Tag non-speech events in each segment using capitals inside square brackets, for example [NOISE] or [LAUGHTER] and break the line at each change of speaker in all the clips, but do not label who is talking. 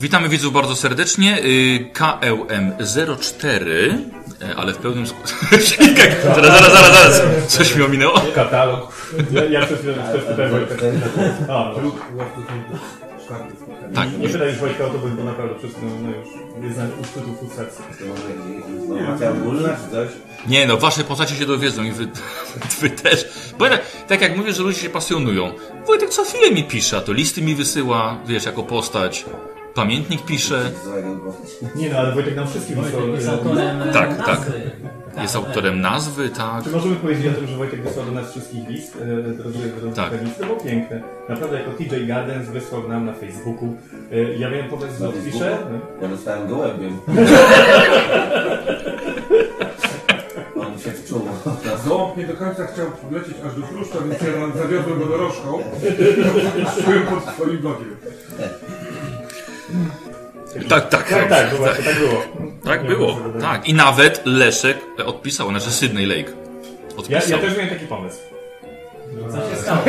Witamy widzów bardzo serdecznie. Y, KLM04, e, ale w pełnym składzie. [LAUGHS] zaraz, zaraz, zaraz, zaraz. Coś mi ominęło.
Katalog. Ja, ja przed chwilą też pytałem Wojtka. A, to już-
Tak.
nie pytaj już Wojtka o to, bo bo naprawdę wszystko no już jest na uszczytu frustracji.
To może jakieś informacja ogólna czy coś?
Nie no, wasze postacie się dowiedzą i wy, [LAUGHS] wy też. Bo tak, tak jak mówię, że ludzie się pasjonują. Wojtek co chwilę mi pisze, a to listy mi wysyła, wiesz, jako postać. Pamiętnik pisze.
Złego odwołać.
Nie no, ale Wojtek nam wszystkim wysłał.
Jest
e,
autorem e,
Tak,
nazwy.
Jest autorem nazwy, tak.
Czy możemy powiedzieć o tym, że Wojtek wysłał do nas wszystkich list, e, drodzy drodzy
Tak.
pewnicy? To było piękne. Naprawdę jako TJ Gardens wysłał nam na Facebooku. E, Ja miałem pomysł, że
Na
odpiszę.
Ja dostałem go
[LAUGHS]
łebiem. On się wczuł.
Gołąb nie do końca chciał lecieć aż do Pruszcza, więc ja nam zawiodłem go dorożką. Czułem pod swoim bokiem.
Tak, tak,
Tak, tak, to właśnie tak było.
Tak
Nie
było.
wiem, co to
Tak. I nawet Leszek odpisał, znaczy Sydney Lake.
Ja, ja
Odpisał.
też miałem taki pomysł.
Co się stało?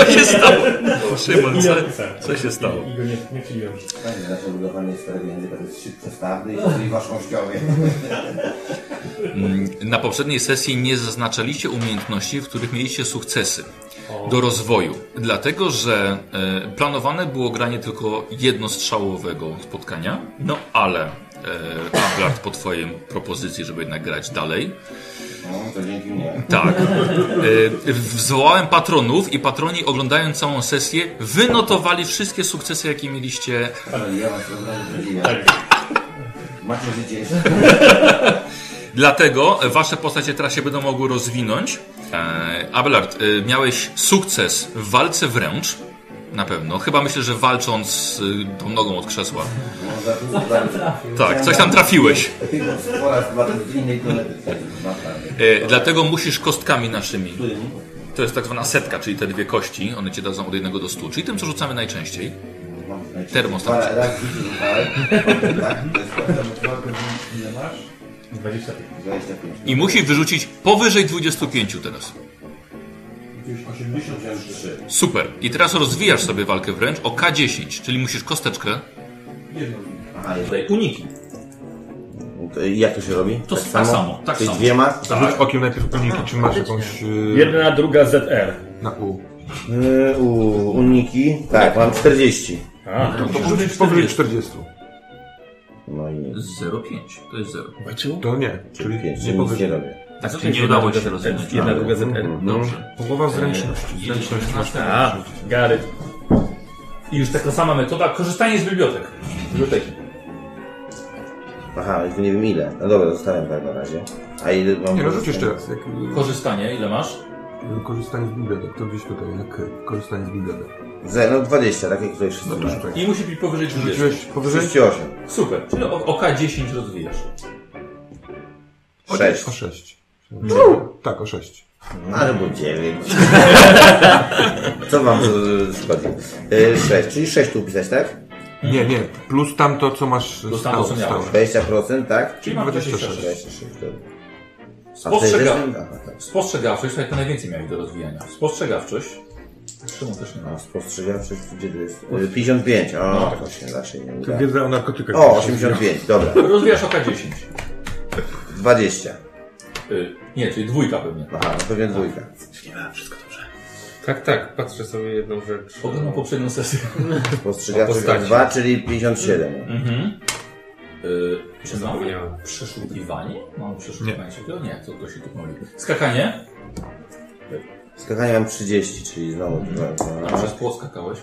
Co się stało? Szymon,
I
co,
ja odpisałem.
co się stało?
I go nie, nie przyjąłem.
Fajnie zaczął budowanie swojego języka. To jest szybko stardy i waszkościowy.
Mm, Na poprzedniej sesji nie zaznaczaliście umiejętności, w których mieliście sukcesy do rozwoju. Dlatego, że e, planowane było granie tylko jednostrzałowego spotkania, no ale e, Ablard po Twoim propozycji, żeby jednak grać dalej,
No, to dzięki mnie.
Tak. Y, Wzwołałem patronów i patroni oglądając całą sesję wynotowali wszystkie sukcesy, jakie mieliście.
Ale ja was od razu podziwiam. Macie życie jeszcze.
Dlatego wasze postacie teraz się będą mogły rozwinąć. E, Abelard, y, miałeś sukces w walce wręcz. Na pewno. Chyba myślę, że walcząc y, tą nogą od krzesła.
No, za dużo
Co tam trafił?
Tak, coś tam trafiłeś.
Tylko po raz dwa to z innej kolety. Dwa stardy.
E, Dlatego musisz kostkami naszymi.
Którym?
To jest tak zwana setka, czyli te dwie kości. One cię dadzą od jednego do 100, czyli tym, co rzucamy najczęściej.
Mam-
Termostat.
Dwa- Raz widzę, Tak, to jest termostat. Ile masz?
25.
25.
I musisz wyrzucić powyżej 25 teraz.
83.
Super. I teraz rozwijasz sobie walkę wręcz o K10, czyli musisz kosteczkę.
Aha, jest.
Tutaj uniki.
E, Jak to się robi?
To tak samo, tak
Czyli
samo.
dwiema?
Rzuć okiem najpierw uniki, czy masz jakąś... Yy,
Jedna, druga ZR.
Na U.
Yy, u, uniki? Tak, mam 40.
A,
To może być powyżej 40.
No i
0,5 to jest 0.
To nie, czyli
pięć,
nie
nie nic nie
powyżej.
robię.
Tak,
czyli nie udało się rozwinąć. Jedna, druga ZR.
Dobrze.
Połowa zręczności. Zręczność masz.
A, Gary. I już taka sama metoda, korzystanie z bibliotek. Biblioteki.
Aha, tylko nie wiem ile. No dobra, zostawiam tak na razie. A ile mam...
Nie, no rzuć jeszcze raz. Jak,
Korzystanie, ile masz?
yy, korzystanie z bibliotek, to gdzieś tutaj, na K. Korzystanie z bibliotek.
0,20, tak jak tutaj wszyscy
No to
mają.
rzucaj.
I musi być powyżej 30.
Rzuciłeś powyżej?
38.
Super, czyli o- oka 10 rozwijasz.
O,
6.
O 6. Tak, o 6.
Albo 9. Co wam z- szkodzi? 6, czyli 6 tu pisać, tak?
Nie, nie, plus tamto, co masz
Plus tamto,
stałe.
co miałeś.
stałe.
20%, tak?
Czyli mam 26.
26, dobra. A w
Spostrzegam.
60? Aha, tak.
Spostrzegawczość, to jak to najwięcej miałeś do rozwijania. Spostrzegawczość. Czemu też nie ma?
A spostrzegawczy, gdzie to jest? Y, 55, o, to się raczej nie uda.
Wiedza o narkotykach.
Tak. O, 85, dobra.
Rozwijasz oka 10.
20.
Y, nie, czyli dwójka pewnie.
Aha, no pewnie dwójka.
Tak, tak, patrzę sobie jedną rzecz.
Oglądam poprzednią sesję.
Postrzegawczy
Postaci.
2, czyli 57.
Mhm. Y, czy mam?
Zapomniałem.
Przeszukiwanie? Mam przeszukiwanie ciekawe? Nie, to ktoś się tu mówi. Skakanie?
Skakanie mam 30, czyli znowu dwa.
A przez płot skakałeś?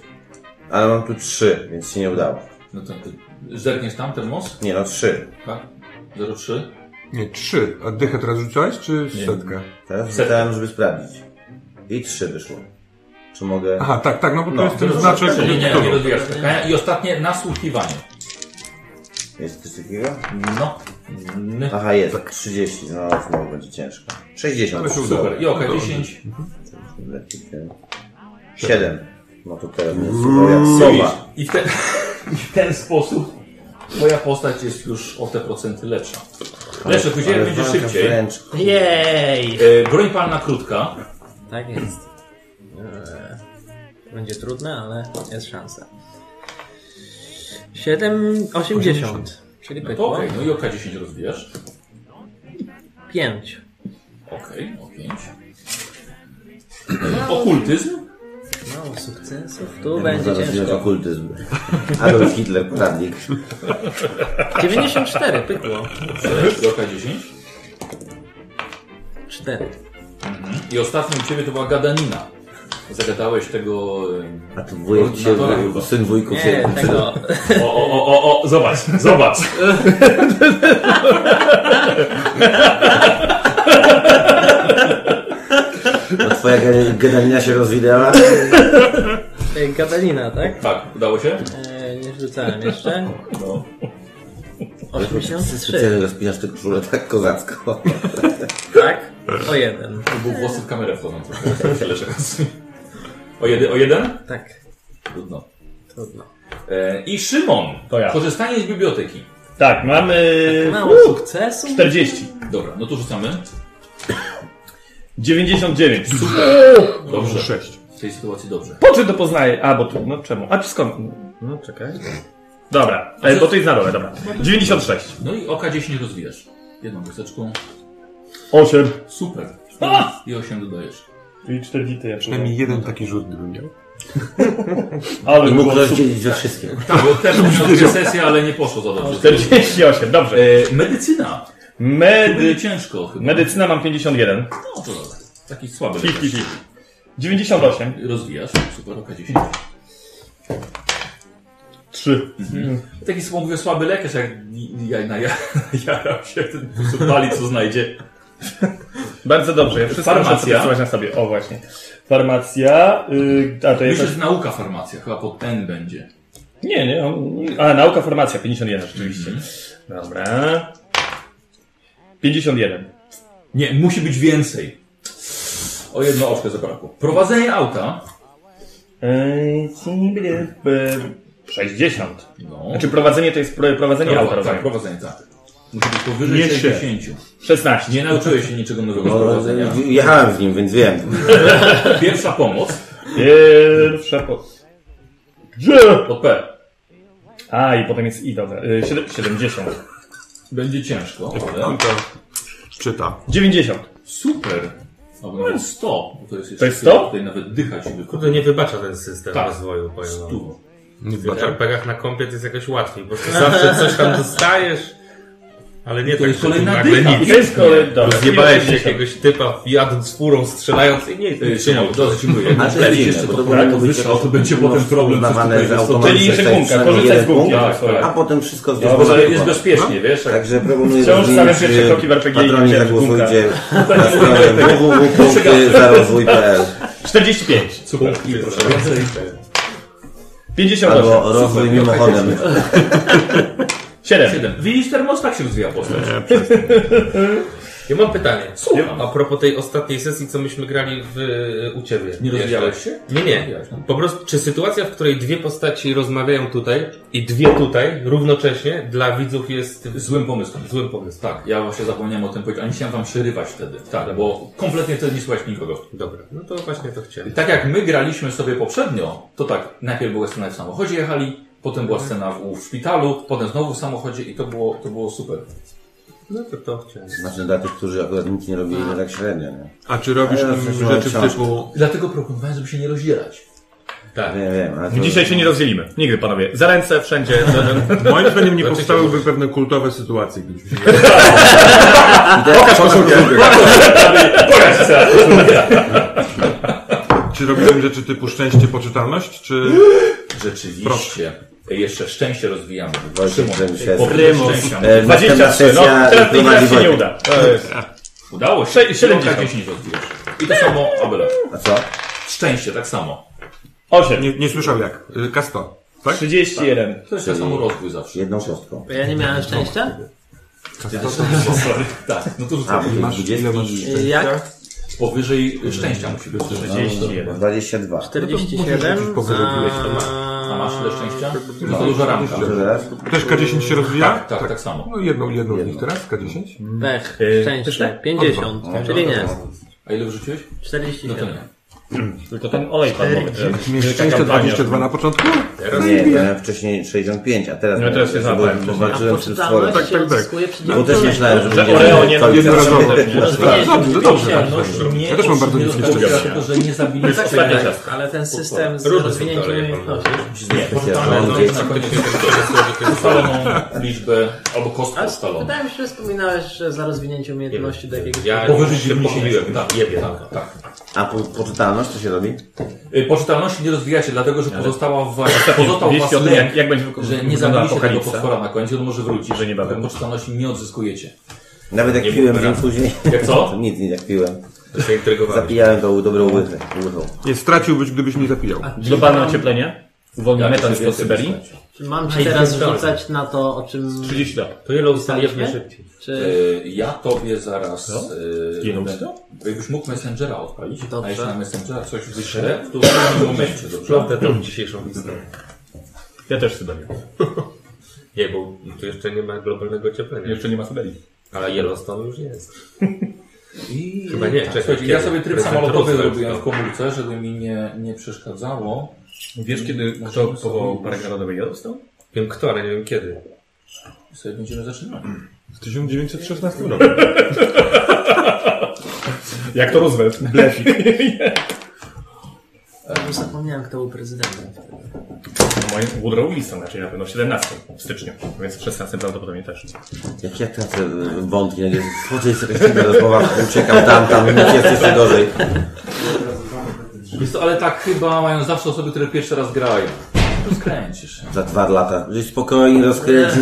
Ale mam tu 3, więc się nie udało.
No to ty zerkniesz tam ten most?
Nie no, 3.
Tak? 03?
Nie, 3. A dychę teraz rzucałeś, czy setkę?
Teraz
Setka.
wstałem, żeby sprawdzić. I 3 wyszło. Czy mogę...
Aha, tak, tak, no bo to
No.
jest ten
No,
znaczek.
Czyli nie,
który-
nie rozwijasz skakania. I ostatnie nasłuchiwanie.
Jest coś takiego?
No. N-
Aha, jest. 30, no znowu będzie ciężko. 60.
Ale się udało.
Super. I oka 10.
7. No to teraz mnie suwał jak sowa.
I w, ten, [LAUGHS] I w ten sposób twoja postać jest już o te procenty lepsza. Lepsze, później
Ale
będzie
walka
szybciej.
wręcz.
Jej!
E, broń palna krótka.
Tak jest. E, Eee, Będzie trudne, ale jest szansa. 7, 80. Czyli
No to
pykło.
okej, no i oka 10 rozwijasz.
5.
Okej, o 5. Okultyzm?
Mało sukcesów. Tu
Ja
będzie
zaraz wziąć
ciężko.
okultyzm. Adolf Hitler, poradnik.
94, pykło.
I oka 10.
4.
I ostatnim u ciebie to była gadanina. Zagadałeś tego... em,
e,
A tu wujek się,
Ordynatora chyba.
syn wujków
Nie,
się...
tego.
O, o, o, o, o, zobacz, zobacz.
No twoja gada- gadanina się rozwinęła.
Tej Gadalina, tak?
Tak, udało się?
E, nie rzucałem jeszcze.
No.
83.
Specjalnie rozpinasz tę koszulę tak kozacko.
Tak? O jeden.
To był włosy w kamerę wchodzą trochę. [LAUGHS] tak Tyle czasu. O, jedy, o jeden?
Tak.
Trudno.
Trudno.
E, I Szymon.
To ja.
Korzystanie z biblioteki.
Tak, mamy
Mało sukcesu.
40.
Dobra, no to rzucamy.
99.
Dobrze. W tej sytuacji dobrze.
Po czym to poznaję? A, bo tu, no czemu? A, skąd? No, czekaj. Dobra, e, bo to jest na dole, dobra. 96.
No i oka 10 rozwijasz. Jedną kosteczką.
8.
Super. I 8 dodajesz.
I 40 ja
Przynajmniej jeden taki rzut bym miał.
Ale
I mógł
było super.
rozdzielić ze wszystkim.
Tak, bo też miał dwie sesje, ale nie poszło za dobrze.
48, dobrze.
E, medycyna. Będzie
Medy...
ciężko chyba.
Medycyna mam 51.
No to dobra. Taki słaby.
Fif, fif,
lekarz.
fif. 98.
Rozwijasz. Super, oka 10.
3.
Mhm. Taki słabo mówię słaby lekarz, jak ja, na ja, [LAUGHS] jarał się, ten po prostu pali co znajdzie.
Bardzo dobrze, ja wszystko
Farmacja.
muszę przetestować na sobie. O, właśnie. Farmacja, y, a to jest...
Myślę, że nauka farmacja, chyba pod N będzie.
Nie, nie, on... A, nauka, formacja, 51 rzeczywiście. Dobra. 51.
Nie, musi być więcej. O jedno oczkę zabrakło. Prowadzenie auta.
Ej, 60.
No.
Znaczy prowadzenie to jest pro- prowadzenie
Prowa-
auta,
tak,
rozumiem.
prowadzenie, tak. Musi być powyżej
Nie się.
60.
16.
Nie nauczyłeś się niczego nowego z
No,
prowadzenia.
jechałem z nim, więc wiem.
Pierwsza pomoc
Pierwsza po... Gdzie?
pod P.
A, i potem jest i, dobra. Y, siedem- 70.
Będzie ciężko, ale...
To czyta.
90.
Super. Albo nawet 100. bo To No jest, jeszcze
jest 100?
Tutaj nawet dychać i
Kurde, nie wybacza ten system
Tak.
rozwoju, powiem
Dużo.
Nie w RPGach na kompie to jest jakoś łatwiej, bo
[LAUGHS]
ty zawsze coś tam dostajesz, ale nie
To
tak,
jest
że tu
kolejna
nagle
dycha.
I
nic.
to jest kolej, dobra.
Rozjebałeś się
80.
jakiegoś typa jadąc furą, strzelając i nie
Yy,
jest.
Szymon, dobrze ci mówię.
A
Jak
to jest
strzelisz
dziwne,
jeszcze
bo no,
to
to powinno
powinno
być
wyższe, o to będzie potem problem, co
uznawane
tutaj
za
jest.
automatyczne.
Czyli jeszcze
Tutaj
gumka,
przynajmniej
korzystaj z gumki.
jeden punkt,
Tak, tak.
A potem wszystko z
Dobra,
Może
głowy.
No, jest
No.
bezpiecznie, wiesz? jak-
Także proponuję
Wciąż stawiam
rozmienić,
pierwsze
y,
kroki w RPG i
Patroni
idzie w gumkę. [LAUGHS]
zagłosujcie na stronę www.zarozwój.pl
45.
Super. I proszę więcej.
58.
albo rozwój mimochodem.
7.
Siedem. Widzisz, termos tak się rozwija postać.
Ja mam pytanie.
Słucham.
A propos tej ostatniej sesji, co myśmy grali w, u ciebie.
Nie no. rozwijałeś
Jeszcze.
się?
Nie, nie. Po prostu, czy sytuacja, w której dwie postaci rozmawiają tutaj i dwie tutaj równocześnie dla widzów jest
Złym pomysłem.
złym pomysłem?
Tak, ja właśnie zapomniałem o tym powiedzieć, a nie chciałem wam przerywać wtedy. Tak, bo kompletnie wtedy nie słuchać nikogo.
Dobra, no to właśnie to chciałem.
Tak jak my graliśmy sobie poprzednio, to tak, najpierw była scena w samochodzie jechali, potem była scena w, w szpitalu, potem znowu w samochodzie i to było, to było super.
No to to chciałem.
Znaczy dla tych, którzy akurat nic nie robili, nie tak średnio. Nie
A czy robisz
Ja
im
zaczynałem
rzeczy
książkę.
typu...
Dlatego proponowałem, żeby się nie rozdzielać.
Tak.
Nie wiem, ale to...
[LAUGHS] Dzisiaj się nie rozdzielimy. Nigdy, panowie. Za ręce, wszędzie.
Moim zdaniem nie powstałyby pewne kultowe sytuacje, gdybyśmy się
Pokaż
Czy robiłem rzeczy typu szczęście, poczytalność, czy...
Rzeczywiście. Jeszcze szczęście rozwijamy.
Wojciech
Szymon,
Przemyślewski.
powrót szczęścia.
E, następna
23. No,
sesja
teraz tej gra
prowadzi
się nie
Wojtek.
uda. To jest-
Udało się.
Sze- 70.
10 rozwijasz. I to samo Abelard.
A co?
Szczęście, tak samo.
8.
Nie, nie słyszał jak. Y, Kasto. Tak?
31.
To jest tak samo rozwój zawsze.
Jedną kostką.
Bo ja nie miałem szczęścia?
Tak, no to
A,
rzucamy.
bo to jest
Ile masz
20...
I Jak?
Mm. Powyżej szczęścia musi być.
31.
22.
rzucić
47.
po wyrobiłeś, to masz.
A masz tyle szczęścia? No to duża ramka.
To teraz?
Też K10 się rozwija?
Tak, tak, tak samo.
No jedną, jedną z nich teraz, K10.
Pech,
Y,
szczęście. 50, czyli nie.
A ile wyrzuciłeś? No to
47.
nie.
Tylko ten olej palmowy. czy-
Miałeś
czy jaka
szczęście
kampania?
22 na początku?
Nie, miałem wcześniej 65, a teraz...
No teraz się
bo
zapałem.
Walczyłem z tym sporem.
tak,
Poczytalność się
tak, tak.
uzyskuje przy
Bo też Tak, myślałem, że
Że
będzie
Oreo nie
cały czas-
jednorazowo.
[LAUGHS]
Rozumiem,
Dobrze,
że
dobrze.
odpowiedzialność nie
Ja też mam bardzo
nie
niskie
rozpoczyna,
szczęście.
Tylko, że nie zabiliśmy
jest ostatnia ciastka.
ale ten system z
Różne
rozwinięciem
są teorie,
umiejętności.
Specjalną
No i na koniec się to ustaloną liczbę albo kostkę
Tak.
Ale
ustaloną.
wydaje mi się, że wspominałeś, że za rozwinięcie umiejętności do jakiegoś...
Tak.
Ja
Powyżej
się
90.
pomyliłem.
Tak,
Jebie.
tak, tak.
A po, poczytalność co się robi?
Y, Poczytalności nie rozwijacie, dlatego że pozostała w was, pozostał was
Wieści o tym,
lęk,
jak, jak będzie wyko-
że nie
wyglądała
zabiliście tego
apokalipsa.
potwora na końcu, on może wrócić.
Że niebawem.
Poczytalności nie odzyskujecie.
Nawet jak
Nie
piłem
mów
dzień
teraz.
później.
Jak co?
[LAUGHS] Nic, nic, jak piłem.
To się intrygowałem.
Zapijałem to dobrą łychę. łychą.
Nie, straciłbyś, gdybyś nie zapijał.
Globalne ocieplenie. Wolny
Jak
metan
sobie
z Syberii.
wyobrażacie?
Czy mam ci teraz rzucać na to, o czym
30 lat.
To ile ustaliliśmy
ustaliliśmy
szybciej?
czy...
Y, Ja tobie zaraz...
Co?
y,
No. Jedną
będę-
stronę?
Jakbyś mógł Messengera odpalić,
Dobrze.
a jeśli na Messengera coś wyślę, to w tym momencie, dobrze?
Plotę tą dzisiejszą listę.
Ja też Syberia.
Nie, bo tu jeszcze nie ma globalnego ocieplenia.
Jeszcze nie ma Syberii.
Ale Yellowstone już jest.
I...
Chyba nie,
Tak,
czekaj,
słuchajcie,
kiedy?
ja sobie tryb
Prezydent
samolotowy
Roosevelt,
robiłem
no.
w komórce, żeby mi nie, nie przeszkadzało.
Wiesz, kiedy kto powołał Park Narodowy Yellowstone?
Wiem kto, ale nie wiem kiedy.
I sobie będziemy zaczynać.
W 1916 roku.
Jak to Roosevelt?
[LAUGHS]
Bo Zapomniałem, kto był prezydentem.
Moim Woodrow Wilson, raczej na pewno w 17 w styczniu, więc w 16 prawdopodobnie też.
Jak ja tracę y, wątki, jak jest- wchodzę i sobie z tymi rozmowach, uciekam tam, tam, nic jest jeszcze gorzej.
Wiesz co, ale tak chyba mają zawsze osoby, które pierwszy raz grają. To skręcisz.
Za dwa lata. Żeś spokojnie rozkręcisz.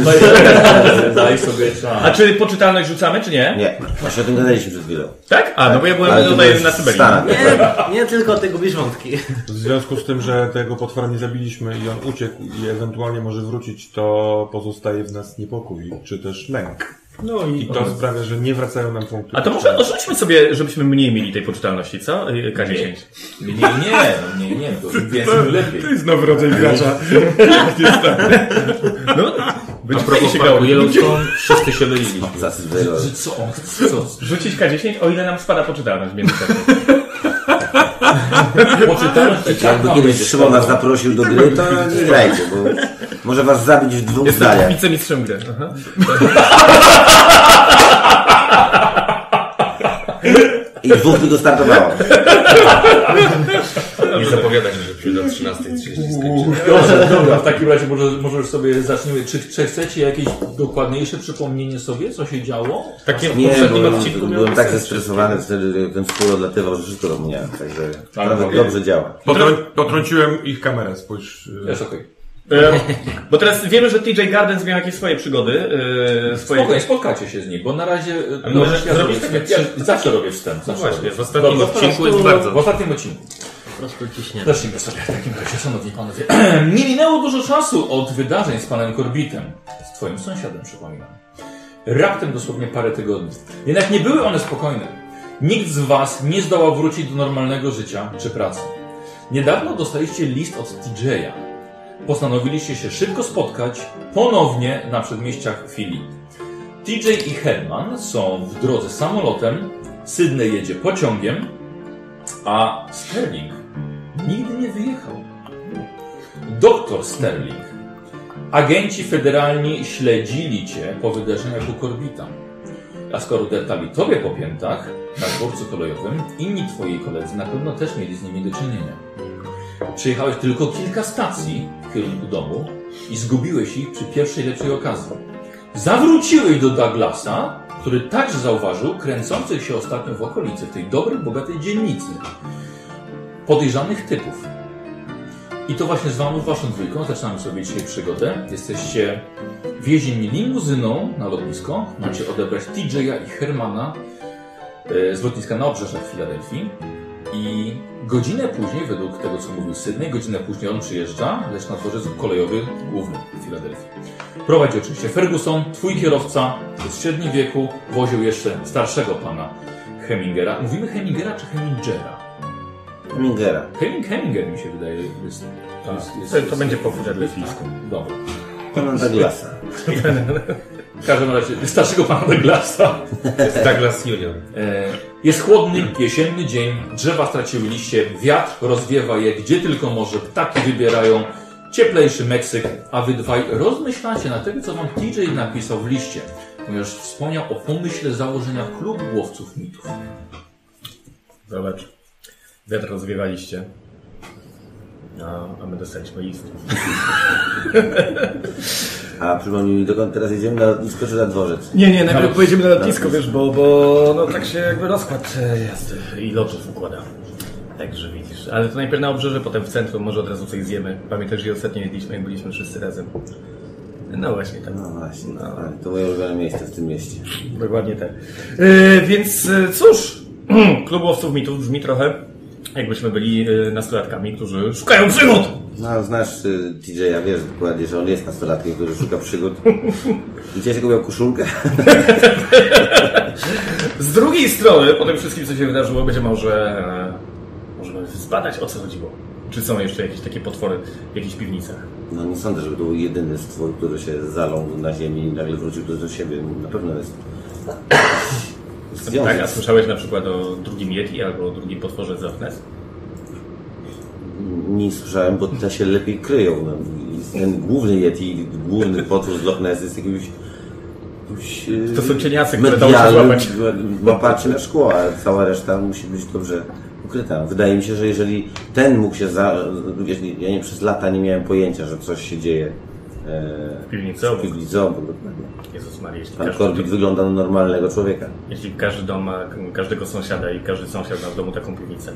Daj sobie czas.
A czy poczytalność rzucamy, czy nie?
Nie, właśnie o tym gadaliśmy przed chwilą.
Tak? A, no bo ja byłem
Ale to
tutaj
jest
na Syberii.
Stan.
Nie, nie tylko ty gubisz wątki.
W związku z tym, że tego potwora nie zabiliśmy i on uciekł i ewentualnie może wrócić, to pozostaje w nas niepokój, czy też lęk.
No
I to sprawia, że nie wracają nam punkty.
A to może odrzućmy sobie, żebyśmy mniej mieli tej poczytalności, co? Y, K10.
Nie, nie, nie, no nie, nie, to im więcej tym lepiej.
To jest nowy rodzaj
[LAUGHS]
gracza.
No,
A
będzie fajnie
propos
się grało.
parku Yellowstone, wszyscy się myliliśmy.
No, Za Sylwero.
Że co on chce? Co?
Rzucić K10, o ile nam spada poczytalność w międzyczasie.
Poczytalność i tak
Jakby
No,
mam
kiedyś Szymon nas zaprosił do gry,
[LAUGHS]
to nie grajcie, bo może was zabić w dwóch zdaniach.
wicemistrzem gry. Aha.
I dwóch tu dostartowało.
Nie zapowiada się, że przyjdą o 13.30 skończymy.
Dobrze, dobra, w takim razie może, może już sobie zaczniemy. Czy, czy chcecie jakieś dokładniejsze przypomnienie sobie, co się działo?
Takie w
Nie,
poprzednim
bo
odcinku
byłem
miałem
tak
tak
zestresowany wtedy, że ten skór odlatywał, że wszystko zapomniałem. Także nawet dobrze działa.
Potrą- potrąciłem ich kamerę, spójrz. y,
Jest okej.
E, Bo teraz wiemy, że TJ Gardens miał jakieś swoje przygody. e, Swoje...
Spokojnie, spotkacie się z nim, bo na razie...
A
no,
możesz
ja
zrobić
zrobię-
tak?
ja zawsze robię wstęp.
No
Zawsze
właśnie,
robię.
w ostatnim
Dobra,
odcinku jest bardzo.
W ostatnim odcinku.
Po prostu ciśniemy.
Zacznijmy sobie w takim razie, szanowni panowie. [CLEARS THROAT] Nie minęło dużo czasu od wydarzeń z panem Korbitem, z twoim sąsiadem, przypominam. Raptem dosłownie parę tygodni. Jednak nie były one spokojne. Nikt z was nie zdołał wrócić do normalnego życia czy pracy. Niedawno dostaliście list od TJ'a. Postanowiliście się szybko spotkać ponownie na przedmieściach Filii. TJ i Herman są w drodze samolotem, Sydney jedzie pociągiem, a Sterling nigdy nie wyjechał. Doktor Sterling, agenci federalni śledzili cię po wydarzeniach u Korbita. A skoro deptali tobie po piętach na dworcu kolejowym, inni twoi koledzy na pewno też mieli z nimi do czynienia. Przejechałeś tylko kilka stacji w kierunku domu i zgubiłeś ich przy pierwszej lepszej okazji. Zawróciłeś do Douglasa, który także zauważył kręcących się ostatnio w okolicy, w tej dobrej, bogatej dzielnicy, podejrzanych typów. I to właśnie z wami, waszą dwójką, zaczynamy sobie dzisiaj przygodę. Jesteście wiezieni limuzyną na lotnisko. Macie odebrać TJ'a i Hermana e, z lotniska na obrzeżach Filadelfii. I godzinę później, według tego co mówił Sydney, godzinę później on przyjeżdża, lecz na dworzec kolejowy główny w Filadelfii. Prowadzi oczywiście Ferguson, twój kierowca, jest w średnim wieku, woził jeszcze starszego pana Hemingera. Mówimy Hemingera czy Hemingera?
Mingera.
Heming, Heminger mi się wydaje jest, jest, jest,
To- to będzie po filadelfijsku.
tak, Dobra.
Pana Douglasa.
W każdym razie, [LAUGHS] starszego pana Douglasa.
Douglas Junior.
E, Jest chłodny, jesienny dzień, drzewa straciły liście, wiatr rozwiewa je gdzie tylko może, ptaki wybierają cieplejszy Meksyk, a wy dwaj rozmyślacie na tego, co wam TJ napisał w liście, ponieważ wspomniał o pomyśle założenia klubu łowców mitów.
Zobacz. Wiatr rozwiewaliście. A, a my dostaliśmy list.
A przypomnij mi, dokąd teraz jedziemy? Na lotnisko czy na dworzec?
Nie, nie, najpierw pojedziemy na lotnisko, wiesz, bo, bo no tak się jakby rozkład e, jazdy i lotów układa. Także widzisz. Ale to najpierw na obrzeże, potem w centrum, może od razu coś zjemy. Pamiętasz, że ostatnio jedliśmy, jak byliśmy wszyscy razem. No właśnie, tam.
No właśnie, no. ale to moje ulubione miejsce w tym mieście.
Dokładnie tak. E, więc e, cóż, [CLEARS THROAT] klub łowców mitów brzmi trochę jakbyśmy byli e, nastolatkami, którzy szukają przygód!
No, znasz y, TJ-a, wiesz dokładnie, że on jest nastolatkiem, który szuka przygód. Dzisiaj tylko miał koszulkę.
Z drugiej strony, po tym wszystkim, co się wydarzyło, będzie może... e, Możemy zbadać, o co chodziło. Czy są jeszcze jakieś takie potwory w jakichś piwnicach?
No nie sądzę, żeby to był jedyny stwór, który się zalął na ziemi i nagle wrócił do, do siebie. Na pewno jest...
[CLEARS THROAT] Tak, a
Związek.
słyszałeś na przykład o drugim Yeti albo o drugim potworze z Afnes?
Nie słyszałem, bo te się lepiej kryją. No, i ten główny Yeti, główny potwór z Loch Ness jest jakimś... jakimś y,
To są cieniacy, które dało się
medialnym
złapać.
[LAUGHS] łapaczy na szkło, a cała reszta musi być dobrze ukryta. Wydaje mi się, że jeżeli ten mógł się za... Wiesz, nie- ja nie przez lata nie miałem pojęcia, że coś się dzieje e,
W piwnicy
w
obok.
piwnicy obok. dokładnie.
Jezus Maria, jeśli
Pan
każdy,
Korbik wygląda na normalnego człowieka.
jeśli każdy dom ma każdego sąsiada i każdy sąsiad ma w domu taką piwnicę.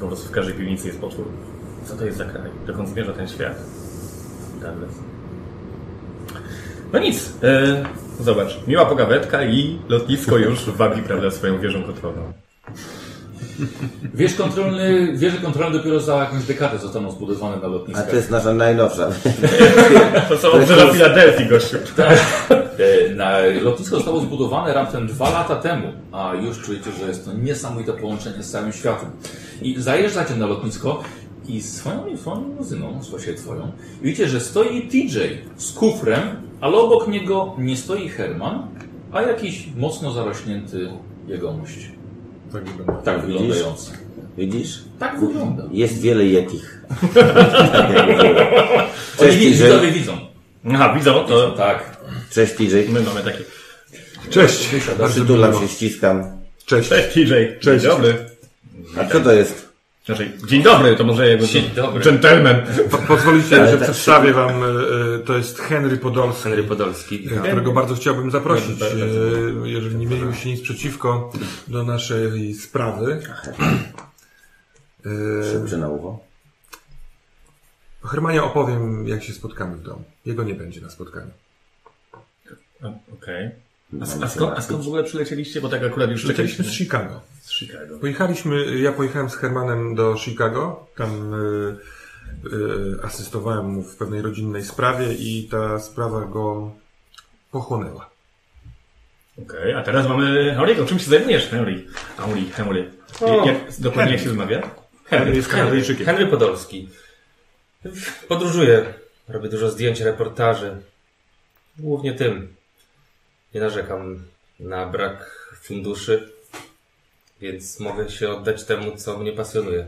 Po prostu w każdej piwnicy jest potwór. Co to jest za kraj? Dokąd zmierza ten świat? Douglas. No nic, e, zobacz. Miła pogawetka i lotnisko już wabi, prawda, swoją wieżą kontrolną.
Wież kontrolny, wieże kontrolne dopiero za jakąś dekadę zostaną zbudowane na
A
lotniskach.
to jest nasza najnowsza. [LAUGHS]
To są obrzeża Filadelfii, gościu.
E, Na lotnisko zostało zbudowane raptem dwa lata temu, a już czujecie, że jest to niesamowite połączenie z całym światem. I zajeżdżacie na lotnisko i swoją, swoją limuzyną, słuchajcie twoją, widzicie, że stoi TJ z kufrem, ale obok niego nie stoi Herman, a jakiś mocno zarośnięty jegomość. Tak wyglądający.
Widzisz?
Tak wygląda.
Jest wiele Yetich.
Oni
Cześć
widzą,
TJ.
widzowie widzą.
Aha, widzą, to
Tak.
Cześć TJ.
my mamy takie.
Cześć!
Przytulam się, ściskam.
Cześć!
Cześć, TJ.
Cześć.
Dzień dobry.
A co to jest?
Znaczy, dzień dobry, to może jakby...
Dzień dobry.
Gentleman.
Po- Pozwolicie,
Ale
że
tak-
przedstawię wam, e, e, to jest Henry Podolski.
Henry Podolski.
Ja, którego bardzo chciałbym zaprosić,
Bardzo, bardzo.
e, jeżeli nie mielibyście nic przeciwko do naszej sprawy. E,
Szybczy na ucho.
Hermanie opowiem, jak się spotkamy w domu. Jego nie będzie na spotkaniu.
Okej. A, s- a, skąd, a skąd w ogóle przylecieliście? Bo tak akurat już
Przylecieliśmy
czekaliśmy
z Chicago.
z Chicago.
Pojechaliśmy, ja pojechałem z Hermanem do Chicago, tam y, y, asystowałem mu w pewnej rodzinnej sprawie i ta sprawa go pochłonęła.
Okej, a teraz mamy Henry'ego. Czym się zajmujesz, Henry? Henry, Henry.
O,
Jak, dokładnie jak się wymawia? Henry jest
Henry, Henry Podolski. Podróżuję. Robię dużo zdjęć, reportaży. Głównie tym. Nie narzekam na brak funduszy, więc mogę się oddać temu, co mnie pasjonuje.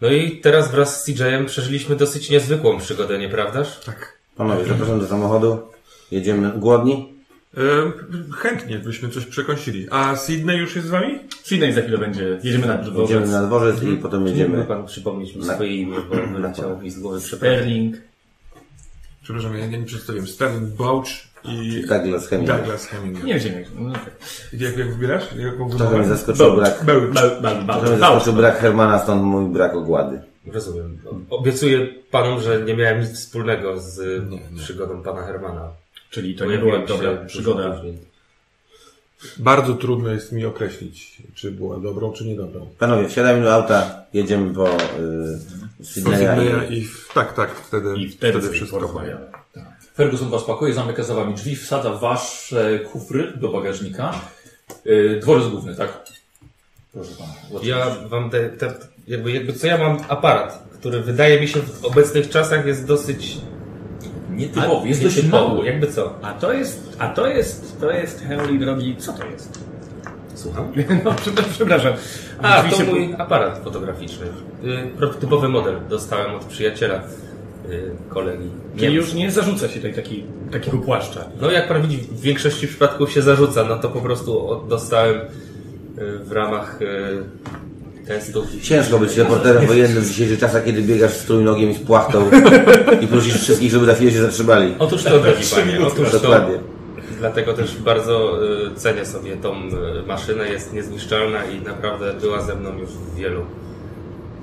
No i teraz wraz z CJ-em przeżyliśmy dosyć niezwykłą przygodę, nieprawdaż?
Tak.
Panowie, zapraszam do samochodu. Jedziemy. Głodni?
Y, chętnie byśmy coś przekąsili. A Sydney już jest z wami?
Sydney za chwilę będzie. Jedziemy na
Jedziemy
dworzec.
na dworzec i potem
Mógłby
jedziemy.
pan przypomnieć
no.
mi
Na-
swoje imię,
[CLEARS THROAT]
bo wyleciało mi z głowy przepraszam.
Sterling.
Przepraszam, ja nie przedstawiłem. Sterling Bouch i
Douglas
Tak.
Hemingway.
Douglas Hemingway.
Nie wiem, jak. No, tak.
Jak, jak wybierasz? Jaką
Trochę mnie
wybieramy?
zaskoczył brak.
Bełcz.
Bał, bał, bał,
tak. Trochę mnie
bał.
zaskoczył brak Hermana, stąd mój brak ogłady.
Rozumiem. Obiecuję panom, że nie miałem nic wspólnego z przygodą pana Hermana.
Czyli to nie była dobra przygoda.
Bardzo trudno jest mi określić, czy była dobrą, czy niedobrą.
Panowie, wsiadajmy do auta. Jedziemy po y,
Po Sydneya
Sydneya. i-
i w, tak, tak, wtedy,
I wtedy,
wtedy wszystko.
porozmawiamy.
Ferguson was pakuje, zamyka za wami drzwi, wsadza wasze kufry do bagażnika. Yy, dworzec główny, tak? Proszę pana. zaczynać.
Ja wam te, te, jakby, jakby co ja mam aparat, który wydaje mi się w obecnych czasach jest dosyć
Nietypowy, jest
Wiecie,
dość
typowo,
mały.
Jakby co?
A to jest, a to jest, to jest Henry drogi, co to jest?
Słucham?
[LAUGHS] No, prze- przepraszam.
A, to
Rzeczywiście-
mój aparat fotograficzny. Y, Prototypowy model dostałem od przyjaciela, y, kolegi.
Czyli
Nie-
już nie zarzuca się tutaj taki, takiego płaszcza.
No jak pan widzi, w większości przypadków się zarzuca, no to po prostu od- dostałem y, w ramach y, testów.
Ciężko być reporterem wojennym w dzisiejszych czasach, kiedy biegasz z trójnogiem i z płachtą i prosisz wszystkich, żeby za chwilę się zatrzymali.
Otóż to, drogi panie, otóż to.
Dokładnie.
Dlatego też bardzo y, cenię sobie tą y, maszynę, jest niezniszczalna i naprawdę była ze mną już w wielu,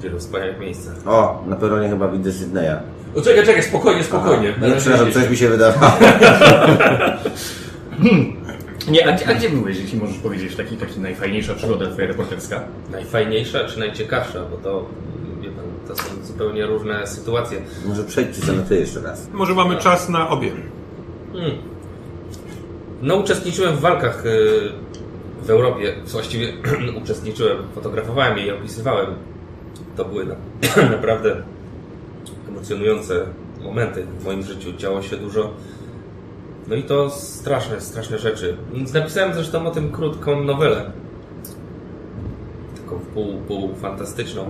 wielu wspaniałych miejscach.
O, na peronie chyba widzę Sydneya.
O, czekaj, czekaj, spokojnie, spokojnie. Na
Nie,
razie
przepraszam,
jedzie.
coś mi się wydawało. [LAUGHS]
Nie, a, gdzie- a gdzie byłeś, jeśli możesz powiedzieć, taki, taki najfajniejsza przygoda twoja reporterska?
Najfajniejsza czy najciekawsza, bo to, y, wie pan, to są zupełnie różne sytuacje.
Może przejdźcie sobie na ty jeszcze raz.
Może mamy czas na obie.
Hmm. No, uczestniczyłem w walkach y, w Europie. Właściwie [CLEARS THROAT] uczestniczyłem, fotografowałem je i opisywałem. To były na, [CLEARS THROAT] naprawdę emocjonujące momenty w moim życiu. Działo się dużo. No i to straszne, straszne rzeczy. Więc napisałem zresztą o tym krótką nowelę. Taką pół, pół fantastyczną.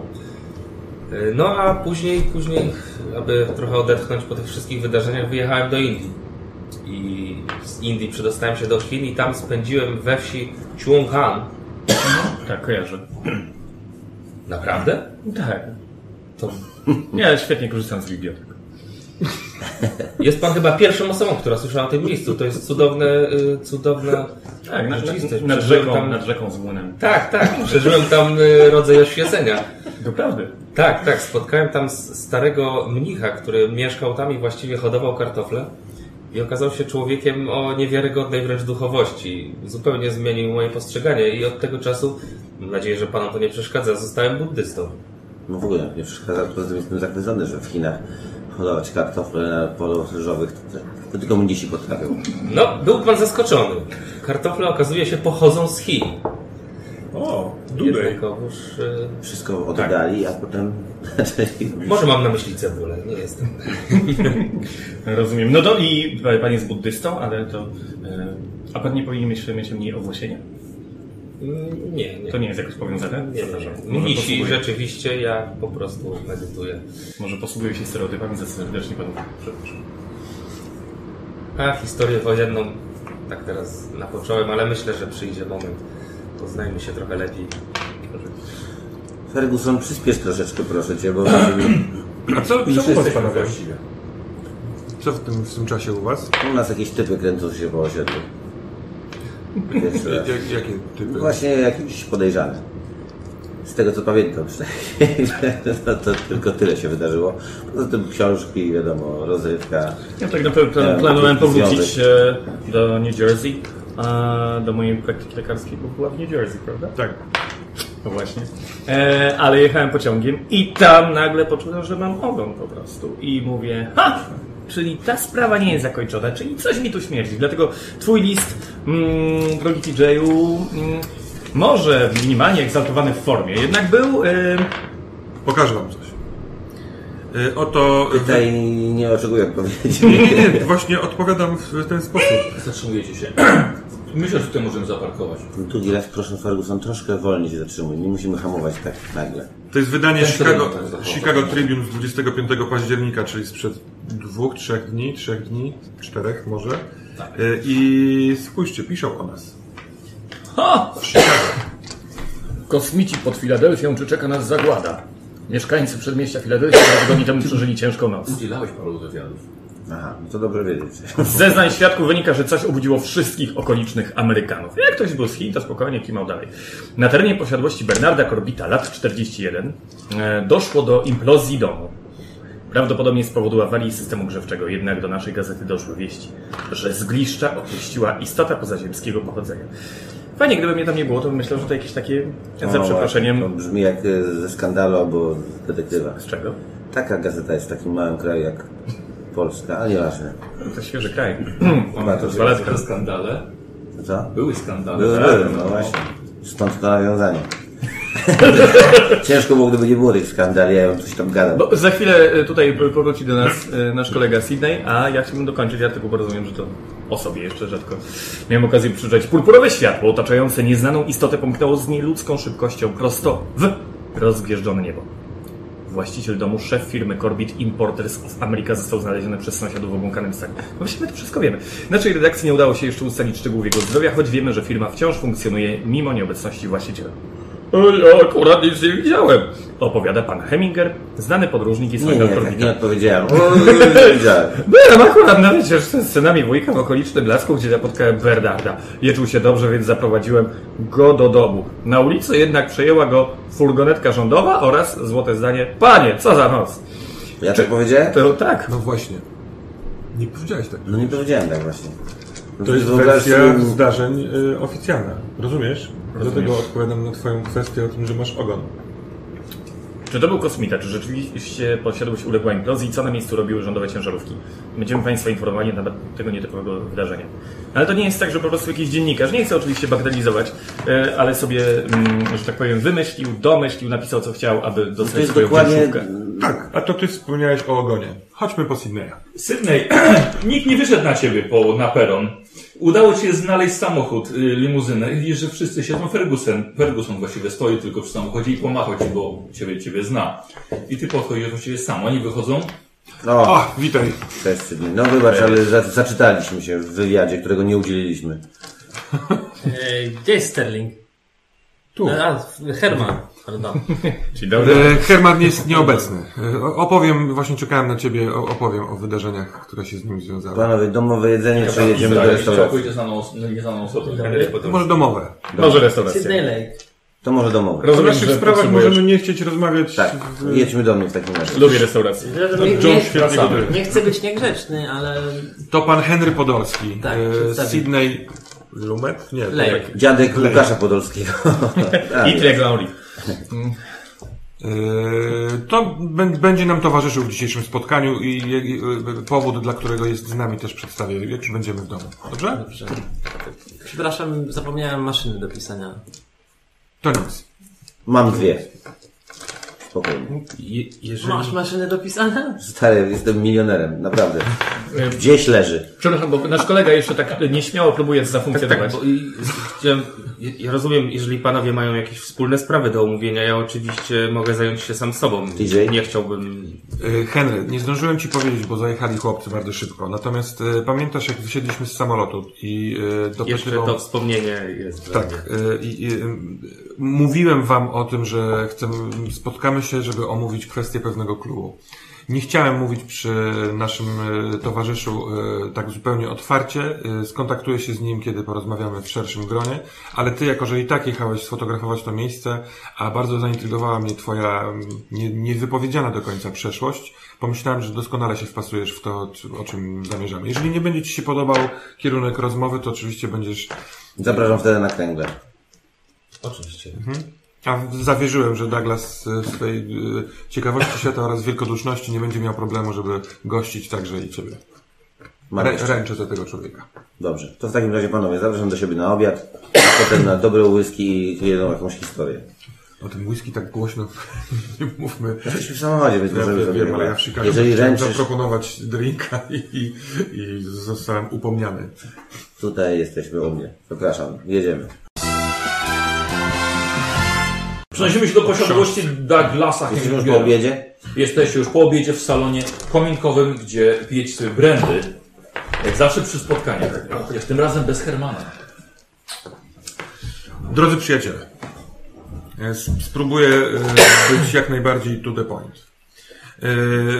Y, No a później, później, aby trochę odetchnąć po tych wszystkich wydarzeniach, wyjechałem do Indii i z Indii przedostałem się do Chin i tam spędziłem we wsi Chuanghan.
Tak, kojarzę.
Naprawdę?
Tak.
To
Ja świetnie korzystam z bibliotek.
jest pan chyba pierwszą osobą, która słyszała o tym miejscu. To jest cudowne, y, cudowne...
Tak, nad,
rzeczywistość.
nad,
Przeżyłem
rzeką,
tam-
nad rzeką z Łunem.
Tak, tak, przeżyłem tam y, rodzaj oświecenia.
Doprawdy.
Tak, tak, spotkałem tam s- starego mnicha, który mieszkał tam i właściwie hodował kartofle. I okazał się człowiekiem o niewiarygodnej wręcz duchowości. Zupełnie zmienił moje postrzeganie i od tego czasu, mam nadzieję, że panom to nie przeszkadza, zostałem buddystą.
No w ogóle nie przeszkadza, poza tym jestem zachwycony, że w Chinach hodować kartofle na polu ryżowych to, to tylko mnisi potrafią.
No, był pan zaskoczony. Kartofle okazuje się pochodzą z Chin.
O, dudej.
Jednakowoż... y,
Wszystko oddali, a potem [LAUGHS] zaczęli robić.
Może mam na myśli cebulę, nie
[LAUGHS]
jestem.
Rozumiem. No to i e, pan jest buddystą, ale to... E, a pan nie powinien mieć, mieć mniej owłosienia?
Mm, Nie, nie.
To nie jest jakoś powiązane?
Nie,
Przepraszam.
nie.
Może
Mnisi
posługuję-
rzeczywiście, ja po prostu medytuję.
Może posługuję się stereotypami za serdecznie panu. Przepraszam.
A historię wojenną tak teraz napocząłem, ale myślę, że przyjdzie moment. Poznajmy się trochę lepiej.
Ferguson, przyspiesz troszeczkę proszę Cię, bo będziemy-
A
[CLEARS THROAT]
co,
Już
co u was
jesteśmy
panowie?
właściwie.
Co w tym, w tym czasie u was?
u nas jakieś typy kręcą się po osiedlu. Pierwszy raz.
Jak, jakie typy?
Właśnie jakieś podejrzane. Z tego co pamiętam [LAUGHS] przynajmniej. to, to tylko tyle się wydarzyło. Poza tym książki, wiadomo, rozrywka.
Ja tak naprawdę
Ja,
planowałem
taki
powrócić
związek.
e, do New Jersey, a do mojej praktyki lekarskiej, bo była w New Jersey, prawda?
Tak.
No właśnie. E, ale jechałem pociągiem i tam nagle poczułem, że mam ogon po prostu. I mówię, ha! Czyli ta sprawa nie jest zakończona, czyli coś mi tu śmierdzi. Dlatego twój list, mm, drogi TJ-u, mm, może minimalnie egzaltowany w formie, jednak był... E,
Pokażę wam coś. Y, Oto...
Tutaj nie oczekuję odpowiedzi.
Nie,
[LAUGHS]
nie, nie, właśnie odpowiadam w ten sposób.
Zatrzymujecie się. [CLEARS THROAT] Myślę, że tutaj możemy zaparkować.
Drugi raz proszę Ferguson, troszkę wolniej się zatrzymuj. Nie musimy hamować tak nagle.
To jest wydanie
Ten
Chicago,
Tribune to jest
Chicago Tribune z 25 października, czyli sprzed dwóch, trzech dni, trzech dni, czterech może. Y, I spójrzcie, piszą o nas.
Kosmici pod Filadelfią, czy czeka nas zagłada? Mieszkańcy przedmieścia Filadelfii dwa tygodnie temu przeżyli ciężką noc.
Udzielałeś paru wywiadów.
Aha, no to dobrze wiedzieć. [LAUGHS]
Z zeznań świadków wynika, że coś obudziło wszystkich okolicznych Amerykanów. Jak ktoś był z Chin, to spokojnie kimał dalej. Na terenie posiadłości Bernarda Corbita, lat 41, e, doszło do implozji domu. Prawdopodobnie z powodu awarii systemu grzewczego, jednak do naszej gazety doszły wieści, że zgliszcza opuściła istota pozaziemskiego pochodzenia. Fajnie, gdyby mnie tam nie było, to bym myślał, że to jakieś takie, za
O,
przeproszeniem,
No, To brzmi jak y, ze skandalu albo z detektywa.
z czego?
Taka gazeta jest w takim małym kraju jak Polska, ale nieważne.
To świeży kraj.
Chyba to
Dwa latka.
Skandale?
Co?
Były skandale.
no
tak?
No.
Były, były, no właśnie. Stąd to nawiązanie. [LAUGHS] Ciężko było, gdyby nie było tych skandali, ja ją coś tam gadam.
Bo za chwilę e, tutaj p- powróci do nas e, nasz kolega Sydney, a ja chciałbym dokończyć artykuł, bo rozumiem, że to o sobie jeszcze rzadko miałem okazję przeczytać. Purpurowe światło otaczające nieznaną istotę pomknęło z nieludzką szybkością prosto w rozgwieżdżone niebo. Właściciel domu, szef firmy Corbit Importers of America został znaleziony przez sąsiadów w obłąkanym stanie. No Właściwie my to wszystko wiemy. Naszej redakcji nie udało się jeszcze ustalić szczegółów jego zdrowia, choć wiemy, że firma wciąż funkcjonuje mimo nieobecności właściciela. Ja akurat nic nie widziałem. Opowiada pan Heminger, znany podróżnik i
Nie, nie,
sąsiad
tak
Corbita.
nie odpowiedziałem. [LAUGHS] Nie wiedziałem.
Byłem akurat na wieczór z synami wujka w okolicznym lasku, gdzie napotkałem Bernarda. Nie czuł się dobrze, więc zaprowadziłem go do domu. Na ulicy jednak przejęła go furgonetka rządowa oraz złote zdanie Panie, co za noc!
Ja tak powiedziałem?
To tak.
No właśnie. Nie powiedziałeś tak.
No nie powiedziałem tak właśnie. No
To jest
wyobraź
wersja
sobie-
zdarzeń y, oficjalna. Rozumiesz? Dlatego odpowiadam na twoją kwestię o tym, że masz ogon.
Czy to był kosmita? Czy rzeczywiście posiadłość uległa implozji i co na miejscu robiły rządowe ciężarówki? Będziemy Państwa informowali na temat tego nietypowego wydarzenia. Ale to nie jest tak, że po prostu jakiś dziennikarz, nie chcę oczywiście bagatelizować, e, ale sobie, mm, że tak powiem, wymyślił, domyślił, napisał co chciał, aby dostać
To jest
swoją
dokładnie...
wierszówkę.
Tak, a to ty wspomniałeś o ogonie. Chodźmy po Sydneya.
Sydney, [CLEARS THROAT] nikt nie wyszedł na ciebie po, na peron. Udało ci się znaleźć samochód, y, limuzynę. i Widzisz, że wszyscy siedzą. Ferguson, Ferguson właściwie stoi tylko przy samochodzie i pomachał ci, bo ciebie, ciebie zna. I ty podchodzisz właściwie sam. Oni wychodzą.
O,
A, witaj.
cześć Sydney. No
E-
wybacz, ale za, zaczytaliśmy się w wywiadzie, którego nie udzieliliśmy.
Ej, Gdzie jest Sterling?
Tu.
E, A, Herman.
[LAUGHS]
Pardon.
Czyli dobrze.
E, Herman jest nieobecny. E, o- Opowiem, właśnie czekałem na ciebie, o- opowiem o wydarzeniach, które się z nim związały.
Panowie, domowe jedzenie, przejedziemy do
Zdaje się,
restauracji.
Całkowicie znaną, os- nieznaną osobę.
Może domowe.
Może restauracja.
Sydney Lake.
To może domowe.
O
Rozumiem,
naszych
że
sprawach
potrzebujesz.
możemy nie chcieć rozmawiać.
Tak,
w-
jedźmy do mnie w takim razie.
Lubię restaurację.
Nie,
John
nie,
świetnie gotuje.
nie chcę być niegrzeczny, ale
To pan Henry Podolski.
Tak,
e,
przedstawię.
Sydney Lumet? Nie.
Lake.
Dziadek Łukasza Podolskiego. [LAUGHS] Tak, A,
I tyle Glauli.
E, To bę- będzie nam towarzyszył w dzisiejszym spotkaniu i i, e, powód, dla którego jest z nami też przedstawię, jak już będziemy w domu. Dobrze?
Dobrze. Przepraszam, zapomniałem maszyny do pisania.
To nic.
Mam dwie. Spokojnie.
jeżeli...
Masz maszynę do pisania?
Stary, jestem milionerem, naprawdę. Gdzieś leży.
Przepraszam, bo nasz kolega jeszcze tak nieśmiało próbuje zafunkcjonować.
Tak, Bo i, chciałem, ja- ja rozumiem, jeżeli panowie mają jakieś wspólne sprawy do omówienia, ja oczywiście mogę zająć się sam sobą.
DJ?
Nie chciałbym
E, Henry, nie zdążyłem ci powiedzieć, bo zajechali chłopcy bardzo szybko. Natomiast e, pamiętasz, jak wysiedliśmy z samolotu i e,
Jeszcze
dopytywał...
to wspomnienie jest. dla mnie.
Tak. e, I, i, m, mówiłem wam o tym, że chcemy, spotkamy się, żeby omówić kwestię pewnego klubu. Nie chciałem mówić przy naszym e, towarzyszu e, tak zupełnie otwarcie. E, Skontaktuję się z nim, kiedy porozmawiamy w szerszym gronie, ale ty, jako że i tak jechałeś sfotografować to miejsce, a bardzo zaintrygowała mnie twoja m, nie- niewypowiedziana do końca przeszłość, pomyślałem, że doskonale się wpasujesz w to, c- o czym zamierzamy. Jeżeli nie będzie ci się podobał kierunek rozmowy, to oczywiście będziesz
Zapraszam wtedy na kręgle.
Oczywiście.
a w- zawierzyłem, że Douglas e, w swojej e, ciekawości świata oraz wielkoduszności nie będzie miał problemu, żeby gościć także i ciebie.
Mam
Rę,
jeszcze.
ręczę za tego człowieka.
Dobrze. To w takim razie panowie, zapraszam do siebie na obiad, a potem na dobre whisky i jedną jakąś historię.
O tym whisky tak głośno [LAUGHS] nie mówmy.
Jesteśmy w samochodzie, więc
Ja
możemy
wiem,
sobie
ale ja w Chicago
Jeżeli
chciałem
ręczysz,
zaproponować drinka [LAUGHS] i, i zostałem upomniany.
tutaj jesteśmy u mnie. Zapraszam, jedziemy.
Przenosimy się do posiadłości Douglasa
Jesteśmy już po
Hemingwaya.
obiedzie?
Jesteście już po obiedzie w salonie kominkowym, gdzie pijecie sobie brandy. Jak zawsze przy spotkaniach. Chociaż tym razem bez Hermana.
Drodzy przyjaciele, e, s- spróbuję e, być jak najbardziej to the point. E,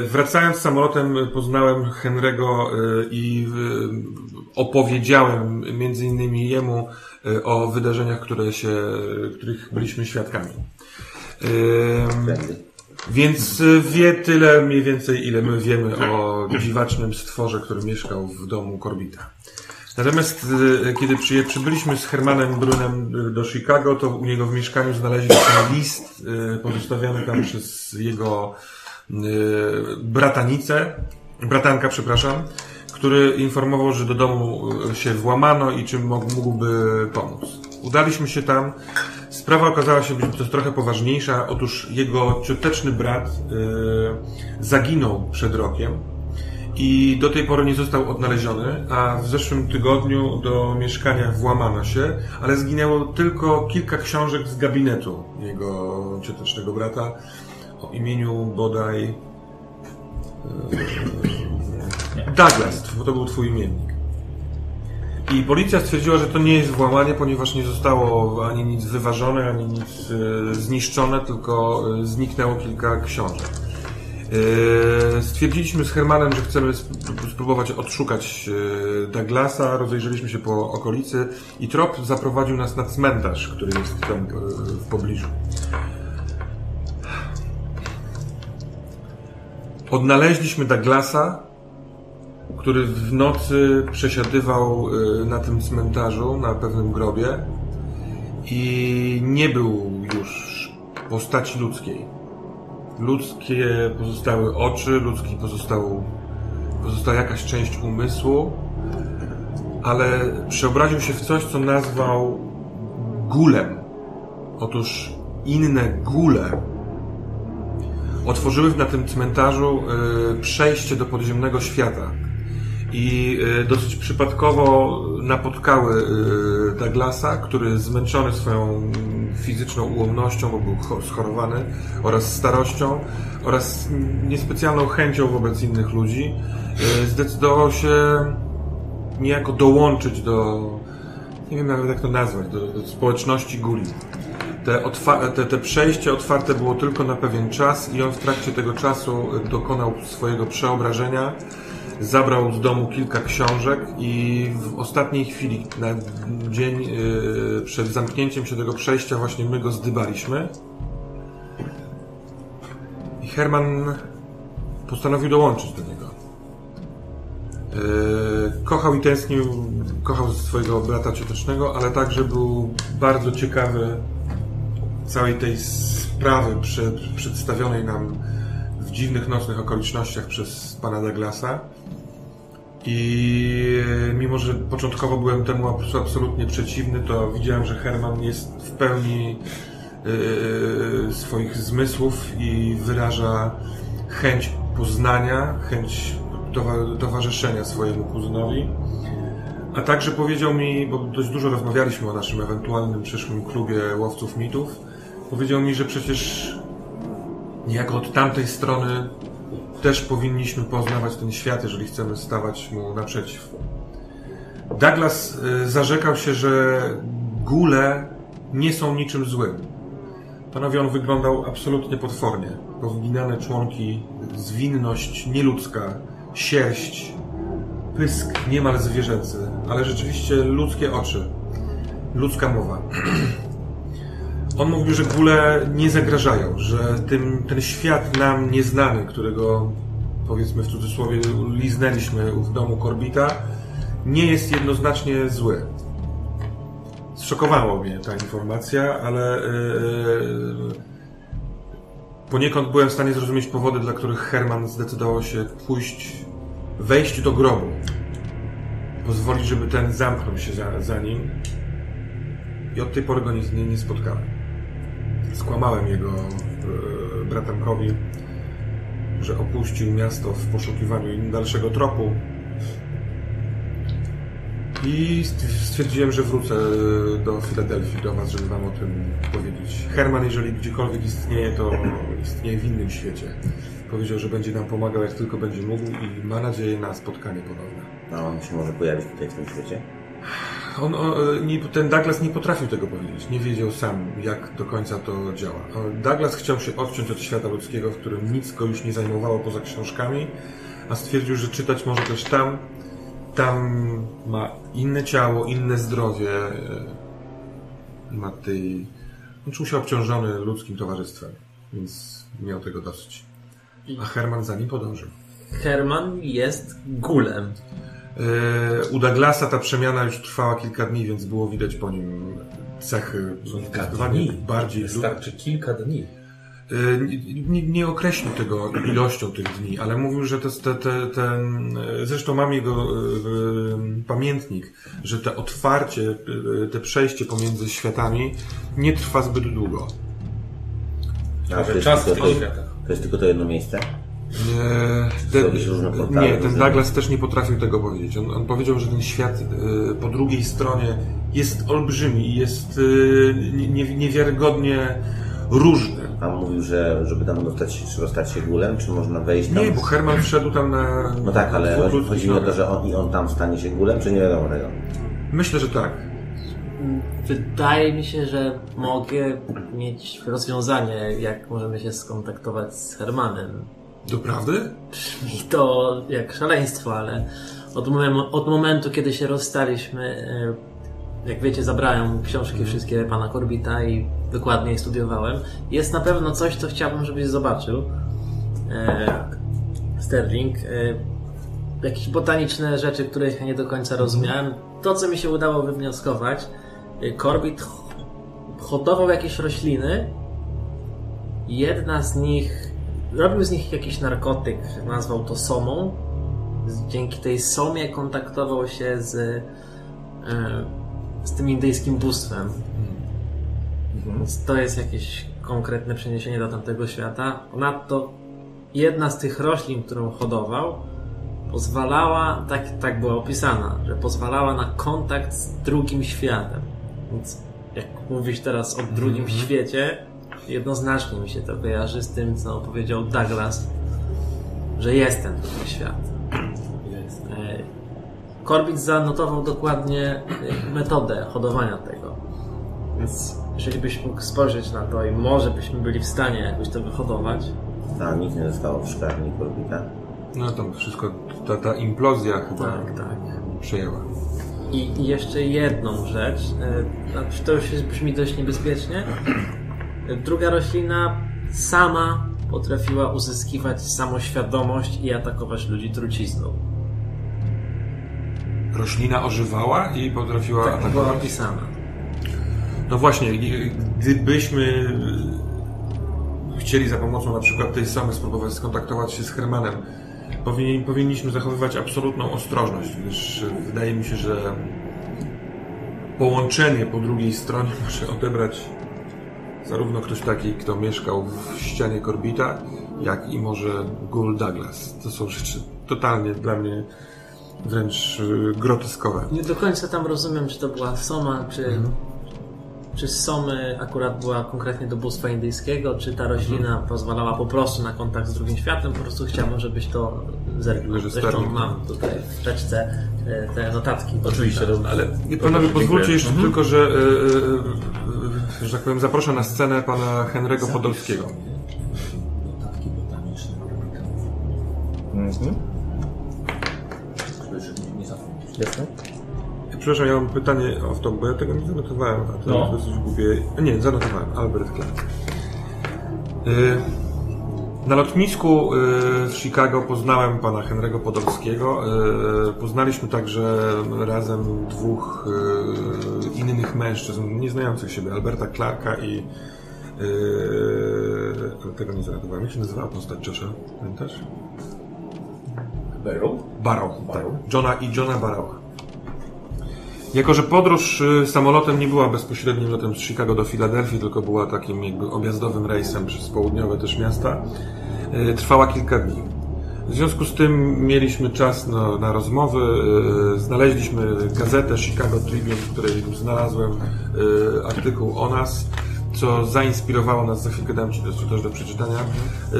Wracając samolotem e, poznałem Henry'ego e, i e, opowiedziałem między innymi jemu e, o wydarzeniach, które się, których byliśmy świadkami. E,
Będzie.
więc y, wie tyle mniej więcej, ile my wiemy o dziwacznym stworze, który mieszkał w domu Korbita. Natomiast y, kiedy przyje, przybyliśmy z Hermanem Brunem y, do Chicago, to u niego w mieszkaniu znaleźliśmy list y, pozostawiony tam przez jego y, bratanicę, bratanka, przepraszam, który informował, że do domu y, się włamano i czym mógłby pomóc. Udaliśmy się tam. Sprawa okazała się być to trochę poważniejsza. Otóż jego cioteczny brat y, zaginął przed rokiem i do tej pory nie został odnaleziony, a w zeszłym tygodniu do mieszkania włamano się, ale zginęło tylko kilka książek z gabinetu jego ciotecznego brata o imieniu bodaj e, Douglas, bo to był twój imiennik. I policja stwierdziła, że to nie jest włamanie, ponieważ nie zostało ani nic wyważone, ani nic e, zniszczone, tylko e, zniknęło kilka książek. E, Stwierdziliśmy z Hermanem, że chcemy sp- spróbować odszukać e, Douglasa. Rozejrzeliśmy się po okolicy i trop zaprowadził nas na cmentarz, który jest tam e, w pobliżu. Odnaleźliśmy Douglasa, który w nocy przesiadywał e, na tym cmentarzu, na pewnym grobie i nie był już w postaci ludzkiej ludzkie pozostały oczy, ludzki pozostał, pozostała jakaś część umysłu, ale przeobraził się w coś, co nazwał gulem. Otóż inne gule otworzyły na tym cmentarzu y, przejście do podziemnego świata. I y, dosyć przypadkowo napotkały y, Douglasa, który zmęczony swoją fizyczną ułomnością, bo był cho- schorowany, oraz starością, oraz niespecjalną chęcią wobec innych ludzi, y, zdecydował się niejako dołączyć do, nie wiem nawet jak tak to nazwać, do, do społeczności guli. Te, otwa- te, te przejście otwarte było tylko na pewien czas i on w trakcie tego czasu y, dokonał swojego przeobrażenia. Zabrał z domu kilka książek i w ostatniej chwili, na dzień y, przed zamknięciem się tego przejścia, właśnie my go zdybaliśmy. I Herman postanowił dołączyć do niego. Yy, kochał i tęsknił, kochał swojego brata ciotecznego, ale także był bardzo ciekawy całej tej sprawy przed, przedstawionej nam w dziwnych nocnych okolicznościach przez pana Douglasa. I e, mimo, że początkowo byłem temu abs- absolutnie przeciwny, to widziałem, że Herman jest w pełni e, swoich zmysłów i wyraża chęć poznania, chęć towa- towarzyszenia swojemu kuzynowi. A także powiedział mi, bo dość dużo rozmawialiśmy o naszym ewentualnym przyszłym klubie łowców mitów, powiedział mi, że przecież niejako od tamtej strony też powinniśmy poznawać ten świat, jeżeli chcemy stawać mu naprzeciw. Douglas y, zarzekał się, że góle nie są niczym złym. Panowie, on wyglądał absolutnie potwornie. Powginane członki, zwinność nieludzka, sierść, pysk niemal zwierzęcy, ale rzeczywiście ludzkie oczy, ludzka mowa. On mówił, że góle nie zagrażają, że tym, ten świat nam nieznany, którego powiedzmy w cudzysłowie liznęliśmy w domu Korbita, nie jest jednoznacznie zły. Zszokowało mnie ta informacja, ale e, yy, poniekąd byłem w stanie zrozumieć powody, dla których Herman zdecydował się pójść, wejść do grobu. Pozwolić, żeby ten zamknął się za, za nim. I od tej pory go nie, nie, nie spotkałem. Skłamałem jego e, bratankowi, że opuścił miasto w poszukiwaniu dalszego tropu. I st- stwierdziłem, że wrócę do Filadelfii, do Was, żeby Wam o tym powiedzieć. Herman, jeżeli gdziekolwiek istnieje, to istnieje w innym świecie. Powiedział, że będzie nam pomagał jak tylko będzie mógł i ma nadzieję na spotkanie ponowne.
A on się może pojawić tutaj w tym świecie?
On, o, e, nie, ten Douglas nie potrafił tego powiedzieć. Nie wiedział sam, jak do końca to działa. O, Douglas chciał się odciąć od świata ludzkiego, w którym nic go już nie zajmowało poza książkami, a stwierdził, że czytać może też tam. Tam ma inne ciało, inne zdrowie. e, Ma tej... On czuł się obciążony ludzkim towarzystwem, więc miał tego dosyć. A Herman za nim podążył.
Herman jest gulem.
E, U Douglasa ta przemiana już trwała kilka dni, więc było widać po nim cechy
Kilka
zdecydowanie
dni.
bardziej lu-
Wystarczy kilka dni.
y, nie, nie określił tego ilością tych dni, ale mówił, że te, te, te, te y, zresztą mam jego y, y, pamiętnik, że te otwarcie, y, te przejście pomiędzy światami nie trwa zbyt długo.
A, to, jest
czas
tylko,
w tych
to,
światach.
to jest tylko to jedno miejsce?
Nie, Eee, ten,
Robi się różne portale,
nie, ten
widzę.
Douglas też nie potrafił tego powiedzieć. On, on powiedział, że ten świat y, po drugiej stronie jest olbrzymi i jest y, nie, niewiarygodnie różny.
Pan mówił, że żeby tam dostać się, trzeba stać się gulem, czy można wejść tam?
Nie, bo Herman wszedł tam na.
No tak, ale
dwóch
chodzi-
ludzkich
chodzi mi o to,
nogach.
że on, i on tam stanie się gulem, czy nie wiadomo tego?
Myślę, że tak.
Wydaje mi się, że mogę mieć rozwiązanie, jak możemy się skontaktować z Hermanem.
Doprawdy?
I to jak szaleństwo, ale od, mom- od momentu, kiedy się rozstaliśmy, e, jak wiecie, zabrałem mu książki wszystkie pana Korbita i dokładnie je studiowałem. Jest na pewno coś, co chciałbym, żebyś zobaczył. E, Sterling. E, jakieś botaniczne rzeczy, których ja nie do końca rozumiałem. To, co mi się udało wywnioskować, e, Korbit ho- hodował jakieś rośliny. Jedna z nich robił z nich jakiś narkotyk, nazwał to somą. Z- Dzięki tej somie kontaktował się z, e, z tym indyjskim bóstwem. Więc to jest jakieś konkretne przeniesienie do tamtego świata. Ponadto jedna z tych roślin, którą hodował, pozwalała, tak, tak była opisana, że pozwalała na kontakt z drugim światem. Więc jak mówisz teraz o drugim świecie, jednoznacznie mi się to kojarzy z tym, co powiedział Douglas, że jest ten drugi świat. E, Corbin zanotował dokładnie e, metodę hodowania tego. Więc jeżeli byś mógł spojrzeć na to i może byśmy byli w stanie jakoś to wyhodować,
A, nic nie zostało w szklarni Korbita.
No tam wszystko, ta, ta implozja chyba
tak, tak.
przejęła.
I jeszcze jedną rzecz, e, znaczy to już jest, brzmi dość niebezpiecznie. [CLEARS THROAT] E, Druga roślina sama potrafiła uzyskiwać samoświadomość i atakować ludzi trucizną.
Roślina ożywała i potrafiła
Tak była
atakować.
opisana.
No właśnie, i- gdybyśmy y, chcieli za pomocą na przykład tej samej spróbować skontaktować się z Hermanem, powinien, powinniśmy zachowywać absolutną ostrożność, gdyż y, wydaje mi się, że połączenie po drugiej stronie [LAUGHS] może odebrać zarówno ktoś taki, kto mieszkał w ścianie Korbita, jak i może Gul Douglas. To są rzeczy totalnie dla mnie wręcz y, groteskowe.
Nie do końca tam rozumiem, czy to była soma, czy, czy z somy akurat była konkretnie do bóstwa indyjskiego, czy ta roślina pozwalała po prostu na kontakt z drugim światem. Po prostu chciałbym, żebyś to zerknął.
Widzę, że
Zresztą
sternik.
mam tutaj w teczce e, te notatki.
Oczywiście, to
Ale panowie, pozwólcie jeszcze tylko, że, e, e, e, że tak powiem, zaproszę na scenę pana Henry'ego Podolskiego. Przepraszam, ja mam pytanie o to, bo ja tego nie zanotowałem, a to jest dosyć głupie. Nie, zanotowałem, Albert Clark. E, Na lotnisku e, w Chicago poznałem pana Henry'ego Podolskiego. E, Poznaliśmy także razem dwóch e, innych mężczyzn, nieznających siebie, Alberta Clarka i Yy, tego nie zaradowałem. Jak się nazywała postać Josha? Pamiętasz? Barrow. Barrow, tak. Johna i Johna Barrowa. Jako, że podróż y, samolotem nie była bezpośrednim lotem z Chicago do Filadelfii, tylko była takim jakby objazdowym rejsem przez południowe też miasta, y, trwała kilka dni. W związku z tym mieliśmy czas na, na rozmowy, y, znaleźliśmy gazetę Chicago Tribune, w której znalazłem y, artykuł o nas, co zainspirowało nas, za chwilkę dam Ci też, też do przeczytania,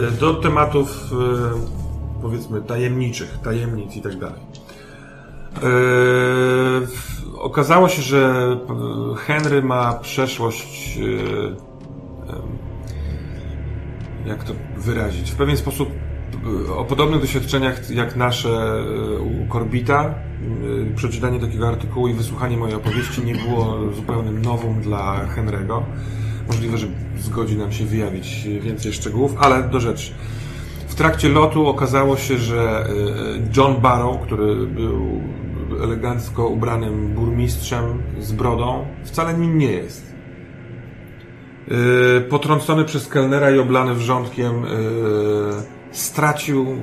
y, do tematów y, powiedzmy tajemniczych, tajemnic i tak dalej. Eee, w- okazało się, że p- Henry ma przeszłość. eee, em, e, Jak to wyrazić? W pewien sposób p- o podobnych doświadczeniach jak nasze e, u Korbita. E, Przeczytanie takiego artykułu i wysłuchanie mojej opowieści nie było zupełnym nową dla Henry'ego. Możliwe, że zgodzi nam się wyjawić więcej szczegółów, ale do rzeczy. W trakcie lotu okazało się, że y, y, John Barrow, który był elegancko ubranym burmistrzem z brodą, wcale nim nie jest. Yy, potrącony przez kelnera i oblany wrzątkiem, yy, stracił yy,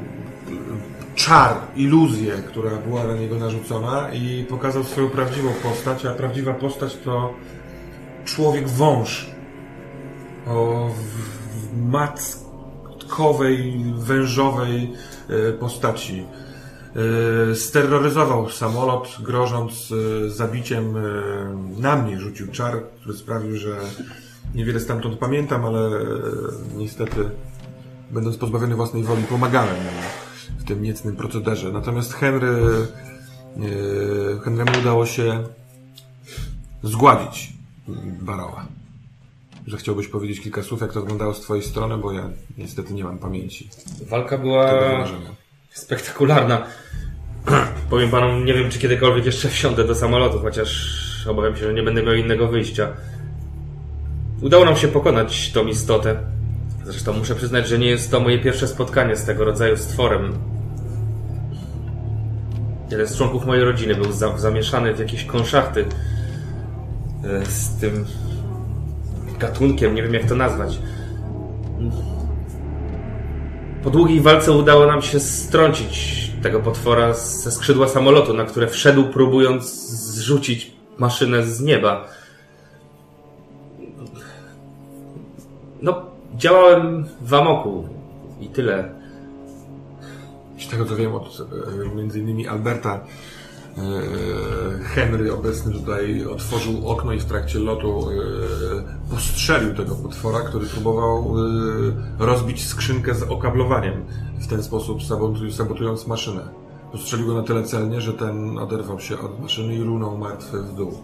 czar, iluzję, która była na niego narzucona i pokazał swoją prawdziwą postać, a prawdziwa postać to człowiek wąż o w- w- matkowej, wężowej yy, postaci. Yy, Steroryzował samolot, grożąc yy, zabiciem yy, na mnie. Rzucił czar, który sprawił, że niewiele stamtąd pamiętam, ale yy, niestety, będąc pozbawiony własnej woli, pomagałem mu w tym niecnym procederze. Natomiast Henry, yy, Henrymu udało się zgładzić Barowa. Że chciałbyś powiedzieć kilka słów, jak to wyglądało z twojej strony, bo ja niestety nie mam pamięci
Walka była
tego wydarzenia.
spektakularna. [CLEARS THROAT] Powiem panom, nie wiem, czy kiedykolwiek jeszcze wsiądę do samolotu, chociaż obawiam się, że nie będę miał innego wyjścia. Udało nam się pokonać tą istotę. Zresztą muszę przyznać, że nie jest to moje pierwsze spotkanie z tego rodzaju stworem. Jeden z członków mojej rodziny był za zamieszany w jakieś konszachty e, z tym gatunkiem, nie wiem jak to nazwać. Po długiej walce udało nam się strącić tego potwora ze skrzydła samolotu, na które wszedł, próbując zrzucić maszynę z nieba. No, działałem w amoku i tyle.
Z tego co wiem od e, między innymi Alberta, e, Henry obecny tutaj otworzył okno i w trakcie lotu e, postrzelił tego potwora, który próbował e, rozbić skrzynkę z okablowaniem, w ten sposób sabotu- sabotując maszynę. Postrzelił go na tyle celnie, że ten oderwał się od maszyny i runął martwy w dół.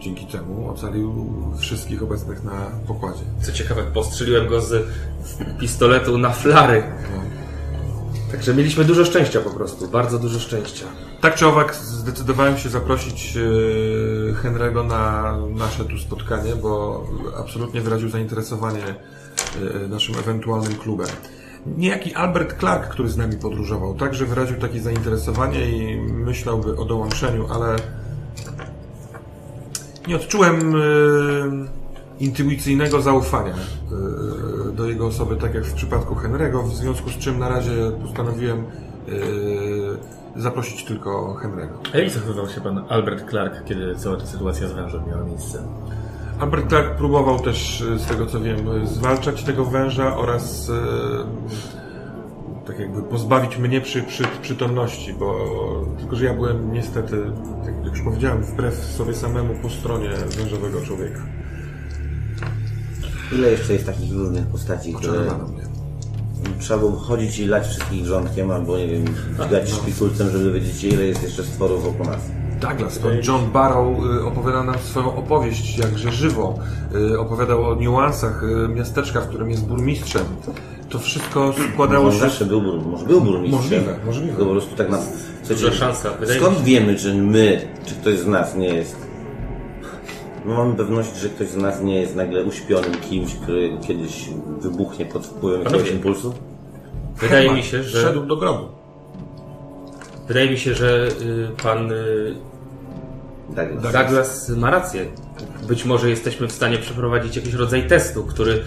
Dzięki temu ocalił wszystkich obecnych na pokładzie.
Co ciekawe, postrzeliłem go z pistoletu na flary. Także mieliśmy dużo szczęścia po prostu, bardzo dużo szczęścia.
Tak czy owak zdecydowałem się zaprosić e, Henry'ego na nasze tu spotkanie, bo absolutnie wyraził zainteresowanie e, naszym ewentualnym klubem. Niejaki Albert Clark, który z nami podróżował, także wyraził takie zainteresowanie i myślałby o dołączeniu, ale nie odczułem e, intuicyjnego zaufania e, do jego osoby, tak jak w przypadku Henry'ego, w związku z czym na razie postanowiłem e, zaprosić tylko Henry'ego.
A jak zachowywał się pan Albert Clark, kiedy cała ta sytuacja z wężem miała miejsce?
Albert Clark próbował też, e, z tego co wiem, e, zwalczać tego węża oraz e, tak jakby pozbawić mnie przy, przy, przytomności, bo tylko, że ja byłem niestety, tak jak już powiedziałem, wbrew sobie samemu po stronie wężowego człowieka.
Ile jeszcze jest takich różnych postaci, które
Czerwano mnie. no.
trzeba było chodzić i lać wszystkich rządkiem, albo nie wiem, dać szpikulcem, żeby wiedzieć ile jest jeszcze stworów wokół nas.
Douglas, pan John Barrow y, opowiada nam swoją opowieść, jakże żywo. Y, Opowiadał o niuansach y, miasteczka, w którym jest burmistrzem. To wszystko składało
Może
się...
zawsze był, bur- może był burmistrzem.
Możliwe, możliwe.
Tylko po prostu tak nas...
Duża szansa. Wydaje mi
Skąd wiemy, czy my, czy ktoś z nas nie jest? My mamy pewność, że ktoś z nas nie jest nagle uśpionym kimś, który kiedyś wybuchnie pod wpływem jakiegoś
Panowie.
impulsu.
Wydaje mi się, że...
Szedł do grobu.
Wydaje mi się, że y, pan y,
Tak, tak.
Douglas ma rację. Być może jesteśmy w stanie przeprowadzić jakiś rodzaj testu, który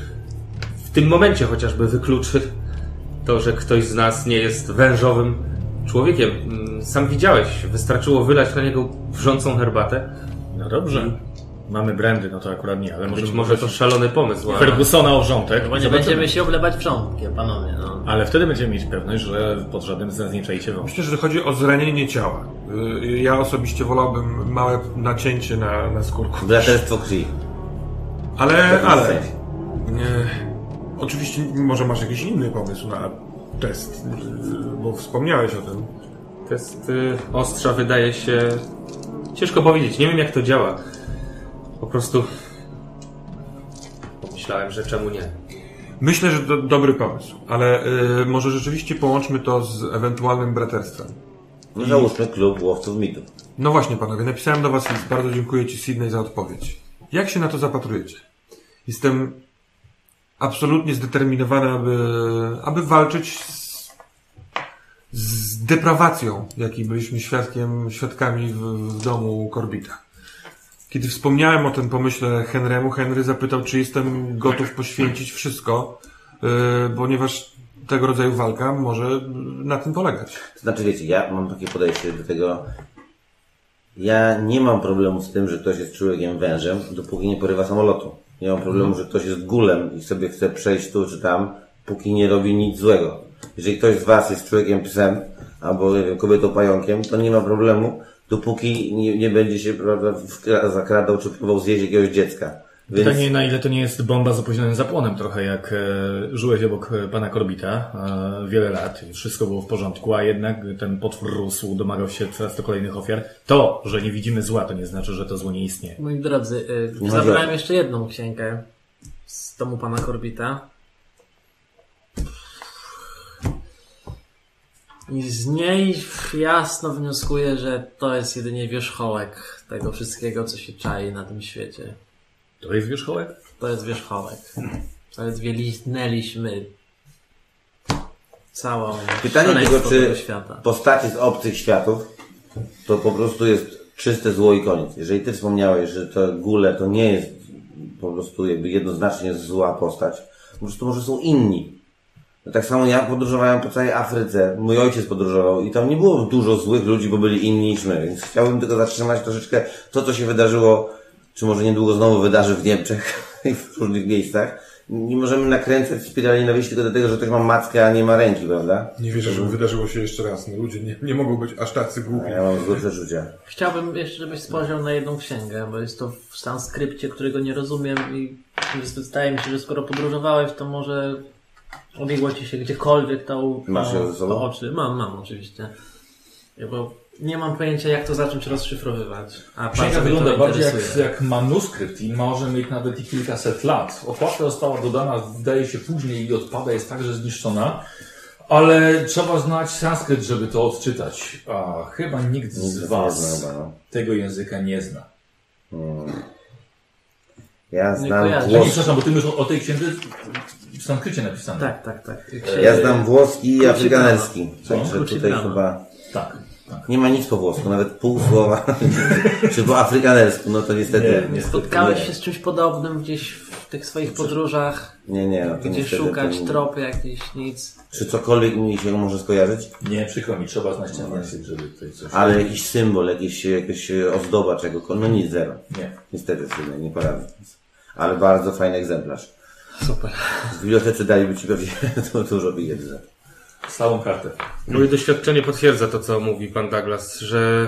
w tym momencie chociażby wykluczy to, że ktoś z nas nie jest wężowym człowiekiem. Mm, Sam widziałeś, wystarczyło wylać na niego wrzącą herbatę.
No dobrze. Mamy brandy, no to akurat nie, ale
Mm. Być
możemy
może to szalony pomysł. ale-
Fergusona o rządek.
Bo nie
Zobaczymy.
będziemy się oblewać wrzątkiem, panowie, no.
Ale wtedy będziemy mieć pewność, że pod żadnym z nas nie czai się wąż.
Myślę, że chodzi o zranienie ciała. Y, Ja osobiście wolałbym małe nacięcie na, na skórku.
Braterstwo krwi.
Ale,
Tak
ale.
jest.
Nie, oczywiście może masz jakiś inny pomysł na test, y, bo wspomniałeś o tym.
Test y, ostrza wydaje się. Ciężko powiedzieć, nie wiem jak to działa. Po prostu. Pomyślałem, że czemu nie.
Myślę, że to dobry pomysł, ale y, może rzeczywiście połączmy to z ewentualnym braterstwem.
No załóżmy klub łowców mitów.
No właśnie, panowie, napisałem do was list. Bardzo dziękuję ci, Sydney, za odpowiedź. Jak się na to zapatrujecie? Jestem absolutnie zdeterminowany, aby, aby walczyć z, z deprawacją, jakiej byliśmy świadkiem, świadkami w, w domu Korbita. Kiedy wspomniałem o tym pomyśle Henrymu, Henry zapytał, czy jestem gotów poświęcić wszystko, yy, ponieważ tego rodzaju walka może na tym polegać.
To znaczy, wiecie, ja mam takie podejście do tego. Ja nie mam problemu z tym, że ktoś jest człowiekiem wężem, dopóki nie porywa samolotu. Nie mam problemu, że ktoś jest gulem i sobie chce przejść tu czy tam, póki nie robi nic złego. Jeżeli ktoś z Was jest człowiekiem psem, albo nie wiem, kobietą pająkiem, to nie ma problemu, dopóki nie, nie będzie się prawda, wkra- zakradał czy próbował zjeść jakiegoś dziecka. Więc...
Pytanie, na ile to nie jest bomba z opóźnionym zapłonem, trochę jak e, żyłeś obok e, pana Korbita e, wiele lat i wszystko było w porządku, a jednak ten potwór rósł, domagał się coraz to kolejnych ofiar. To, że nie widzimy zła, to nie znaczy, że to zło nie istnieje.
Moi drodzy, y,
No
zabrałem
dobra.
jeszcze jedną księgę z domu pana Korbita. I z niej jasno wnioskuję, że to jest jedynie wierzchołek tego wszystkiego, co się czai na tym świecie.
To jest wierzchołek?
To jest wierzchołek. Zaledwie liznęliśmy całą
Pytanie
szaleństwo
tylko, czy
tego świata.
postacie z obcych światów to po prostu jest czyste zło i koniec. Jeżeli ty wspomniałeś, że to gule to nie jest po prostu jakby jednoznacznie zła postać, po prostu może są inni. No tak samo ja podróżowałem po całej Afryce, mój ojciec podróżował i tam nie było dużo złych ludzi, bo byli inni niż my, więc chciałbym tylko zatrzymać troszeczkę to, co się wydarzyło, czy może niedługo znowu wydarzy w Niemczech [LAUGHS] i w różnych miejscach. Nie możemy nakręcać spirali nienawiści tylko dlatego, że ktoś ma mackę, a nie ma ręki, prawda?
Nie wierzę, żeby wydarzyło się jeszcze raz. No, ludzie nie, nie mogą być aż tacy
A
głupi.
Ja mam złe przeczucia.
Chciałbym jeszcze, żebyś spojrzał na jedną księgę, bo jest to w sanskrypcie, którego nie rozumiem i wydaje mi się, że skoro podróżowałeś, to może obiegło ci się gdziekolwiek to,
Masz ją
to,
ze sobą?
to oczy. Mam, mam oczywiście. Ja, Bo nie mam pojęcia, jak to zacząć rozszyfrowywać.
Księga
A bardzo mnie to
wygląda bardziej jak,
interesuje.
jak manuskrypt i może mieć nawet i kilkaset lat. Okładka została dodana, wydaje się, później i odpada, jest także zniszczona. Ale trzeba znać sanskryt, żeby to odczytać. A chyba nikt z
Nikt nie
Was
zna, no.
tego języka nie zna.
Ja
Nie
znam
Ja
kojarzę.
nie,
włoski.
przepraszam, bo Ty już o o tej księdze w sanskrycie napisane.
Tak, tak, tak.
Ja znam włoski i
Kruci
afrykanerski.
Co?
Także
Kruci
tutaj
brama.
chyba
tak. tak.
nie ma nic po włosku, nawet pół słowa. [LAUGHS] Czy po afrykanersku, no to niestety.
Nie,
niestety
Spotkałeś
nie.
się z czymś podobnym gdzieś w tych swoich podróżach,
Nie, nie, no Znaczy, to
gdzie
niestety.
szukać
to nie-
tropy jakichś, nic.
Czy cokolwiek mi się może skojarzyć?
Nie, przykro mi, trzeba znać ten język, żeby tutaj coś...
Ale jakiś symbol, jakiś, jakaś ozdoba czegokolwiek. No nic, zero.
Nie.
Niestety, synek, nie poradzę. Ale bardzo fajny egzemplarz.
Super.
W bibliotece daliby ci pewnie [LAUGHS] du- dużo pieniędzy.
Stałą kartę.
Moje doświadczenie potwierdza to, co mówi pan Douglas, że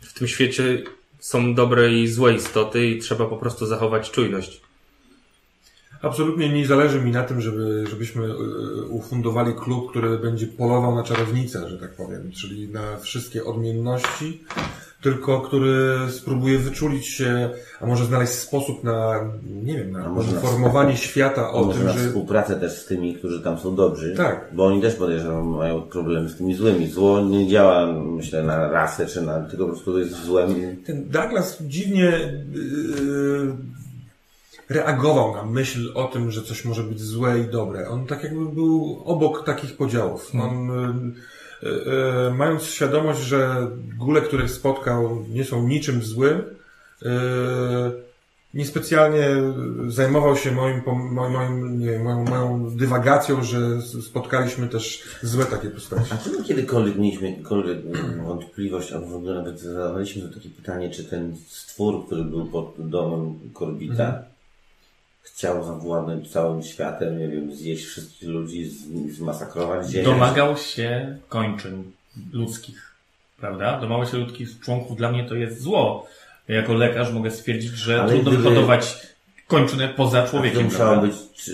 w tym świecie są dobre i złe istoty i trzeba po prostu zachować czujność.
Absolutnie nie zależy mi na tym, żeby, żebyśmy y, ufundowali klub, który będzie polował na czarownicę, że tak powiem, czyli na wszystkie odmienności, tylko który spróbuje wyczulić się, a może znaleźć sposób na, nie wiem, na
A może na
informowanie świata
O
o
może
tym,
na
że...
współpracę też z tymi, którzy tam są dobrzy.
Tak.
Bo oni też podejrzewam, mają problemy z tymi złymi. Zło nie działa, myślę, na rasę czy na... Tylko po prostu jest złem.
Ten Douglas dziwnie yy, reagował na myśl o tym, że coś może być złe i dobre. On tak jakby był obok takich podziałów. On, yy, yy, mając świadomość, że góle, których spotkał, nie są niczym złym, yy, niespecjalnie zajmował się moim, pom- moim, moim nie wiem, moją, moją dywagacją, że spotkaliśmy też złe takie postaci.
A czy my kiedykolwiek mieliśmy jakąkolwiek mm, wątpliwość, albo w ogóle nawet zadawaliśmy sobie takie pytanie, czy ten stwór, który był pod domem Korbita, chciał zawładnąć całym światem, nie wiem, zjeść wszystkich ludzi, z- zmasakrować ziemię?
Domagał się kończyn ludzkich, prawda? Domagał się ludzkich członków. Dla mnie to jest zło. Jako lekarz mogę stwierdzić, że
Ale
trudno
gdyby-
wyhodować kończynę poza
To
człowiekiem.
musiało
prawda?
być czy,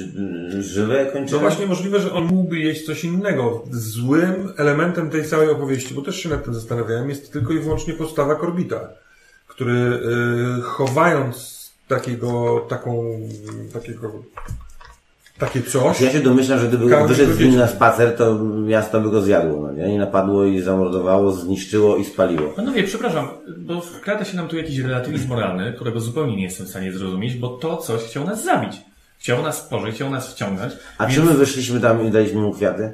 y, żywe kończyny?
No właśnie możliwe, że on mógłby jeść coś innego. Złym elementem tej całej opowieści, bo też się nad tym zastanawiałem, jest tylko i wyłącznie postawa Korbita, który y, chowając takiego, taką, takiego, takie coś,
Ja się domyślam, że gdyby
Każdy
wyszedł z nim
powiedział.
na spacer, to miasto by go zjadło, no nie? I napadło i zamordowało, zniszczyło i spaliło.
Panowie, przepraszam, bo wkrada się nam tu jakiś relatywizm moralny, którego zupełnie nie jestem w stanie zrozumieć, bo to coś chciał nas zabić. Chciał nas spożyć, chciał nas wciągnąć.
A
więc-
czy my wyszliśmy tam i daliśmy mu kwiaty?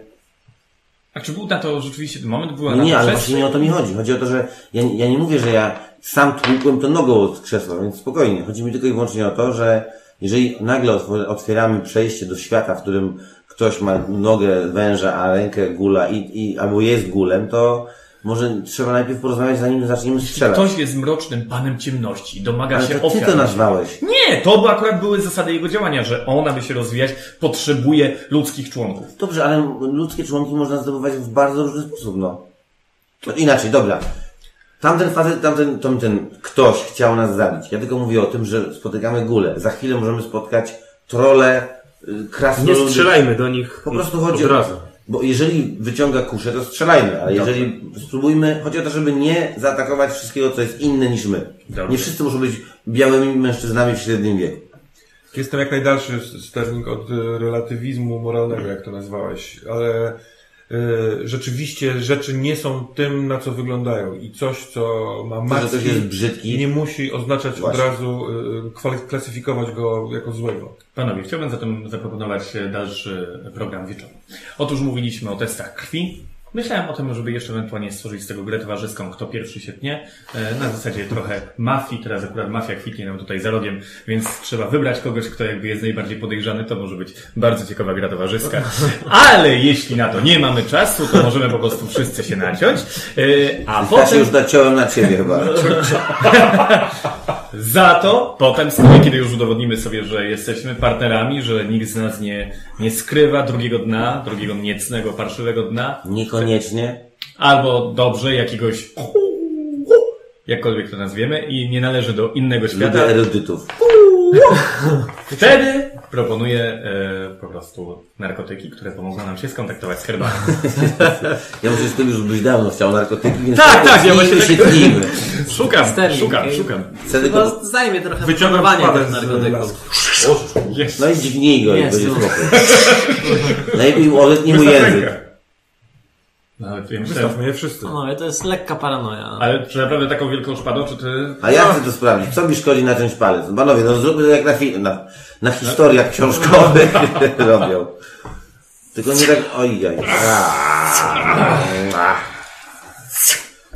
A czy był na to rzeczywiście ten moment? Była
Nie,
na
nie,
to
ale
przestrzeń?
właśnie nie o to mi chodzi. Chodzi o to, że ja, ja nie mówię, że ja Sam tłukłem to nogą od krzesła, więc spokojnie. Chodzi mi tylko i wyłącznie o to, że jeżeli nagle otw- otwieramy przejście do świata, w którym ktoś ma nogę węża, a rękę gula i, i albo jest gulem, to może trzeba najpierw porozmawiać, zanim zaczniemy strzelać.
Ktoś jest mrocznym panem ciemności, domaga
Ale
się
to ty
ofiar.
to nazwałeś.
Nie, to by akurat były zasady jego działania, że ona by się rozwijać, potrzebuje ludzkich członków.
Dobrze, ale ludzkie członki można zdobywać w bardzo różny sposób, no. To inaczej, dobra. Tamten facet, tamten, tamten ktoś chciał nas zabić. Ja tylko mówię o tym, że spotykamy gule. Za chwilę możemy spotkać trole, y,
Nie
krasnoludy.
strzelajmy do nich.
Po prostu chodzi
od
o...
razu.
Bo jeżeli wyciąga kuszę, to strzelajmy, ale jeżeli spróbujmy, chodzi o to, żeby nie zaatakować wszystkiego, co jest inne niż my.
Dobrze.
Nie wszyscy muszą być białymi mężczyznami w średnim wieku.
Jestem jak najdalszy sternik od e, relatywizmu moralnego, jak to nazwałeś, ale e, rzeczywiście rzeczy nie są tym, na co wyglądają i coś, co ma
To, że
martwi,
ktoś jest brzydki.
nie musi oznaczać
Właśnie.
od razu, e, kwal- klasyfikować go jako złego.
Panowie, chciałbym zatem zaproponować e, dalszy program wieczoru. Otóż mówiliśmy o testach krwi. Myślałem o tym, żeby jeszcze ewentualnie stworzyć z tego grę towarzyską, kto pierwszy się tnie. E, Na zasadzie trochę mafii, teraz akurat mafia kwitnie nam tutaj za rogiem, więc trzeba wybrać kogoś, kto jakby jest najbardziej podejrzany, to może być bardzo ciekawa gra towarzyska. Ale jeśli na to nie mamy czasu, to możemy po prostu wszyscy się naciąć, E, a
Ja się
potem
już naciąłem na ciebie chyba.
Za to potem, z kolei, kiedy już udowodnimy sobie, że jesteśmy partnerami, że nikt z nas nie, nie skrywa drugiego dna, drugiego niecnego, parszywego dna,
Niekoniecznie.
albo dobrze jakiegoś jakkolwiek to nazwiemy i nie należy do innego świata,
Lubię erudytów.
wtedy proponuję e, po prostu narkotyki, które pomogą nam się skontaktować z
[LAUGHS]
herbatą.
Ja myślę, że ty już byś dawno chciał narkotyki, więc
Tak, tak, ja
tnijmy
właśnie
się
tak-
tnijmy.
Szukam,
Sterling,
szukam,
okej.
szukam.
Wtedy to...
Chyba No, zajmie trochę
Wyciągam
wyciąganie
szpadę
tych
z
narkotyków.
lasku.
Jest.
No i dźgnij go i
Jest,
będzie
no.
spokój. Najlepiej oletnij mu
Wystaw
język.
rękę. Nawet wiem, że...
Wystawmy je wszyscy.
No, ale to jest lekka paranoja.
No, Ale czy naprawdę taką wielką szpadą, czy ty
A ja chcę to sprawdzić. Co mi szkodzi naciąć palec? Panowie, no zróbmy to jak na, fi- na, na historiach książkowych [LAUGHS] robią. Tylko nie tak... Ojej.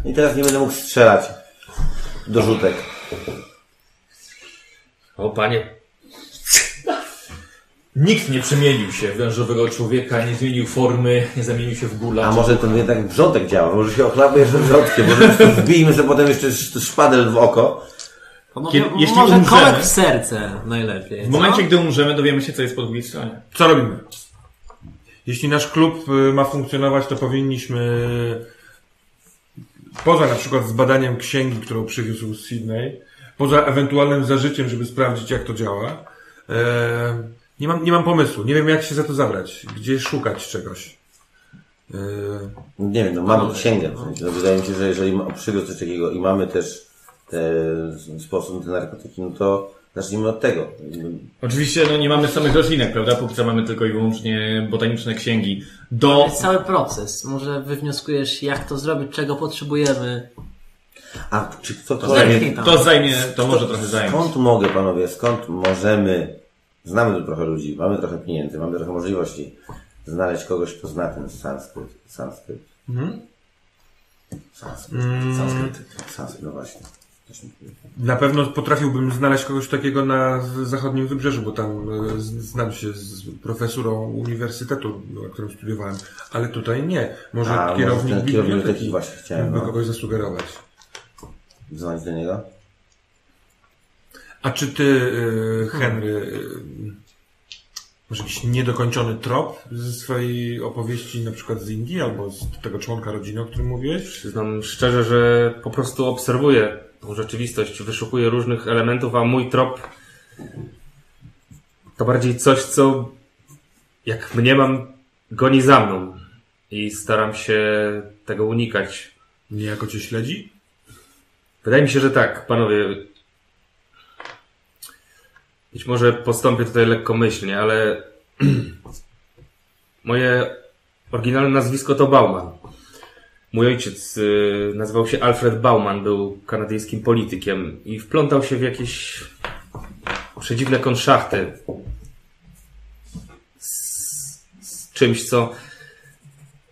I teraz nie będę mógł strzelać do rzutek.
O panie,
Nikt nie przemienił się w wężowego człowieka, nie zmienił formy, nie zamienił się w gula.
A może to jednak wrzątek działa? Może się ochlapuje jeszcze wrzątkiem? Może po prostu wbijmy sobie potem jeszcze sz- szpadel w oko?
To może,
kiedy- jeśli
może
umrzemy-
kołek w serce najlepiej.
W momencie, gdy umrzemy, dowiemy się, co jest po drugiej stronie.
Co robimy? Jeśli nasz klub y, ma funkcjonować, to powinniśmy poza na przykład zbadaniem księgi, którą przywiózł z Sydney, poza ewentualnym zażyciem, żeby sprawdzić, jak to działa, e, nie, mam, nie mam pomysłu. Nie wiem, jak się za to zabrać. Gdzie szukać czegoś. E,
Nie wiem, no mamy księgę. w sensie, No wydaje mi się, że jeżeli ma- przywiózł coś takiego i mamy też te sposób, te narkotyki, no to zacznijmy od tego.
Oczywiście, no nie mamy samych roślinek, prawda? Póki co mamy tylko i wyłącznie botaniczne księgi. Do...
Jest cały proces. Może wywnioskujesz, jak to zrobić, czego potrzebujemy.
A czy kto to
zajmie-
To zajmie, to może trochę zająć.
Skąd mogę, panowie, skąd możemy, znamy tu trochę ludzi, mamy trochę pieniędzy, mamy trochę możliwości, znaleźć kogoś, kto zna ten sanskryt. Sanskryt. Sanskryt. Sanskryt. Sanskryt, no właśnie. Coś mi-
na pewno potrafiłbym znaleźć kogoś takiego na z- zachodnim wybrzeżu, bo tam e, z- znam się z profesurą uniwersytetu, na którym studiowałem, ale tutaj nie. Może
A, może
kierownik
ten kierownik
biblioteki
biblioteki właśnie chciałem,
mógłby
no.
kogoś zasugerować.
Dzwonić do niego?
A czy ty, y, Henry, y, masz jakiś niedokończony trop ze swojej opowieści na przykład z Indii albo z tego członka rodziny, o którym mówiłeś?
przyznam szczerze, że po prostu obserwuję tą rzeczywistość, wyszukuję różnych elementów, a mój trop to bardziej coś, co jak mniemam, goni za mną. I staram się tego unikać.
Niejako cię śledzi?
Wydaje mi się, że tak, panowie. Być może postąpię tutaj lekkomyślnie, ale [CLEARS THROAT] moje oryginalne nazwisko to Bauman. Mój ojciec y, nazywał się Alfred Bauman, był kanadyjskim politykiem i wplątał się w jakieś przedziwne konszachty z, z czymś, co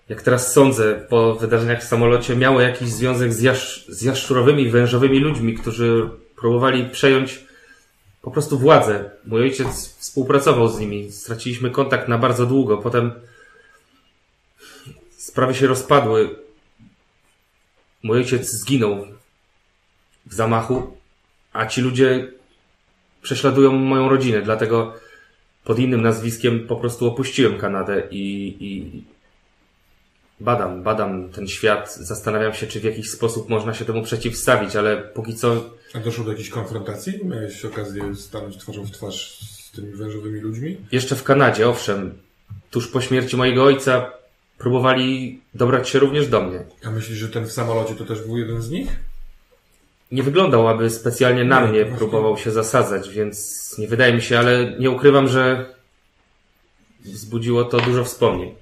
jak teraz sądzę, po wydarzeniach w samolocie, miało jakiś związek z, jasz, z jaszczurowymi, wężowymi ludźmi, którzy próbowali przejąć po prostu władzę. Mój ojciec współpracował z nimi. Straciliśmy kontakt na bardzo długo. Potem sprawy się rozpadły. Mój ojciec zginął w zamachu, a ci ludzie prześladują moją rodzinę, dlatego pod innym nazwiskiem po prostu opuściłem Kanadę i, i badam, badam ten świat. Zastanawiam się, czy w jakiś sposób można się temu przeciwstawić, ale póki co
A doszło do jakiejś konfrontacji? Miałeś okazję stanąć twarzą w twarz z tymi wężowymi ludźmi?
Jeszcze w Kanadzie, owszem, tuż po śmierci mojego ojca próbowali dobrać się również do mnie.
A myślisz, że ten w samolocie to też był jeden z nich?
Nie wyglądał, aby specjalnie na
Nie,
mnie
właśnie.
próbował się zasadzać, więc nie wydaje mi się, ale nie ukrywam, że wzbudziło to dużo wspomnień.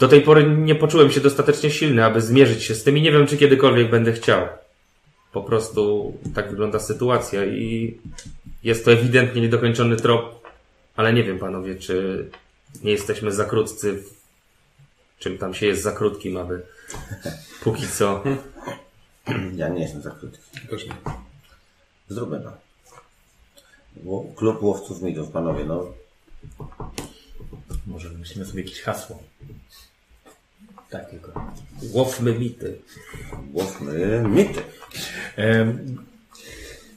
Do tej pory nie poczułem się dostatecznie silny, aby zmierzyć się z tym i nie wiem, czy kiedykolwiek będę chciał. Po prostu tak wygląda sytuacja i jest to ewidentnie niedokończony trop, ale nie wiem, panowie, czy nie jesteśmy za krótcy, w- czym tam się jest za krótkim, aby póki
[LAUGHS]
co...
Ja nie jestem za krótki.
Też nie.
Zróbmy to. Ło- Klub łowców mitów, panowie, no.
Może myślimy sobie jakieś hasło. Tak tylko.
Łowmy mity.
Łowmy mity.
Em,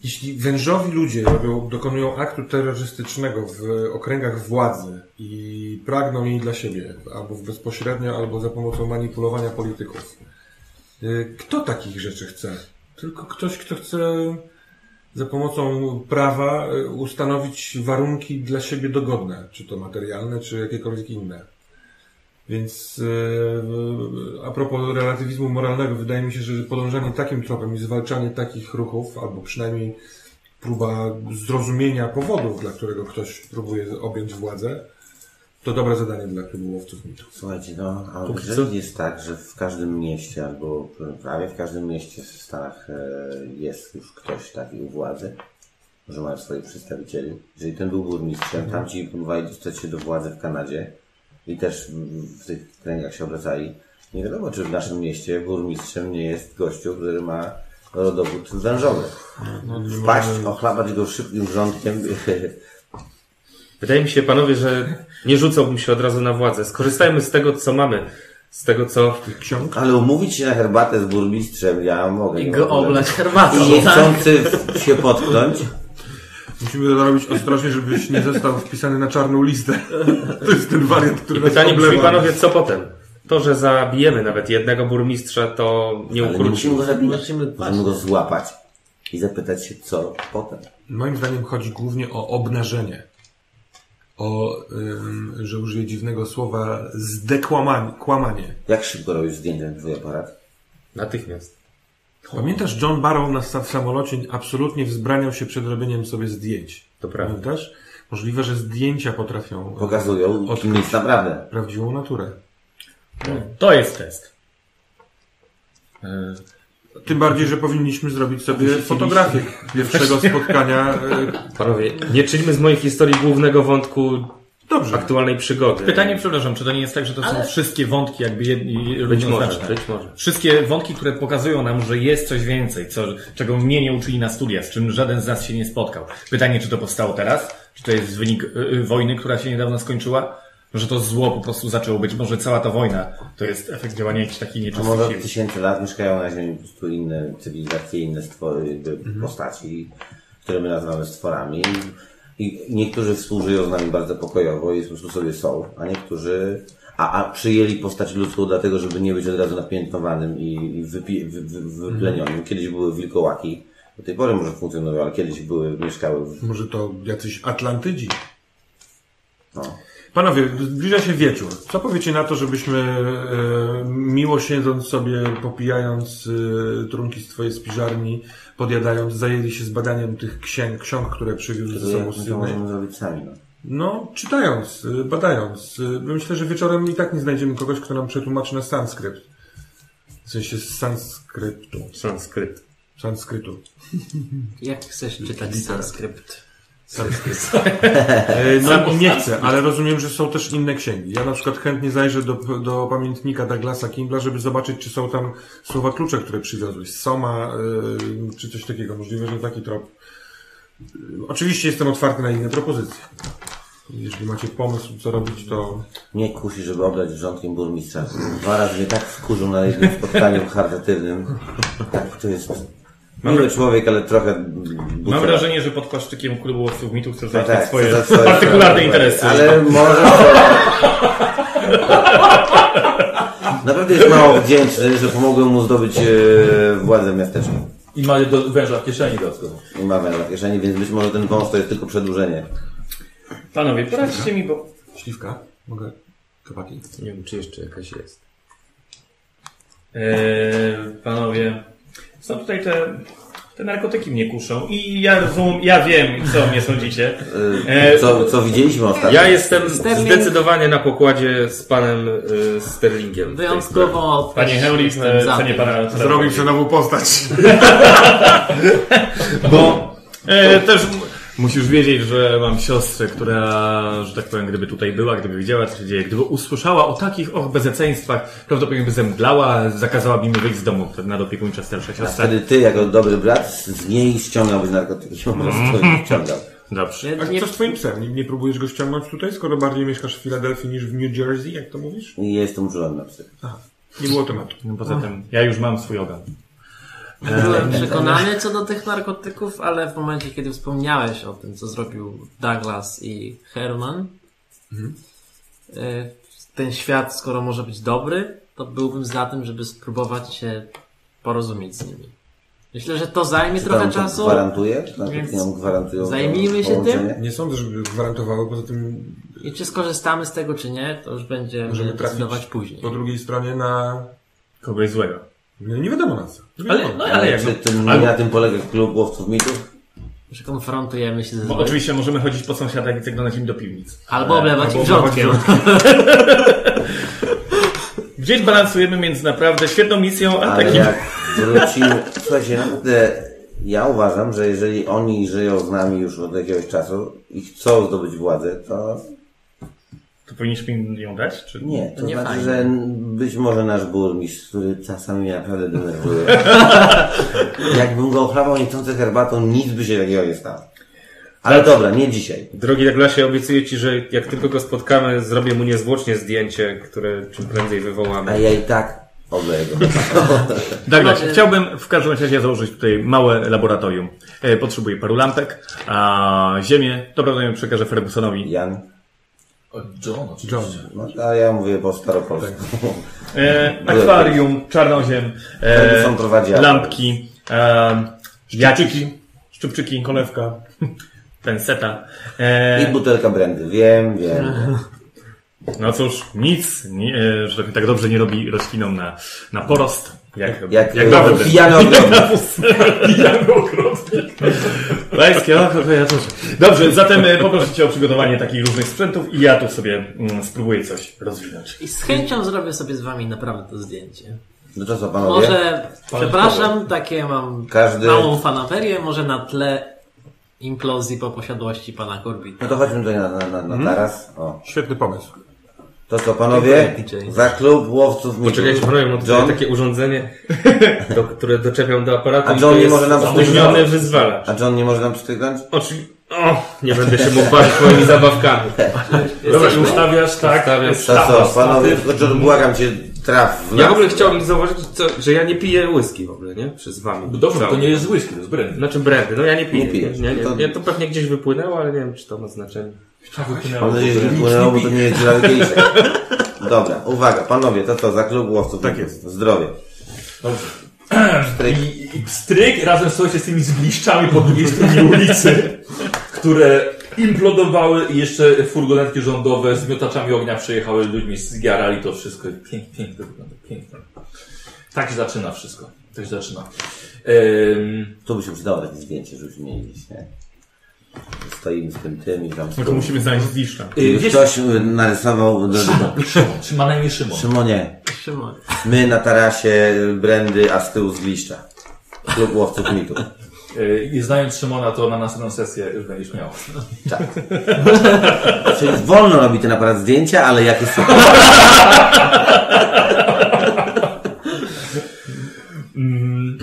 Jeśli wężowi ludzie robią, dokonują aktu terrorystycznego w okręgach władzy i pragną jej dla siebie, albo w bezpośrednio, albo za pomocą manipulowania polityków, y, kto takich rzeczy chce? Tylko ktoś, kto chce za pomocą prawa y, ustanowić warunki dla siebie dogodne, czy to materialne, czy jakiekolwiek inne. Więc yy, a propos relatywizmu moralnego, wydaje mi się, że podążanie takim tropem i zwalczanie takich ruchów, albo przynajmniej próba zrozumienia powodów, dla którego ktoś próbuje objąć władzę, to dobre zadanie dla klubu łowców mitów.
Słuchajcie, no, a jeżeli jest tak, że w każdym mieście, albo prawie w każdym mieście w Stanach e, jest już ktoś taki u władzy, że mają swoich przedstawicieli. Jeżeli ten był burmistrzem,
Mhm.
tamci próbowali dostać się do władzy w Kanadzie i też w- w tych kręgach się obracali, nie wiadomo, czy w naszym mieście burmistrzem nie jest gościu, który ma rodowód wężowy.
No,
Wpaść, ochlapać go szybkim wrzątkiem. [LAUGHS]
Wydaje mi się, panowie, że nie rzucałbym się od razu na władzę. Skorzystajmy z tego, co mamy. Z tego, co...
Ale umówić się na herbatę z burmistrzem, ja mogę.
I
nie
go
mam problemu.
oblać herbatą.
I
tak?
niechcący w- się potknąć.
Musimy to robić ostrożnie, żebyś nie został wpisany na czarną listę. [LAUGHS] To jest ten wariant, który nas
Pytanie brzmi,
oblewa.
panowie, co potem? To, że zabijemy nawet jednego burmistrza, to nie
Ale nie
ukróci.
musimy go zabijać.
Musimy-
Możemy go złapać i zapytać się, co potem.
Moim zdaniem chodzi głównie o obnażenie. O, ym, że użyję dziwnego słowa, zdekłamanie. kłamanie.
Jak szybko robisz zdjęcie na twój aparat?
Natychmiast.
Pamiętasz, John Barrow na sa- w samolocie absolutnie wzbraniał się przed robieniem sobie zdjęć.
To prawda.
Pamiętasz? Możliwe, że zdjęcia potrafią
Pokazują,
Od-
kim jest naprawdę.
prawdziwą naturę.
to jest test.
Tym bardziej, że powinniśmy zrobić sobie fotografię pierwszego spotkania.
[LAUGHS]
e,
Panowie, nie czyńmy z mojej historii głównego wątku
Dobrze.
aktualnej przygody.
Pytanie, przepraszam, czy to nie jest tak, że to są wszystkie wątki jakby jedni
Być może,
równoznaczne?
być może.
Wszystkie wątki, które pokazują nam, że jest coś więcej, co, czego mnie nie uczyli na studiach, z czym żaden z nas się nie spotkał. Pytanie, czy to powstało teraz? Czy to jest wynik y, y, wojny, która się niedawno skończyła? Może to zło po prostu zaczęło być? Może cała ta wojna to jest efekt działania jakichś takich
A
nieczystych
może
sił?
od tysięcy lat mieszkają na Ziemi po prostu inne cywilizacje, inne stwory, jakby postaci, które my nazywamy stworami. I niektórzy współżyją z nami bardzo pokojowo i po prostu sobie są, a niektórzy. A, a przyjęli postać ludzką dlatego, żeby nie być od razu napiętnowanym i, i wypi, wy, wy, wyplenionym. Kiedyś były wilkołaki, do tej pory może funkcjonują, ale kiedyś były, mieszkały w
Może to jacyś Atlantydzi.
No.
Panowie, zbliża się wieczór. Co powiecie na to, żebyśmy e, miło siedząc sobie, popijając e, trunki z twojej spiżarni, podjadając, zajęli się zbadaniem tych księg, ksiąg, które przywiózł ze sobą
My
z
to
Sydney?
możemy zrobić sami. No.
No, czytając, y, badając. y, Myślę, że wieczorem i tak nie znajdziemy kogoś, kto nam przetłumaczy na sanskrypt. W sensie z sanskryptu.
Sanskrypt.
Sanskrytu.
Jak chcesz czytać sanskrypt?
E, No nie chcę, ale rozumiem, że są też inne księgi. Ja na przykład chętnie zajrzę do, do pamiętnika Douglasa Kimbla, żeby zobaczyć, czy są tam słowa klucze, które przywiozłeś. Soma, y, czy coś takiego. Możliwe, że taki trop. Y, Oczywiście jestem otwarty na inne propozycje. Jeśli macie pomysł, co robić, to...
Mnie kusi, żeby oblać wrzątkiem burmistrza. Dwa razy mnie tak wkurzył na jednym spotkaniu charytatywnym. Tak, to jest miły człowiek, ale trochę...
Mam
buciora.
wrażenie, że pod płaszczykiem klubu owców mitu chcesz
Tak,
załatwić
tak,
swoje
chcę za swoje
partykularne
sprawy.
interesy.
Ale może... Naprawdę jest mało wdzięczny, że pomogłem mu zdobyć e, władzę w miasteczku.
I ma do, węża w kieszeni dodatkowo.
I ma węża w kieszeni, więc być może ten wąż to jest tylko przedłużenie.
Panowie, poradźcie mi, bo...
Śliwka? Mogę? Kawaki?
Nie wiem, czy jeszcze jakaś jest.
Eee, panowie, są tutaj te... Te narkotyki mnie kuszą i ja rozumiem, ja wiem, co mnie sądzicie.
E, co, co widzieliśmy ostatnio?
Ja jestem
Sterling.
zdecydowanie na pokładzie z panem y, Sterlingiem. w tej sprawie.
Wyjątkowo
Panie
też
Henry,
jestem
e,
za
cenię
tym.
pana...
Zrobił się nową postać.
Bo e, też m- musisz wiedzieć, że mam siostrę, która, że tak powiem, gdyby tutaj była, gdyby wiedziała, co się dzieje, gdyby usłyszała o takich och bezeceństwach, prawdopodobnie by zemdlała, zakazałaby mi wyjść z domu. To nadopiekuńcza starsza
A
siostra.
wtedy ty, jako dobry brat, z niej ściągałbyś narkotyki. Po prostu
Mm.
ściągał.
Dobrze.
A co z twoim psem? Nie, nie próbujesz go ściągnąć tutaj, skoro bardziej mieszkasz w Filadelfii niż w New Jersey, jak to mówisz?
I ja jestem używany na psy.
Nie było tematu.
No, poza tym, ja już mam swój ogon.
Byłem przekonany co do tych narkotyków, ale w momencie, kiedy wspomniałeś o tym, co zrobił Douglas i Herman, e, ten świat, skoro może być dobry, to byłbym za tym, żeby spróbować się porozumieć z nimi. Myślę, że to zajmie trochę
Tam to
czasu.
Gwarantuje? Czy Narkotyki
więc
nam Znaczy, gwarantują
zajmijmy się
połączenie?
Nie sądzę, żeby gwarantowały, poza tym
I czy skorzystamy z tego, czy nie, to już będziemy
Możemy trafić
decydować później.
po drugiej stronie na...
Kogoś złego.
No, nie wiadomo na co. Nie
Ale,
wiadomo.
no, ale
Ale
jak,
czy tym,
ale-
na tym polega klub łowców mitów?
Że konfrontujemy się ze
bo
złem.
no, oczywiście możemy chodzić po sąsiadach i zaglądać im do piwnic.
Albo oblewać
Albo
ich wrzątkiem.
oblewać Gdzieś balansujemy między naprawdę świetną misją, a
Ale
takim...
jak wrócimy... Słuchajcie, naprawdę ja uważam, że jeżeli oni żyją z nami już od jakiegoś czasu i chcą zdobyć władzę, to
To powinniśmy im ją dać, czy
nie. To
nie
znaczy,
fajnie.
że być może nasz burmistrz, który czasami mnie naprawdę
[LAUGHS]
denerwuje, jakbym go ochlapał niechcący herbatą, nic by się takiego nie stało. Ale dobra, nie dzisiaj.
Drogi Daglasie, obiecuję ci, że jak tylko go spotkamy, zrobię mu niezwłocznie zdjęcie, które czym prędzej wywołamy.
A ja i tak obleję go.
Douglas,
Panowie-
chciałbym w każdym razie założyć tutaj małe laboratorium. E, Potrzebuję paru lampek, a ziemię to prawdopodobnie przekażę Fergusonowi.
Jan?
O, John, oczywiście.
John.
No, a ja mówię po staropolsku.
Tak.
E, akwarium, czarnoziem, e,
E,
Ferguson prowadzi akwarium.
lampki, e, szczupczyki, szczupczyki, konewka, [LAUGHS] penseta.
I
E,
butelka brandy. Wiem, wiem.
no cóż, nic, nie, e, że tak dobrze nie robi roślinom na, na porost. Jak,
Jak,
jak
jak
dobry.
pijany ogrodnik.
[LAUGHS] Pijany ogrodnik. Pańskie oko kojarzysz. Dobrze, zatem e, poproszę Cię o przygotowanie takich różnych sprzętów i ja tu sobie mm, spróbuję coś rozwinąć.
I z chęcią zrobię sobie z wami naprawdę to zdjęcie.
No to co panowie?
Może, przepraszam, takie mam
Każdy-
małą fanaberię, może na tle implozji po posiadłości pana Korbita.
No to chodźmy tutaj na, na, na,
Mhm.
na taras. O.
Świetny pomysł.
To co panowie?
Dziękuję, DJ.
Za klub łowców mitów.
Poczekajcie, panowie, mam tutaj
John?
takie urządzenie, do, które doczepiam do aparatu
A
i
John
to
nie
jest
może nam
spóźniony
spóźnić?
wyzwalacz.
A John nie może nam przytygnąć?
Oczywiście... O, nie będę się mógł bawić moimi zabawkami.
Dobra, ustawiasz tak.
Stawiam
To co panowie? tylko John, błagam cię, traf w
Ja w
nas.
ogóle chciałbym zauważyć, co, że ja nie piję whisky w ogóle, nie? Przez wami.
No Dobrze,
Cały.
to nie jest whisky, to jest brandy.
Znaczy brandy, no ja nie piję.
Nie pijesz.
nie, nie.
To-
To... Ja to pewnie gdzieś wypłynęło, ale nie wiem, czy to ma znaczenie.
Mam nadzieję, że wypłynęło, bo to nie jest dla wielkiejszych. Dobra, uwaga, panowie, to co, za klub łowców Tak jest. Zdrowie.
Dobrze.
Stryk.
I, i pstryk razem słuchajcie z tymi zgliszczami po drugiej stronie ulicy, które implodowały i jeszcze furgonetki rządowe z miotaczami ognia przejechały ludźmi, zgarali to wszystko. Pięknie, pięknie wygląda, pięknie. Tak się zaczyna wszystko. Tak się zaczyna. Ehm,
Tu by się przydało takie zdjęcie, żebyśmy mieli gdzieś, nie? Stoimy z tym tym i tam...
No to musimy znaleźć zniszcza.
Gdyby ktoś y, narysował... do-
Szymon, czy ma na imię Szymon?
Szymonie,
Szymon.
my na tarasie y, brandy, a z tyłu z liścia. Klub łowców mitów.
Yy, I znając Szymona, to na następną sesję już będziesz miał.
Czyli wolno robi ten aparat zdjęcia, ale jak już...
Mm,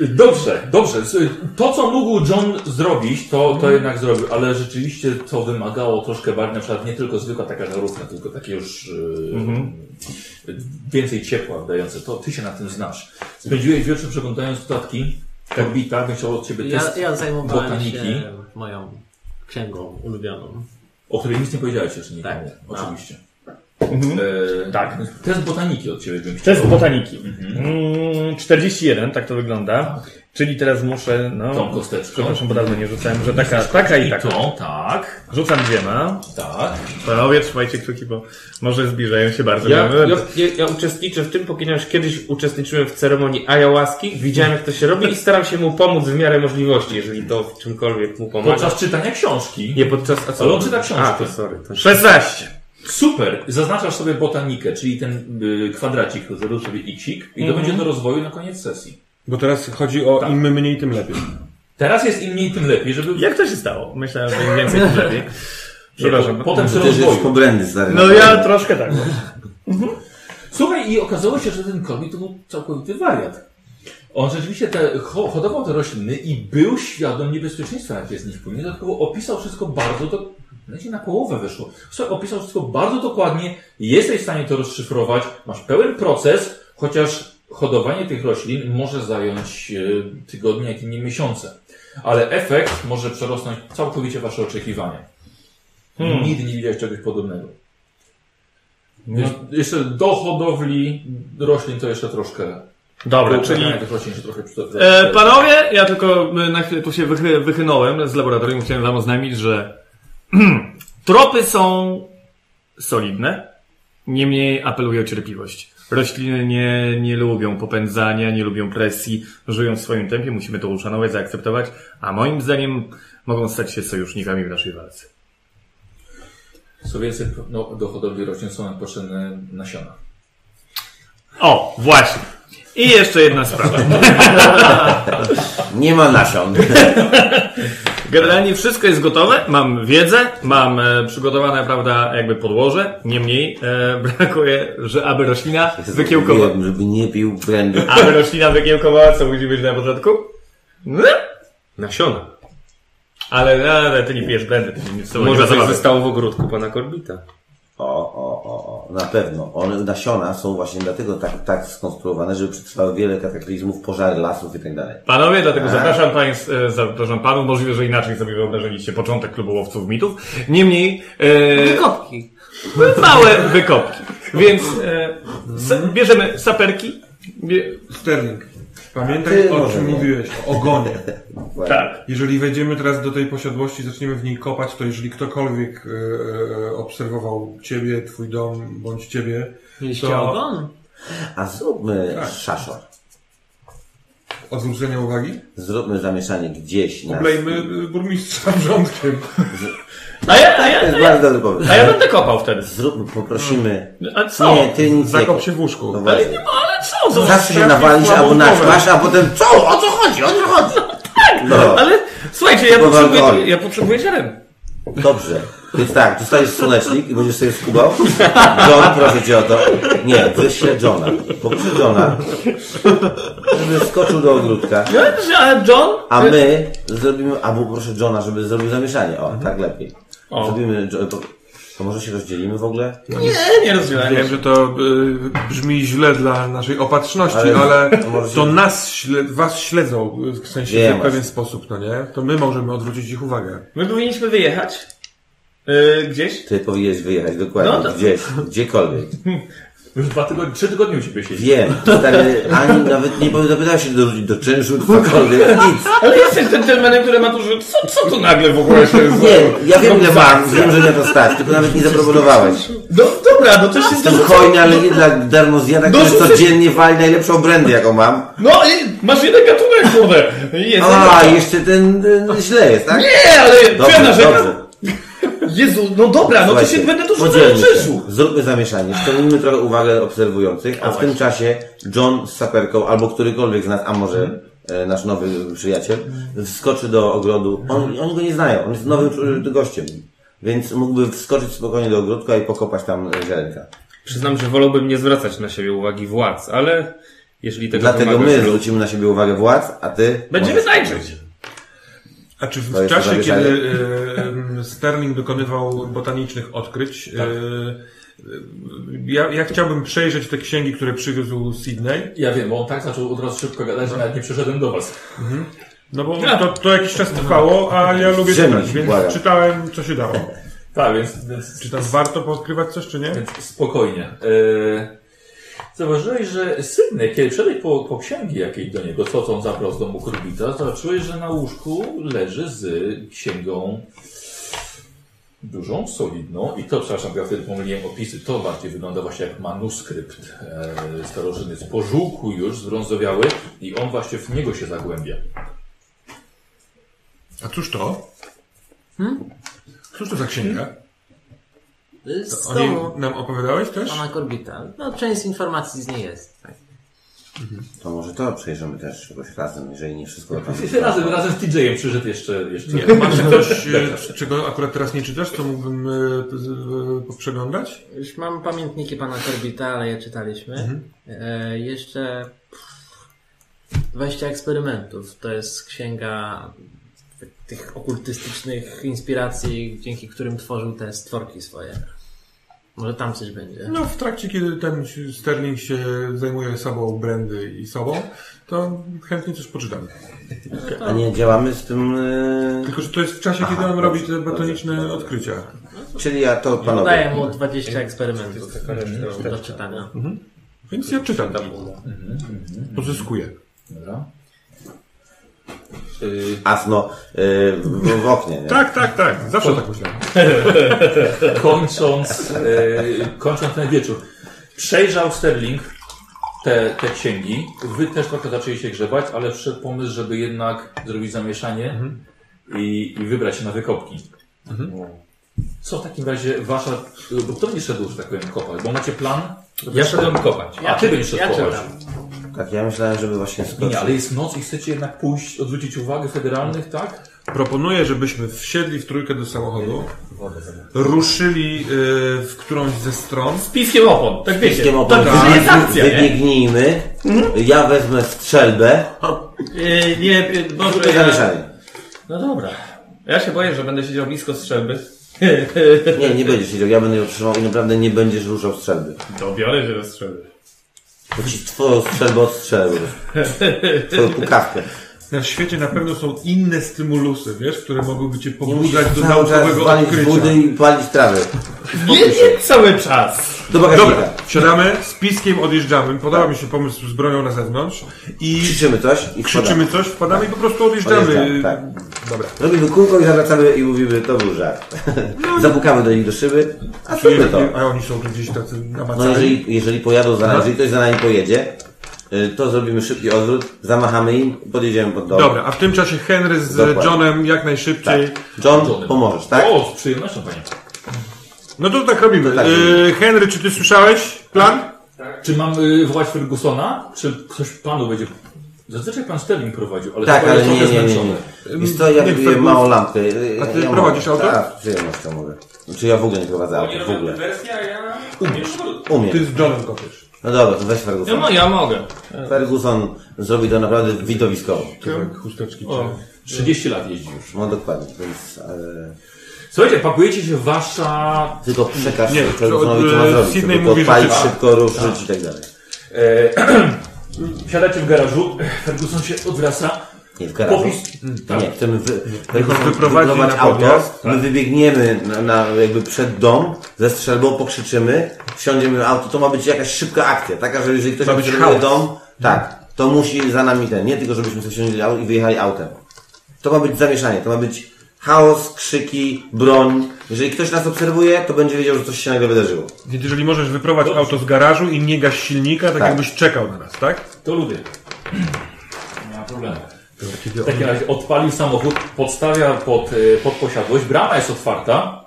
Dobrze, dobrze. S- To, co mógł John zrobić, to,
Mhm.
to jednak zrobił, ale rzeczywiście to wymagało troszkę bardziej, na przykład nie tylko zwykła taka żarówka, tylko takie już yy,
Mhm.
więcej ciepła dające. To ty się na tym znasz. Spędziłeś wieczór przeglądając notatki,
Tak.
korbita, bym chciał od ciebie
Ja,
test,
ja zajmowałem
botaniki.
się moją księgą ulubioną.
o której nic nie powiedziałeś jeszcze nikomu.
Tak.
Oczywiście.
No. Mhm.
Eee,
Tak.
Test botaniki od ciebie bym chciał.
Test botaniki.
Mhm.
Mm, 41, tak to wygląda. Czyli teraz muszę, no...
Tą kosteczką.
Przepraszam, bo dawno nie rzucałem, że taka, taka i
I
taka.
to, tak,
Rzucam dwiema.
tak.
Panowie, trzymajcie kciuki, bo może zbliżają się bardzo.
Ja,
Dobra.
ja, ja, ja uczestniczę w tym, ponieważ kiedyś uczestniczyłem w ceremonii ayahuaski, widziałem jak to się robi i staram się mu pomóc w miarę możliwości, jeżeli to w czymkolwiek mu pomaga.
Podczas czytania książki.
Nie podczas... A co?
Ale on czyta książkę.
A, to sorry. To...
16.
Super! Zaznaczasz sobie botanikę, czyli ten y, kwadracik, zrobił sobie iksik
Mhm.
i to będzie do rozwoju na koniec sesji.
Bo teraz chodzi o im mniej, tym lepiej.
Teraz jest im mniej, tym lepiej, żeby...
Jak to się stało? Myślałem, że im więcej tym lepiej. Przepraszam.
Potem przy
To też jest
rozwoju.
poblendy, stary.
No ja troszkę tak.
Słuchaj, i okazało się, że ten kobiet to był całkowity wariat. On rzeczywiście te, ho, hodował te rośliny i był świadom niebezpieczeństwa, jakie z nich płynie. Dodatkowo opisał wszystko bardzo... Do... Znaczy na połowę wyszło. Słuchaj, opisał wszystko bardzo dokładnie. Jesteś w stanie to rozszyfrować. Masz pełen proces, chociaż hodowanie tych roślin może zająć y, tygodnie, jak i nie miesiące. Ale efekt może przerosnąć całkowicie wasze oczekiwania. Nigdy nie widziałeś czegoś podobnego. Jeś- No, Jeszcze do hodowli roślin to jeszcze troszkę.
Dobra,
do
czyli...
uprawiania tych roślin się trochę przyda-
E, panowie, ja tylko e, na chwilę tu się wychy, wychynąłem z laboratorium. Chciałem wam oznajmić, że [CLEARS THROAT] tropy są solidne, niemniej apeluję o cierpliwość. Rośliny nie, nie lubią popędzania, nie lubią presji, żyją w swoim tempie, musimy to uszanować, zaakceptować, a moim zdaniem mogą stać się sojusznikami w naszej walce.
Co więcej, no, do hodowli roślin są nam potrzebne nasiona.
O, właśnie. I jeszcze jedna sprawa.
Nie ma nasion.
Generalnie wszystko jest gotowe, mam wiedzę, mam e, przygotowane, prawda, jakby podłoże, niemniej e, [LAUGHS] brakuje, że aby roślina wykiełkowała.
Mówiłem, żeby nie pił brandy.
Aby roślina wykiełkowała, co musi być na początku? No,
Nasiona.
Ale, no, ale ty nie pijesz blendy, ty nie co,
Może
nie ma
coś
zabawy.
zostało w ogródku pana Korbita.
O, o, o, o, na pewno. One, nasiona są właśnie dlatego tak, tak skonstruowane, żeby przetrwały wiele kataklizmów, pożary lasów i tak dalej.
Panowie, dlatego zapraszam państw, e, zapraszam panów, możliwe, że inaczej sobie wyobrażaliście początek klubu łowców mitów. Niemniej, e, [LAUGHS]
Kopki.
małe wykopki. Więc e, sa, bierzemy saperki. Bie,
Sterling, pamiętaj
Ty
o
może
czym
nie.
mówiłeś, o [LAUGHS] ogonie.
tak.
Jeżeli wejdziemy teraz do tej posiadłości, zaczniemy w niej kopać, to jeżeli ktokolwiek e, e, obserwował ciebie, twój dom, bądź ciebie,
Mieliście
To-
ogon?
A zróbmy
Tak.
szaszor.
od zwrócenia uwagi,
Zróbmy zamieszanie gdzieś. Na...
oblejmy e, burmistrza [LAUGHS] wrzątkiem.
A ja, a
To
E, ja,
jest bardzo dobry pomysł.
a ja będę kopał wtedy.
Zróbmy, poprosimy.
A co?
Nie, ty nic nie
Zakop
kup.
się w łóżku.
No właśnie.
Ale co? Zobacz,
Zawsze się
Jakie
nawalisz albo
słabowtowe.
naśmasz, a potem co? O co chodzi? O co chodzi? No,
tak, ale słuchajcie, ja
Próbowałem
potrzebuję,
alkohol.
ja potrzebuję ziaren.
dobrze. Więc tak, dostajesz słonecznik i będziesz sobie skubał. John, proszę cię o to. Nie, wyślę Johna. Poproszę Johna, żeby skoczył do ogródka.
Ale John?
A my zrobimy, albo proszę Johna, żeby zrobił zamieszanie.
Mhm.
O, tak lepiej. Zrobimy, Jo- to, to może się rozdzielimy w ogóle?
Nie, nie rozumiem.
Wiem, że to y, brzmi źle dla naszej opatrzności, ale,
Ale-
to nas śled, was śledzą y, w sensie
Wiem,
w pewien sposób, no nie? To my możemy odwrócić ich uwagę.
My powinniśmy wyjechać. Yy, gdzieś?
Ty powinieneś wyjechać, dokładnie,
No to-
gdzieś, gdziekolwiek.
Już dwa tygodnie, trzy tygodnie u ciebie siedzi.
Wiem, stary, ani nawet nie zapytałeś się do ludzi, do czynszu, cokolwiek, nic.
Ale jesteś dżentelmenem, który ma tu że co, co tu nagle w ogóle się z...
Nie, ja wiem ile mam, wiem, że nie to stać, tylko nawet nie zaproponowałeś.
No dobra, no coś się
Jestem
zdarzyło.
hojny, ale nie dla darmozjada, który
Dorzucę-
codziennie wali najlepszą brandę, jaką mam.
No i masz jeden gatunek, kurde. Jest.
A, jeszcze ten, ten źle jest, tak?
No. Nie, ale co ja
Dobrze,
narzekam?
dobrze.
Jezu, no dobra, no to się
Słuchajcie,
będę tu rzucał
podzielmy się.
krzyżu.
Zróbmy zamieszanie, szczególnie
Mhm.
trochę uwagę obserwujących, a w tym czasie John z saperką, albo którykolwiek z nas, a może e, nasz nowy przyjaciel, wskoczy do ogrodu.
Mhm.
On, oni go nie znają, on jest nowym e, gościem. Więc mógłby wskoczyć spokojnie do ogródka i pokopać tam e, ziarenka.
Przyznam, że wolałbym nie zwracać na siebie uwagi władz, ale jeżeli tego
Dlatego
wymagasz-
my zwrócimy na siebie uwagę władz, a ty...
Będziemy tańczyć!
A czy
To
w
jest
czasie,
zawieszenie.
kiedy e, em, Sterling dokonywał botanicznych odkryć,
Tak.
e, e, ja, ja chciałbym przejrzeć te księgi, które przywiózł Sydney,
Ja wiem, bo on tak zaczął od razu szybko gadać, że nawet nie przyszedłem do was.
no bo to, to jakiś czas trwało, a ja lubię
Ziemi,
czytać, więc
błagam.
czytałem, co się dało.
Tak, więc, więc
Czy tam warto podkrywać coś, czy nie?
Więc spokojnie. Eee, zauważyłeś, że Sydney, kiedy wszedłeś po, po księgi jakiej do niego, co on zabrał z domu Kurbita, zobaczyłeś, że na łóżku leży z księgą dużą, solidną i to, przepraszam, ja wtedy pomyliłem opisy, to bardziej wygląda właśnie jak manuskrypt eee, starożytny, pożółku już, zbrązowiały i on właśnie w niego się zagłębia.
A cóż to? Hmm? Cóż to za księga?
Z
O niej
domu
nam opowiadałeś też?
pana Korbita. No, część informacji z niej jest. Tak.
To może to przejrzymy też jakoś razem, jeżeli nie wszystko tam...
Razem, razem z TJ-em przyszedł jeszcze, jeszcze
Nie, masz coś, e, c- czego akurat teraz nie czytasz, co mógłbym e, p- z- e, przeglądać?
Już mam pamiętniki pana Korbita, ale je czytaliśmy. E, jeszcze pff, 20 eksperymentów. To jest księga tych okultystycznych inspiracji, dzięki którym tworzył te stworki swoje. Może tam coś będzie.
No, w trakcie, kiedy ten Sterling się zajmuje sobą, Brandy i sobą, to chętnie coś poczytam.
A nie działamy z tym... e,
Tylko, że to jest w czasie, kiedy
Aha,
on robi te
dobrze,
botaniczne
dobrze.
odkrycia.
Czyli ja to panowie...
Daję mu 20 eksperymentów
Mhm.
do czytania.
Więc ja czytam
Mhm,
tam. Pozyskuję.
Dobra. Eee,
Asno y, w, w oknie, nie?
Tak, tak, tak. Zawsze tak myślałem.
kończąc, e, kończąc ten wieczór, przejrzał Sterling te, te księgi. Wy też trochę zaczęliście grzebać, ale wszedł pomysł, żeby jednak zrobić zamieszanie
Mhm.
i, i wybrać się na wykopki. No. Co w takim razie wasza... Bo kto nie szedł, że tak powiem, kopać? Bo macie plan?
Ja szedłem kopać.
A ty będziesz szedł
ja
kopać.
czytam.
Tak, ja myślałem, żeby właśnie
Nie,
skoczyć.
nie, ale jest noc i chcecie jednak pójść, odwrócić uwagę federalnych, tak?
Proponuję, żebyśmy wsiedli w trójkę do samochodu, ruszyli y, w którąś ze stron.
Piskiem opon, tak wiecie.
Wszystkim opowiem.
to jest akcja, nie? Mhm.
Wybiegnijmy, ja wezmę strzelbę
Yy, nie, yy, Boże,
i zamieszanie.
No dobra. Ja się boję, że będę siedział blisko [LAUGHS] strzelby.
Nie, nie będziesz siedział, ja będę ją trzymał i naprawdę nie będziesz ruszał strzelby.
Dobiorę się do strzelby.
Bo ci twoją strzelbę odstrzelę. Twoją pukawkę.
Na świecie na pewno są inne stymulusy, wiesz, które mogłyby cię
Nie musisz
pobudzać do
cały czas
naukowego
walić
odkrycia.
budy i palić trawę.
Nie, nie cały czas.
Do
Dobra,
bagażnika.
siadamy, z piskiem odjeżdżamy, podoba mi się pomysł z bronią na zewnątrz i
Krzyczymy coś i
krzyczymy coś, wpadamy i po prostu odjeżdżamy.
Odjeżdżamy, tak.
Dobra.
Robimy kółko i zawracamy i mówimy, to był żart.
No.
[LAUGHS] Zapukamy do nich do szyby, a
Czyli,
zróbmy to.
a oni są tu gdzieś tacy namacani.
No jeżeli, jeżeli pojadą
No.
za nami, jeżeli ktoś za nami pojedzie, y, to zrobimy szybki odwrót, zamachamy im, podjedziemy pod dom.
Dobra, a w tym czasie Henry z
Dokładnie.
Johnem jak najszybciej.
John, pomożesz, tak?
O, z przyjemnością, panie.
No to tak robimy.
tak.
Yy, Henry, czy ty słyszałeś plan?
Czy mam y, wołać Fergusona? Czy ktoś panu będzie... Zazwyczaj pan Sterling prowadził, ale
Tak,
chyba
ale
jest
nie, nie,
trochę
nie. nie.
zmęczony.
Wiesz co, ja
Nie
wybiję
chcę
małą lampkę. y,
A ty
ja mam-
prowadzisz auto?
Tak, z przyjemnością mogę. Znaczy ja w ogóle nie prowadzę auta, w ogóle.
Ty
Umiem.
z Johnem kopiesz.
No dobra, to weź Ferguson.
ja mogę.
Ferguson zrobi to naprawdę widowiskowo.
no. Tak, chusteczki. czy-
30 lat jeździ już.
No dokładnie, więc... e,
Słuchajcie, pakujecie się w wasza...
Tylko przekaż
Nie,
Fergusonowi,
to,
co ma
e,
zrobić.
Sydney
Tylko
mówi, że
odpalić
tak.
szybko, ruszyć i tak dalej.
E, [CLEARS THROAT] siadacie w garażu, Ferguson się odwraca.
Nie, w garażu. Hmm,
Popis-
Nie, chcemy wy, Ferguson
Tak. wyprowadzi
wyprowadzi
na
auto,
podjazd,
my wybiegniemy na, na, jakby przed dom, ze strzelbą pokrzyczymy, wsiądziemy w auto, to ma być jakaś szybka akcja, taka, że jeżeli ktoś
Ma być
obserwuje
chaos.
dom, tak, to musi za nami ten, nie tylko żebyśmy sobie wsiądli au- i wyjechali autem. To ma być zamieszanie, to ma być chaos, krzyki, broń. Jeżeli ktoś nas obserwuje, to będzie wiedział, że coś się nagle wydarzyło.
Więc jeżeli możesz wyprowadzić auto z garażu i nie gaś silnika, tak,
Tak.
jakbyś czekał na nas, tak?
To lubię. Nie ma problemu.
Kiedy
W takim razie odpalił samochód, podstawia pod, e, pod posiadłość, brama jest otwarta.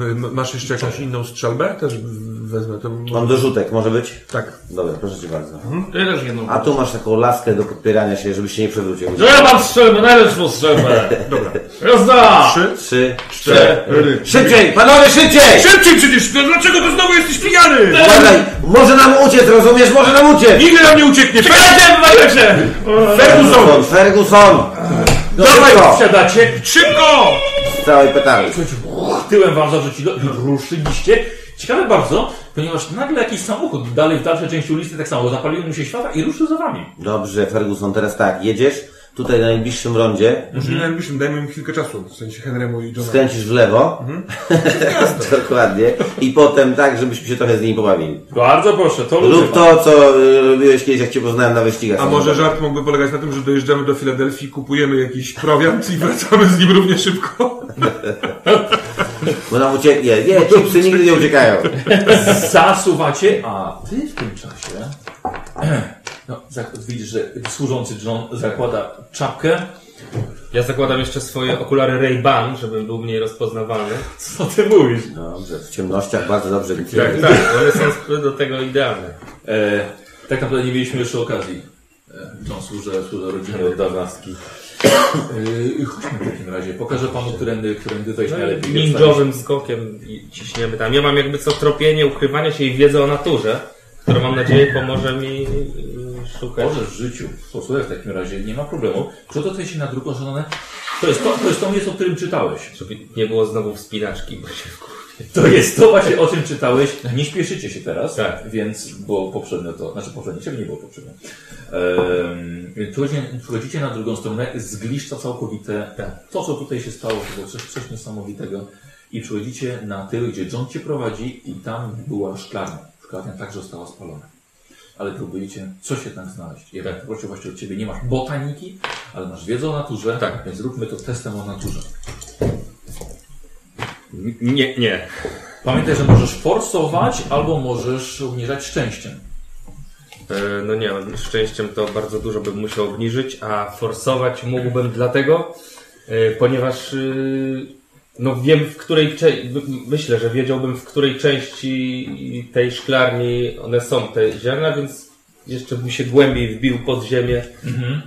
M- Masz jeszcze jakąś inną strzelbę? Też w- wezmę to. może-
Mam Mhm. dorzutek, może być?
Tak.
Dobra, proszę Cię bardzo.
Mhm, Ja też jedną.
A tu masz taką laskę do podpierania się, żebyś się nie przewrócił.
No ja mam strzelbę,
[LAUGHS]
najlepszą strzelbę.
Dobra.
Jazda!
Trzy.
Trzy,
Cztery.
Szybciej! Panowie, szybciej!
Szybciej przecież! No dlaczego to znowu jesteś pijany?
Uważaj! Może nam uciec, rozumiesz? Może nam uciec!
Nigdy nam nie ucieknie! Czekajcie, walecie!
Ferguson!
Ferguson!
Ferguson! Dobra!
Siadacie,
Szybko!
Z całej petardy.
tyłem wam zarzucili, ruszyliście. Ciekawe bardzo, ponieważ nagle jakiś samochód dalej w dalszej części ulicy tak samo zapalił mu się światła i ruszył za wami.
Dobrze, Ferguson, teraz tak, jedziesz tutaj na najbliższym rondzie,
Może najbliższym dajmy im chwilkę czasu. W sensie Henrymu i Johna.
skręcisz w lewo. [LAUGHS] Dokładnie. I potem tak, żebyśmy się trochę z nimi pobawili.
Bardzo proszę, to lubię.
Rób to, co y, robiłeś kiedyś, jak cię poznałem na wyścigach.
A może żart mógłby polegać na tym, że dojeżdżamy do Filadelfii, kupujemy jakiś prowiant i wracamy z nim równie szybko?
Bo nam ucieknie. Nie, ci psy nigdy nie uciekają.
Zasuwacie, a ty w tym czasie. [CLEARS THROAT] No, zak- widzisz, że służący John zakłada czapkę.
Ja zakładam jeszcze swoje okulary Ray-Ban, żebym był mniej rozpoznawalny.
Co ty mówisz?
Dobrze, w ciemnościach bardzo dobrze nic nie
Tak,
robi.
tak, one są do tego idealne.
E, tak naprawdę nie mieliśmy jeszcze okazji. E, John służy, służy rodzinie od dawna. E, chodźmy w takim razie, pokażę panu, którędy, którędy to jest
No
najlepiej.
i ninjowym skokiem i ciśniemy tam. Ja mam jakby co tropienie, ukrywanie się i wiedzę o naturze, która mam nadzieję pomoże mi y, szukać.
Możesz w życiu. Posłuchaj w takim razie, nie ma problemu. Przygotuj się na drugą stronę. To jest to, to jest to miejsce, o którym czytałeś.
Żeby nie było znowu wspinaczki, bo się wkurwię.
To jest to właśnie, o czym czytałeś. Nie śpieszycie się teraz,
Tak.
więc, bo poprzednio to, znaczy poprzednio, ciebie nie było poprzednio. Ehm, przychodzicie, przychodzicie na drugą stronę, zgliszcza całkowite to, co tutaj się stało, to było coś, coś niesamowitego. I przychodzicie na tył, gdzie John cię prowadzi i tam była szklarnia. Szklarnia także została spalona. Ale próbujecie coś jednak znaleźć. Ja tak. prosił właśnie od ciebie, nie masz botaniki, ale masz wiedzę o naturze, tak. więc róbmy to testem o naturze.
Nie, nie.
Pamiętaj, że możesz forsować albo możesz obniżać szczęściem.
E, No nie, szczęściem to bardzo dużo bym musiał obniżyć, a forsować mógłbym dlatego, e, ponieważ e, no wiem w której cze- my- myślę, że wiedziałbym w której części tej szklarni one są te ziarna, więc jeszcze bym się głębiej wbił pod ziemię,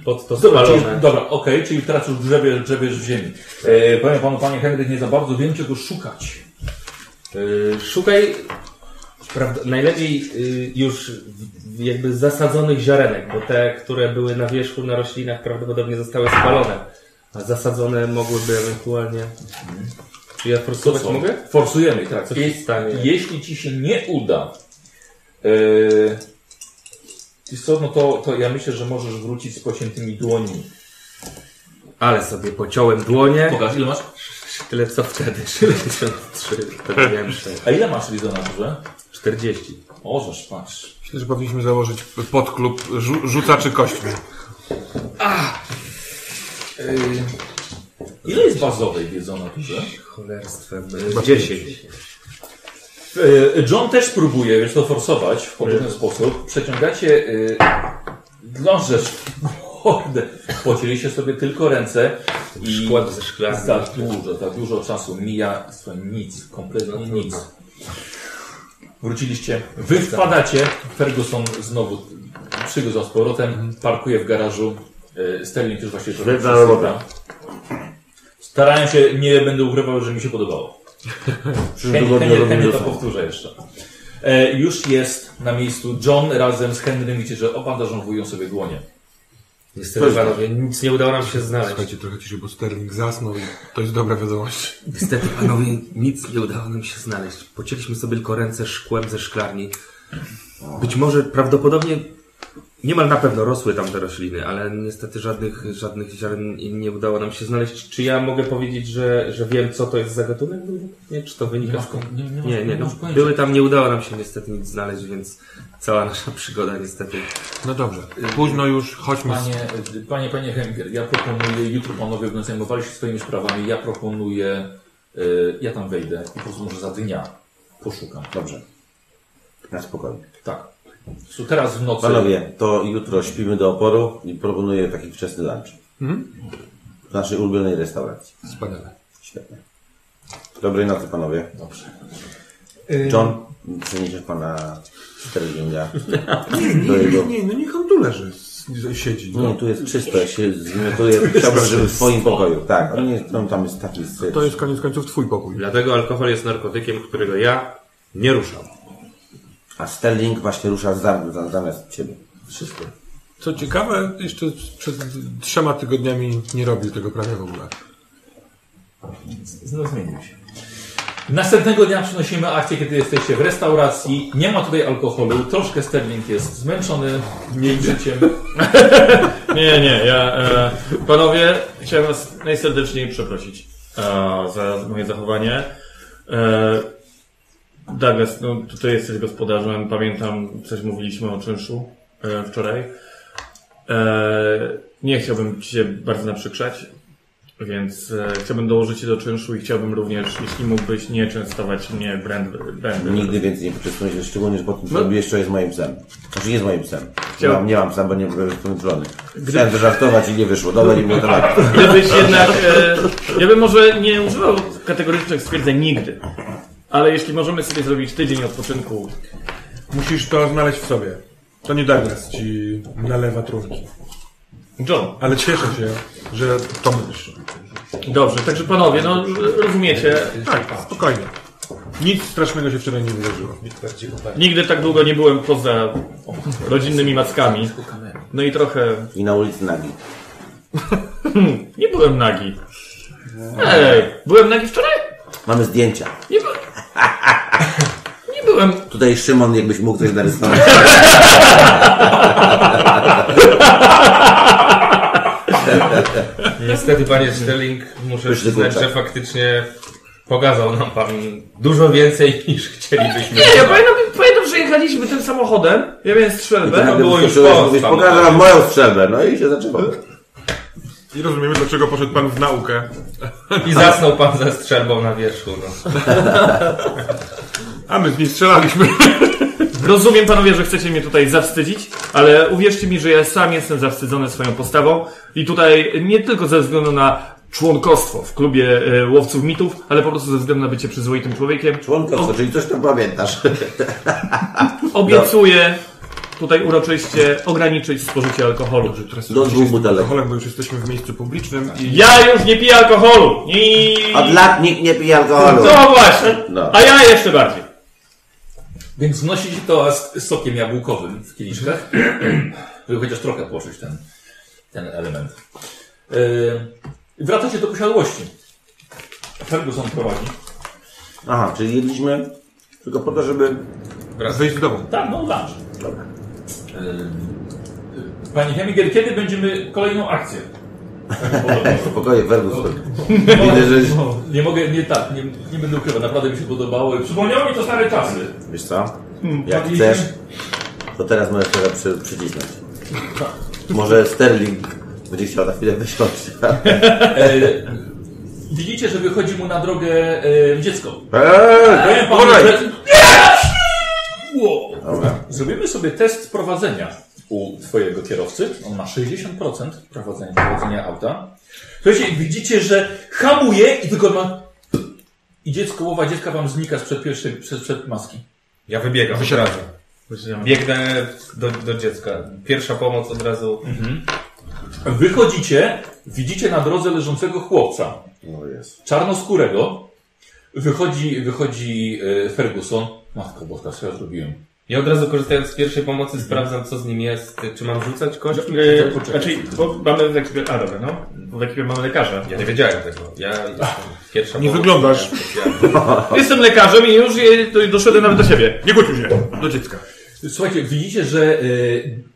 pod to
Dobra, czyli,
spalone.
dobra okej, czyli teraz już grzebiesz, grzebiesz w ziemi. E, powiem panu, panie Henryk, nie za bardzo wiem czego szukać.
E, Szukaj prawda, najlepiej e, już w- jakby zasadzonych ziarenek, bo te, które były na wierzchu na roślinach prawdopodobnie zostały spalone, a zasadzone mogłyby ewentualnie... Czy ja forsować
co?
mogę?
Forsujemy, tak.
Co
Je-
się stanie?
Jeśli ci się nie uda, e, wiesz co, no to, to ja myślę, że możesz wrócić z pociętymi dłońmi.
Ale sobie pociąłem dłonie,
Pokaż, ile masz?
tyle co wtedy, [LAUGHS] 63, wtedy miałem sześć.
A ile masz widzę na górze?
40.
Możesz, patrz.
Myślę, że powinniśmy założyć podklub rzu- rzucaczy kośćmi.
Ile jest bazowej wiedzy o naturze?
Cholerstwem. e, 10.
E, John też próbuje, wiesz, to forsować w podobny sposób. Przeciągacie, y, glążesz w mordę. Pocieliście sobie tylko ręce i
Szkład ze szklarni.
za dużo, za dużo czasu mija, słuchaj, nic,
No
kompletnie nic.
tak.
Wróciliście, wy wpadacie, Ferguson znowu przygodzał z
Mhm.
powrotem, parkuje w garażu, y, Sterling już właśnie trochę
Świetna
przesypia.
robota.
Starałem się, nie będę ukrywał, że mi się podobało.
przyszłym tygodniu robimy
Henry to
to.
powtórzę jeszcze. E, już jest na miejscu John razem z Henrym. Widzicie, że obandażowują sobie dłonie.
Niestety, panowie, nic nie udało nam się znaleźć.
Słuchajcie, trochę ciszej, bo Sterling zasnął i to jest dobra wiadomość.
Niestety, panowie, nic nie udało nam się znaleźć. Pocięliśmy sobie tylko ręce szkłem ze szklarni. Być może, prawdopodobnie, niemal na pewno rosły tam te rośliny, ale niestety żadnych, żadnych ziaren nie udało nam się znaleźć. Czy ja mogę powiedzieć, że, że wiem, co to jest za gatunek? Nie, czy to wynika z...
nie, nie,
Nie, nie, no, były tam, nie udało nam się niestety nic znaleźć, więc cała nasza przygoda niestety.
No dobrze, późno już, chodźmy. z-
Panie, panie, panie Henker, ja proponuję, jutro panowie będą zajmowali się swoimi sprawami, ja proponuję, e, ja tam wejdę i po prostu może za dnia poszukam.
Dobrze. Na spokojnie.
Tak. Po prostu teraz w nocy.
Panowie, to jutro śpimy do oporu i proponuję taki wczesny lunch. W naszej ulubionej restauracji.
Mhm. Wspaniale.
Świetnie. Dobrej nocy, panowie. Y, John, przeniesiesz pana Sterlinga do jego...
Y, [LAUGHS] Nie, no niech on tu leży, s- siedzi.
Nie, tu jest czysto, ja się
[LAUGHS]
zmiotuję. Chciałbym, żeby w swoim pokoju. Tak, on, jest, on tam jest taki...
To jest koniec końców twój pokój.
Dlatego alkohol jest narkotykiem, którego ja nie ruszam.
A Sterling właśnie rusza za, za, zamiast ciebie.
Wszystko. Co ciekawe, jeszcze przed trzema tygodniami nie robił tego prawie w ogóle.
Znów zmienił się. Następnego dnia przynosimy akcję, kiedy jesteście w restauracji. Nie ma tutaj alkoholu. Troszkę Sterling jest zmęczony tym życiem.
Nie, nie, ja. E, panowie, chciałem Was najserdeczniej przeprosić e, za moje zachowanie. E, Douglas, no tutaj jesteś gospodarzem, pamiętam, coś mówiliśmy o czynszu e, wczoraj. E, nie chciałbym Ci się bardzo naprzykrzać, więc e, chciałbym dołożyć się do czynszu i chciałbym również, jeśli mógłbyś, nie częstować mnie brand, brand,
Nigdy więcej nie poczęstuję, szczególnie, że po tym, co
No.
robiłeś, co jest moim psem. Znaczy jest moim psem. Nie
Chciałem-
mam, nie mam psa, bo nie byłem skończony. Chciałem zażartować i nie wyszło. Dobra, nie było tak.
Gdybyś jednak. E, ja bym może nie używał kategorycznych stwierdzeń nigdy. Ale jeśli możemy sobie zrobić tydzień odpoczynku.
Musisz to znaleźć w sobie. To nie Douglas ci nalewa trunki.
John.
Ale cieszę się, że to mówisz.
Dobrze, także panowie, no rozumiecie.
Tak, spokojnie. Nic strasznego się wczoraj nie wydarzyło.
Nigdy tak długo nie byłem poza rodzinnymi mackami. No i trochę.
I na ulicy nagi.
Nie byłem nagi. Ej, byłem nagi wczoraj?
Mamy zdjęcia.
Nie, by... nie byłem.
Tutaj Szymon, jakbyś mógł coś narysować.
Niestety, panie Sterling, muszę
Pyszny
przyznać,
kurczak.
że faktycznie pokazał nam pan dużo więcej [LAUGHS] niż chcielibyśmy.
Nie, ja pamiętam, pamiętam, że jechaliśmy tym samochodem. Ja miałem
I
strzelbę.
ty nagle
było już
wyskoczyłeś,
po
mówisz,
tam.
pokażę wam moją strzelbę. No i się zaczęło.
I rozumiemy, dlaczego poszedł pan w naukę.
I zasnął pan ze strzelbą na wierzchu. No.
A my z nim strzelaliśmy.
Rozumiem panowie, że chcecie mnie tutaj zawstydzić, ale uwierzcie mi, że ja sam jestem zawstydzony swoją postawą i tutaj nie tylko ze względu na członkostwo w klubie e, łowców mitów, ale po prostu ze względu na bycie przyzwoitym człowiekiem.
Członkostwo, czyli coś tam pamiętasz. [LAUGHS]
Obiecuję tutaj uroczyście ograniczyć spożycie alkoholu.
Do dwóch butelek.
Alkoholem, bo już jesteśmy w miejscu publicznym i
Ja już nie piję alkoholu! I...
Od lat nikt nie pije alkoholu.
No właśnie!
No.
A ja jeszcze bardziej.
Więc wnosi się to z sokiem jabłkowym w kieliszkach, [CLEARS THROAT] żeby chociaż trochę poczuć ten, ten element. Yy, wracacie do posiadłości. Ferguson prowadzi.
Aha, czyli jedliśmy tylko po to, żeby...
wyjść z domu.
Tak, no lunch. Yy, yy, Panie Hemiger, kiedy będziemy kolejną akcję? [LAUGHS]
Spokojnie, Ferguson. Widzę, że...
No, nie mogę, nie tak, nie, nie będę ukrywał, naprawdę mi się podobało i przypomniało mi to stare czasy.
Wiesz co? Jak chcesz, to teraz możesz teraz przy, przycisnąć. Może Sterling będzie chciał na chwilę wysiąść.
E, widzicie, że wychodzi mu na drogę e, dziecko.
Eee!
Powiem panu,
Uważaj!
że... Nie! Wow.
Dobra.
Zrobimy sobie test prowadzenia u twojego kierowcy. On ma 60% prowadzenia, prowadzenia auta. Słuchajcie, widzicie, że hamuje i tylko ma... I dziecko, głowa dziecka wam znika sprzed pierwszej, przed, przed maski.
Ja wybiegam od razu. Biegnę do, do dziecka. Pierwsza pomoc od razu.
Wychodzicie, widzicie na drodze leżącego chłopca.
No jest.
Czarnoskórego. Wychodzi, wychodzi e, Ferguson. Matko boska, co ja zrobiłem?
Ja od razu korzystając z pierwszej pomocy sprawdzam co z nim jest. Czy mam rzucać kości?
Poczekaj,
Yy,
poczekaj.
znaczy, bo mamy w ekipie... A dobra, no. Bo w ekipie mamy lekarza.
Ja nie wiedziałem tego. Ja pierwsza
Nie
pomoc-
wyglądasz.
Jestem lekarzem i już je- doszedłem nawet do siebie.
Nie kłócił się do dziecka.
Słuchajcie, widzicie, że e,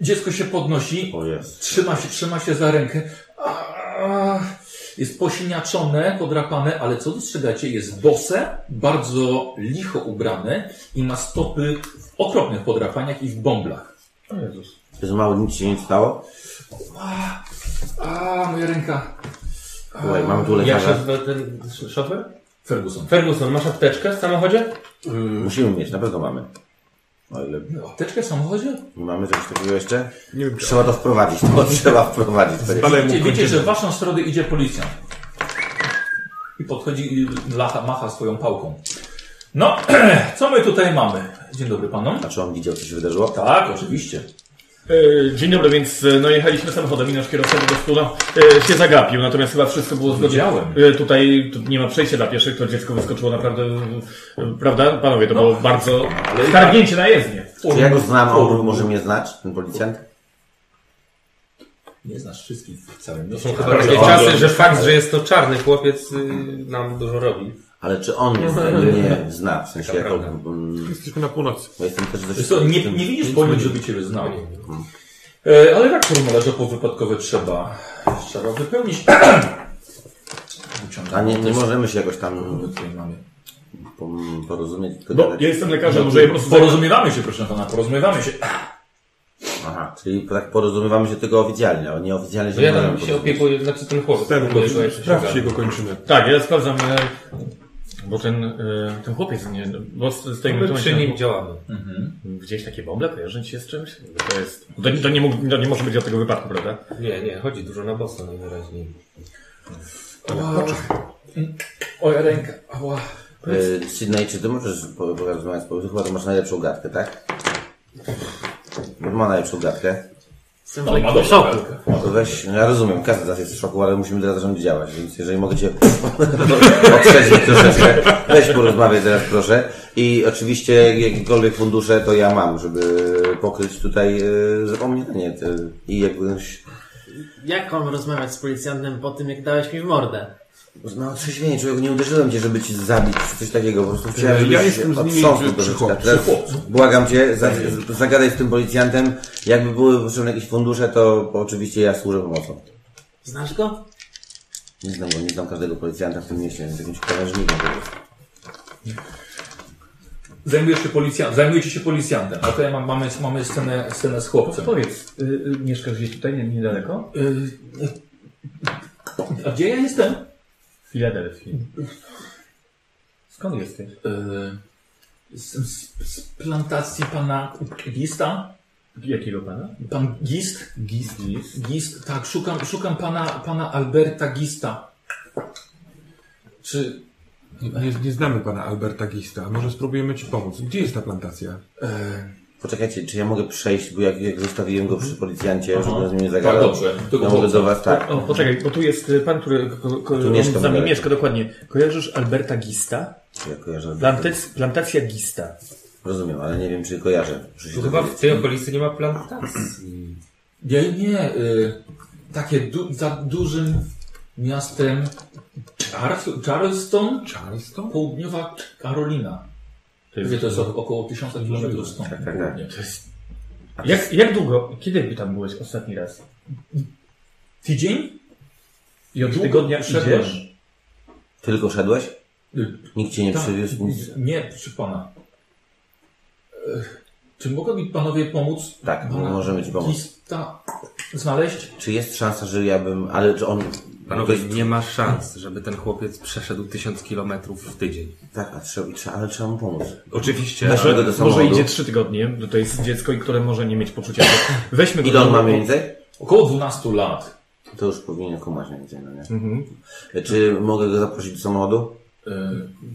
dziecko się podnosi,
O jest.
trzyma się, trzyma się za rękę. A, Jest posiniaczone, podrapane, ale co dostrzegacie, jest bose, bardzo licho ubrane i ma stopy w okropnych podrapaniach i w bomblach.
Przez mało nic się nie stało.
A, moja ręka.
Słuchaj, mam tu
Jak się
lekarza.
nazywa ten sz- szofer?
Ferguson.
Ferguson, masz apteczkę w samochodzie?
Musimy mieć, na pewno mamy. O ile
Apteczkę w samochodzie?
nie mamy czegoś takiego jeszcze? Nie wiem. Trzeba to [LAUGHS] wprowadzić. To trzeba wprowadzić.
Dalej
Wiecie,
mu
wiecie
kończymy.
że w waszą stronę idzie policjant. I podchodzi i lacha, macha swoją pałką. No, co my tutaj mamy? Dzień dobry panom.
A czy on widział, co się wydarzyło?
Tak, oczywiście.
E, Dzień dobry, więc e, no jechaliśmy samochodem i nasz kierowca po prostu no, e, się zagapił, natomiast chyba wszystko było zgodnie.
Widziałem.
E, Tutaj tu nie ma przejścia dla pieszych, to dziecko wyskoczyło naprawdę, e, prawda panowie, to było bardzo targnięcie na jezdnię.
Czy ja go znam, a on może mnie znać, ten policjant?
Nie znasz wszystkich w całym
To
mieście.
są chyba takie czasy, że fakt, że jest to czarny chłopiec y, nam dużo robi.
Ale czy on mnie zna? Nie, zna, w sensie jako...
Naprawdę.
mm,
Jesteśmy na północy.
Bo jestem też dość...
Wiesz co, nie, nie widzisz po nim, żeby ciebie znał. E, ale jak formularze powypadkowe trzeba, trzeba wypełnić. Wyciągam
A nie,
to
nie
z-
możemy się jakoś tam
do której mamy.
pom- porozumieć,
No,
tylko
Bo
gadać?
ja jestem lekarzem, może je po prostu...
Porozumiewamy się, proszę pana, porozumiewamy się.
Aha, czyli tak porozumiewamy się tylko oficjalnie, a nieoficjalnie się
No ja
nie
tam
możemy
się
porozumieć.
opiekuję, znaczy ten chłopiec.
Temu
opiekuje się
sprawdź
szpitalem.
jego kończynę.
Tak, ja sprawdzam, e, bo ten, e, ten chłopiec, nie, bo z, z tej
My
momentu-
przy
Mhm.
nim działamy. Mhm.
Gdzieś takie bąble kojarzy ci się z czymś? To jest... To, to, nie, mógł, to nie może być od tego wypadku, prawda?
Nie, nie, chodzi dużo na bossa najwyraźniej.
Oj, ręka. Ała.
Y, Sydney, czy ty możesz po- porozmawiać z Pawełem? Chyba to masz najlepszą gadkę, tak? Bo Ma najlepszą gadkę.
Jestem w lekkim szoku.
No to weź, no ja rozumiem, każdy z nas jest w szoku, ale musimy teraz zacząć działać, więc jeżeli mogę Cię [LAUGHS] odszerzyć troszeczkę, weź porozmawiaj teraz proszę. I oczywiście jakiekolwiek fundusze to ja mam, żeby pokryć tutaj e, zapomnienie te, i jakbyś
Jak mam rozmawiać z policjantem po tym, jak dałeś mi w mordę?
no otrzeźwienie, człowieku, nie uderzyłem Cię, żeby Ci zabić, czy coś takiego, po prostu chciałem,
Ja
żebyś
jestem
się
z nimi
otrząsnął
przy-
troszeczkę.
przy
Teraz błagam Cię, za, zagadaj z tym policjantem, jakby były potrzebne jakieś fundusze, to oczywiście ja służę pomocą.
Znasz go?
Nie znam go, nie znam każdego policjanta w tym mieście, jest jakimś krawężnikiem. po prostu.
Zajmujesz się policjantem, zajmujecie się policjantem. A tutaj mam, mamy, mamy scenę, scenę z chłopcem.
Powiedz, y, y, mieszkasz gdzieś tutaj, nie- niedaleko?
y, A gdzie ja jestem?
W Filadelfii. Skąd jesteś?
Y, z, z, z plantacji pana Gista.
Jakiego pana?
Pan Gist?
Gis, gis.
Gist, tak, szukam, szukam pana, pana Alberta Gista. Czy
Nie, nie, nie znamy pana Alberta Gista. Może spróbujemy ci pomóc. Gdzie jest ta plantacja?
Poczekajcie, czy ja mogę przejść, bo jak, jak zostawiłem go przy policjancie, żeby z nim nie
tak
zagadał,
dobrze?
to
To
ja mogę do was, tak.
O, poczekaj, bo tu jest y, pan, który ko, ko, on
mieszka
z nami
niedaleko.
mieszka, dokładnie. Kojarzysz Alberta Gista?
Tak.
Ja kojarzę.
Plantac, plantacja Gista.
Rozumiem, ale nie wiem, czy kojarzę. Muszę się
Tu chyba
dowiedzieć.
w tej okolicy nie ma plantacji.
Nie, nie, y, takie du, za dużym miastem Charles, Charleston,
Charleston?
południowa Karolina.
To
Gdzie to jest o- około 1000 km stąd.
Tak, tak, tak.
To jest... Jak, jak długo, kiedy tam byłeś ostatni raz?
Tydzień?
I od
Długo
tygodnia
szedłem.
idziesz?
Tylko szedłeś?
Y,
Nikt cię nie
tak.
przywiózł, nic.
Nie, proszę pana. Ech, Czy mogą mi panowie pomóc?
Tak,
Pana
możemy ci pomóc.
Gista znaleźć?
Czy jest szansa, że ja bym, ale czy on...
Panowie,
ktoś-
nie ma szans, żeby ten chłopiec przeszedł tysiąc kilometrów w tydzień. Znaczy,
Tak, a trzeba, trzeba, ale trzeba mu pomóc.
Oczywiście,
Nasz-
ale
do
Może
samochodu.
idzie trzy tygodnie, bo to jest dziecko, i które może nie mieć poczucia. Weźmy go
Ile on
do
ma
domu.
mniej więcej?
Około 12 lat.
To już powinien kumać mniej więcej, no nie? Czy mogę go zaprosić do samochodu?
Yy,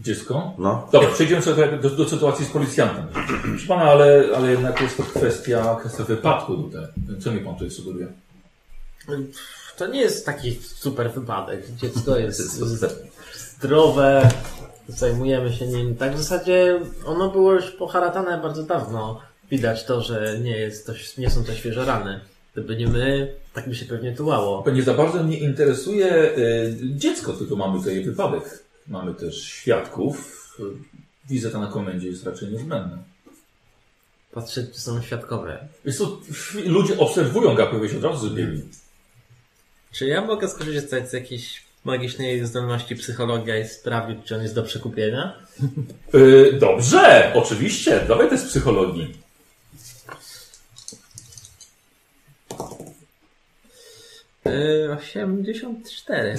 dziecko?
No.
Dobra, przejdziemy sobie do, do sytuacji z policjantem. Proszę pana, ale, ale jednak jest to kwestia, kwestia wypadku tutaj. Co mi pan tutaj sugeruje?
To nie jest taki super wypadek. [LAUGHS] Dziecko jest zdrowe, zajmujemy się nim. Tak w zasadzie ono było już poharatane bardzo dawno. Widać to, że nie, jest to, nie są to świeże rany. Gdyby nie my, tak by się pewnie tułało.
Nie za bardzo mnie interesuje y, dziecko, tylko mamy tutaj wypadek. Mamy też świadków. Y, Wizyta na komendzie jest raczej niezbędna.
Patrzę, czy są świadkowie.
Jest to, ludzie obserwują gapowie się od razu
Mm.
zbiegli.
Czy ja mogę skorzystać z jakiejś magicznej zdolności psychologa i sprawdzić, czy on jest do przekupienia?
Y, dobrze, oczywiście, dawaj test psychologii.
Yy, [LAUGHS] 84.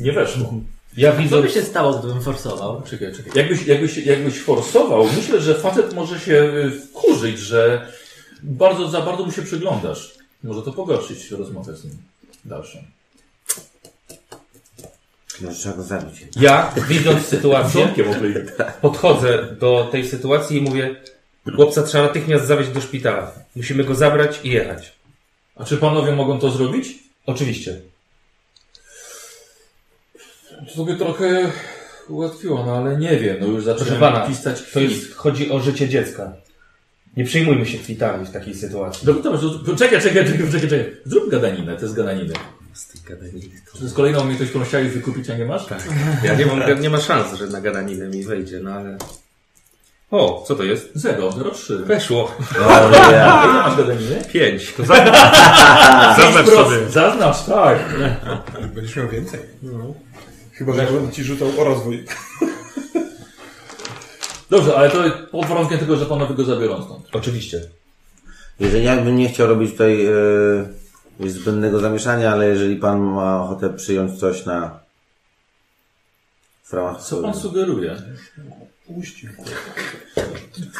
Nie weszło.
ja
Co
widzę...
by się stało, gdybym forsował?
Czekaj, czekaj. Jakbyś, jakbyś, jakbyś forsował, myślę, że facet może się y, wkurzyć, że bardzo, za bardzo mu się przyglądasz. Może to pogorszyć rozmowę z nim dalszą.
Może trzeba go zabić.
Ja, widząc sytuację, podchodzę do tej sytuacji i mówię: Chłopca trzeba natychmiast zawieźć do szpitala. Musimy go zabrać i jechać.
A czy panowie mogą to zrobić?
Oczywiście.
To sobie trochę ułatwiło, no ale nie wiem, no już
Proszę
zacząłem
pana,
pisać
to jest, chodzi o życie dziecka. Nie przejmujmy się kwitami w takiej sytuacji.
Dobra, dobra, to- czekaj, czekaj, czekaj, czekaj, czekaj. Zrób gadaninę, to jest gadaninę. To jest kolejna umiejętność, którą chciałeś wykupić, a nie masz? Tak.
Ja nie mam, nie ma szans, że na gadaninę mi wejdzie, no ale. O, co to jest?
Zero, zero, trzy.
Weszło.
O,
[LAUGHS]
nie.
Ile masz gadaniny?
Pięć.
Zaznacz sobie.
Zaznacz, tak. No.
Będziesz miał więcej. Chyba, że on ci rzucał o rozwój.
Dobrze, ale to pod warunkiem tego, że panowie go zabiorą stąd.
Oczywiście.
Jeżeli ja bym nie chciał robić tutaj e, zbędnego zamieszania, ale jeżeli pan ma ochotę przyjąć coś na w ramach
Co pan sugeruje?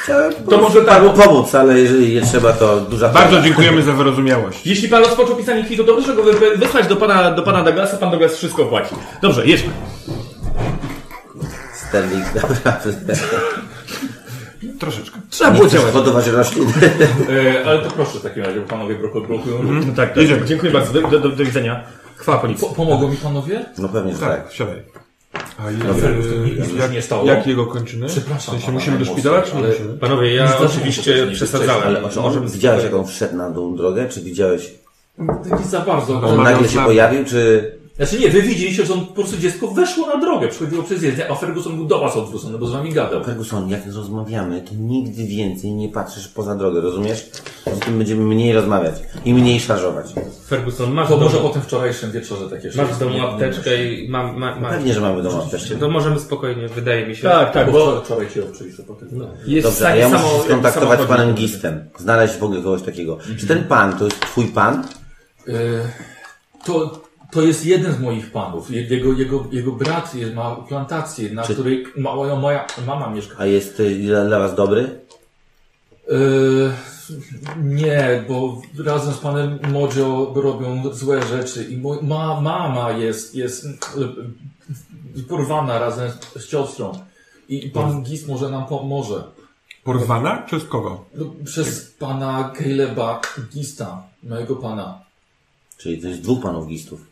Chciałem
To może tak.
panu pomóc, ale jeżeli nie trzeba, to duża
Bardzo dziękujemy za wyrozumiałość.
Jeśli pan rozpoczął pisanie kwitu, to proszę go wy- wysłać do pana, do pana Douglasa, pan Douglas wszystko płaci. Dobrze, jedźmy.
Sterling,
[LAUGHS]
naprawdę.
Troszeczkę.
Trzeba
Nie chcesz hodować roślin.
E, ale to proszę w takim razie, bo panowie broko- blokują.
No tak, tak.
Jedziemy.
Dziękuję bardzo, do, do, do, do widzenia. Chwała policji.
Po, pomogą mi panowie?
No pewnie, że tak.
Tak, wsiadaj. A je,
już
jak,
nie stało.
jak jego kończyny?
Przepraszam
W sensie
pana
musimy do
najmocniej,
szpitala, czy nie
ale-
musimy?
Panowie, ja
Zdarzyło się
oczywiście
wcześniej,
przesadzałem.
Ale czy on, widziałeś, jak on wszedł na tą drogę? Czy widziałeś?
To nie za bardzo. no,
Dobra.
On
Rozmawiał
nagle
z
się
nami.
pojawił, czy...
Znaczy nie, wy widzieliście, że on po prostu dziecko weszło na drogę, przechodziło przez jezdnię, a Ferguson był do was odwrócony, bo z wami gadał.
Ferguson, jak rozmawiamy, to nigdy więcej nie patrzysz poza drogę, rozumiesz? Z tym będziemy mniej rozmawiać i mniej szarżować.
Ferguson, masz
To
w
może
domu,
po tym wczorajszym wieczorze takie
masz w
Nie,
domu
nie
apteczkę i mam. Ma, ma,
Pewnie, że mamy doma też.
To możemy spokojnie, wydaje mi się.
Tak, tak,
Bo
bo
wczoraj- wczoraj się oczywiście potem.
jest w
Dobrze, a
stanie
ja muszę
samo...
się skontaktować z
samochodem.
panem Gistem. Znaleźć w ogóle kogoś takiego. Czy ten pan to jest twój pan?
E, To, to jest jeden z moich panów. Je- Jego, jego, jego brat jest, ma plantację, na
Czy-
której ma, moja, moja mama mieszka.
A jest y, dla, dla was dobry?
E, nie, bo razem z panem Modzio robią złe rzeczy i mo- ma, mama jest, jest e, porwana razem z, z siostrą. I pan Gis może nam pomoże.
Porwana? Przez kogo?
No, przez pana Caleba Gista, mojego pana.
Czyli to jest dwóch panów Gistów.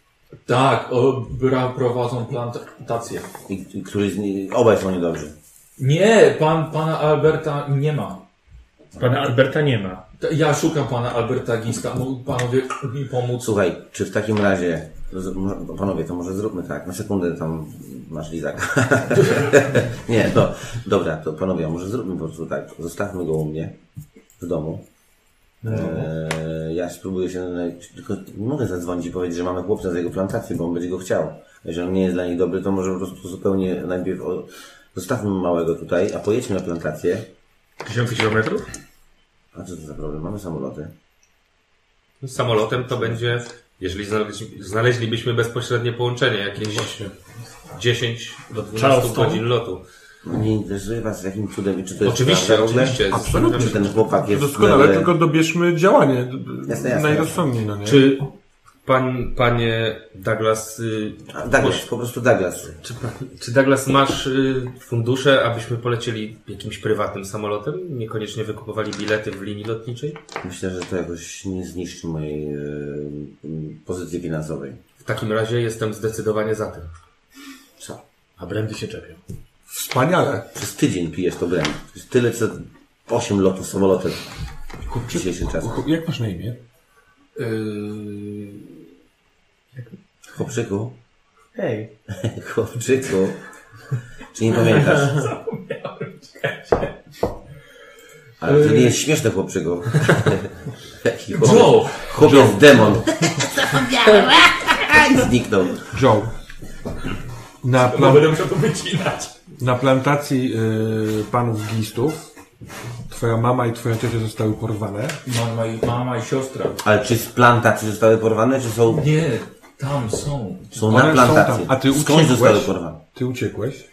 Tak, o, bra- prowadzą plantację.
I, i który z nich, obaj są niedobrzy.
Nie, pan, pana Alberta nie ma.
Pana Alberta nie ma.
T- Ja szukam pana Alberta Gista. Mógł panowie mi pomóc.
Słuchaj, czy w takim razie, z- mo- panowie, to może zróbmy tak, na sekundę tam masz lizak. [LAUGHS] Nie, no, dobra, to panowie, a może zróbmy po prostu tak, zostawmy go u mnie w domu. Eee, ja spróbuję się, na- tylko nie mogę zadzwonić i powiedzieć, że mamy chłopca z jego plantacji, bo on będzie go chciał. Jeżeli on nie jest dla niej dobry, to może po prostu zupełnie najpierw o... zostawmy małego tutaj, a pojedźmy na plantację.
Tysiące kilometrów?
A co to za problem? Mamy samoloty.
No, Samolotem to będzie, jeżeli znaleźli- znaleźlibyśmy bezpośrednie połączenie, jakieś 10 do 12
Charleston?
godzin lotu.
Nie interesuje was jakim cudem i czy to jest
Oczywiście,
prawda w ogóle?
oczywiście.
Czy ten chłopak jest
Doskonale,
nagle-
tylko dobierzmy działanie.
Jasne, jasne.
Najrozsądniej, no nie?
Czy pan, panie Douglas, y,
A, Douglas, po prostu Douglas.
czy, pan- czy Douglas masz y, fundusze, abyśmy polecieli jakimś prywatnym samolotem? Niekoniecznie wykupowali bilety w linii lotniczej?
Myślę, że to jakoś nie zniszczy mojej e, m, pozycji finansowej.
W takim razie jestem zdecydowanie za tym.
Co?
A brandy się czepią.
Wspaniale.
Przez tydzień pijesz to brand. To jest tyle, co 8 lotów samolotem w dzisiejszym czasie.
Jak masz na imię?
Yy,
Chłopczyku,
Hej.
[LAUGHS] chłopczyku. Czy nie pamiętasz? Zapomniałem, Ale to nie jest śmieszne, chłopczyku. Jaki
Joe!
chłopiec, chłopiec demon. [LAUGHS] Zniknął.
Joe. Na,
No
plan
będę musiał to wycinać.
na plantacji y, panów gistów twoja mama i twoja ciocia zostały porwane.
Mama i, mama i siostra.
Ale czy z plantacji zostały porwane, czy są,
Nie, tam są.
są na
One są
plantacji?
tam. A ty
Skąd zostały
uciekłeś?
porwane?
Ty uciekłeś.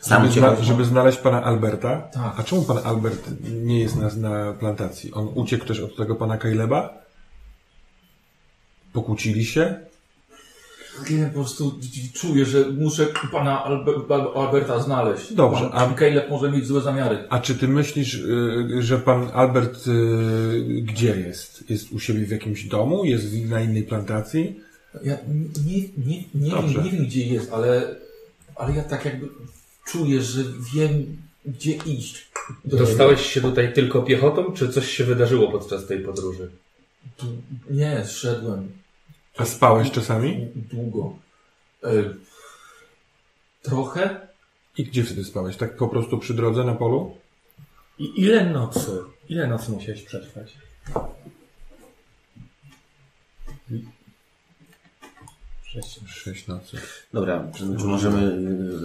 Sam
żeby,
uciekłeś?
zna, żeby znaleźć pana Alberta.
Tak.
A czemu pan Albert nie jest na, na plantacji? On uciekł też od tego pana Kajleba? Pokłócili się?
Caleb po prostu czuję, że muszę pana Albe- Al- Alberta znaleźć.
Dobrze,
Pan,
a-
Caleb może mieć złe zamiary.
A czy ty myślisz, y, że pan Albert y, gdzie jest? Jest u siebie w jakimś domu? Jest w- na innej plantacji?
Ja nie, nie, nie,
Dobrze.
wiem, nie wiem, gdzie jest, ale, ale ja tak jakby czuję, że wiem, gdzie iść. Do
Dostałeś się tutaj tylko piechotą, czy coś się wydarzyło podczas tej podróży?
Tu- Nie, szedłem
A spałeś czasami?
dłu- długo. E, trochę?
I gdzie wtedy spałeś? Tak po prostu przy drodze na polu?
I ile nocy? Ile nocy musiałeś przetrwać?
Sześć nocy.
Dobra, czy, czy możemy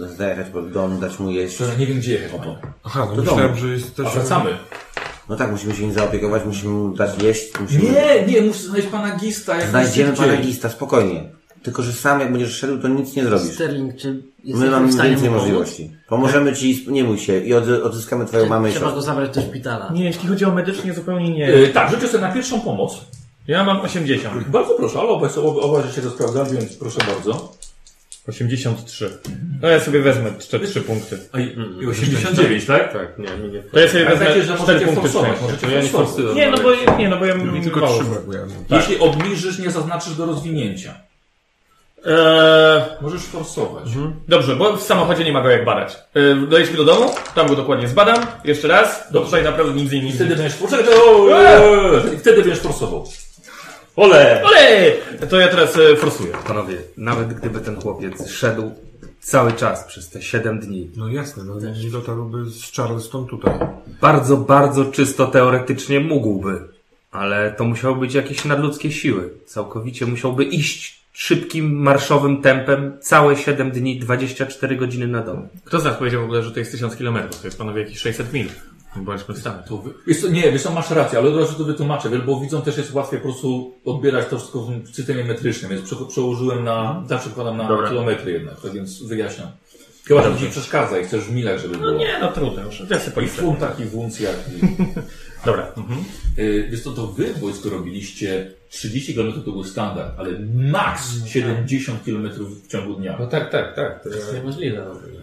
y, zajechać pod dom, dać mu jeść?
Szczerze, nie wiem, gdzie jechać.
Aha, no
Do
myślałem,
domu.
że jesteś...
A wracamy.
No tak, musimy się nim zaopiekować, musimy mu dać jeść, musimy...
Nie, nie, muszę znaleźć pana Gista. jak
Znajdziemy
najszybciej.
pana Gista, spokojnie. Tylko, że sam jak będziesz szedł, to nic nie zrobisz.
Sterling, czy jesteśmy
My
w
mamy
stanie
więcej
mu pomóc?
możliwości. Pomożemy ci, i sp- nie bój się, i odzy- odzyskamy twoją
Czy
mamę i
Trzeba go
siostrę.
zabrać do szpitala.
Nie, jeśli chodzi o medycznie, zupełnie nie.
E, tak, rzućcie sobie na pierwszą pomoc.
Ja mam 80.
Bardzo proszę, ale obaj, obaj, obaj się to sprawdza, więc proszę bardzo.
83. No ja sobie wezmę te 3 punkty.
A, i, i 89, tak?
Tak, nie, nie, nie.
To ja sobie
Ale
wezmę
wiecie, że
4
możecie
punkty
forsować,
szczęścia.
możecie
To ja nie
forsować.
forsuję. Nie, no bo, nie, no bo ja mam
Tylko
mało.
trzy brakuje.
Jeśli obniżysz, nie zaznaczysz do rozwinięcia.
Eee,
Możesz forsować.
Dobrze, bo w samochodzie nie ma go jak badać. Yy, dojedźmy do domu, tam go dokładnie zbadam, jeszcze raz, bo tutaj naprawdę nic nie
I
nic.
wtedy będziesz forsował. I wtedy będziesz forsował.
Ole!
Olej! To ja teraz e, forsuję.
Panowie, nawet gdyby ten chłopiec szedł cały czas przez te 7 dni,
No jasne, no nie dotarłby z Charleston tutaj.
bardzo, bardzo czysto teoretycznie mógłby, ale to musiały być jakieś nadludzkie siły. Całkowicie musiałby iść szybkim, marszowym tempem całe 7 dni, 24 godziny na dobę.
Kto z nas powiedział w ogóle, że to jest 1000 km? To jest panowie jakieś 600 mil. Nie Bądźmy w stanie.
To wy... wiesz co, nie, wiesz co, masz rację, ale od razu to wytłumaczę, wiesz, bo widzą też jest łatwiej po prostu odbierać to wszystko w systemie metrycznym, więc prze- przełożyłem na, zawsze przekładam na
Dobra.
kilometry jednak, tak więc wyjaśniam. Chyba, że ci przeszkadza i chcesz w milach, żeby było.
Nie, no trudno już. Ja sobie
I w
policzę.
funtach, i w uncjach. I...
Dobra.
Yy, Wiesz co, to wy w wojsku robiliście 30 km to był standard, ale max 70 km w ciągu dnia.
tak, tak, tak.
To jest niemożliwe w ogóle.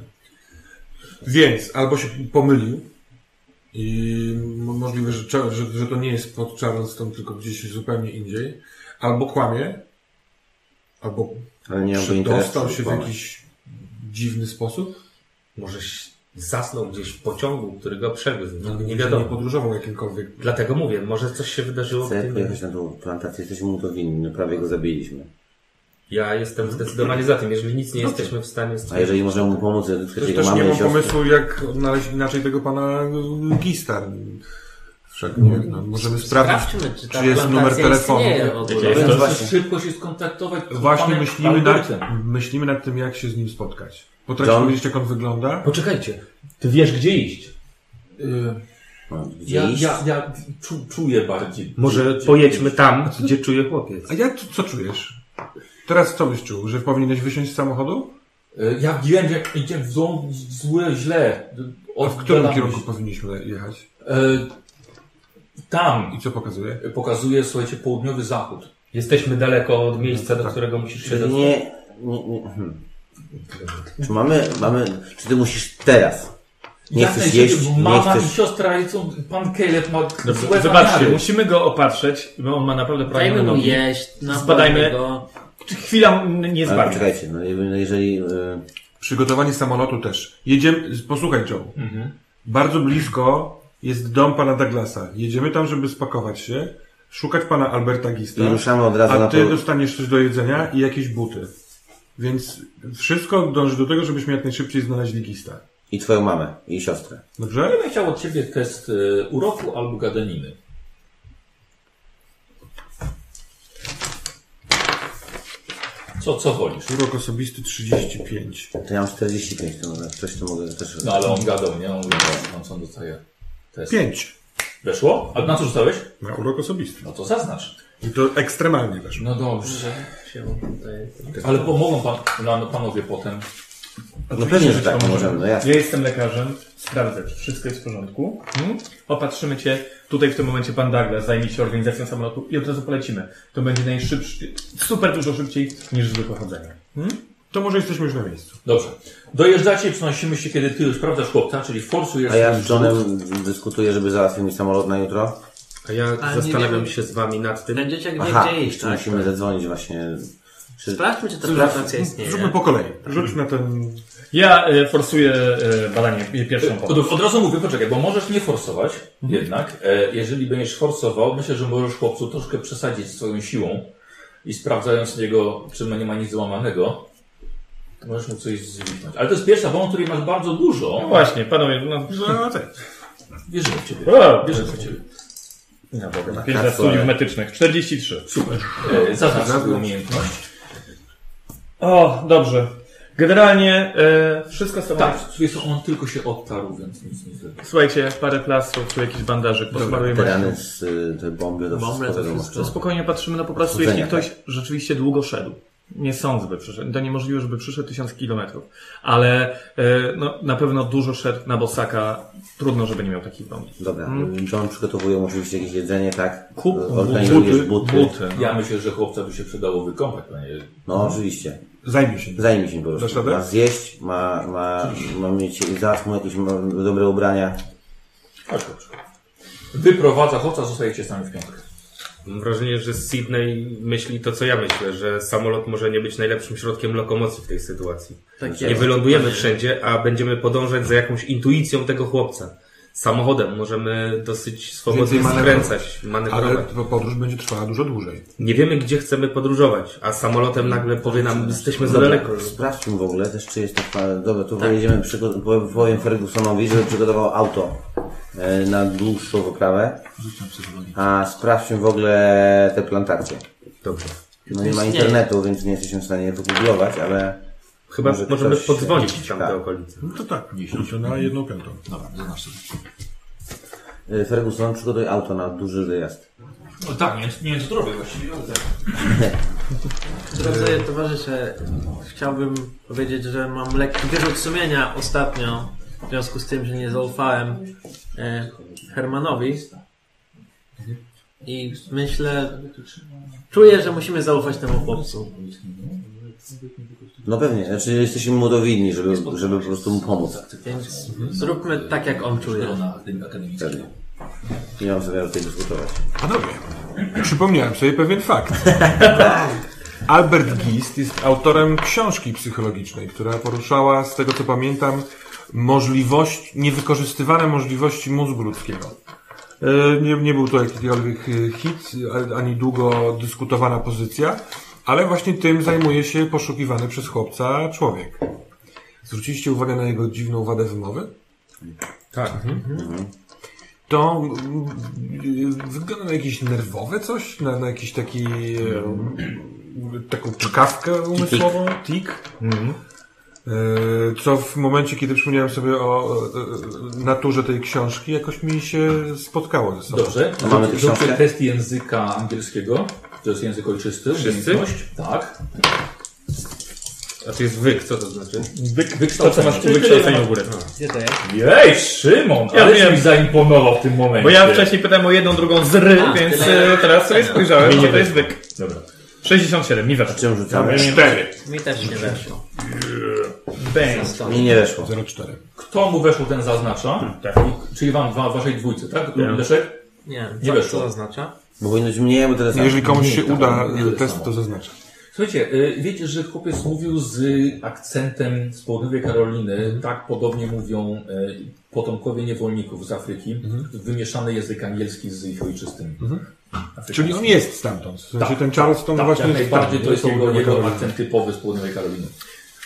Więc albo się pomylił i m- możliwe, że, cza- że, że to nie jest pod Charleston, tylko gdzieś zupełnie indziej, albo kłamie, albo
Ale nie miałby interesu.
dostał się w
kłamać.
jakiś dziwny sposób.
Może ś- zasnął gdzieś w pociągu, który go przewiózł.
No,
nie
Nie
wiadomo.
podróżował jakimkolwiek.
Dlatego mówię, może coś się wydarzyło w
Chce
tym.
pojechać na tą plantację, jesteśmy mu to winni, no prawie go zabiliśmy.
Ja jestem zdecydowanie za tym, jeżeli nic nie jesteśmy w stanie
A
stwierdzić.
jeżeli możemy mu pomóc, odzyskać
Też,
jego
też nie
mamę i
mam
siostrę.
pomysłu, jak odnaleźć inaczej tego pana Gistar. Wszak nie wiem, no, możemy sprawdzić,
Sprawdźmy, czy ta
czy jest numer
plantacja
telefonu.
istnieje w ogóle.
Więc
właśnie.
szybko się skontaktować z
Właśnie
panem
myślimy nad,
Albertem.
myślimy nad tym, jak się z nim spotkać. Potrafimy
John?
wiedzieć, jak on wygląda?
Poczekajcie, ty wiesz gdzie iść.
Yy,
No, Gdzie
Ja,
iść?
ja, ja czu, czuję bardziej.
Może
Gdzie-
pojedźmy tam, gdzie czuje chłopiec.
A jak, co czujesz? Teraz co byś czuł? Że powinieneś wysiąść z samochodu?
Yy, Ja wiem, jak idzie w złą, złe, źle.
A
Od
w którym kierunku powinniśmy jechać?
E, Tam.
I co pokazuje?
Yy, Pokazuje, słuchajcie, południowy zachód.
Jesteśmy daleko od miejsca,
Tak.
do którego musisz się
Czyli
dostać.
nie, nie, nie. Hmm. Czy mamy, mamy, czy ty musisz teraz? Nie
Jak
chcesz
najszybciej,
jeść,
bo
nie
Mama i
chcesz...
siostra jedzą, pan Caleb ma
Dobrze.
złe
Zobaczcie,
zamiary.
musimy go opatrzeć, bo on ma naprawdę
Dajmy
prawie
mu
nogi.
jeść, napójmy
Zbadajmy.
go.
Chwila n- nie
Ale
zbadam.
poczekajcie, no jeżeli- jeżeli... e,
Przygotowanie samolotu też. Jedziemy, posłuchaj Joe. Bardzo blisko jest dom pana Douglasa. Jedziemy tam, żeby spakować się, szukać pana Alberta Gista,
I ruszamy od razu
No. a
na
ty
południe.
dostaniesz coś do jedzenia i jakieś buty. Więc wszystko dąży do tego, żebyśmy jak najszybciej znaleźli Gista.
I twoją mamę, i siostrę.
Dobrze?
Ja bym chciał od Ciebie test y, uroku albo gadaniny. Co, co wolisz?
Urok osobisty 35.
To ja mam 45, to może coś to mogę też...
No ale on gadał, nie? On gadał, na co on dostaje test.
5.
Weszło? A na co rzucałeś?
Na urok osobisty.
No to zaznacz.
I to ekstremalnie weszło.
No dobrze. Ale pomogą pan, no, no panowie potem.
No pewnie, że tak, możemy, no jasne.
Ja jestem lekarzem, sprawdzę, czy wszystko jest w porządku.
Mhm.
Opatrzymy cię. Tutaj w tym momencie pan Douglas zajmie się organizacją samolotu i od razu polecimy. To będzie najszybszy, super dużo szybciej niż zwykłe chodzenie.
To może jesteśmy już na miejscu.
Dobrze. Dojeżdżacie i przenosimy się, kiedy ty już sprawdzasz chłopca, czyli forsujesz...
A ja
no,
już
z Johnem dyskutuję, żeby załatwił mi samolot na jutro.
A ja
A nie
zastanawiam
wiem.
się z wami nad tym.
Będziecie gdzie,
Aha,
gdzie iść,
czy
tak?
musimy zadzwonić właśnie. Czy...
Sprawdźmy, czy ta relacja istnieje.
Zróbmy po kolei. Rzuć na ten...
Ja e, forsuję e, badanie e, pierwszą pomoc.
Od, od razu mówię, poczekaj, bo możesz nie forsować,
Mhm.
jednak. E, jeżeli będziesz forsował, myślę, że możesz chłopcu troszkę przesadzić swoją siłą i sprawdzając jego, czy ma- nie ma nic złamanego, to możesz mu coś zwiknąć. Ale to jest pierwsza bomba, której masz bardzo
No
dużo.
właśnie, panowie, no...
No, tak.
Wierzymy w ciebie.
O,
Wierzymy w ciebie.
no dobra, pięć lat studiów medycznych, 43.
E, Zaznacz swoją umiejętność.
O, dobrze. Generalnie e, wszystko samo.
Tak, wiesz, co, on tylko się odtarł, więc nic nie zrobił.
Słuchajcie, parę plastów, tu jakiś bandażyk, posmarujemy.
Tereny z y, te bomby do
Bomby,
wszystko
to
wiadomo.
wszystko.
Spokojnie patrzymy na po prostu,
Chodzenia,
jeśli ktoś rzeczywiście długo szedł. Nie sądzę, by przyszedł. To niemożliwe, żeby przyszedł tysiąc kilometrów. Ale e, no, na pewno dużo szedł na bosaka. Trudno, żeby nie miał takich bomb.
Dobra,
Mhm.
John przygotowuje mu oczywiście jakieś jedzenie, tak?
Kup
Organizujesz buty.
buty. No,
Ja myślę, że chłopca by się przydało wykąpać, panie.
No oczywiście.
Zajmij się.
Zajmij się po
Dasz
prostu.
radę?
Ma zjeść, ma, ma, ma mieć, zaraz mu jakieś ma, dobre ubrania.
Chodź, chodź. Tak, Wyprowadza chłopca, zostajecie sami w piątkę.
Mam wrażenie, że Sydney myśli to, co ja myślę, że samolot może nie być najlepszym środkiem lokomocji w tej sytuacji.
Tak
Nie
jest.
wylądujemy wszędzie, a będziemy podążać za jakąś intuicją tego chłopca. Samochodem możemy dosyć swobodnie
Więcej
skręcać,
Ale
manewrować.
to podróż będzie trwała dużo dłużej.
Nie wiemy, gdzie chcemy podróżować, a samolotem nagle powie nam, jesteśmy za
Dobra,
daleko.
sprawdźmy w ogóle też, czy jest to... fa- Dobra, to pojedziemy, przygo- po- powiem Fergusonowi, żeby przygotował auto e, na dłuższą wyprawę. A sprawdźmy w ogóle te plantacje.
Dobrze.
No nie ma
Istnieje.
internetu, więc nie jesteśmy w stanie wygooglować, ale...
Chyba
Może
możemy
ktoś się-
podzwonić tam
tak.
do okolicy.
No to tak, jeśli się na jedną piątą.
e, Ferguson, przygotuj auto na duży wyjazd.
No tak, nie, nie zdrowie właściwie.
Drodzy towarzysze, chciałbym powiedzieć, że mam lekki wyrzut sumienia ostatnio, w związku z tym, że nie zaufałem e, Hermanowi. I myślę, czuję, że musimy zaufać temu chłopcu.
No pewnie, znaczy jesteśmy mu dowinni, żeby, żeby po prostu mu pomóc.
Więc zróbmy tak, jak on czuje.
Pewnie. Nie mam zamiaru tutaj dyskutować.
Panowie, przypomniałem sobie pewien fakt. Albert Gist jest autorem książki psychologicznej, która poruszała, z tego co pamiętam, możliwość, niewykorzystywane możliwości mózgu ludzkiego. E, Nie, nie był to jakikolwiek e, hit, a- ani długo dyskutowana pozycja, ale właśnie tym zajmuje się poszukiwany przez chłopca człowiek. Zwróciliście uwagę na jego dziwną wadę wymowy?
Tak.
To mm, y, wygląda na jakieś nerwowe coś, na, na jakiś taki e, taką czkawkę umysłową, tik. E, Co w momencie, kiedy przypomniałem sobie o e, e, naturze tej książki, jakoś mi się spotkało ze sobą.
Dobrze.
A mamy
Zrób-
tę książkę?
Zróbcie test języka angielskiego. To jest język ojczysty.
Wszyscy?
umiejętność. Tak.
A to jest wyk, co to znaczy?
Wyk, wykształcenie. To co masz tu wykształcenie w górę.
Gdzie to jest?
Jej, Szymon!
Ja
Ale ja
wiem.
mi zaimponował w tym momencie.
Bo ja wcześniej pytałem o jedną, drugą z ry,
A,
więc
tyle.
e, teraz sobie spojrzałem, że to jest wyk.
Dobra.
67, mi weszło.
Czym rzucamy?
Cztery.
Mi też nie weszło.
Bang.
Mi nie weszło.
04.
Kto mu weszło, ten zaznacza.
Tak.
I- Czyli wam, wa, waszej dwójce, tak? Leszek?
Nie,
Nie
co-
weszło.
Co to oznacza?
Bo powinno być mniej, bo teraz...
Jeżeli komuś
Nie,
się
tak,
uda
nie,
e,
to
test,
samo.
to zaznaczę.
Słuchajcie, y, wiecie, że chłopiec mówił z akcentem z południowej Karoliny. Tak podobnie mówią y, potomkowie niewolników z Afryki.
Mhm.
Wymieszany język angielski z ich ojczystym. Afrykańskim.
Czyli on jest stamtąd. W sensie
Tak.
ten Charleston
Tak,
właśnie
jak
jest
najbardziej
tam,
to jest
nie?
jego, jego
Karolina.
akcent typowy z południowej Karoliny.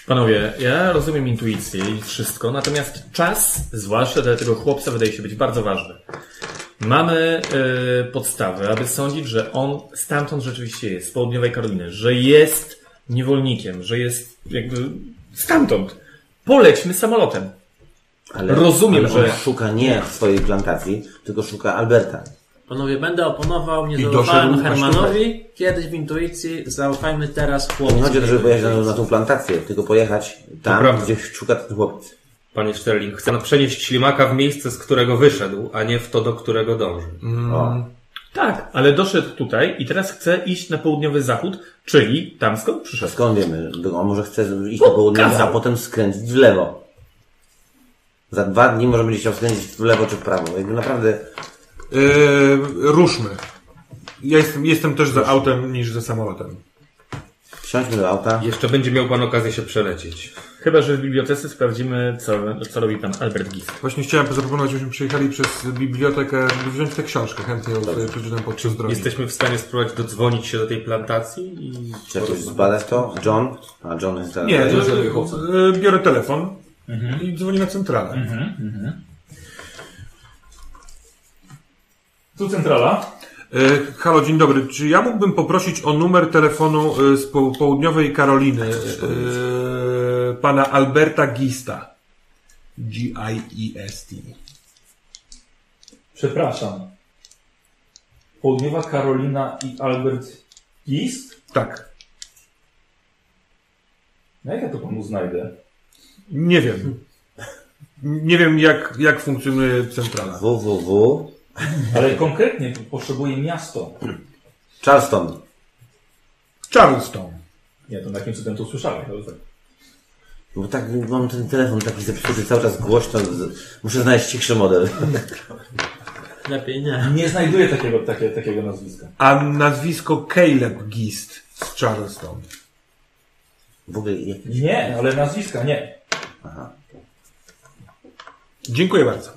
Panowie, ja rozumiem intuicję i wszystko, natomiast czas, zwłaszcza dla tego chłopca, wydaje się być bardzo ważny. Mamy e, podstawy, aby sądzić, że on stamtąd rzeczywiście jest, z południowej Karoliny, że jest niewolnikiem, że jest jakby stamtąd. Polećmy samolotem.
Ale
Rozumiem,
ale on
że-
szuka nie swojej plantacji, tylko szuka Alberta.
Panowie, będę oponował, nie
I
zaufałem
doszedł aż
Hermanowi. Kiedyś w intuicji, zaufajmy teraz
To
chłopcu.
nie chodzi o to, żeby pojechać na, na tą plantację, tylko pojechać tam,
prawda.
gdzie szuka ten chłopiec.
Panie Sterling, chcę przenieść ślimaka w miejsce, z którego wyszedł, a nie w to, do którego dąży.
O.
Tak, ale doszedł tutaj i teraz chce iść na południowy zachód, czyli tam skąd
A
przyszedł.
skąd wiemy? Do- On może chce iść na południe, a potem skręcić w lewo. Za dwa dni może będzie chciał skręcić w lewo czy w prawo. Jakby naprawdę
Yy, ruszmy. Ja jestem, jestem też za autem niż za samolotem.
wsiądźmy do auta.
Jeszcze będzie miał pan okazję się przelecieć.
Chyba, że w bibliotece sprawdzimy, co, co robi pan Albert Gist.
Właśnie chciałem zaproponować, żebyśmy przyjechali przez bibliotekę, by wziąć tę książkę. Chętnie ją sobie przeczytam podczas drogi.
Jesteśmy w stanie spróbować dodzwonić się do tej plantacji i...
Czy jakoś zbadać to? John? A John jest zaraz.
Nie,
Nie.
to- Mhm. yy, biorę telefon i dzwonię na centralę.
Tu centrala.
E, Halo, dzień dobry. Czy ja mógłbym poprosić o numer telefonu e, z po- południowej Karoliny e, pana Alberta Gista? E G-I-E-S-T.
Przepraszam. Południowa Karolina i Albert East?
Tak.
No jak ja to panu znajdę?
Nie wiem. Nie wiem, jak, jak funkcjonuje centrala.
www.
Ale konkretnie potrzebuję miasto.
Charleston.
Charleston.
Nie, to na jakim cudem to usłyszałem, ale tak.
Bo tak mam ten telefon taki zepsuty cały czas głośno. z- Muszę znaleźć cichszy model.
Lepiej nie.
Nie znajduję takiego, takie, takiego nazwiska.
A nazwisko Caleb Gist z Charleston.
W ogóle jak...
Nie, ale nazwiska nie.
Dziękuję bardzo.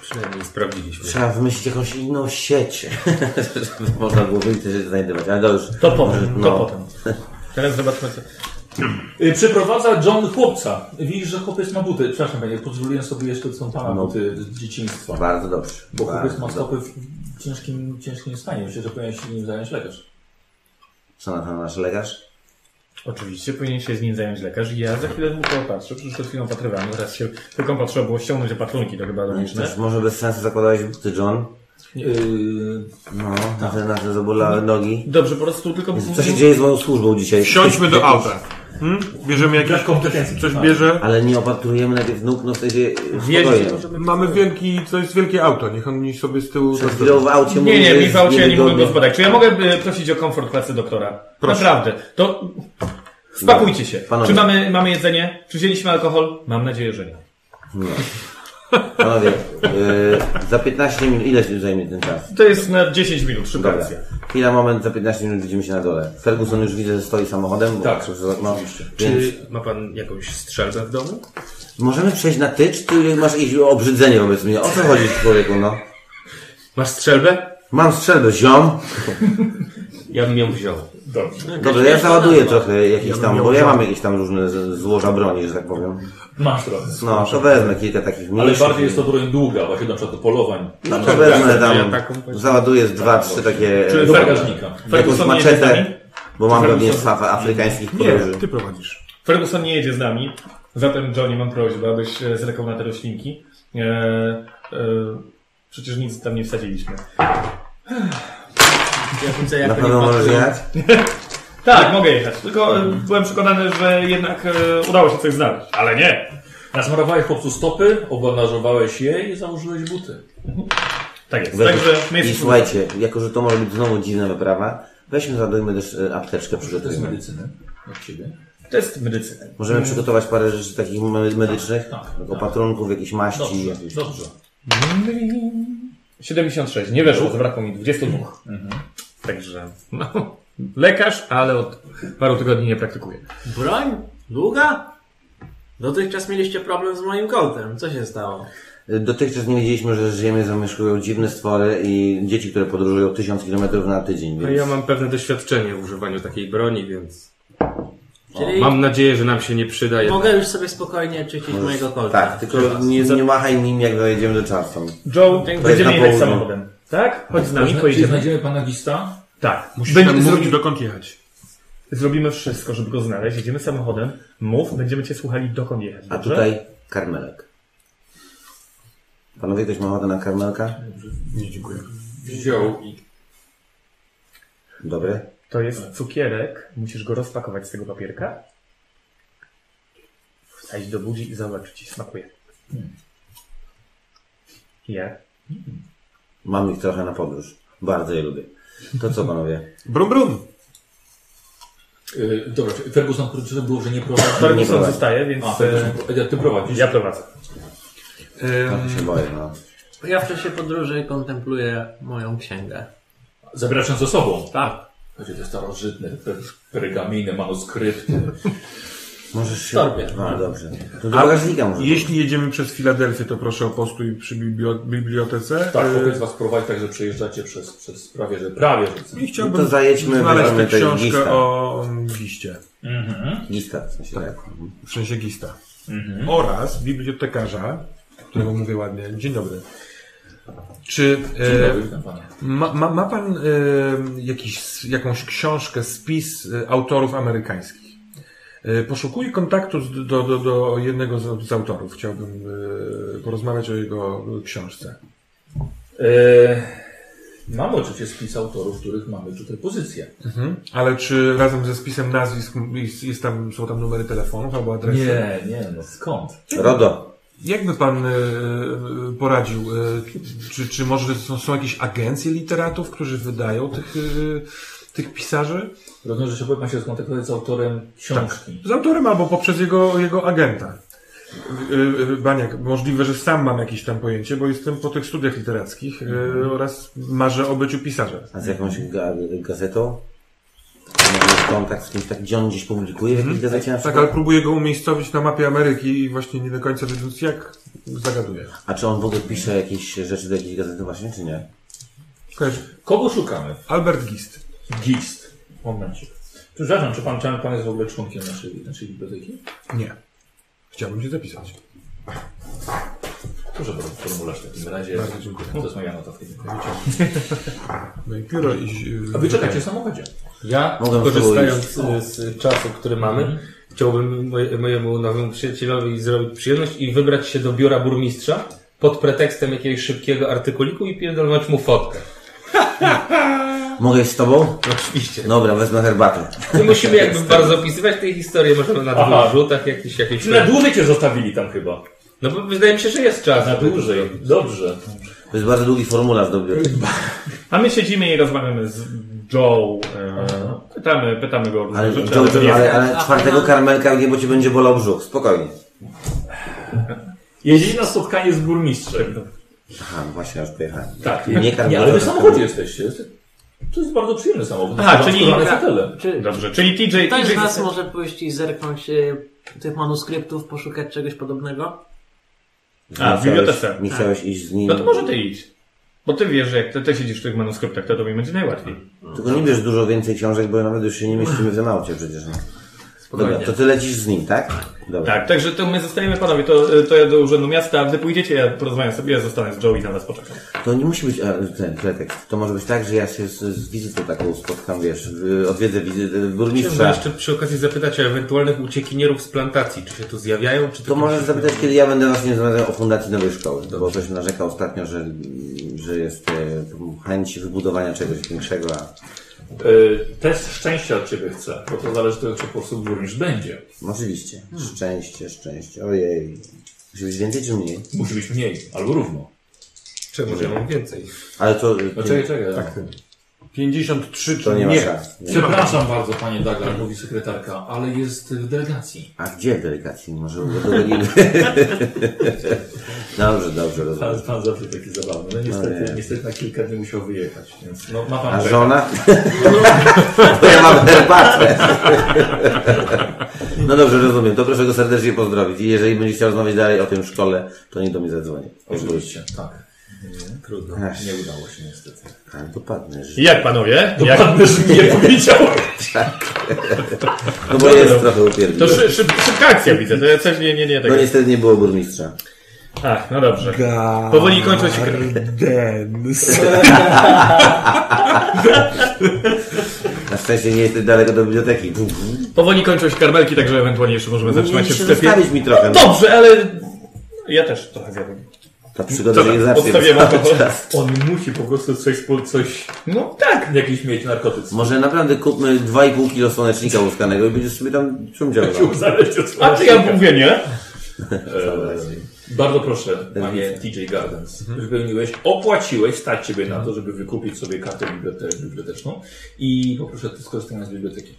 Przynajmniej no, sprawdziliśmy.
trzeba wymyślić jakąś inną sieć. [LAUGHS] żeby Można było więcej rzeczy znajdować. Ale dobrze.
To potem,
No.
to potem. Teraz zobaczmy, co...
Y, Przyprowadza John chłopca. Widzisz, że chłopiec ma buty. Przepraszam, panie, pozwoliłem sobie jeszcze, co są pana
No. Tak,
buty z dzieciństwa.
Bardzo dobrze.
Bo chłopiec
Bardzo
ma
dobrze.
stopy w ciężkim, ciężkim stanie. Myślę, że powinien się nim zająć lekarz.
Co na to nasz lekarz?
Oczywiście powinien się z nim zająć lekarz i ja za chwilę mu to opatrzę. Przecież przed chwilą patrywałem, teraz się tylko potrzeba było ściągnąć opatrunki, to chyba
Też
logiczne.
może bez sensu zakładałeś buty, John.
Yy,
No, na
tak.
te, na te zabolałe
Mhm.
nogi.
Y, Dobrze, po prostu tylko...
Co się dzieje z moją służbą dzisiaj?
Wsiądźmy do auta. Tak. Hmm? Bierzemy jakieś...
Brak kompetencji.
Coś bierze?
Ale nie opatrujemy najpierw nóg, no wtedy spokojnie.
Jeździ-
Mamy wielki, to jest wielkie auto, niech on niech sobie z tyłu...
Przed chwilą w aucie
Nie,
mówi, że
nie, mi
jest
w aucie ja nie mogłem
niewygodnie.
go spadać. Czy ja mogę e, prosić o komfort klasy doktora?
Proszę.
Naprawdę. To spakujcie się.
Panowie.
Czy mamy, mamy jedzenie? Czy wzięliśmy alkohol? Mam nadzieję, że nie.
Panowie, y, za 15 minut, ile się zajmie ten czas?
To jest na 10 minut, szybka
Dobra.
akcja.
Chwila, moment, za 15 minut widzimy się na dole. Ferguson już widzę, że stoi samochodem. Bo
Tak,
no, więc
Czy ma pan jakąś strzelbę w domu?
możemy przejść na ty, czy ty masz jakieś obrzydzenie wobec mnie? O co chodzi człowieku, no?
Masz strzelbę?
Mam strzelbę, ziom.
Ja bym ją wziął.
Dobrze, ja załaduję trochę jakieś tam, bo ja mam jakieś tam różne z- złoża broni, że tak powiem.
masz trochę.
No, to wezmę kilka takich
Ale
mniejszych.
bardziej jest to broń długa, właśnie na przykład do polowań.
No to wezmę tam,
taką powiedzmy.
załaduję z dwa, trzy takie...
Do bagażnika.
jakąś
Ferguson nie jedzie z nami?
maczetę, bo mam
Ferguson-
pewnie szafę afrykańskich
Nie,
podróży.
ty prowadzisz.
Ferguson nie jedzie z nami, zatem Johnny mam prośbę, abyś e, zerkał na te roślinki. E, e, przecież nic tam nie wsadziliśmy.
Ja widzę, jak
Na
oni
pewno możesz
patrzą.
jechać?
Tak, mogę jechać, tylko e, byłem przekonany, że jednak e, udało się coś znaleźć. Ale nie!
Nasmarowałeś chłopcu stopy, obanażowałeś je i założyłeś buty.
Tak jest.
Weź-
Także my
I
jesteśmy...
słuchajcie, jako że to może być znowu dziwna wyprawa, weźmy, zadojmy też e, apteczkę,
To jest
przygotujemy.
medycyny. Od ciebie.
To jest medycyna.
Możemy przygotować parę rzeczy takich me- medycznych,
Tak, tak.
opatrunków, jakieś maści.
Dobrze, dobrze.
76, nie weszło, zabrakło mi 22. Mhm. Także no, lekarz, ale od paru tygodni nie praktykuję.
Broń? Długa? Dotychczas mieliście problem z moim kołtem. Co się stało?
E, Dotychczas nie wiedzieliśmy, że Ziemię zamieszkują dziwne stwory i dzieci, które podróżują 1000 km na tydzień,
No ja
więc
mam pewne doświadczenie w używaniu takiej broni, więc
Czyli
mam nadzieję, że nam się nie przyda. jednak.
mogę już sobie spokojnie czyścić mojego kolca.
tak, tylko nie, nie machaj nim, jak dojedziemy do Charleston.
Joe,
na
będziemy jechać
południe.
samochodem. Tak? Chodź z nami,
Czyli
pojedziemy.
znajdziemy pana Gista?
Tak.
Musisz
Będzie-
nam mówić,
zrobi-
dokąd jechać.
Zrobimy wszystko, żeby go znaleźć. Jedziemy samochodem. Mów, będziemy cię słuchali, dokąd jechać.
A
dobrze?
tutaj karmelek. Panowie, ktoś ma ochotę na karmelka?
Nie, dziękuję.
Wziął i
Dobry.
To jest cukierek. Musisz go rozpakować z tego papierka. Wsadzić do budzi i zobacz, czy ci smakuje. Ja.
Mam ich trochę na podróż. Bardzo je lubię. To co, panowie?
Brum, brum.
Yy, dobra, czy- Ferguson, czy to było, że nie prowadzi?
Ferguson zostaje, więc...
A,
e,
Ferguson, ja ty prowadzisz.
Ja prowadzę.
Trochę się boję, no.
Ja w czasie podróży kontempluję moją księgę.
Zabierasz ją ze sobą.
Tak.
Chodzi te starożytne pe- pergaminy, manuskrypty.
Możesz się...
Torbie.
No.
A, dobrze. To do bagażnika może.
Jeśli jedziemy przez Filadelfię, to proszę o postój przy biblio- bibliotece.
Tak,
E,
chłopiec was prowadzi, tak, że przejeżdżacie przez, przez prawie, że prawie, że...
I chciałbym
No to zajedźmy,
znaleźć
wyrwamy
tę
tego
książkę
lista.
o mm, giście.
Giska, w sensie tak.
W sensie gista.
Mhm.
Oraz bibliotekarza, którego mówię ładnie. Dzień dobry. Czy
Dzień
e,
dobry, witam pana.
ma, ma, ma pan e, jakiś, jakąś książkę, spis e, autorów amerykańskich? E, Poszukuję kontaktu z, do, do, do jednego z, z autorów. Chciałbym e, porozmawiać o jego książce.
E, Mamy oczywiście spis autorów, których mamy tutaj pozycję.
Mhm. Ale czy razem ze spisem nazwisk jest, jest tam, są tam numery telefonów albo adresy?
Nie, nie, no skąd?
Rodo,
Jakby pan e, poradził, e, czy, czy może są, są jakieś agencje literatów, którzy wydają tych, e, tych pisarzy?
Rozumiem, że się powinien się skontaktować z autorem książki.
Z autorem albo poprzez jego, jego agenta. E, e, Baniak, możliwe, że sam mam jakieś tam pojęcie, bo jestem po tych studiach literackich e,
Mhm.
oraz marzę o byciu pisarzem.
a z jakąś ga gazetą? Mamy kontakt z kimś tak, gdzie on gdzieś publikuje w jakiejś gazecie na
Tak, ale
przykład?
próbuję go umiejscowić na mapie Ameryki i właśnie nie do końca wiedząc jak, zagaduję.
A czy on w ogóle pisze jakieś rzeczy do jakiejś gazety właśnie, czy nie?
Kojarz,
Kogo szukamy?
Albert Gist.
Gist. Momencik. Przepraszam, czy pan, czy pan jest w ogóle członkiem naszej, naszej biblioteki?
Nie. Chciałbym się zapisać.
Proszę bardzo, formularz w takim razie.
Bardzo dziękuję.
No, to jest moja notatka.
No i pióro i...
A wy czekacie w samochodzie.
Ja,
Mogę
korzystając z, z czasu, który mamy, chciałbym moje, mojemu nowemu przyjacielowi zrobić przyjemność i wybrać się do biura burmistrza pod pretekstem jakiegoś szybkiego artykuliku i pierdolnąć mu fotkę.
Mogę iść z tobą?
Oczywiście.
Dobra, wezmę herbatę.
Nie [LAUGHS] musimy jakby bardzo opisywać tej historii, możemy na
Aha.
dwóch rzutach jakiś, jakiś...
Czy na dłużej cię zostawili tam chyba?
No bo wydaje mi się, że jest czas.
Tak.
Na
żeby to
dłużej.
zrobić.
Dobrze.
To jest bardzo długi formularz do biblioteki.
A my siedzimy i rozmawiamy z Joe. E, pytamy, pytamy go o różne
Ale,
[LAUGHS] rzeczy.
Joe,
nie-
Joe, ale, ale czwartego karmelka nie, bo ci będzie bolał brzuch. Spokojnie.
Jeździli na spotkanie z burmistrzem.
Aha, no właśnie, ja już pojechałem.
Tak,
Nie
nie,
karmię
ale wy w
to-
samochodzie jesteście. To jest bardzo przyjemny samochód.
Aha, czyli-
Skórzane fotele.
Czy
Dobrze, czyli TJ...
ktoś
TJ
z nas może pójść i zerknąć e, tych manuskryptów, poszukać czegoś podobnego?
A, w bibliotece.
Nie chciałeś iść z nim.
No to może ty idź. Bo ty wiesz, że jak ty, ty siedzisz w tych manuskryptach, to tobie będzie najłatwiej.
Tylko nie bierz dużo więcej książek, bo nawet już się nie mieścimy w tym aucie przecież. no. Dobra, to ty lecisz z nim, tak? Dobra.
Tak, także to my zostajemy panowie, to, to ja do urzędu miasta, a wy pójdziecie, ja porozmawiam sobie, ja zostanę z Joe i na was poczekam.
To nie musi być e, ten pretekst. To może być tak, że ja się z, z wizytą taką spotkam, wiesz, y, odwiedzę wizytę
Chciałbym
burmistrza.
jeszcze przy okazji zapytać o ewentualnych uciekinierów z plantacji. Czy się tu zjawiają, czy
To
tylko
możesz
się-
zapytać, kiedy ja będę właśnie rozmawiał o fundacji nowej szkoły, bo ktoś narzeka ostatnio, że, że jest e, chęć wybudowania czegoś większego, a
Y, Test szczęścia od ciebie chcę, bo to zależy od tego, czy po prostu burmistrz będzie.
no oczywiście, szczęście, szczęście, ojej. Musi być więcej czy mniej?
Musi być mniej, albo równo.
Czemu, że ja mam więcej?
Ale to, y,
No
ty-
czekaj, czekaj.
Tak. 53
to
czy
nie
nie?
ma szans. Nie.
Przepraszam bardzo, panie Daglar, mówi sekretarka, ale jest w delegacji.
A gdzie delegacji? Może udowodnimy. [LAUGHS] dobrze, dobrze, rozumiem.
Pan, pan zawsze taki zabawny. No niestety, niestety na kilka dni musiał wyjechać, więc no, ma pan
A
czeka.
żona? [LAUGHS] To ja mam herbatę. No dobrze, rozumiem. To proszę go serdecznie pozdrowić. I jeżeli będzie chciał rozmawiać dalej o tym szkole, to niech do mnie zadzwoni.
Oczywiście, tak. Mm, Trudno,
Ech.
nie udało się niestety.
Tak, dopadnę. że-
Jak panowie? Jak?
Też nie powiedział.
No bo jest trochę upierdliwy.
To szy, szyb, szybka akcja widzę, to ja coś nie, nie, nie
No
tego.
niestety nie było burmistrza.
Ach, no dobrze. Powoli kończą się...
Na szczęście nie jesteś daleko do biblioteki. Bum, bum.
Powoli kończą się karmelki, także ewentualnie jeszcze możemy
No Nie
zatrzymać się w
się
sklepie.
zostawić mi trochę.
Dobrze, ale... Ja też trochę zjadłem.
Ta przygoda się nie zacznie.
Odstawiam
cały
alkohol.
czas.
On musi po prostu coś, po- coś no tak, jakiś mieć narkotycy.
Może naprawdę kupmy 2,5 kilo słonecznika łuskanego i będziesz sobie tam ciumdział.
[LAUGHS] Uzależnić od Eee,
A ty ja mówię,
[LAUGHS]
nie?
Bardzo proszę, panie
Widzę.
TJ Gardens. Wypełniłeś, opłaciłeś, stać ciebie na to, żeby wykupić sobie kartę bibliote- biblioteczną i poproszę o skorzystanie z biblioteki.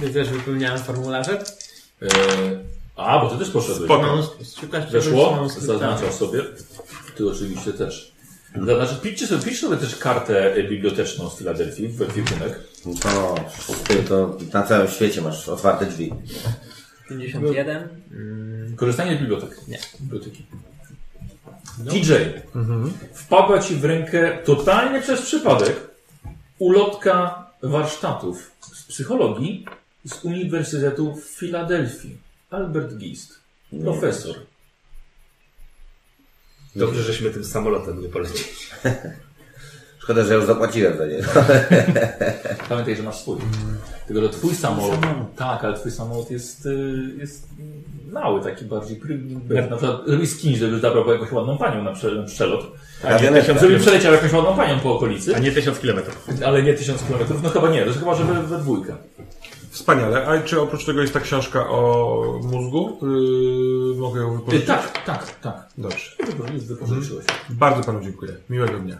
Ty też wypełniałem formularze?
Eee, a, bo ty też poszedłeś.
Mam z 13
Weszło?
mam z-
Zaznaczasz sobie. Ty oczywiście też. Zaznaczasz, piszcie sobie, pisz sobie też kartę e, biblioteczną z Filadelfii, w ekwipunek.
No, ty to na całym świecie masz otwarte drzwi.
51.
Korzystanie z bibliotek.
Nie.
Biblioteki. DJ. Wpadła ci w rękę totalnie przez przypadek ulotka warsztatów z psychologii z Uniwersytetu w Filadelfii. Albert Gist. Profesor.
Dobrze, żeśmy tym samolotem nie polecieli.
Szkoda, że ja już zapłaciłem za nie.
Pamiętaj, że masz swój. Tylko, że twój samolot. Tak, ale twój samolot jest, y, jest mały, taki bardziej. pry- Na przykład, żebyś skin, żeby zabrał po jakąś ładną panią na prze- przelot.
Awionetka.
Żeby przeleciał jakąś ładną panią po okolicy,
A nie tysiąc kilometrów.
ale nie tysiąc kilometrów. No chyba nie, to chyba, że we, we dwójkę.
Wspaniale. A czy oprócz tego jest ta książka o mózgu? Yy, mogę ją
Y,
wypożyczyć?
tak, tak, tak.
Dobrze.
Dobrze, nic wypożyczyłeś.
Mhm.
Bardzo panu dziękuję. Miłego dnia.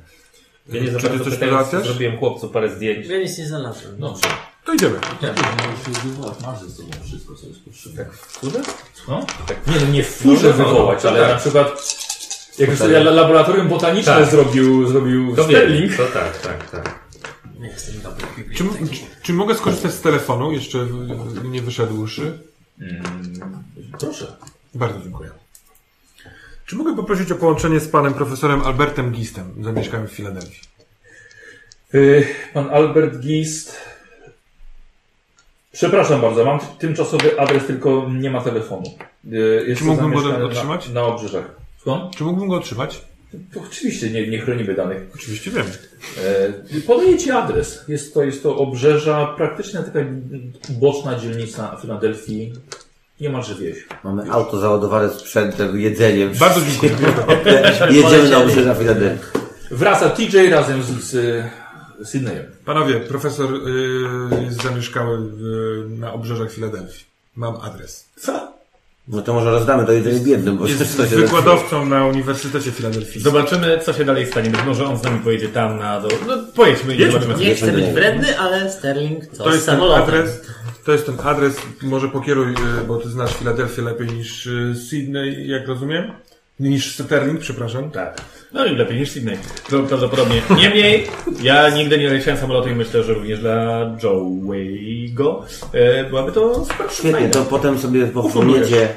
Ja nie za
Czy ty
bardzo
coś
pytając,
podacasz?
Zrobiłem chłopcu parę zdjęć.
Ja nic nie znalazłem.
Dobrze.
Tak.
To idziemy.
Nie, możesz już wywołać, masz ze sobą wszystko, co jest potrzebne. Tak, w furze? No? Tak. Nie, no nie w furze
No, no,
wywołać,
to
ale
tak.
na przykład jak już sobie la- laboratorium botaniczne
Tak.
zrobił, zrobił
To wiem,
Sterling.
To tak, tak, tak.
Nie jestem dobry.
Czy, czy, czy mogę skorzystać z telefonu, jeszcze w- nie wyszedłszy?
Proszę.
Bardzo dziękuję. Czy mogę poprosić o połączenie z panem profesorem Albertem Gistem? Zamieszkałem w Filadelfii.
Y, Pan Albert Gist. Przepraszam bardzo, mam t- tymczasowy adres, tylko nie ma telefonu. Y, Jest
Czy mógłbym go
zamieszkany
otrzymać?
Na, na obrzeżach. Słucham?
Czy mógłbym go otrzymać?
To oczywiście nie, nie chronimy danych.
Oczywiście wiem.
E, Podaję Ci adres. Jest to, jest to obrzeża, praktycznie taka boczna dzielnica Filadelfii. Niemalże wieś.
Mamy auto załadowane sprzętem, jedzeniem.
Bardzo
[LAUGHS]
dziękuję.
Jedziemy na obrzeża Filadelfii.
Wraca TJ razem z, z y, Sydneyem.
Panowie, profesor yy, jest zamieszkały w, na obrzeżach Filadelfii. Mam adres.
No to może rozdamy to jedzenie biednym, bo
Jest
coś się
wykładowcą na Uniwersytecie Filadelfijskim.
Zobaczymy, co się dalej stanie. Być może on z nami pojedzie tam na dół. No pojedźmy i
Jedźmy.
zobaczymy. co-
Nie chcę być wredny, ale Sterling co
To
z
jest ten
samolotem.
adres. To jest ten adres. Może pokieruj, y, bo ty znasz Filadelfię lepiej niż y, Sydney, jak rozumiem? Niż Sterling, przepraszam.
Tak. No i lepiej niż Sydney. To prawdopodobnie. Niemniej, ja nigdy nie leciałem samolotem i myślę, że również dla Joe'ego e, byłaby to super
Świetnie,
frajda.
to potem sobie pochłoniecie e,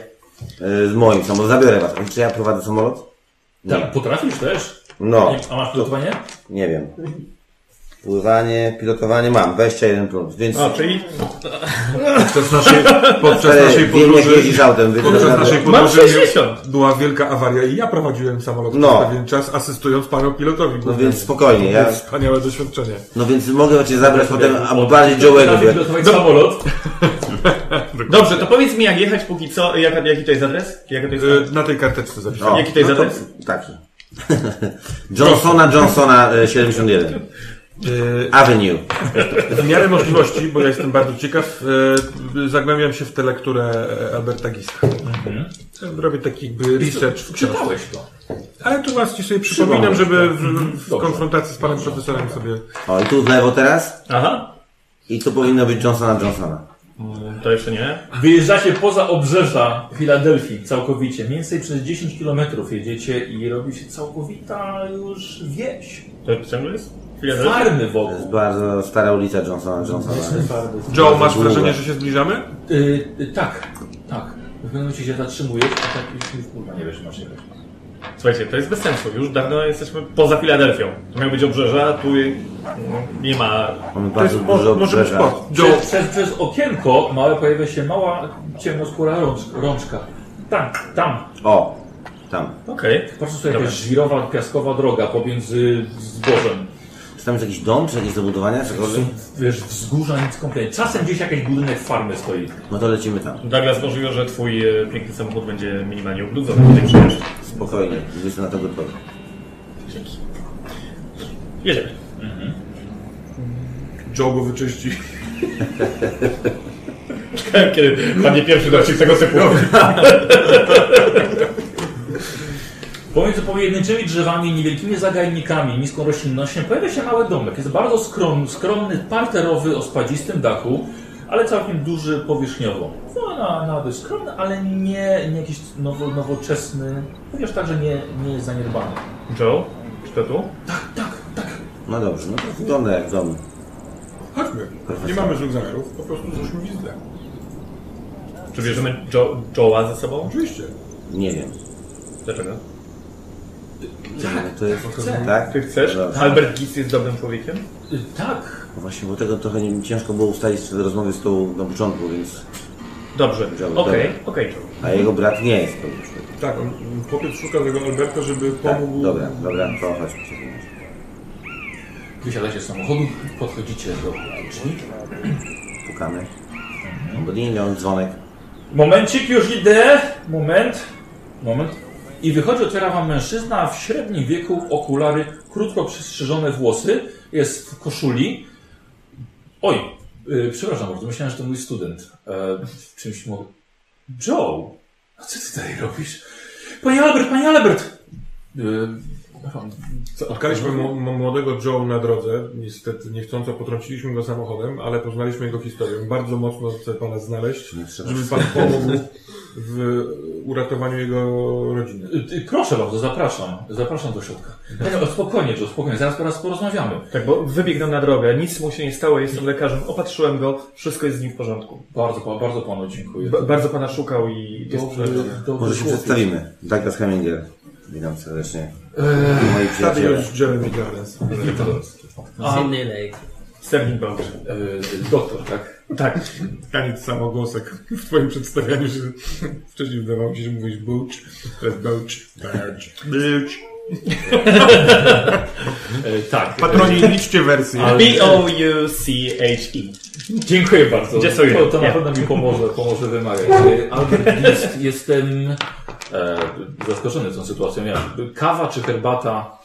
z moim samolotem. Zabiorę was. Czy ja prowadzę samolot?
Tak,
Nie.
potrafisz też?
No,
A masz pilotowanie?
nie wiem. Pływanie, pilotowanie mam, 21 plus, więc
No,
O, czyli
[LAUGHS]
Podczas naszej, podczas
Ale
naszej
wiem jak
podróży,
jeździć autem, więc
podczas
naprawdę...
naszej
mam
podróży
60!
była wielka awaria i ja prowadziłem samolot
No.
przez pewien czas, asystując panu pilotowi.
No więc spokojnie, ja...
Wspaniałe doświadczenie.
No więc mogę cię zabrać potem, a bardziej Joe'ego.
Pilotować [LAUGHS] samolot.
Dobrze, to powiedz mi jak jechać póki co, jaka, jaki to jest adres? Jaka to jest...
Y, Na tej karteczce zapisałem.
O, no
Jaki to jest
to
adres?
Taki. [LAUGHS] Johnsona, Johnsona e, 71.
Y,
Avenue.
W miarę możliwości, bo ja jestem bardzo ciekaw, y, zagłębiam się w tę lekturę e, Alberta Gista. Robię taki jakby research w książce.
Czytałeś to.
Ale tu właśnie sobie przypominam, No. żeby w, w konfrontacji z panem profesorem sobie...
O, i tu w lewo teraz.
Aha,
I tu powinno być Johnsona, Johnsona.
to jeszcze nie.
Wyjeżdżacie poza obrzeża Filadelfii całkowicie. Mniej więcej przez 10 km jedziecie i robi się całkowita już wieś.
To ciągle jest? Filadelfia?
Farmy
To jest
wokół.
bardzo stara ulica Johnsona, Johnsona.
Farmy.
Joe, masz
długo.
wrażenie, że się zbliżamy?
Y, y, tak, tak. W pewnym momencie się zatrzymujesz, a tak już, już kurwa nie wiesz, masz nie wiesz.
Słuchajcie, to jest bez sensu. Już dawno jesteśmy poza Filadelfią. To miał być obrzeża, a tu y, no, nie ma...
Mamy
To jest
bardzo dużo
po, może być
obrzeża.
po. Joe,
Przez, przez, przez okienko małe pojawia się mała, ciemnoskóra rącz, rączka. Tam, tam.
O, tam.
Okej.
Patrzę sobie jakaś żwirowa, piaskowa droga pomiędzy zbożem.
Czy tam jest jakiś dom, czy jakieś zabudowania, cokolwiek?
Wiesz, wzgórza nic kompletnie. Czasem gdzieś jakiś budynek farmy stoi.
No to lecimy tam.
Douglas możliwe, że twój e, piękny samochód będzie minimalnie ubrudzony, tutaj przyjeżdżasz.
Spokojnie, jestem na to gotowy.
Jedziemy.
Joe go wyczyści.
Czekałem, kiedy padnie pierwszy dowcip tego typu.
Pomiędzy pojedynczymi drzewami i niewielkimi zagajnikami, niską roślinnością pojawia się mały domek. Jest bardzo skromny, skromny parterowy o spadzistym dachu, ale całkiem duży powierzchniowo. No, na, na dość skromny, ale nie, nie jakiś nowo, nowoczesny, chociaż także nie, nie jest zaniedbany.
Joe, czy to tu?
No dobrze, no to wygląda jak dom.
Chodźmy. Nie mamy złych zamiarów, po prostu zrzućmy wizdę.
Czy bierzemy Joe, Joe'a ze sobą?
Oczywiście.
Nie wiem.
Dlaczego?
Tak, to jest... Tak?
Ty chcesz?
No dobrze.
Albert Gis jest dobrym człowiekiem?
Y, Tak,
No Właśnie, bo tego trochę nie, ciężko było ustalić w rozmowie z tą na początku, więc...
Dobrze,
Joe,
okej, okej Joe.
A jego brat nie jest pewnym człowiekiem.
Tak, on, mm, chłopiec szuka tego Alberta, żeby
Tak,
pomógł...
dobra, dobra, to chodźmy się.
Wysiadacie z samochodu, podchodzicie do drzwi.
Pukamy.
Mhm.
No bo nie miał dzwonek.
Momencik, już idę. Moment. Moment. I wychodzi, otwiera wam mężczyzna w średnim wieku, okulary, krótko przystrzyżone włosy, jest w koszuli. Oj, yy, przepraszam bardzo, myślałem, że to mój student. E, w czymś mu... Joe, a co ty tutaj robisz? Panie Albert, panie Albert! Y, Yy,
Spotkaliśmy mo- mo- młodego Joe na drodze, niestety niechcąco potrąciliśmy go samochodem, ale poznaliśmy jego historię. Bardzo mocno chcę pana znaleźć, żeby pan pomógł w uratowaniu jego rodziny.
Y, y, Proszę bardzo, zapraszam. Zapraszam do środka. Nie, no, spokojnie, Joe, spokojnie, zaraz po raz porozmawiamy.
Tak, bo wybiegł nam na drogę, nic mu się nie stało, jestem lekarzem, opatrzyłem go, wszystko jest z nim w porządku.
Bardzo, pa- bardzo panu dziękuję.
Ba- bardzo pana szukał i jest
Dobrze,
przyleczony.
dobrze.
Może się przedstawimy. Douglas Heminger. Witam serdecznie.
Eee,
Moi
Wtedy
przyjaciele.
już Jeremy Gardens.
Z innej lejki.
Sterling Bauer.
E, Doktor, tak?
Tak,
Taniec samogłosek. W twoim przedstawianiu się... Wcześniej wydawało mi się, że mówisz Bouch, teraz Bouch. Bouch.
E, tak.
Patroni, liczcie wersję.
B-O-U-C-H-E.
Dziękuję bardzo.
Gdzie są
To, to na
je?
pewno mi pomoże, pomoże wymagać. E, Albert, jest, jestem e, zaskoczony tą sytuacją. Ja, kawa czy herbata?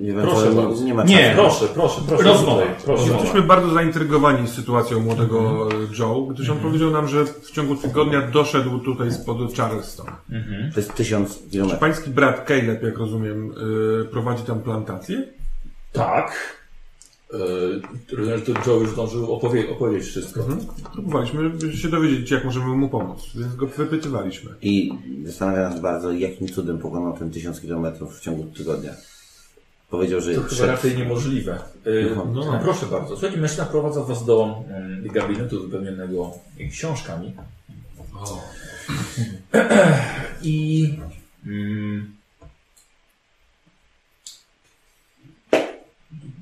Nie wiem,
Proszę
co,
bardzo.
nie ma
Nie.
czasu.
Proszę, proszę, proszę.
Rozmowa.
Tutaj, Proszę.
Jesteśmy bardzo zaintrygowani sytuacją młodego e, Joe, gdyż on powiedział nam, że w ciągu tygodnia doszedł tutaj spod Charleston.
To jest tysiąc kilometrów.
Pański brat Caleb, jak rozumiem, y, prowadzi tam plantację.
Tak. E, Rozumiem, że to Joe już zdążył opowie- opowiedzieć wszystko.
Próbowaliśmy się dowiedzieć, jak możemy mu pomóc, więc go wypytywaliśmy.
I zastanawia nas bardzo, jakim cudem pokonał ten tysiąc kilometrów w ciągu tygodnia. Powiedział, że
To chyba
szedł
raczej niemożliwe. Y,
No,
no.
Proszę bardzo. Słuchajcie, mężczyzna prowadza was do mm, gabinetu wypełnionego książkami. [CLEARS THROAT] I mm,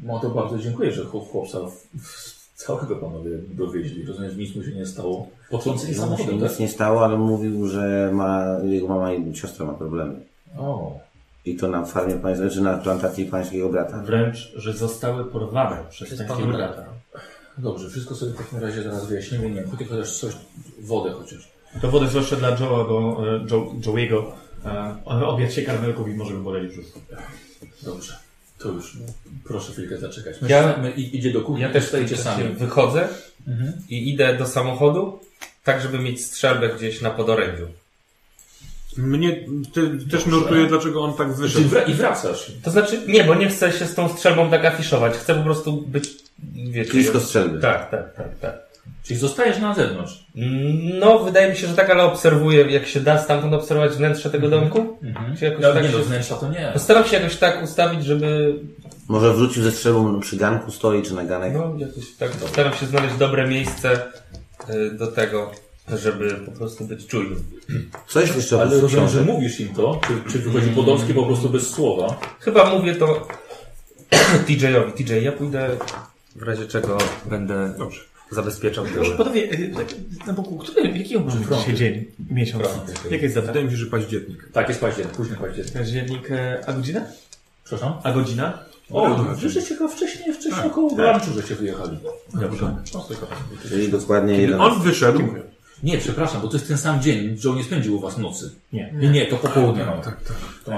no to bardzo dziękuję, że chłop- chłopca w- w- całego panowie dowieźli. Rozumiem, że nic mu się nie stało. Potrącenie
No, się
samochodem, tak?
nic nie stało, ale mówił, że ma, jego mama i siostra ma problemy.
tak? O.
I to na farmie pańskiej, czy na plantacji pańskiego brata.
Wręcz, że zostały porwane przez
Przez
pańskiego
pana
brata.
Dobrze, wszystko sobie w takim razie zaraz wyjaśnimy. Nie wiem, chociaż- chociaż coś, wodę chociaż.
To wodę zwłaszcza dla Joe'a, bo e, Joe, Joe'ego e, obiad się karmelków i może by boleli brzuch.
Dobrze. To już no, proszę chwilkę zaczekać. Ja, my, i- idzie do kuchni,
Ja też
stajecie sami.
wychodzę
Mhm.
i idę do samochodu, tak żeby mieć strzelbę gdzieś na podorędziu.
Mnie te, też nurtuje, dlaczego on tak
Czyli
wyszedł.
wra- I wracasz.
To znaczy, nie, bo nie chcę się z tą strzelbą tak afiszować. Chcę po prostu być, wiecie...
Blisko strzelby.
Tak, tak, tak, tak.
Czyli zostajesz na zewnątrz.
Mm, No, wydaje mi się, że tak, ale obserwuję, jak się da stamtąd obserwować wnętrze tego domku. Czy jakoś
No,
tak
nie
się...
do wnętrza to nie.
Postaram się jakoś tak ustawić, żeby...
Może wrócił ze strzelbą przy ganku stoi, czy na ganek.
No, jakoś tak staram się znaleźć dobre miejsce y, do tego, żeby po prostu być czujnym.
Coś jeszcze
Ale
oprócz
rozumiem, że
książek.
mówisz im to, czy, czy wychodzi Podomski po prostu bez słowa.
Chyba mówię
[CLEARS THROAT]
to TJ-owi. TJ, ja pójdę w razie czego będę
Dobrze.
zabezpieczał tę
Proszę panowie, e, tak na boku, który, jaki on może być dzisiaj dzień, miesiąc? Jaka jest data?
Wydaje mi się, że październik.
Tak, jest październik, późny październik.
Październik, e, a godzina?
Przepraszam?
A godzina?
O, wyżej ciekawe, wcześniej, wcześniej około Glancu, żeście wyjechali. Dobrze.
Czyli dokładnie
Kiedy
jeden.
on wyszedł,
Nie, przepraszam, bo to jest ten sam dzień. Joe nie spędził u was nocy. Nie. Nie, nie to po południu.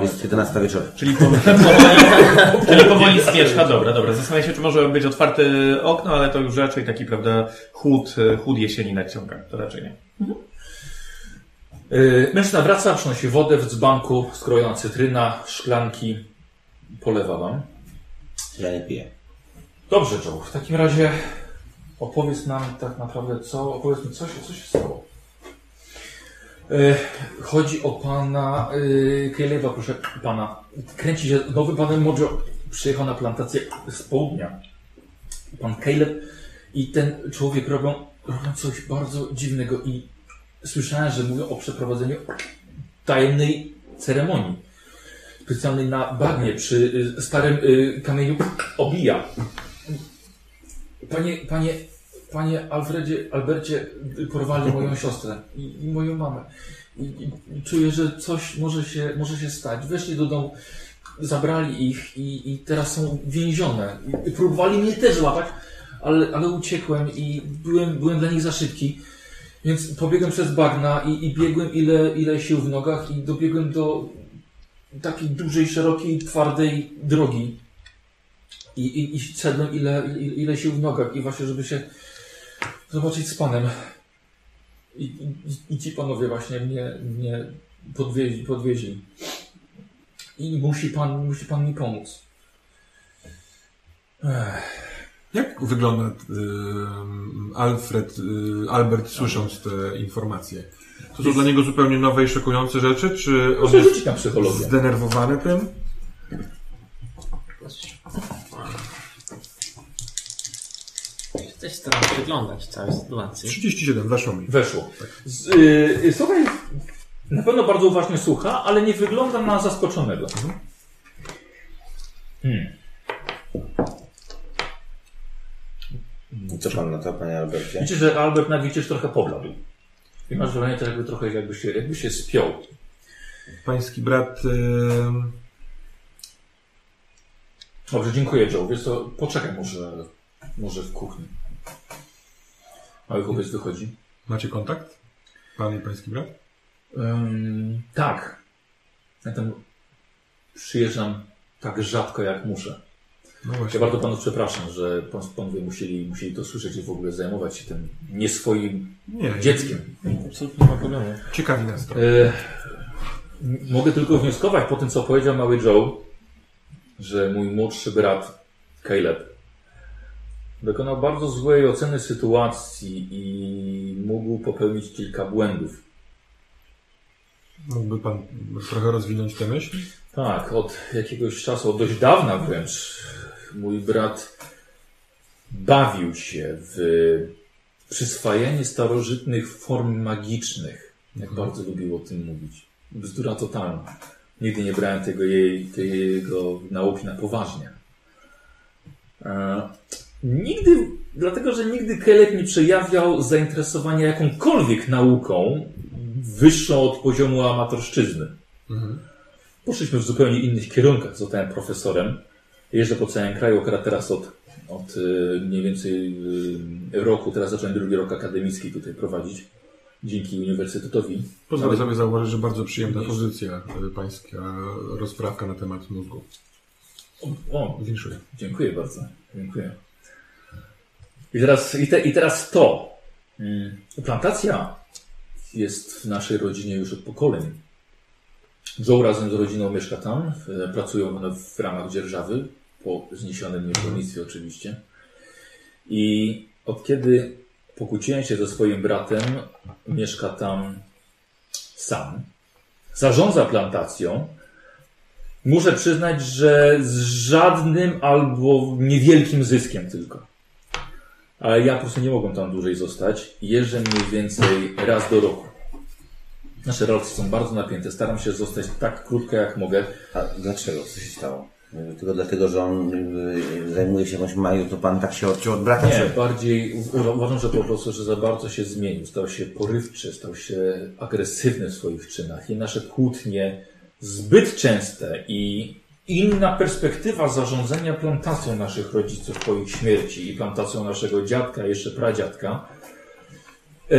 Jest 11 wieczorem.
No, tak, [LAUGHS] Czyli powoli, powoli, czyli powoli zmierzcha, dobra, dobra. Zastanawiam się, czy może być otwarte okno, ale to już raczej taki, prawda, chłód, e, chłód jesieni nadciąga. To raczej nie.
Yy, Mężczyzna wraca, przynosi wodę w dzbanku, skrojona cytryna, szklanki. Polewa wam.
Ja nie piję.
Dobrze, Joe. W takim razie opowiedz nam tak naprawdę co, opowiedz mi co się, co się stało. E, chodzi o pana e, Kielewa, proszę pana. Kręci się nowy pan Mojo. Przyjechał na plantację z południa. Pan Caleb i ten człowiek robią, robią coś bardzo dziwnego i słyszałem, że mówią o przeprowadzeniu tajemnej ceremonii. Specjalnej na bagnie przy y, starym y, kamieniu obija. Panie, panie, panie Alfredzie, Albercie, porwali moją siostrę i, i moją mamę. I, i, I czuję, że coś może się, może się stać. Weszli do domu, zabrali ich i, i teraz są więzione. I próbowali mnie też złapać, ale, ale uciekłem i byłem, byłem dla nich za szybki. Więc pobiegłem przez bagna i, i biegłem ile, ile sił w nogach i dobiegłem do takiej dużej, szerokiej, twardej drogi. I, i, i szedłem ile, ile, ile sił w nogach i właśnie, żeby się zobaczyć z Panem. I, i, i ci panowie właśnie mnie, mnie podwieźli, podwieźli. I musi pan, musi pan mi pomóc.
jak wygląda ym, Alfred, y, Albert słysząc te informacje? To są dla niego zupełnie nowe i szokujące rzeczy, czy on
Proszę
jest
rzucić na psychologię.
zdenerwowany tym?
Też staram się przyglądać całej sytuacji.
37, weszło mi.
Weszło. Z, y, słuchaj, na pewno bardzo uważnie słucha, ale nie wygląda na zaskoczonego.
Co pan na to, panie Albercie?
Widzicie, że Albert na widzisz trochę pobladł. I masz wrażenie, że jakby trochę jakby się, jakby się spiął.
Pański brat... y, ym,
Dobrze, dziękuję Joe. Wiesz co, poczekaj może, może w kuchni. Mały chłopiec wychodzi.
macie kontakt? Pan i pański brat?
Ym, tak. Zatem przyjeżdżam tak rzadko jak muszę.
No
Ja
właśnie.
bardzo panów przepraszam, że pan, panowie musieli, musieli to słyszeć i w ogóle zajmować się tym nie swoim
Nie,
dzieckiem.
Absolutnie nie ma problemu.
ciekawi nas to.
E, m- mogę tylko wnioskować po tym, co powiedział mały Joe, że mój młodszy brat Caleb dokonał bardzo złej oceny sytuacji i mógł popełnić kilka błędów.
Mógłby pan trochę rozwinąć tę myśl?
Tak, od jakiegoś czasu, od dość dawna wręcz, mój brat bawił się w przyswajanie starożytnych form magicznych. Jak bardzo lubił o tym mówić. Bzdura totalna. Nigdy nie brałem tego jej, tej jego nauki na poważnie. E, nigdy, dlatego że nigdy Kelek nie przejawiał zainteresowania jakąkolwiek nauką wyższą od poziomu amatorszczyzny. Poszliśmy w zupełnie innych kierunkach. Zostałem profesorem. Jeżdżę po całym kraju, akurat teraz od, od y, mniej więcej y, roku, teraz zacząłem drugi rok akademicki tutaj prowadzić. Dzięki uniwersytetowi.
Pozwolę
Ale-
sobie zauważyć, że bardzo przyjemna pozycja y, pańska rozprawka na temat mózgu.
O,
Winszuję.
dziękuję bardzo. Dziękuję. I teraz, i te, i teraz to. Mm, Plantacja jest w naszej rodzinie już od pokoleń. Joe razem z rodziną mieszka tam. e, Pracują one w ramach dzierżawy, po zniesionym niewolnictwie oczywiście. I od kiedy pokłóciłem się ze swoim bratem, mieszka tam sam. Zarządza plantacją. Muszę przyznać, że z żadnym albo niewielkim zyskiem tylko. Ale ja po prostu nie mogłem tam dłużej zostać. Jeżdżę mniej więcej raz do roku. Nasze relacje są bardzo napięte. Staram się zostać tak krótko jak mogę.
A dlaczego? Co się stało? Y, Tylko dlatego, że on y, zajmuje się jakąś maju, to pan tak się odciął od brata?
Nie,
czy-
Znaczy, bardziej u- u- uważam, że po prostu, że za bardzo się zmienił. Stał się porywczy, stał się agresywny w swoich czynach i nasze kłótnie zbyt częste i inna perspektywa zarządzania plantacją naszych rodziców po ich śmierci i plantacją naszego dziadka, jeszcze pradziadka. E,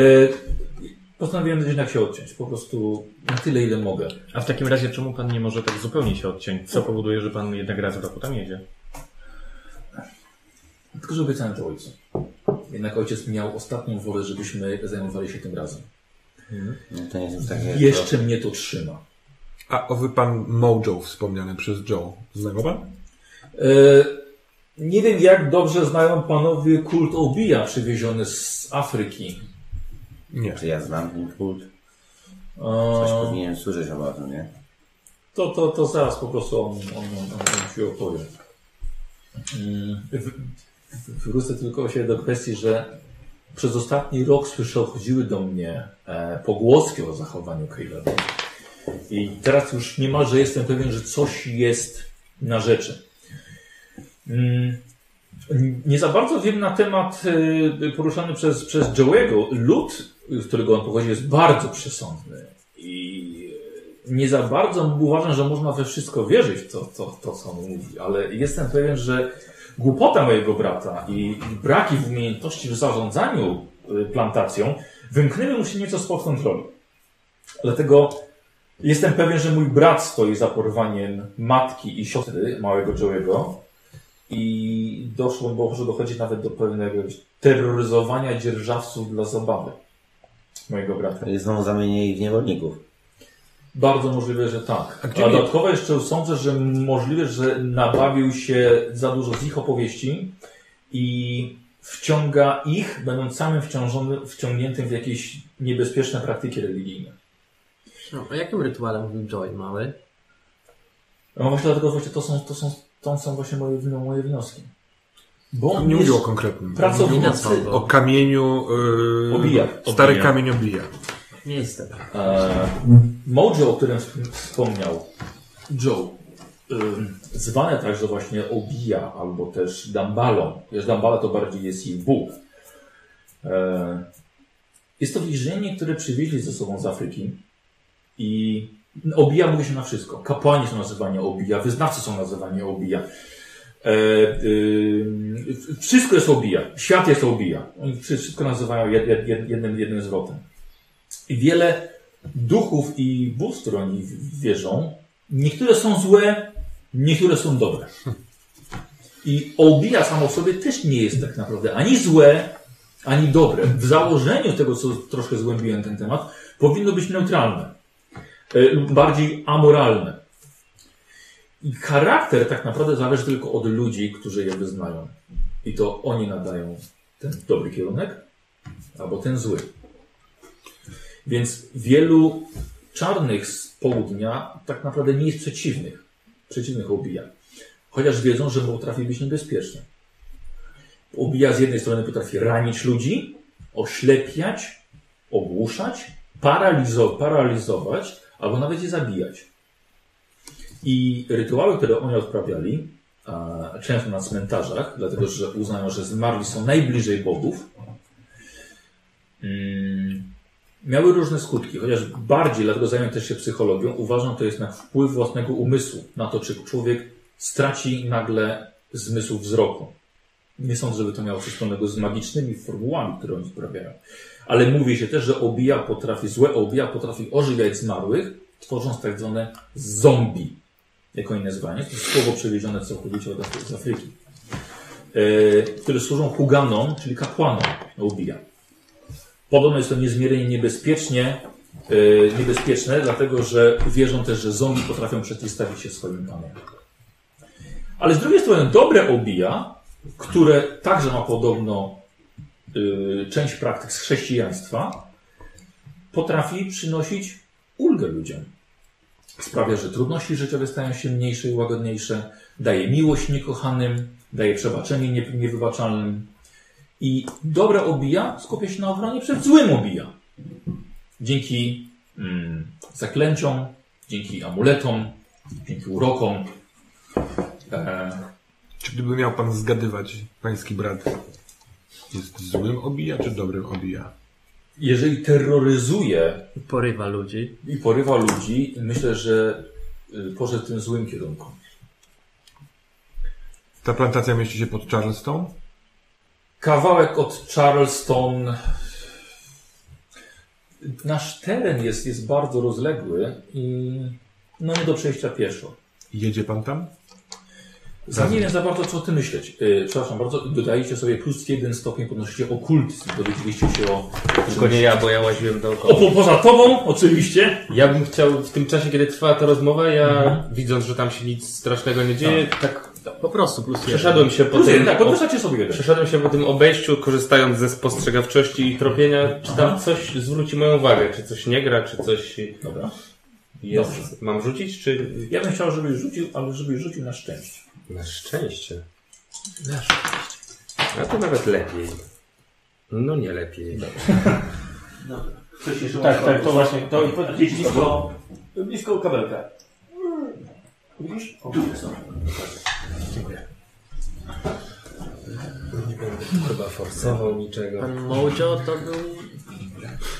postanowiłem jednak się odciąć, po prostu na tyle, ile mogę.
A w takim razie czemu pan nie może tak zupełnie się odciąć? Co powoduje, że pan jednak raz w roku tam jedzie?
Tylko, że obiecałem to ojcu. Jednak ojciec miał ostatnią wolę, żebyśmy zajmowali się tym razem.
No to nie jest już takie...
Jeszcze mnie to trzyma.
A owy pan Mojo wspomniany przez Joe. Zna go pan?
E, nie wiem, jak dobrze znają panowie kult obija przywieziony z Afryki.
Nie.
Czy ja znam ten kult? Coś
E,
powinienem słyszeć o tym, nie?
To, to, to zaraz po prostu on, on, on, on ci opowie. Mm, w- w- Wrócę tylko się do kwestii, że przez ostatni rok słyszę, chodziły do mnie e, pogłoski o zachowaniu Caleba. I teraz już niemalże jestem pewien, że coś jest na rzeczy. Mm, n- Nie za bardzo wiem na temat e, poruszany przez, przez Joe'ego. Lud, z którego on pochodzi, jest bardzo przesądny. I nie za bardzo uważam, że można we wszystko wierzyć w to, to, to, co on mówi, ale jestem pewien, że głupota mojego brata i braki w umiejętności w zarządzaniu y, plantacją wymknęły mu się nieco spod kontroli. Dlatego jestem pewien, że mój brat stoi za porwaniem matki i siostry małego Joe'ego i doszło, bo może dochodzi nawet do pewnego terroryzowania dzierżawców dla zabawy mojego brata.
I znowu zamienię ich w niewolników.
Bardzo możliwe, że tak.
A
A,
gdzie mi-
dodatkowo jeszcze sądzę, że możliwe, że nabawił się za dużo z ich opowieści i wciąga ich, będąc samym wciążony, wciągniętym w jakieś niebezpieczne praktyki religijne.
No, o jakim rytuale mówił Joy mały?
No właśnie dlatego właśnie to są, to są, to są właśnie moje, wino- moje wnioski. Bo
On
on
nie
jest
mówił o konkretnym.
Kombinacja,
pracownicy.
bo
O kamieniu... Yy,
Obija.
Stary
Obija.
kamień obija.
Nie jestem.
E, Mojo, o którym wsp- wspomniał Joe, ym, zwane także właśnie Obija albo też Dambalą. Wiesz, Dambala to bardziej jest ich bóg. E, Jest to więzienie, które przywieźli ze sobą z Afryki i Obija mówi się na wszystko. Kapłani są nazywani Obija, wyznawcy są nazywani Obija. E, ym, wszystko jest Obija, świat jest Obija. Oni wszy- wszystko nazywają jed, jed, jed, jednym, jednym zwrotem. I wiele duchów i bóstw, które oni w- wierzą, niektóre są złe, niektóre są dobre. I obija samo w sobie też nie jest tak naprawdę ani złe, ani dobre. W założeniu tego, co troszkę zgłębiłem ten temat, powinno być neutralne e, lub bardziej amoralne. I charakter tak naprawdę zależy tylko od ludzi, którzy je wyznają. I to oni nadają ten dobry kierunek albo ten zły. Więc wielu czarnych z południa tak naprawdę nie jest przeciwnych. Przeciwnych obija. Chociaż wiedzą, że potrafi być niebezpieczny. Obija z jednej strony potrafi ranić ludzi, oślepiać, ogłuszać, paralizo paralizować albo nawet je zabijać. I rytuały, które oni odprawiali, e, często na cmentarzach, dlatego że uznają, że zmarli są najbliżej bogów, mm, miały różne skutki, chociaż bardziej, dlatego zająłem też się psychologią, uważam to jest na wpływ własnego umysłu, na to, czy człowiek straci nagle zmysł wzroku. Nie sądzę, żeby to miało coś wspólnego z magicznymi formułami, które oni sprawiają. Ale mówi się też, że obija potrafi, złe obija potrafi ożywiać zmarłych, tworząc tak zwane zombie, jako inne zwanie. To jest słowo przewiezione całkowicie od Afry- z Afryki. Yy, które służą huganom, czyli kapłanom obija. Podobno jest to niezmiernie niebezpiecznie, yy, niebezpieczne, dlatego że wierzą też, że zombie potrafią przeciwstawić się swoim panom. Ale z drugiej strony dobre obija, które także ma podobno yy, część praktyk z chrześcijaństwa, potrafi przynosić ulgę ludziom. Sprawia, że trudności życiowe stają się mniejsze i łagodniejsze, daje miłość niekochanym, daje przebaczenie nie, niewybaczalnym. I dobre obija skupia się na obronie przed złym obija. Dzięki mm, zaklęciom, dzięki amuletom, dzięki urokom. E,
Czy gdyby miał pan zgadywać, pański brat jest złym obija, czy dobrym obija?
jeżeli terroryzuje
Porywa ludzi.
i porywa ludzi, myślę, że y, poszedł w tym złym kierunku.
Ta plantacja mieści się pod Charleston?
Kawałek od Charleston. Nasz teren jest, jest bardzo rozległy i no nie do przejścia pieszo.
Jedzie pan tam?
Za nie wiem za bardzo, co o tym myśleć. Yy, przepraszam bardzo, dodajecie sobie plus jeden stopień, podnosicie okultyzm. Dowiedzieliście się o...
Tylko nie ja, bo ja łaziłem
o
dookoła.
po, poza tobą, oczywiście.
Ja bym chciał w tym czasie, kiedy trwała ta rozmowa, ja widząc, że tam się nic strasznego nie dzieje, Mhm. tak
Po prostu, plus jeden.
przeszedłem się po
Plus jeden,
tym.
tak,
o-
podwyższacie sobie jeden.
Przeszedłem się po tym obejściu, korzystając ze spostrzegawczości i tropienia, czy tam coś zwróci moją uwagę, czy coś nie gra, czy coś
Dobra.
jest. Mam rzucić, czy...
Ja bym chciał, żebyś rzucił, ale żebyś rzucił na szczęście.
Na szczęście. Na szczęście. A to nawet lepiej. No nie lepiej.
Tak, tak, to właśnie. To i blisko.
Blisko kabelka.
Chyba forsował niczego.
Pan Mojo to był...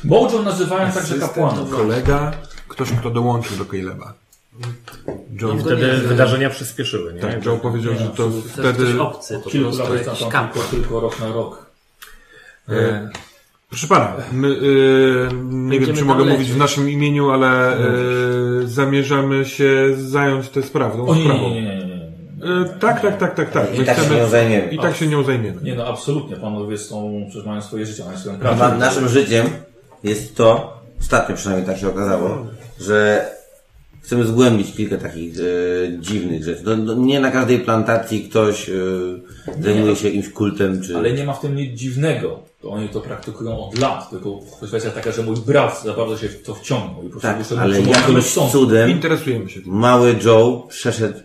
Mojo nazywają także kapłanów.
Kolega, ktoś, kto dołączył do Caleba. Joe,
No to
wtedy,
nie.
Wtedy E, wydarzenia przyspieszyły, nie?
tak, Joe powiedział, że to
To jest ktoś
wtedy...
obcy, to
Kilku
po prostu
lat tam,
jakiś
tylko,
kapłan.
tylko rok na rok.
E, proszę pana, my, e, nie wiem,
Będziemy
czy
tam
mogę
lecieć.
mówić w naszym imieniu, ale e, zamierzamy się zająć tę sprawą.
O nie,
sprawą.
nie, nie, nie, nie, nie.
E, tak, tak, tak, tak, tak.
I tak się nią zajmiemy.
I tak się nią zajmiemy.
Nie no, absolutnie. Panowie są, przecież mają swoje życie, mają swoją pracę.
Na, naszym życiem jest to, ostatnio przynajmniej tak się okazało, że chcemy zgłębić kilka takich e, dziwnych rzeczy. No, no, nie na każdej plantacji ktoś e, zajmuje się jakimś kultem, czy...
Ale nie ma w tym nic dziwnego. To oni to praktykują od lat, tylko kwestia taka, że mój brat za bardzo się w to wciągnął i po prostu
tak,
muszę mu
ale
przypomnieć,
jakimś
że są.
cudem
Interesujemy się tym.
mały Joe przeszedł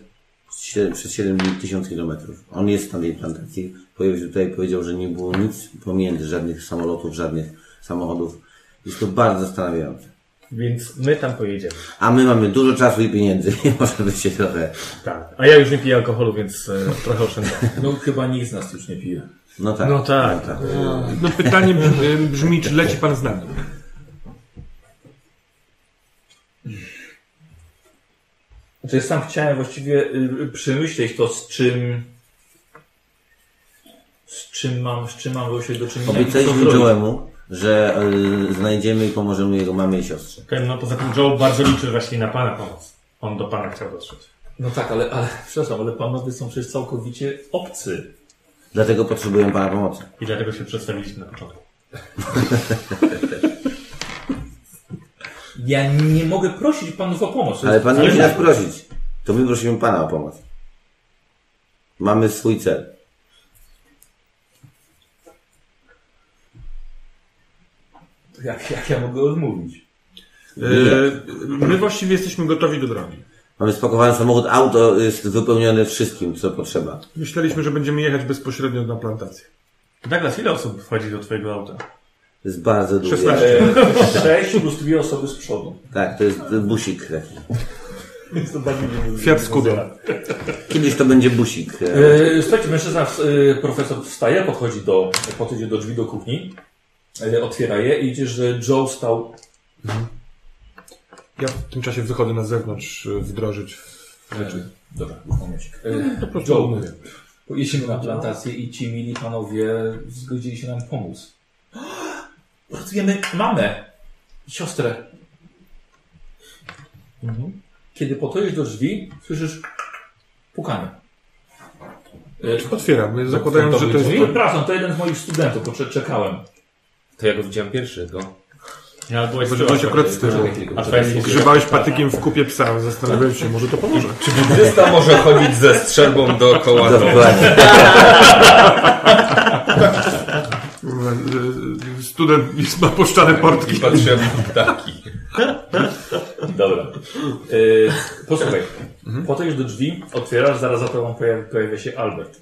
sie- przez 7 dni 1000 kilometrów. On jest na tej plantacji. Pojawił się tutaj i powiedział, że nie było nic pomiędzy, żadnych samolotów, żadnych samochodów. Jest to bardzo zastanawiające.
Więc my tam pojedziemy.
A my mamy dużo czasu i pieniędzy. [LAUGHS] Nie możemy się trochę...
Tak. A ja już nie piję alkoholu, więc e, trochę oszczędzam.
No chyba nikt z nas już nie pije.
No tak.
No tak.
No tak.
No pytanie brzmi, brzmi, czy leci pan z nami?
Znaczy sam chciałem właściwie y, przemyśleć to, z czym... Z czym mam, z czym mam się do czynienia. i co
Obiecaliśmy
zrobić.
Joe'emu, że y, znajdziemy i pomożemy jego mamie i siostrze.
Okej, No poza tym Joe bardzo liczy właśnie na pana pomoc. On do pana chciał dotrzeć.
No tak, ale, ale, przepraszam, ale panowie są przecież całkowicie obcy.
Dlatego potrzebujemy pana pomocy.
I dlatego się przedstawiliśmy na początku.
Ja nie mogę prosić panów o pomoc. To
Ale
jest-
pan nie musi nas prosić. To my prosimy pana o pomoc. Mamy swój cel.
Jak, jak ja mogę odmówić?
E, my właściwie jesteśmy gotowi do drogi.
Mamy spakowany samochód, auto jest wypełnione wszystkim, co potrzeba.
Myśleliśmy, że będziemy jechać bezpośrednio na plantację.
Douglas, ile osób wchodzi do twojego auta?
Jest bardzo długie.
16.
E, Sześć plus dwie osoby z przodu.
Tak, to jest busik taki.
Fiat Scudo.
Kiedyś to będzie busik. e,
E, słuchajcie, mężczyzna, w- e, profesor wstaje, podchodzi do, podchodzi do drzwi do kuchni, e, otwiera je i idzie, że Joe stał...
Ja w tym czasie wychodzę na zewnątrz e, wdrożyć rzeczy.
Dobra, momencik. E, Joe, pojedziemy na plantację i ci mili panowie zgodzili się nam pomóc. [GASPS] Pracujemy mamę, siostrę. Mhm. Kiedy podchodzisz do drzwi, słyszysz pukanie. E,
Otwieram, e, zakładając, że to jest...
To, przepraszam, to jeden z moich studentów, bo cze- czekałem.
To ja go widziałem pierwszego.
Ja byłeś tak?
Bo że byłeś akurat z tyłu.
A twoja jest
Grzebałeś patykiem w kupie psa, zastanawiałem się, może to pomoże.
Czy buddysta może chodzić ze strzelbą dookoła domu?
Dokładnie.
Kurwa, e, e, Student [LAUGHS] jest- ma puszczane
I
portki.
patrzyłem na ptaki.
Dobra. Yy, posłuchaj. Podejdziesz do drzwi, otwierasz, zaraz za tobą pojawia, pojawia się Albert.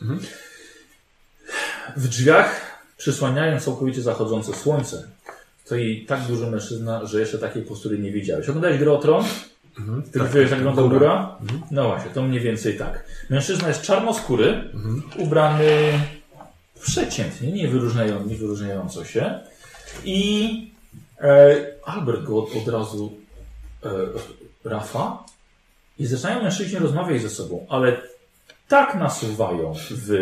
W drzwiach, przysłaniając całkowicie zachodzące słońce, stoi tak duży mężczyzna, że jeszcze takiej postury nie widziałeś. Oglądałeś grę o tron? Ty tak, wiesz, jak wygląda góra? No właśnie, to mniej więcej tak. Mężczyzna jest czarnoskóry, ubrany przeciętnie, nie, wyróżniają, nie wyróżniająco się. I e, Albert go od, od razu e, Rafa i zaczynają mężczyźni rozmawiać ze sobą, ale tak nasuwają w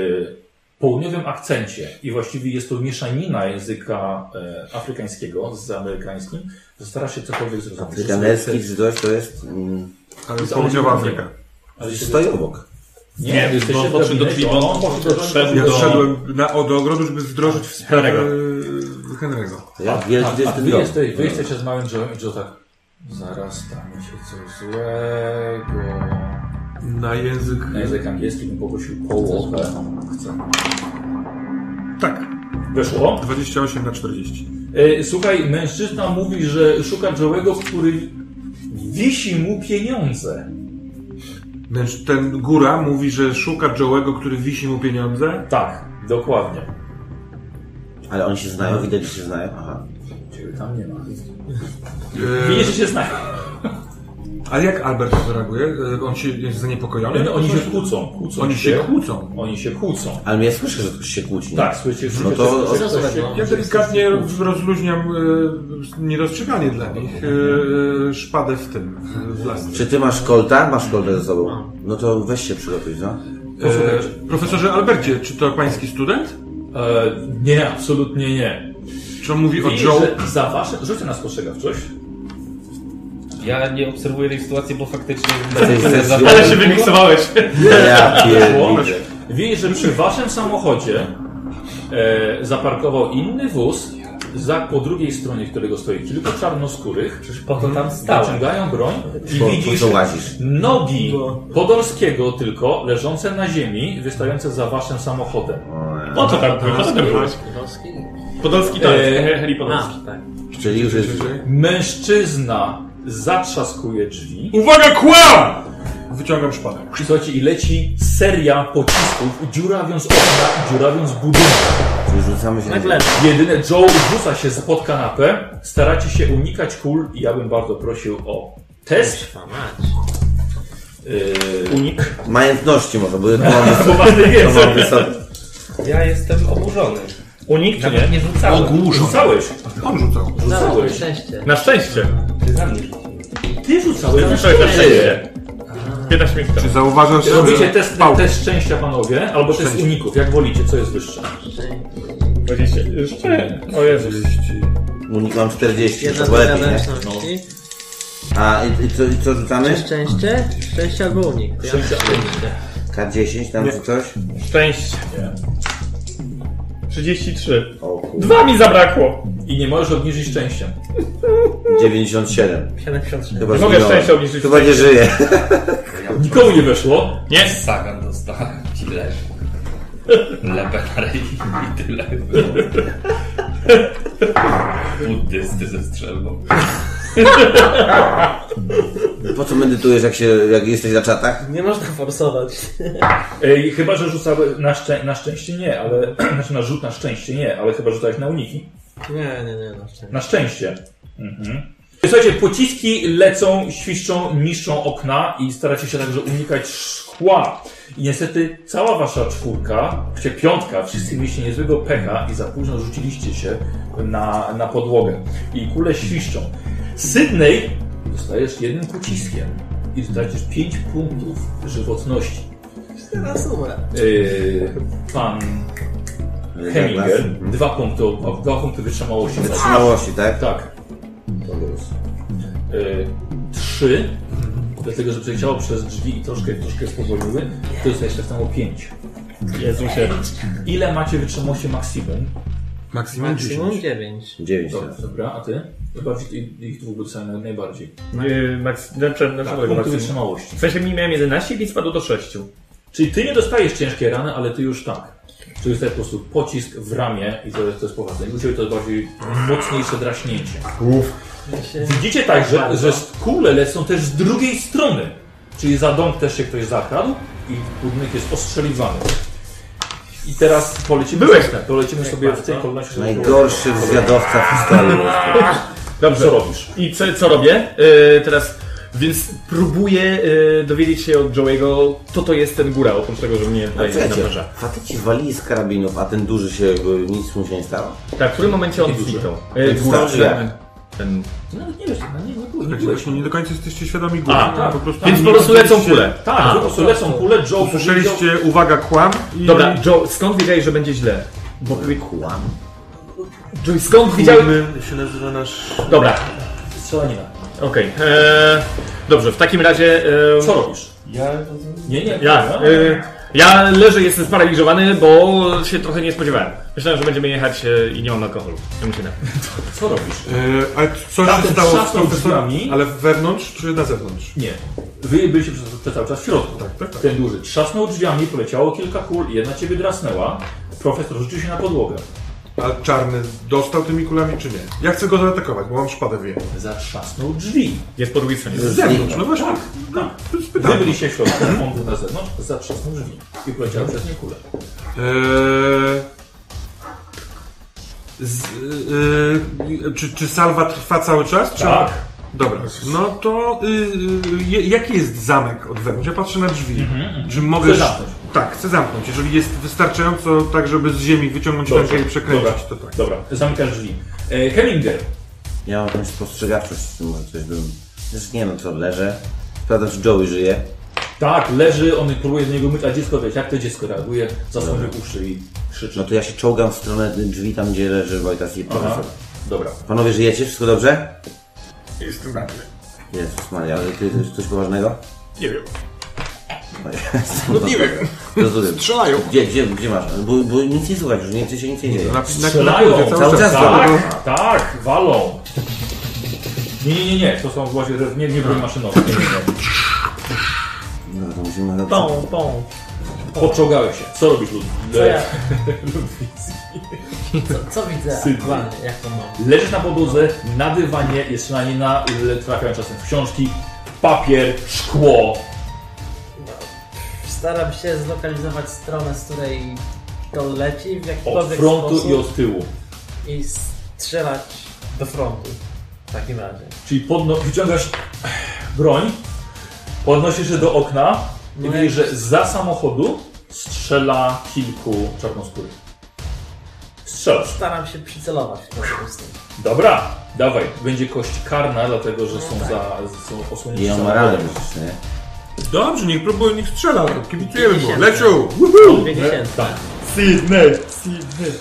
południowym akcencie i właściwie jest to mieszanina języka e, afrykańskiego z amerykańskim, że stara się cokolwiek zrozumieć.
Afrykanerski czy coś to jest... Mm,
Ale południowa Afryka.
Ale się-
stoi obok.
Nie, nie jesteście w gabinetie, on poszedł do
Ja
Tribonu.
wszedłem na, o, do ogrodu, żeby wdrożyć w sprawę Henry'ego. Henry'ego.
To jak wielki to
A
jest ten
wy,
dom?
jesteś, wy jesteście z małym Joe'em i Joe tak zaraz stanie się coś złego.
Na język...
Na język angielski bym poprosił połowę. Chcę.
Tak,
Weszło?
28 na 40.
E, słuchaj, mężczyzna mówi, że szuka Joe'ego, który wisi mu pieniądze.
Męż- Ten góra mówi, że szuka Joe'ego, który wisi mu pieniądze.
Tak, dokładnie.
Ale oni się znają, widać, że się znają. Aha.
Ciebie tam nie ma.
Yy,
Widzisz, że się znają.
ale jak Albert reaguje? Yy, On się jest zaniepokojony?
no, Oni się kłócą. kłócą
Oni się kłócą.
Oni się kłócą.
Ale ja słyszę, że ktoś się kłóci. nie?
Tak, słyszycie, że
No to-
ktoś się
to-
kłóci.
Ja delikatnie rozluźniam yy, niedostrzeganie dla nich yy, szpadę w tym, yy, w lasce.
Czy ty masz kolta? Masz koltę ze sobą. No to weź się przygotuj, no.
Posłuchajcie. Profesorze Albercie, czy to pański student?
E, nie, absolutnie nie.
Czy on mówi o
Widzisz,
Joe?
że za wasze... Rzucę na spostrzegawczość.
Ja nie obserwuję tej sytuacji, bo faktycznie...
tej sesji.
Ale się
wymiksowałeś.
No Ja
Szło?
pierdolę.
Widzisz, że przy waszym samochodzie e, zaparkował inny wóz za, po drugiej stronie, którego stoi kilku czarnoskórych. Przecież po to tam
stałem.
Naciągają broń i
Po, po
widzisz
co łazisz?
nogi Podolskiego tylko leżące na ziemi, wystające za waszym samochodem.
Po co tam byłeś? Po co tam byłeś?
Polski?
Podolski tak.
Eee,
He- Heli Podolski.
A, tak.
Czyli już jest...
Mężczyzna zatrzaskuje drzwi.
Uwaga, kłam! Wyciągam szpadę.
I Słuchajcie, i leci seria pocisków, dziurawiąc okna i dziurawiąc budynek.
Czyli rzucamy się na
Nagle.
Jedyne Joe rzuca się pod kanapę, staracie się unikać kul i ja bym bardzo prosił o test.
Kurwa mać.
Yy,
Unik.
Majątności może, bo to mam
bo was
[LAUGHS]
nie
to
wiedzą.
mam wysokie.
Ja jestem oburzony.
Unik czy
Nawet
nie?
nie rzucałem.
Rzucałeś,
On rzucał.
Zaraz, na
rzucałeś.
szczęście.
Na szczęście.
Ty za mnie rzuciłeś.
Ty rzucałeś.
Na szczęście. 15 minut
Czy
temu.
zauważasz, że...
Robicie test,
Pał.
test szczęścia panowie, albo test
Szczęście.
uników, jak wolicie, co jest wyższe.
20. Jeszcze. O Jezus.
Unikam 40,
Jedna
to lepiej, nie? No.
zależności.
A i, i, co, i co
Czy
rzucamy?
szczęście? Szczęście albo unik. To ja
Szczęście albo
K10 tam czy coś?
Szczęście. 33.
O kurwa.
Dwa mi zabrakło.
I nie możesz obniżyć szczęścia.
97.
76.
Chyba
Nie mogę
zginąłem.
szczęścia obniżyć.
Chyba nie żyje.
No. Nikomu nie weszło.
Nie.
Sagan dostałem ci lew. Lepę na ryj i tyle. Buddysty ze strzelbą.
Po co medytujesz, jak, się, jak jesteś na czatach?
Nie można forsować.
Ej, chyba, że rzucałeś na, szczę- na szczęście nie, ale [CLEARS THROAT] znaczy na rzut na szczęście nie, ale chyba rzucałeś na uniki.
Nie, nie, no nie, na szczęście.
Na szczęście. Mhm. Słuchajcie, pociski lecą, świszczą, niszczą okna i staracie się także unikać szkła. I niestety cała wasza czwórka, czy piątka, wszyscy mieliście niezłego pecha i za późno rzuciliście się na, na podłogę. I kule świszczą. Sydney dostajesz jednym pociskiem i tracisz 5 punktów żywotności.
Na sumę.
Yy, pan Heminger, dwa punkty, op- dwa punkty wytrzymałości.
Wytrzymałości, tak?
Tak. Yy, trzy, dlatego że przeleciało przez drzwi i troszkę, troszkę spowolniły, to dostajesz tak samo pięć.
Jezusie.
Ile macie wytrzymałości maksimum?
Maksimum 10.
Maksimum 9.
9.
Dobra, dobra, a ty? Bardziej, i- ich dwóch był naj, najbardziej.
No
Yy, Max, na, na, na,
Tak,
na,
punkty
na,
wytrzymałości.
W sensie mi miałem 11 i spadło do 6.
Czyli ty nie dostajesz ciężkie rany, ale ty już tak. Czyli dostajesz po prostu pocisk w ramię i to, to jest poważne. I u ciebie to jest bardziej mocniejsze draśnięcie.
Ja się...
Widzicie także, że kule lecą też z drugiej strony. Czyli za dom też się ktoś zakradł i budynek jest ostrzeliwany. I teraz polecimy,
Byłeś
sobie- polecimy sobie w tej kolejności. żeby było-
Najgorszy zwiadowca w historii.
Dobrze.
Co robisz?
I co, co robię?
E,
Yy, teraz. Więc próbuję yy, dowiedzieć się od Joe'ego, co to jest ten góra, oprócz tego, że mnie daje na
no
Słuchajcie,
noża.
faceci walili z karabinów, a ten duży się jakby nic mu się nie stało.
Tak, w którym momencie on zniknął? Yy,
Wystarczy,
góra.
jak?
E, Ten...
Nawet nie wiesz, no nie, nie było, nie
Słuchajcie,
byłeś.
właśnie nie do końca jesteście świadomi góry.
A,
Po prostu
Więc po prostu lecą kule.
Tak, po prostu lecą kule, Joe powiedział-
Słyszeliście, uwaga, kłam i...
Dobra, Joe, skąd wiedziałeś, że będzie źle? Bo ty kłam. Joe, skąd wiedziałeś...
Kujmy się nazywa nasz...
Dobra. Okej. eee, Dobrze, w takim razie... eee,
Co robisz? Nie, nie, no,
Ja, y, ja leżę, jestem sparaliżowany, bo się trochę nie spodziewałem. Myślałem, że będziemy jechać y, i nie mam alkoholu. Ja myślę, tak.
co robisz?
Yy, a co się
Tamten
stało z
trzasnął
profesorem?
drzwiami.
Ale wewnątrz czy na zewnątrz?
Nie. Wy byliście przez te cały czas w środku.
Tak, tak, tak.
Ten duży trzasnął drzwiami, poleciało kilka kul, jedna ciebie drasnęła. Profesor rzucił się na podłogę.
A czarny dostał tymi kulami czy nie? Ja chcę go zaatakować, bo mam szpadę w jej.
Zatrzasnął drzwi.
Jest po drugiej stronie.
Z zewnątrz, no właśnie. Tak.
Wy byliście w środku, on był na zewnątrz, zatrzasnął drzwi. I poleciały przez nie kule.
Eee, z, eee, czy, czy salwa trwa cały czas? Czy...
Tak.
Dobra, no to y, y, jaki jest zamek od wewnątrz? Ja patrzę na drzwi. Czy mogę.
Chcę zamknąć.
Tak, chcę zamknąć. Jeżeli jest wystarczająco tak, żeby z ziemi wyciągnąć
Dobrze.
rękę i przekręcić, to
Dobra,
tak.
Dobra, zamykasz drzwi. E, Hellinger,
Ja mam jakąś spostrzegawczość z tym, może coś bym... Zresztą nie no co, leżę. Sprawdzam, czy Joey żyje.
tak, leży, on próbuje z niego myć, a dziecko wiesz, jak to dziecko reaguje, zasłonił uszy i
No
krzyczy.
to ja się czołgam w stronę drzwi tam, gdzie leży Wojtas i
Aha,
profesor.
dobra.
Panowie, żyjecie? Wszystko dobrze?
Jestem radny.
Jezus Maria, ale to jest coś poważnego?
Nie wiem.
No,
[LAUGHS]
no nie wiem. Rozumiem.
Strzelają.
Gdzie, gdzie, gdzie masz? Bo, bo nic nie słuchaj, już nie, się nic nie dzieje.
Na, na, na
Strzelają,
kurze Tak, cały
cały
czas.
czas.
dlatego-
Tak, tak, walą. Nie, nie, nie, nie, to są właśnie, nie, nie broń maszynowa. Nie, nie, nie.
No to musimy...
Pą, pą.
Poczołgałeś się. Co robisz, Lud? E,
Co ja?
Le-
Co, co widzę?
Sydney.
Dokładnie, jak to mam?
Leżysz na podłodze, na dywanie, jest na nie na, le- trafiają czasem w książki, papier, szkło.
Staram się zlokalizować stronę, z której to leci w
Od
jakikolwiek
frontu
sposób
i od tyłu.
i strzelać do frontu. W takim razie.
Czyli podno- wyciągasz broń, podnosisz się do okna i
No
widzisz,
jak-
że za samochodu strzela kilku czarnoskórych. Strzelasz.
Staram się przycelować w ten sposób.
Dobra, dawaj. Będzie kość karna, dlatego
No
że
tak.
są za są osłonięci
I on ma
samochodem.
radę przecież, nie?
Dobrze, niech próbuje, niech strzela. no, Kibicujemy mu. Leciu!
Dwie dziesiętne.
Tak.
Sydney! Sydney!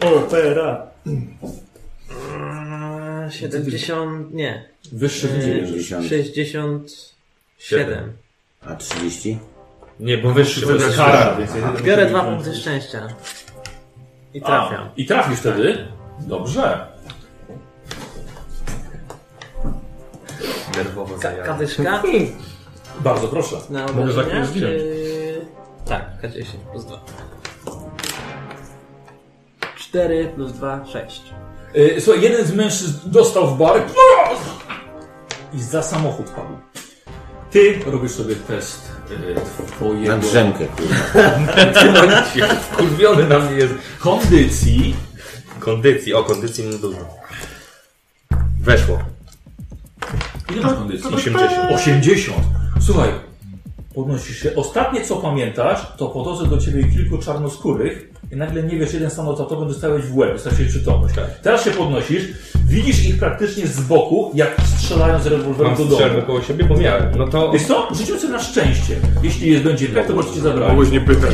Opera!
70, nie.
Wyższy
e,
widzisz.
90.
67.
A 30?
Nie, bo wyższy
To jest karna, więc jedyny
Biorę
będzie
dwa
miał-
punkty szczęścia. I
A,
trafiam.
I trafisz wtedy? Dobrze.
nerwowo
Ka-
zajadł.
kadyszka
Bardzo proszę.
na
Mogę za
obrażenia,
kimś zdjąć.
czy... Tak, K10 plus 2. 4 plus 2, 6.
Yy, słuchaj, jeden z mężczyzn dostał w bark i za samochód padł. Ty robisz sobie test yy, twojego... [LAUGHS]
Na drzemkę, kurwa.
Kurwiony na mnie jest.
Kondycji.
Kondycji, o kondycji mu dużo. Weszło.
Ile masz kondycji?
80.
80. Słuchaj, podnosisz się. Ostatnie co pamiętasz, to podchodzę do ciebie kilku czarnoskórych i nagle nie wiesz, jeden stanął za tobą, dostałeś w łeb, straciłeś przytomność.
Tak.
Teraz się podnosisz, widzisz ich praktycznie z boku, jak strzelają z rewolweru
Mam
do domu.
strzelbę koło siebie, bo miałem. No to...
Wiesz co? Rzućmy sobie na szczęście. Jeśli jest będzie tak, to możecie zabrać.
Mogłeś nie pytać.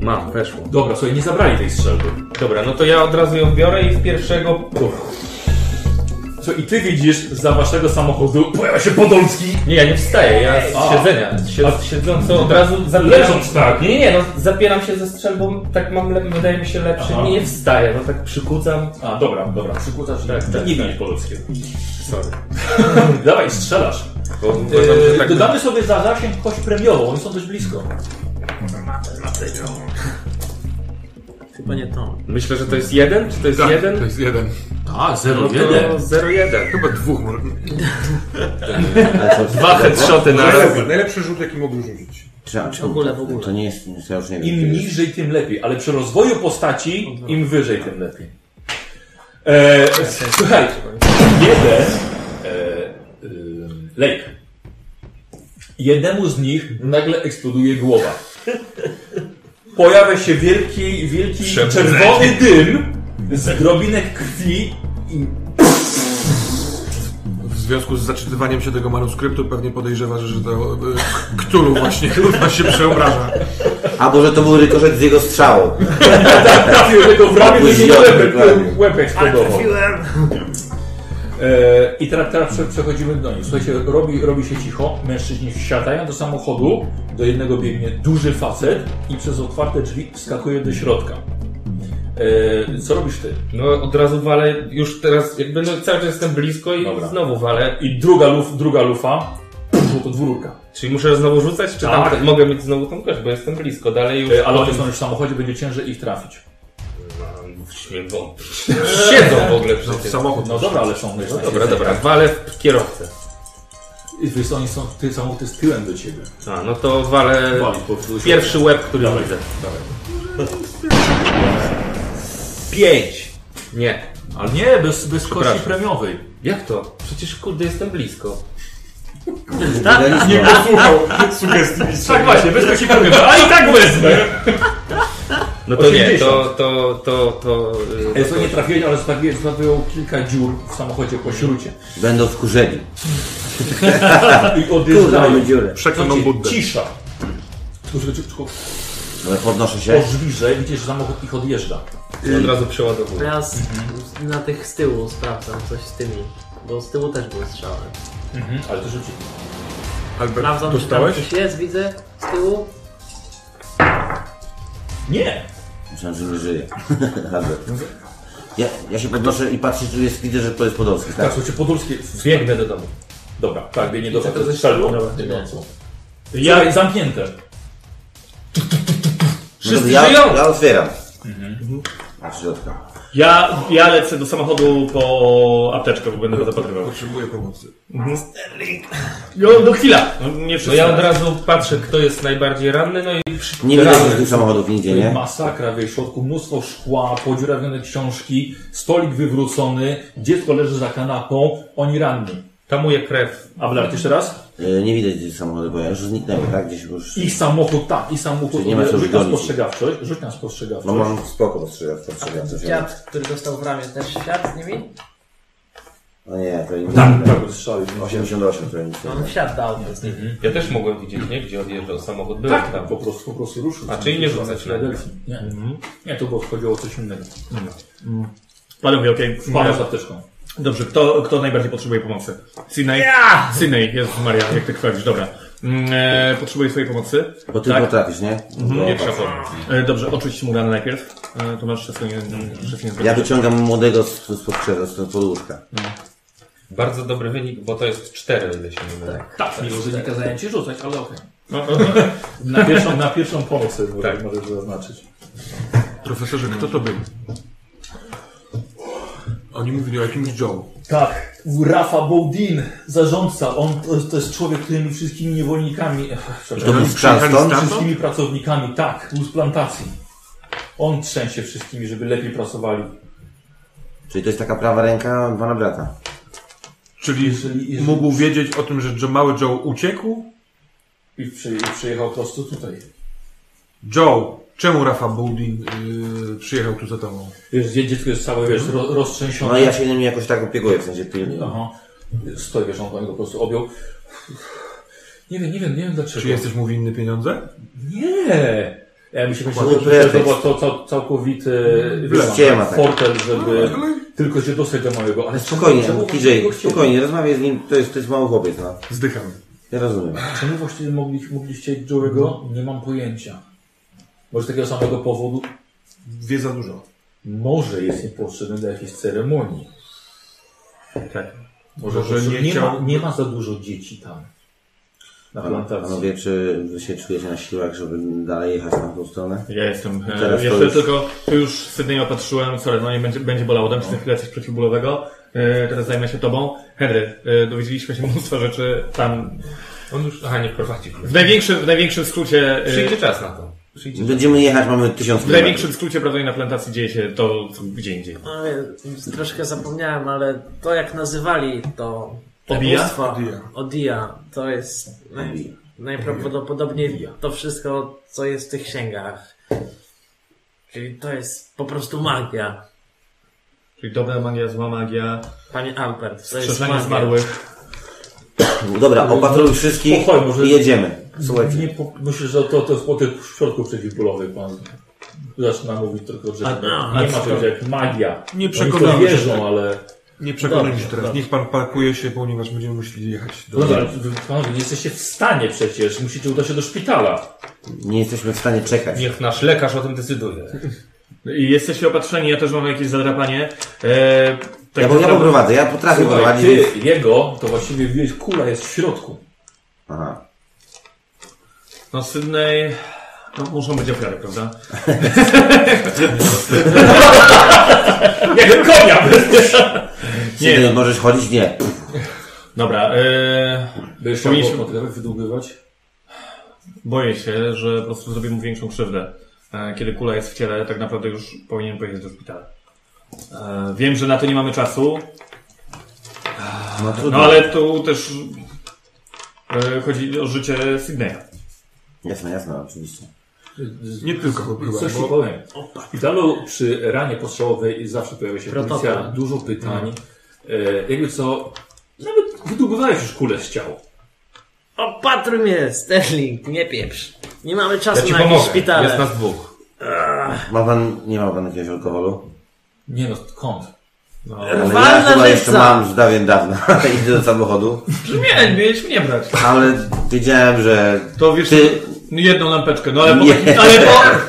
Mam, weszło.
Dobra, słuchaj, nie zabrali tej strzelby.
Dobra, no to ja od razu ją biorę i w pierwszego... Uff.
Co i ty widzisz, za waszego samochodu pojawia się Podolski.
Nie, ja nie wstaję, ja z
A.
siedzenia.
A-
Sied, siedząco od razu zapieram...
Leżąc tak.
Nie, nie, nie, no zapieram się ze strzelbą, tak mam, le- wydaje mi się lepszy,
Aha.
nie wstaję, no tak przykucam.
A, dobra, dobra, przykładasz tak,
tak,
nie
tak.
widzisz Podolskiego.
Sorry.
[LAUGHS] Dawaj, strzelasz.
Bo uważam, że
Eee,
tak...
Dodamy sobie za zasięg kość premiową, oni są dość blisko.
Chyba nie to.
Myślę, że to jest jeden, czy to jest
Tak,
jeden?
To jest jeden.
A,
No
0,1.
to 0-1.
Chyba dwóch. może.
Ale co,
Dwa headshoty na raz.
Najlepszy, najlepszy rzut, jaki mógł rzucić.
czy, czy,
W ogóle, w ogóle.
To nie jest, ja już nie wiem.
Im
czy jest.
niżej, tym lepiej, ale przy rozwoju postaci, im wyżej, tym lepiej. Eee, słuchaj, jeden, eee, ym, Lejk. Jednemu z nich nagle eksploduje głowa. Pojawia się wielki, wielki czerwony dym z drobinek krwi i
W związku z zaczytywaniem się tego manuskryptu pewnie podejrzewasz, że to y, Ktulu właśnie [LAUGHS] kurwa się przeobraża.
Albo że to był rykoszet z jego strzału.
trafił tego w ramię, to się nie
Dokładnie.
łeb, łeb eksplodował. E, I teraz, teraz prze- przechodzimy do nich. Słuchajcie, robi, robi się cicho, mężczyźni wsiadają do samochodu, do jednego biegnie duży facet i przez otwarte drzwi wskakuje do środka. E, co robisz ty?
No od razu walę, już teraz jakby no, cały czas jestem blisko i
Dobra.
znowu walę.
I druga, luf, druga lufa, pff, to dwururka.
Czyli muszę znowu rzucać, czy
Tak.
tam mogę mieć znowu tą kość, bo jestem blisko, dalej już...
E, ale oni są już w samochodzie, będzie ciężej ich trafić.
Śmiem wątpić. Siedzą w ogóle
No,
przecież.
samochód.
No dobra, ale są. No
Dobra, dobra, walę w kierowcę.
Wiesz, oni są, ty samochód jest tyłem do ciebie.
A, no to walę
Wali po prostu.
pierwszy łeb, który
Dawaj.
widzę.
Dawaj.
Pięć! Nie.
Ale nie, bez, bez kości
Przepraszam.
premiowej.
Jak to? Przecież kurde jestem blisko.
Idealizm.
Tak właśnie, bez kości premiowej, [LAUGHS] a i tak wezmę.
No to nie,
80.
to, to, to, to...
E,
Yy,
to nie trafienie, ale zostawiłem, zostawiłem kilka dziur w samochodzie po śrucie.
Będą wkurzeni.
I
Kurde, mamy
odjeżdżają.
dziurę.
Przekoną
Słuchajcie,
Buddę.
Cisza. Tylko, tylko, tylko
Ale podnoszę się.
po żwirze widzisz, że samochód ich odjeżdża.
to od razu przeładowuję.
Ja z, na tych z tyłu sprawdzam coś z tymi, bo z tyłu też były strzały.
Hmm? Ale to rzuci.
Sprawdzam,
Albert,
czy tam
dostałeś?
coś jest, widzę z tyłu.
Nie!
Myślałem, że nie żyje. [LAUGHS] Dobra. ja, ja się podnoszę i patrzę, czy jest, widzę, że to jest Podolski.
Tak,
Tak.
słuchajcie, podolskie.
Biegnę do domu.
Dobra, tak, biegnie do
co to
faceta.
za
Strzelił?
Dobra,
Ja zamknięte.
No,
Wszyscy
ja,
żyją!
ja otwieram.
Mhm.
A z środka.
Ja, ja lecę do samochodu po apteczkę, bo będę go zapatrywał.
Potrzebuję pomocy.
No, no chwila! No, nie
No
wszyscy.
ja od razu patrzę, kto jest najbardziej ranny, no i przy...
Nie widzę tych samochodów nigdzie, nie?
Masakra w jej środku, mnóstwo szkła, podziurawione książki, stolik wywrócony, dziecko leży za kanapą, oni ranni.
tamuję krew.
Abelard, jeszcze raz?
Y, Nie widać tych samochodów, bo ja już zniknęły, tak? Gdzieś już...
Ich samochód, tak, ich samochód.
Czyli nie ma co
Rzuć na
gonić.
spostrzegawczość, rzuć na
No
spostrzegawczość.
mam spoko ostrzegawczo, ostrzegawczo.
Dziad, który dostał w ramię, też siadł z nimi?
No nie, to nie...
Tak, Mhm. tak, strzelił.
88 to nic nie
On siadł dał. więc nie-
Ja też mogłem widzieć, nie? Gdzie odjeżdżał samochód. Byłem
Tak,
tam.
tak, po prostu, po prostu ruszył.
A, czyli nie rzucać na
Delphi. Nie,
Mhm.
nie, to było chodziło o coś innego.
Panowie, okej.
Wpada z apteczką.
Dobrze, kto, kto najbardziej potrzebuje pomocy? Sydney? Ja! Sydney, Jezus Maria, jak ty krwawisz, dobra. Mm, E, potrzebuje swojej pomocy.
Bo ty
Tak.
potrafisz, nie?
Mhm.
No, Bo-
Nie trzeba. E, dobrze, oczyść mu ranę najpierw. E, to masz wszystko nie, wszystko nie
Ja wyciągam młodego z- spod krzewa, z podłóżka.
No,
Bardzo dobry wynik, bo to jest 4, ile się nie mylę.
Tak, mimo że nie kazałem ci rzucać, ale okej.
No, no,
[LAUGHS]
no.
Na pierwszą, na pierwszą pomoc sobie tak. możesz zaznaczyć.
Profesorze, kto to był? Oni mówili o jakimś Joe.
Tak, Rafa Boudin, zarządca, on to jest, to jest człowiek, który mi wszystkimi niewolnikami, ech,
I to
przepraszam,
był
przyjechali
Charleston?
stamtąd?
wszystkimi pracownikami, tak, był z plantacji. On trzęsie wszystkimi, żeby lepiej pracowali.
Czyli to jest taka prawa ręka pana brata.
Czyli
Jeżeli- jeżeli-
mógł wiedzieć o tym, że Joe, mały Joe uciekł?
I przy, i przyjechał prosto tutaj.
Joe, czemu Rafa Boudin yy, przyjechał tu za tobą?
Wiesz, dzie- dziecko jest całe, wiesz, ro, roztrzęsione.
No i ja się nimi jakoś tak opiekuję, w sensie pilnie.
Aha. Stoi, wiesz, on go po prostu objął. Nie wiem, nie wiem, nie wiem dlaczego.
Czy jesteś mu winny pieniądze?
Nie! Ja mi się myślał,
Zły
że to
pretekst.
było to, cał, całkowity
Blef.
wiesz,
Ściema, tak.
fortel, żeby tylko się dostać do małego, ale
Spokojnie,
czemu- czemu
TJ,
go chcieli?
spokojnie, rozmawiaj z nim, to jest, to jest mały chłopiec, no.
Zdycham.
Ja rozumiem.
Czemu właściwie mogli, mogli chcieć Joe'ego? Nie mam pojęcia. Może z takiego samego powodu?
Wie za dużo.
Może jest im potrzebny do jakiejś ceremonii.
Tak.
Może,
Może
po prostu
nie
nie,
chciał-
ma, nie ma za dużo dzieci tam. Na plantacji.
Panowie, czy wy się czujecie na siłach, żeby dalej jechać na tą stronę?
Ja jestem. e,
Teraz to
jeszcze
już-
tylko, tu już Sydney opatrzyłem, sorry, no nie będzie, będzie bolało, dam ci na chwilę coś przeciwbólowego. E, teraz zajmę się tobą. Henry, e, dowiedzieliśmy się [LAUGHS] mnóstwo rzeczy tam.
On już... Aha, nie prowadzi.
W największym, w największym skrócie. e,
Przyjdzie czas na to. Przyjdzie.
Będziemy jechać, mamy tysiąc
W największym skrócie prawdopodobnie na plantacji dzieje się to co gdzie indziej.
No, ja troszkę zapomniałem, ale to jak nazywali to
Odija?
ubóstwo,
Odija.
Odija, to jest naj, najprawdopodobniej to wszystko, co jest w tych księgach. Czyli to jest po prostu magia.
Czyli dobra magia, zła magia,
Panie Albert, to jest
wskrzeszenie
magia.
zmarłych.
Dobra, opatruj wszystkich
Spokojnie, może-
i jedziemy. Słuchajcie.
Nie, po- myślę, że to, to jest po tych środków przeciwbólowych pan zaczyna mówić tylko, że
a,
nie ma czegoś jak magia.
Nie
Oni w to
przekonałem się.
wierzą, ale...
Nie przekonaj mnie
Dobrze,
teraz.
dobrze.
Niech pan parkuje się, ponieważ będziemy musieli jechać do...
No dobra, wy- panowie, nie jesteście w stanie przecież, musicie udać się do szpitala.
Nie jesteśmy w stanie czekać.
Niech nasz lekarz o tym decyduje.
I jesteście opatrzeni, ja też mam jakieś zadrapanie. E, tak
Ja, bo, ja
naprawdę-
poprowadzę, ja potrafię
Słuchaj,
prowadzić.
ty,
więc-
jego, to właściwie wiesz, kula jest w środku.
Aha.
No Sydney... No, muszą być ofiary, [LAUGHS] prawda?
Jak konia!
Nie, ty
no.
możesz chodzić? Nie.
Dobra, e,
Będziesz
Powinniśmy-
chciał potrafię wydłubywać?
boję się, że po prostu zrobię mu większą krzywdę. E, kiedy kula jest w ciele, tak naprawdę już powinien pojechać do szpitala. E, wiem, że na to nie mamy czasu,
No trudno.
no ale tu też e, chodzi o życie Sydneya.
Jasne, jasne, oczywiście.
Nie tylko chyba,
Coś ci
bo...
powiem. W szpitalu przy ranie postrzałowej zawsze pojawia się
Protokół.
policja, dużo pytań. E, jakby co, nawet wydłubywałeś już kulę z ciała.
Opatruj mnie, Sterling, nie pieprz. Nie mamy czasu
Ja ci
na jakieś
pomogę.
szpitale.
Jest nas dwóch.
Ma pan, nie ma pan jakiegoś alkoholu?
Nie no, skąd?
Ale ja
Walna
chyba jeszcze
żywca!
mam z dawien dawna. [LAUGHS] Idę do samochodu.
Nie, mieliśmy nie brać.
Ale wiedziałem, że
To wiesz,
ty...
jedną lampeczkę, no ale po,
Nie.
ale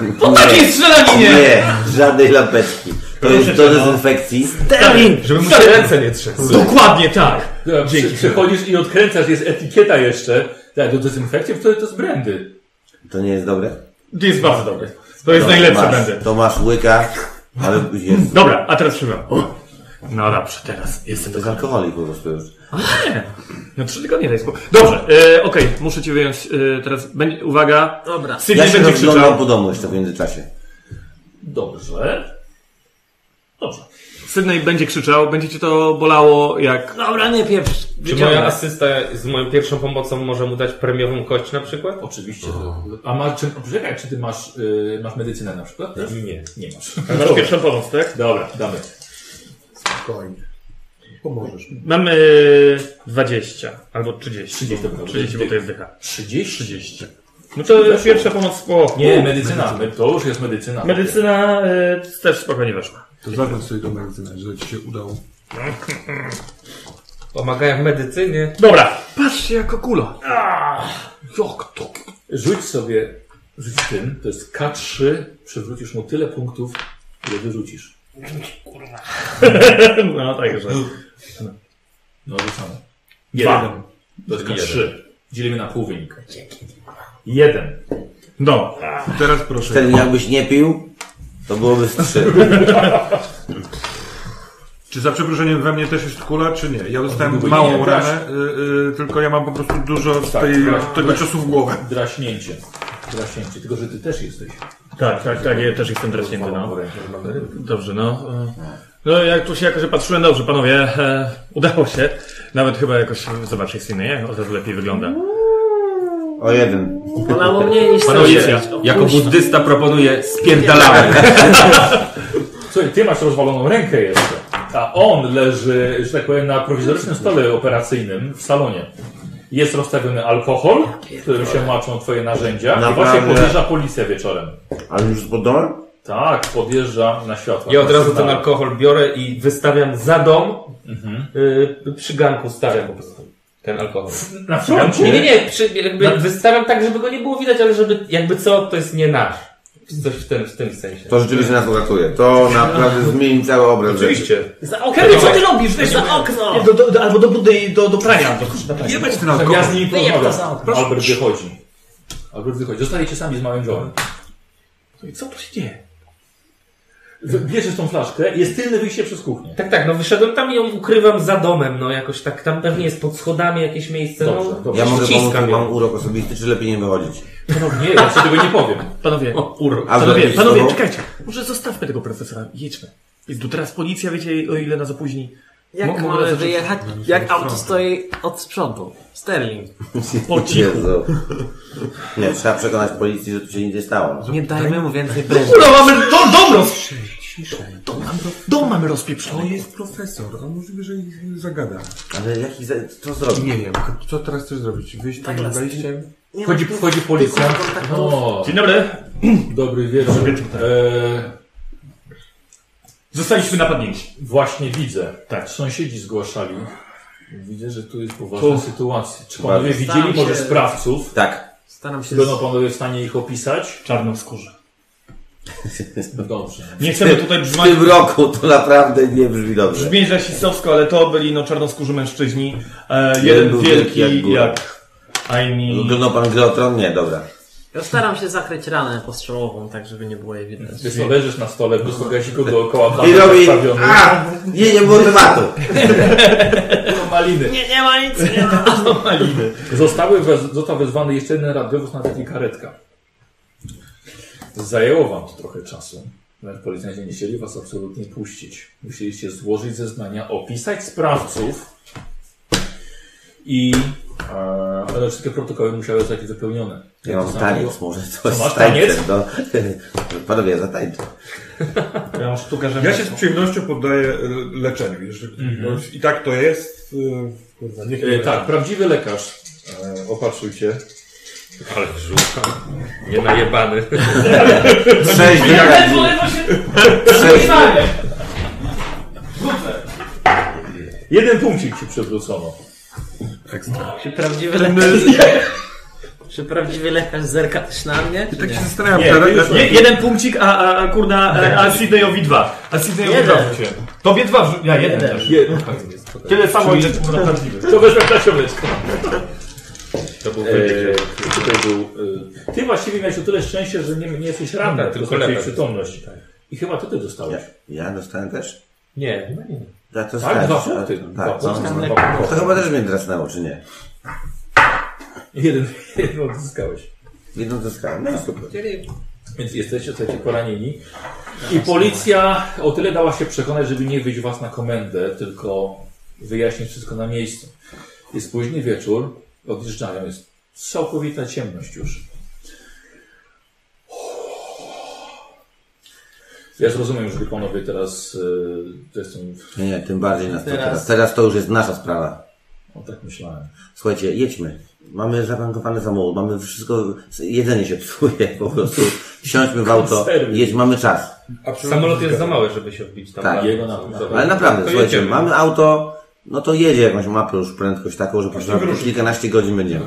po, po takiej strzelaninie!
Nie, żadnej lampeczki. To jest do
no.
dezynfekcji.
Termin!
Żeby mu się ręce nie trzęsły.
Dokładnie tak!
Dobra,
Dzięki.
przy- Przychodzisz i odkręcasz, jest etykieta jeszcze. Tak, do dezynfekcji, wtedy to jest brandy.
To nie jest dobre?
To jest bardzo dobre. To jest
To
najlepsze
masz-
będę.
To masz łyka, ale jest...
Dobra, a teraz trzymam. No dobrze, teraz jestem
To jest
do
alkoholik po prostu już.
No trzy tygodnie daj spokój. Dobrze, e, okej, muszę ci wyjąć e, teraz, będzie, uwaga,
Dobra.
Sydney
Ja się
będzie
rozglądam
krzyczał,
po domu jeszcze w międzyczasie.
Dobrze. Dobrze.
Sydney będzie krzyczał, będzie cię to bolało jak...
Dobra, nie pieprz.
Czy moja asysta z moją pierwszą pomocą może mu dać premiową kość na przykład?
Oczywiście. A masz, czy, czekaj, czy ty masz, y, masz medycynę na przykład? Nie. Nie [LAUGHS] masz.
Masz pierwszą pomoc, tak?
Dobra, damy.
Mam e, 20 albo 30.
30 to
30, bo to jest dycha.
30? 30.
No to pierwsza pomoc po...
Nie, medycyna. Me- To już jest medycyna.
Medycyna e, też spokojnie weszła.
To zaznacz sobie tą medycynę, że ci się udało.
Pomagają w medycynie.
Dobra,
Patrzcie, jaka kula!
Jak to? Rzuć sobie, rzuć tym, to jest K3, przywrócisz mu tyle punktów, ile wyrzucisz. [LAUGHS] tak,
no także.
No rzucamy. Jeden. To jest K3. Dzielimy na pół wynik. Jeden.
No,
Teraz proszę.
Wtedy jakbyś nie pił, to byłoby z
[LAUGHS]
trzy.
Czy za przeproszeniem we mnie też jest kula, czy nie? Ja dostałem małą
nie,
ranę, y, y, tylko ja mam po prostu dużo z
Tak,
tej,
tak.
tego ciosu w głowę.
Draśnięcie. Draśnięcie. Tylko, że ty też jesteś.
tak, tak, tak, ja też jestem draśnięty, no.
Dobra, jak mam ryb.
Dobrze, no. e, No jak tu się jakoś patrzyłem, dobrze, panowie, e, udało się. Nawet chyba jakoś, zobaczcie, Sydney, jak od razu lepiej wygląda.
O jeden.
Bolało mnie niż
Panowie,
to się-
jako buddysta proponuję spierdalamy.
[LAUGHS] Słuchaj, ty masz rozwaloną rękę jeszcze. A on leży, że tak powiem, na prowizorycznym stole operacyjnym w salonie. Jest rozstawiony alkohol, w którym się maczą twoje narzędzia. I
Naprawdę.
właśnie podjeżdża policja wieczorem.
Ale już pod domem?
Tak, podjeżdża na światło.
Ja od razu ten alkohol biorę i wystawiam za dom. Y, przy ganku stawiam po prostu ten alkohol.
Na froncie?
Nie, nie, nie. Przy, jakby
No,
Wystawiam tak, żeby go nie było widać, ale żeby jakby co, to jest nie nasz. Coś w tym, w tym sensie.
To rzeczywiście nas uratuje. To naprawdę zmieni cały obraz.
Oczywiście.
Za okno! Co ty robisz? Weź za okno!
Do, do, albo do budy, do, do prania. Do, do
Nie
prania.
będzie ten
Ja
alkohol.
z nimi
Wyjeb No to
porozmawiam.
za okno.
Albert wychodzi. Albert wychodzi. Zostajecie sami z małym Johnem.
No Co tu się dzieje?
Bierzesz tą flaszkę i jest tylne wyjście przez kuchnię.
Tak, tak, no wyszedłem tam i ją ukrywam za domem, no jakoś tak, tam pewnie jest pod schodami jakieś miejsce,
Dobrze,
no.
dobrze.
Ja mogę pomóc,
Ściskam
mam
ją.
urok osobisty, czy lepiej nie wychodzić?
Nie, ja ci tego nie powiem.
Panowie,
A
panowie,
zrobić z
panowie,
tobą?
czekajcie. Może zostawmy tego profesora, jedźmy. Jest tu teraz policja, wiecie o ile nas opóźni.
Jak
Mogę
mamy
zacząć?
wyjechać, jak auto stoi od sprzątu? Sterling,
Po cichu.
[LAUGHS] Jezu.
Tak?
Nie, trzeba przekonać policji, że tu się nic nie stało.
nie dajmy mu więcej broni.
No mamy do, dobrą!
Ciszej.
Dom, mam, ro- dom mamy rozpieprzony.
To jest profesor, on możliwe, że ich zagada.
Ale jaki za... co zrobić?
Nie wiem, co teraz chcesz zrobić? Wyjść
Tak,
tym
las-
wejściem?
Nie
Wchodzi,
ma tu-
wchodzi policja.
tylko kontaktów.
O,
Dzień dobry.
[CLEARS THROAT]
tak.
dobry wieczór. E,
Zostaliśmy napadnięci.
właśnie widzę.
Tak.
Sąsiedzi zgłaszali. Widzę, że tu jest poważna sytuacja. Czy
Bardzo.
panowie widzieli
Staram
może
się-
sprawców?
Tak.
Staram się.
Będą panowie w stanie ich opisać?
Czarną skórze.
Dobrze.
Nie chcemy tutaj
W
brzmać,
tym roku to naprawdę nie brzmi dobrze.
brzmieć rasistowsko, ale to byli no czarnoskórzy mężczyźni. E, jeden,
był
wielki
wielki jak
jak,
góra.
jak Aini.
Oglądał pan Geotron? Nie, dobra.
Ja staram się zakryć ranę postrzałową, tak żeby nie było jej widać.
Ty sobie leżysz na stole,
No.
wysoka się go dookoła
I robi...
zastawiony.
A! Nie, nie było tematu.
maliny.
Nie, nie ma nic, nie ma.
Zostały wez, został wezwany jeszcze jeden radiowóz, nawet i karetka. Zajęło wam to trochę czasu. Nawet policjanci nie chcieli was absolutnie puścić. Musieliście złożyć zeznania, opisać sprawców i e, ale wszystkie protokoły musiały zostać wypełnione.
Ja mam
To
taniec,
samo-
może
Co,
coś
masz
z tańcem.
taniec?
No. [LAUGHS] Panowie, ja zatańczę.
Ja mam sztukę, że...
Ja się z przyjemnością poddaję e, leczeniu. Jeżeli
Mhm.
I tak to jest. e, Kurwa, niech
E, tak, prawdziwy lekarz. E, opatrzył cię.
Ale żółka. Nie najebany.
Sześć
Ledwo, ledwo się przebiegamy.
Jeden punkcik ci przewrócono.
Czy [LAUGHS] prawdziwy lekarz... Czy prawdziwy lekarz zerka też na mnie? czy
Tak
nie?
się zastanawiam,
Nie,
czy
już nie, jeden punkcik, a, a, a kurna, e, a, a Sydneyowi dwa. A Sydneyowi
Jeden.
dwa wrzuciłem. Tobie dwa wrzuciłem. Ja jeden,
Jeden.
też. Tak. Tyle samo, ile kurna prawdziwy.
To wezmę na ciągłeczkę.
To był
Eee,
wytyk.
tutaj był, e, ty właściwie miałeś o tyle szczęście, że nie, nie jesteś ranny,
No tak,
tylko
tylko Tak.
straciłeś
lekarz.
przytomność. I chyba to ty dostałeś.
Ja, ja dostałem też?
Nie, no nie.
Ja to
Tak,
tak,
dwa
tak,
punkty. Dwa
tak, no,
punkty.
no. To chyba też mnie drasnęło, czy nie?
[LAUGHS]
Jeden, jeden odzyskałeś.
Jedną zyskałem, no i super.
Więc jesteście tutaj poranieni. I policja o tyle dała się przekonać, żeby nie wyjść was na komendę, tylko wyjaśnić wszystko na miejscu. Jest późny wieczór, odjeżdżają, jest całkowita ciemność już. Ja zrozumiem, że wy panowie teraz yy, jestem w...
Nie, nie, tym bardziej nas to teraz. Teraz to już jest nasza sprawa.
O, tak myślałem.
Słuchajcie, jedźmy. Mamy zabankowane samochód, mamy wszystko, jedzenie się psuje po prostu. [LAUGHS] Wsiądźmy w auto,
Konserwy.
jedź, mamy czas.
Samolot jest za mały, żeby się wbić tam.
Tak,
na-
jego na-
za-
Ale naprawdę,
To
słuchajcie,
jedziemy.
mamy auto, no to jedzie jakąś mapę już prędkość taką, że po prostu kilkanaście godzin będziemy.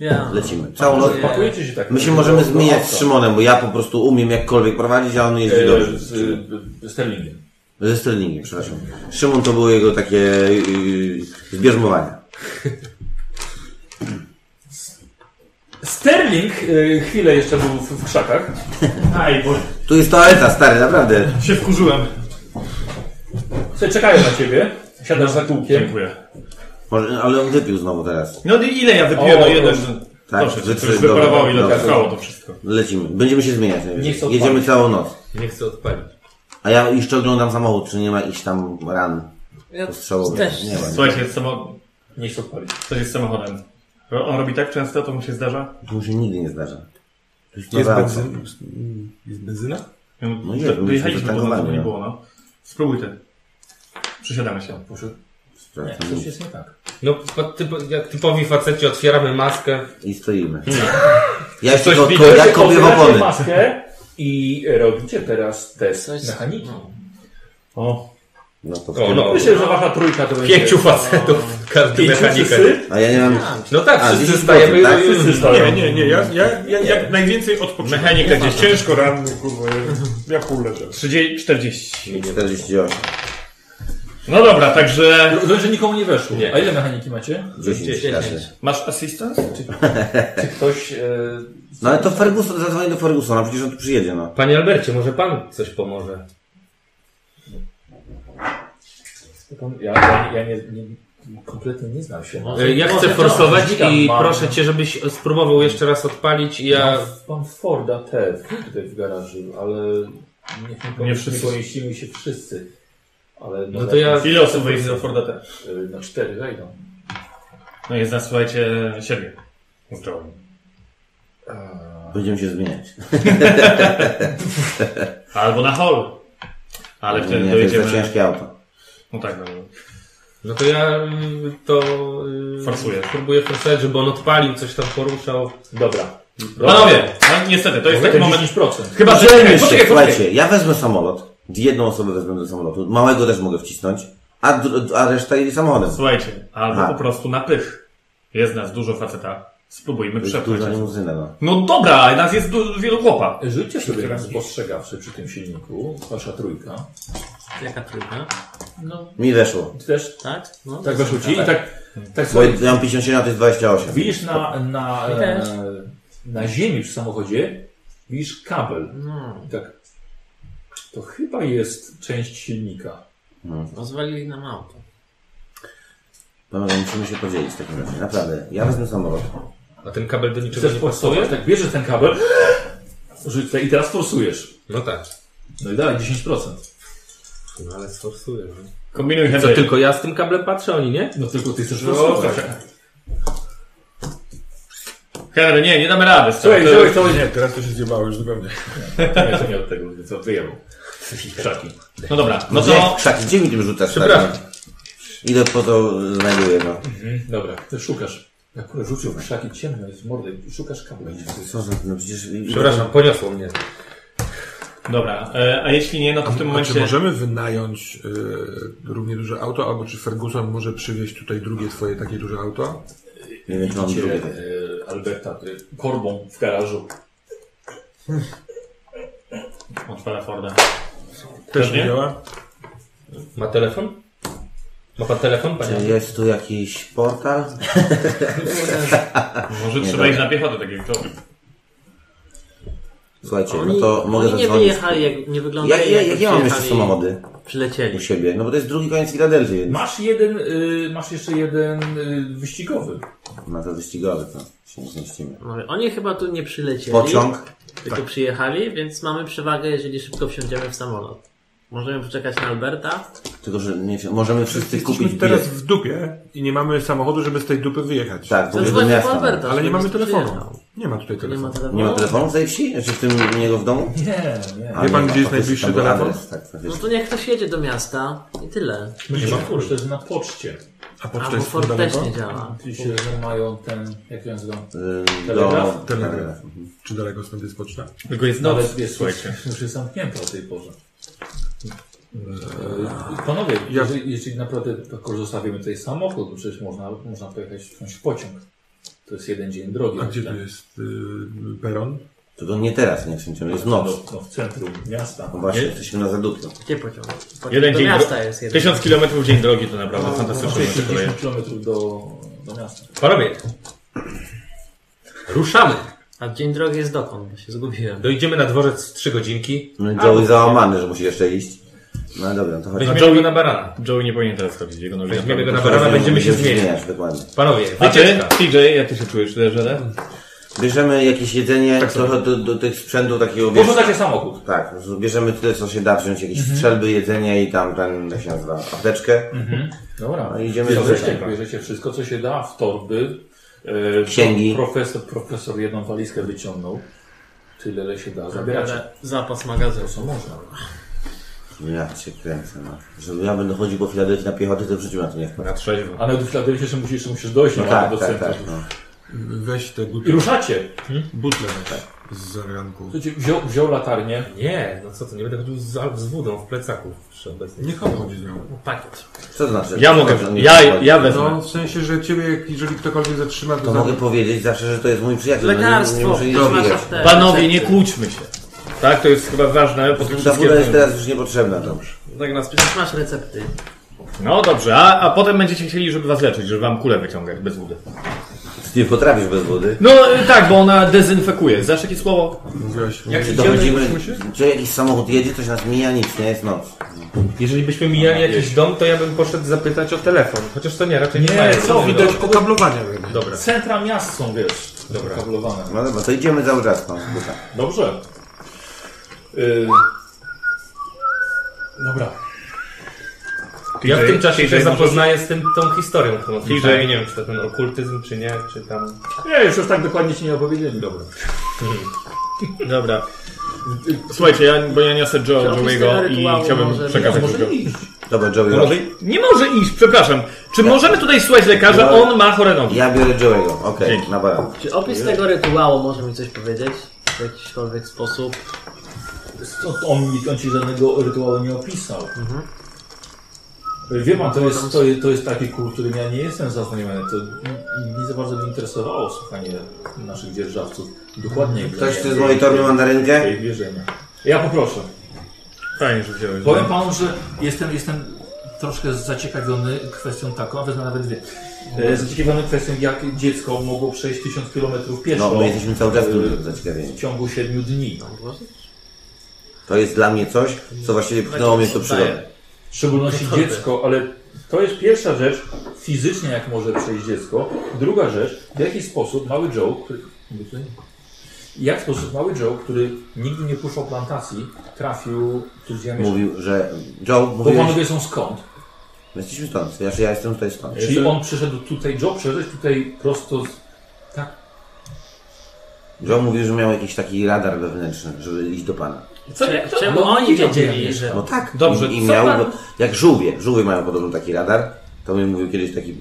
Ja.
Lecimy. Całą noc.
Pakujecie się tak.
My się możemy zmieniać z Szymonem, bo ja po prostu umiem jakkolwiek prowadzić, a on jeździ
E, z, y, z,
dobrze.
z Sterlingiem.
Ze Sterlingiem, przepraszam. Szymon to było jego takie yy, zbierzmowanie.
Sterling y, chwilę jeszcze był w, w krzakach.
Aj, bo
Tu jest toaleta, stary, naprawdę.
się wkurzyłem.
Słuchaj, czekają na ciebie. Siadasz za kółkiem.
Dziękuję.
Może, ale on wypił znowu teraz.
No i ile ja wypiłem?
O,
No jeden...
proszę.
Tak,
Proszę,
wy
to
trzy-
już
dobra,
wyparowało ile
dobra.
trwało to wszystko.
Lecimy. Będziemy się zmieniać.
Nie chcę
Jedziemy
odpalić.
całą noc.
Nie chcę odpalić.
A ja jeszcze oglądam samochód, czy nie ma iść tam ran
Ja
postrzałowy.
też.
Nie ma.
Słuchajcie, jest samo...
Nie chcę odpalić.
coś jest z samochodem. On robi tak często, to mu się zdarza?
To mu się nigdy nie zdarza. To jest
Jest
nowe auto.
benzyna? Jest benzyna?
No
nie, bo myśmy
Wyjechaliśmy poza to,
tankowali,
nie
no.
było, no. Spróbuj ty. Przysiadamy się.
Nie,
Sprawdzam.
coś jest nie tak.
No, po- typo, jak typowi faceci otwieramy maskę.
I stoimy. Ja jeszcze
Coś
go,
widać?
ko, ja kopię w
Otwieracie
opony.
maskę i robicie teraz test
Coś-
mechaniki.
O,
No to w
O,
tym-
no.
Myślę, że wasza trójka to będzie...
Pięciu facetów, każdy
Pięciu
mechanika.
wszyscy?
A ja nie mam...
No tak,
A,
wszyscy
widzisz,
stajemy.
tak?
Wszyscy
Nie,
stoją.
nie, nie, ja, ja, ja jak najwięcej odpoczynam.
mechanika gdzieś cię.
Ciężko ranny, kurwa, ja, ja pół leżę.
30, 40.
48.
No dobra, także
Rozumiem, No, że nikomu nie weszło.
Nie.
A ile mechaniki macie?
10 razy.
masz assistance?
[LAUGHS]
Czy...
Ktoś... E...
No ale to Ferguson, zadzwonię do Fergusona, przecież on tu przyjedzie, no.
Panie Albercie, może pan coś pomoże?
Ja, ja, ja nie, nie, kompletnie nie znam się.
E, Ja chcę forsować i proszę cię, żebyś spróbował jeszcze raz odpalić i ja...
Mam Forda też tutaj w garażu, ale niech nie, nie,
wszyscy.
nie pomieścimy się wszyscy. Ale
No to ja...
Ile osób wejdzie do Forda T?
y, Na cztery wejdą.
No jest nas, słuchajcie, siedmiu. Zdrowo.
Będziemy się zmieniać.
Albo na hol.
Ale
No Nie,
wtedy
to jest za
dojedziemy...
ciężkie auto.
No tak, no.
No to ja y, to... y,
Forsuję.
Próbuję forsować, żeby on odpalił, coś tam poruszał.
Dobra.
Panowie, no niestety, to jest taki moment...
10%.
Chyba, że...
Dzielmy się,
Poczekaj, poczekaj.
słuchajcie, ja wezmę samolot, jedną osobę wezmę do samolotu, małego też mogę wcisnąć, a, dru- a reszta jedzie samochodem.
Słuchajcie, albo
Aha.
po prostu na pych. Jest nas dużo faceta. Spróbujmy
To jest
przepchnąć.
duża limuzyna, no.
No dobra, nas jest du- wielu chłopa.
Rzućcie sobie raz spostrzegawczy przy tym silniku. Wasza trójka.
Jaka trójka?
Mi weszło.
Ty też
Tak? No.
tak weszło ci? I tak, tak
Bo
sobie
ja mam 57, a to jest 28.
widzisz na, na,
I też.
e, na ziemi przy samochodzie, widzisz kabel.
No,
Hmm.
I tak. To chyba jest część silnika.
rozwalili nam auto.
Panowie, No, musimy się podzielić w takim razie, naprawdę. Ja wezmę samolot.
A ten kabel do niczego
Chcesz
nie pasuje?
forsować? Tak, bierzesz ten kabel, [GASPS] rzuć te- i teraz forsujesz.
No tak.
No i dalej, 10%.
No ale sforsuję. No.
Kombinuj
Co,
Henry.
tylko ja z tym kablem patrzę, oni nie?
No tylko ty chcesz forsować.
tak.
Henry, nie, nie damy rady. stary.
Słuchaj,
To-
słuchaj, to nie.
Teraz to się zjebało już zupełnie.
Ja to nie od tego, co
[LAUGHS]
wyjęło. Krzaki.
No dobra, no
No to...
to...
Krzaki, gdzie mi tym rzucasz?
Przepraszam.
Tak? Ile po to znajduję, no.
Dobra, ty szukasz. Akurat rzucił w szlaki ciemno jest mordy. Szukasz kabla.
Co za... No przecież...
Przepraszam, poniosło mnie.
Dobra, e, a jeśli nie, no to w tym
A czy
Znaczy,
momencie...
możemy wynająć y, równie duże auto, albo czy Ferguson może przywieźć tutaj drugie twoje takie duże auto?
Nie wiem, czy mam
Widzicie
drugie.
e, Alberta e, korbą w garażu.
Hmm.
Otwala Forda.
Też
Pewnie.
nie działa?
Ma telefon? Ma pan telefon, panie?
Czy jest tu jakiś portal?
Może trzeba
dobra.
iść na piechotę, tak jak to.
Słuchajcie,
Oni,
no to mogę
oni nie
zadzwonić.
wyjechali, jak, nie
Ja,
wyglądali
ja,
jakby
jak ja mam jeszcze
przyjechali-
samochody u
Przylecieli.
siebie? No bo to jest drugi koniec Filadelfii, więc
Masz jeden, y, masz jeszcze jeden y, wyścigowy.
na to wyścigowe to się nie zmieścimy.
Mówię, Oni chyba tu nie przylecieli.
Pociąg? Tak.
Tylko przyjechali, więc mamy przewagę, jeżeli szybko wsiądziemy w samolot. Możemy poczekać na Alberta.
Tylko, że nie, możemy wszyscy
Jesteśmy
kupić
teraz
bilet.
w dupie i nie mamy samochodu, żeby z tej dupy wyjechać.
Tak, w ogóle do
Zadzwoń po
miasta.
Alberta. No.
Ale nie
żeby
mamy
tu
telefonu.
przyjechał.
Nie ma tutaj
Nie ma
telefonu.
telefonu.
Nie ma telefonu w tej wsi? Czy w tym u niego w domu?
Nie, nie.
A,
Wie pan,
ma,
gdzie
faktycznie,
jest najbliższy
tam był
telefon?
adres, tak,
No
faktycznie.
to niech ktoś jedzie do miasta i tyle.
Nie ma kurz, to jest na poczcie.
A poczta
Albo
jest tu
Ford też
daleko?
nie działa.
Czyli się, że mają ten, jak ją nazywam?
Ym,
Telegraf?
Do...
Telegraf. Czy daleko stąd jest poczta?
Tylko jest noc,
Nawet No, jest
słuchajcie.
już jest zamknięte o tej porze. E, Panowie,
Eee, Ja-
jeżeli, jeżeli naprawdę tylko zostawimy tutaj samochód, bo przecież można, można pojechać wsiąść w pociąg. To jest jeden dzień drogi.
A gdzie tu
Tak.
jest y, peron?
To to nie teraz, nie wszędzie, jest
No,
noc.
no, w centrum miasta.
No właśnie, jesteśmy na zadupie.
Gdzie pociąg? pociąg
Jeden
do
dzień
miasta jest jeden.
1000 km dzień drogi to naprawdę
no,
fantastyczne rzeczy koleje.
60 km do, do miasta.
Panowie, ruszamy.
A dzień drogi jest dokąd? Bo się zgubiłem.
Dojdziemy na dworzec w 3 godzinki.
No i Joey załamany, że musi jeszcze iść. No dobra, to chodź.
Weźmiemy
Joey-
go na barana.
Joey nie powinien teraz chodzić, jego nogi
Weźmiemy go
naprawdę-
na barana, będziemy się
Będziemy
zmieniać.
dokładnie.
Panowie,
A ty,
wycieczka.
TJ, jak ty się czujesz, leżele?
Bierzemy jakieś jedzenie, trochę do, do tych sprzętów takiego, wiesz,
Porządzacie samochód.
tak, bierzemy tyle, co się da wziąć, jakieś strzelby, jedzenie i tam ten, jak się nazywa, apteczkę.
Dobra,
No, idziemy
Bierzecie-
do rzeczy.
Bierzecie wszystko, co się da w torby. E,
Księgi.
Profesor, profesor jedną walizkę wyciągnął. Tyle, ile się da. Zabieracie.
Zabiorę zapas magazynu.
To, co można.
Ja cię kręcę, no. Żeby ja będę chodził po Filadelfii na piechotę, to w życiu na to nie wpadł.
Na trzeźwo.
Ale do Filadelfii jeszcze musisz, jeszcze musisz dojść
No
no,
tak,
do
tak,
centrum.
tak, no.
Weź te
I
butle,
ruszacie.
butle weź z zaranku.
Słuchajcie, Wziął, wziął latarnię.
Nie, no co to, nie będę chodził z, z wodą w plecaku przy obecnej.
Niech on chodzi z nią.
Pakiet.
Co to znaczy?
Ja
Co
mogę,
to, że nie
ja,
przychodzi?
ja wezmę.
No, w sensie, że ciebie, jak- jeżeli ktokolwiek zatrzyma, to,
To
za-
No mogę powiedzieć zawsze, że to jest mój przyjaciel. no nie- Nie
Lekarstwo!
muszę nic robić.
Panowie, nie kłóćmy się. Tak, to jest chyba ważne po tym
Ta
wszystkim.
buda jest teraz już niepotrzebna, dobrze.
Tak nas...
Przecież masz recepty.
No dobrze, a, a potem będziecie chcieli, żeby was leczyć, żeby wam kulę wyciągać bez wody.
Ty nie potrafisz bez wody.
No y, tak, bo ona dezynfekuje. Znasz takie słowo?
mówiłaś,
Jak się
Dochodzimy, czy jakiś samochód jedzie, coś nas mija, nic, nie jest noc.
Jeżeli byśmy
No,
mijali jakiś dom, to ja bym poszedł zapytać o telefon. Chociaż to nie, raczej nie,
Nie,
mają.
no,
co
Nie,
widać?
Okablowania będzie.
Dobra.
Centra miast są, wiesz, Dobra. kablowane.
No dobra, to idziemy cały czas tam. kurwa.
Dobrze. Y... Dobra.
Ja w tym czasie się
TJ,
zapoznaję z tym, tą historią. Tą
TJ.
nie wiem, czy to ten okultyzm, czy nie, czy tam...
Nie, już, już tak dokładnie ci nie opowiedzieli. Dobra.
Dobra.
Słuchajcie, ja, bo ja niosę Joe,
Czy opis
Joe'ego
tego
i
rytuału
chciałbym
może-
przekazać
Może
Joe.
iść.
Dobra, Joey.
To może,
Rock.
nie może iść, przepraszam. Czy możemy tutaj słuchać lekarza?
No.
On ma chore nogi.
Ja biorę Joey'ego. Okej,
Dzięki.
na baran.
Czy opis tego rytuału może mi coś powiedzieć? W jakiśkolwiek sposób?
To On, mi- on ci żadnego rytuału nie opisał. Wie pan, to jest, to, jest, to jest taki kult, którym ja nie jestem zaznajomiony. To n- nie za bardzo mnie interesowało słuchanie naszych dzierżawców. Dokładnie.
Ktoś
nie-
chce z mojej torby mandarynkę?
tej wierzenia. Ja poproszę.
Fajnie, że wziąłeś.
Powiem panu, że jestem, jestem troszkę zaciekawiony kwestią taką, a wezmę nawet dwie. E, Zaciekawiony kwestią, jak dziecko mogło przejść 1000 km pieszo e,
No, my jesteśmy cały czas tym
w
zaciekawieni.
ciągu 7 dni.
To jest dla mnie coś, co właściwie pchnęło mnie w to przygodę.
W szczególności dziecko, ale to jest pierwsza rzecz, fizycznie jak może przejść dziecko. Druga rzecz, w jaki sposób mały Joe, który, mówię tutaj? jak w sposób mały Joe, który nigdy nie puszczał plantacji, trafił tu gdzie ja mieszkam.
Mówił, że Joe,
Bo
mówiłeś,
panowie są skąd?
my jesteśmy stąd, ja, ja jestem tutaj stąd.
Czyli on przyszedł tutaj, Joe przyszedł tutaj prosto z...
Joe mówił, że miał jakiś taki radar wewnętrzny, żeby iść do pana.
Co, czemu
no,
oni
nie
wiedzieli,
wiem.
że...
No tak,
Dobrze,
i, i
co
miał,
pan-
bo jak żółwie, żółwie mają podobno taki radar, to mi mówił kiedyś taki mm,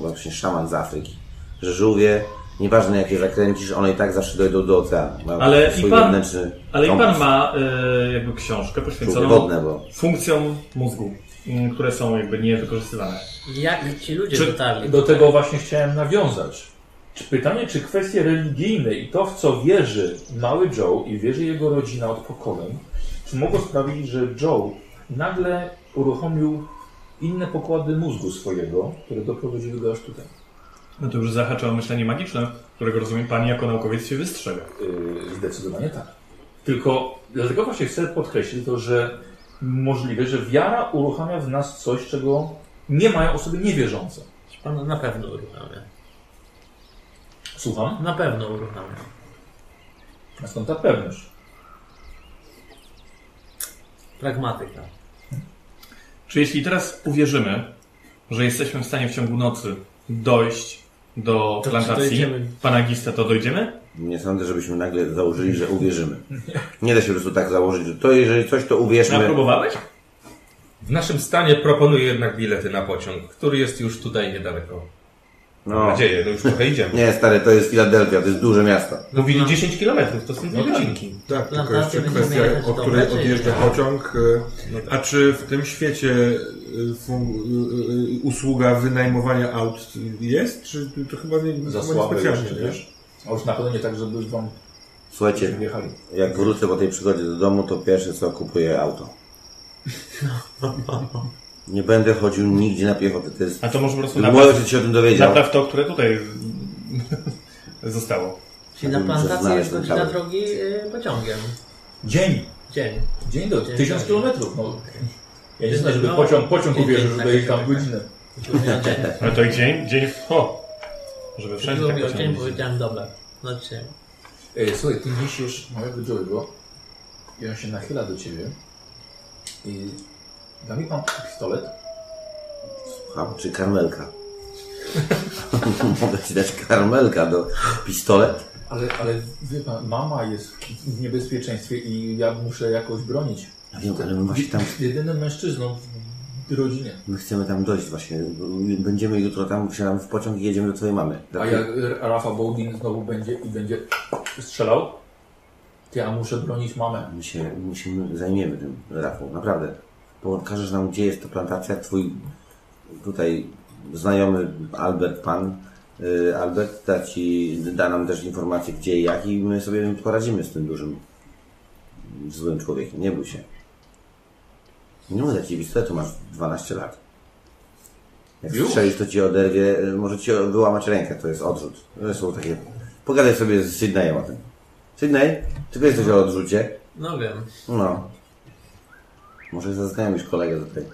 właśnie szaman z Afryki, że żółwie, nieważne jakie zakręcisz, one i tak zawsze dojdą do oceanu. Mają
Ale
swój
i pan-
wewnętrzny
Ale i
kompas.
pan ma e, jakby książkę
Żółwie
poświęconą
wodne, bo
funkcjom mózgu,
mm,
m, które są jakby niewykorzystywane.
Jak ci ludzie
Czy-
dotarli?
Do tego właśnie chciałem nawiązać. Czy pytanie, czy kwestie religijne i to, w co wierzy mały Joe i wierzy jego rodzina od pokoleń, czy mogło sprawić, że Joe nagle uruchomił inne pokłady mózgu swojego, które doprowadziły go aż tutaj?
No to już zahacza o myślenie magiczne, którego rozumiem pan jako naukowiec się wystrzega.
Yy, zdecydowanie tak. Tylko dlatego właśnie chcę podkreślić to, że możliwe, że wiara uruchamia w nas coś, czego nie mają osoby niewierzące.
Pan na pewno uruchamia.
Słucham?
Na pewno uruchamia.
A Skąd ta pewność?
Pragmatyka.
Czy jeśli teraz uwierzymy, że jesteśmy w stanie w ciągu nocy dojść do
To czy
plantacji
dojdziemy?
pana Gista, to dojdziemy?
nie sądzę, żebyśmy nagle założyli, że uwierzymy. Nie da się po prostu tak założyć, że to jeżeli coś, to uwierzmy.
A próbowałeś?
W naszym stanie proponuję jednak bilety na pociąg, który jest już tutaj niedaleko. Mam
No.
nadzieję, no już trochę [LAUGHS] idziemy.
Nie, stary, to jest Filadelfia, to jest duże miasto.
Mówili 10 km, to są dwie godzinki.
Tak, tylko
Plantacje
jeszcze
będziemy
kwestia,
jechać
o
do
której
Meczu,
odjeżdża
tak.
pociąg. y, A czy w tym świecie y, fun- y, y, usługa wynajmowania aut jest? Czy to chyba nie,
Za
chyba nie
słabe
specjalnie,
jeszcze,
nie?
wiesz? A już na pewno nie tak, żeby wam
Słuchajcie,
wjechali.
jak wrócę po tej przygodzie do domu, to pierwsze co kupuję auto.
No,
Nie będę chodził nigdzie na piechotę. To jest.
A to może po prostu
Mój
napraw,
ojciec się o tym dowiedział.
napraw to, które tutaj zostało.
Czyli
Ja
na
bym
plantację
znaleźć
jest
ten
godzina
kabel.
drogi y, pociągiem.
Dzień.
Dzień.
Dzień do
Dzień
tysiąc
dobry.
kilometrów. No. Ja nie znam, żeby
No,
pociąg, pociąg
dzień,
uwierzył,
dzień,
że
tak,
dojedzie tam
tak,
w godzinę.
Mówiłem dzień.
Ale to i dzień, dzień w... O! Żeby wszędzie
Mówiłem dzień,
tak pociągnąć.
powiedziałem dobra. No dzisiaj.
Ej, E, słuchaj, ty niesiesz mojego Joe'ego i on się nachyla do ciebie i da mi pan pistolet.
Słucham, czy karmelka? [LAUGHS] Mogę ci dać karmelka do pistolet?
Ale, ale wie pan, mama jest w niebezpieczeństwie i ja muszę jakoś bronić.
Ja wiem, ale my właśnie tam.
Jedynym mężczyzną w rodzinie.
My chcemy tam dojść właśnie. Będziemy jutro tam, wsiadamy w pociąg i jedziemy do twojej mamy.
A jak Rafa Boldin znowu będzie i będzie strzelał, to ja muszę bronić mamę.
My się, my się zajmiemy tym, Rafał, naprawdę. Pokażesz nam, gdzie jest ta plantacja. Twój tutaj znajomy Albert Pan, y, Albert, da, ci, da nam też informacje, gdzie i jak i my sobie poradzimy z tym dużym, złym człowiekiem. Nie bój się. Nie mówię ci pistoletu, masz 12 lat. Jak
Już?
strzelisz, to ci oderwie, y, może ci wyłamać rękę, to jest odrzut. To są takie... Pogadaj sobie z Sydneyem o tym. Sydney, ty wiesz coś o odrzucie?
No wiem.
No. Może zaznajomisz kolegę tutaj.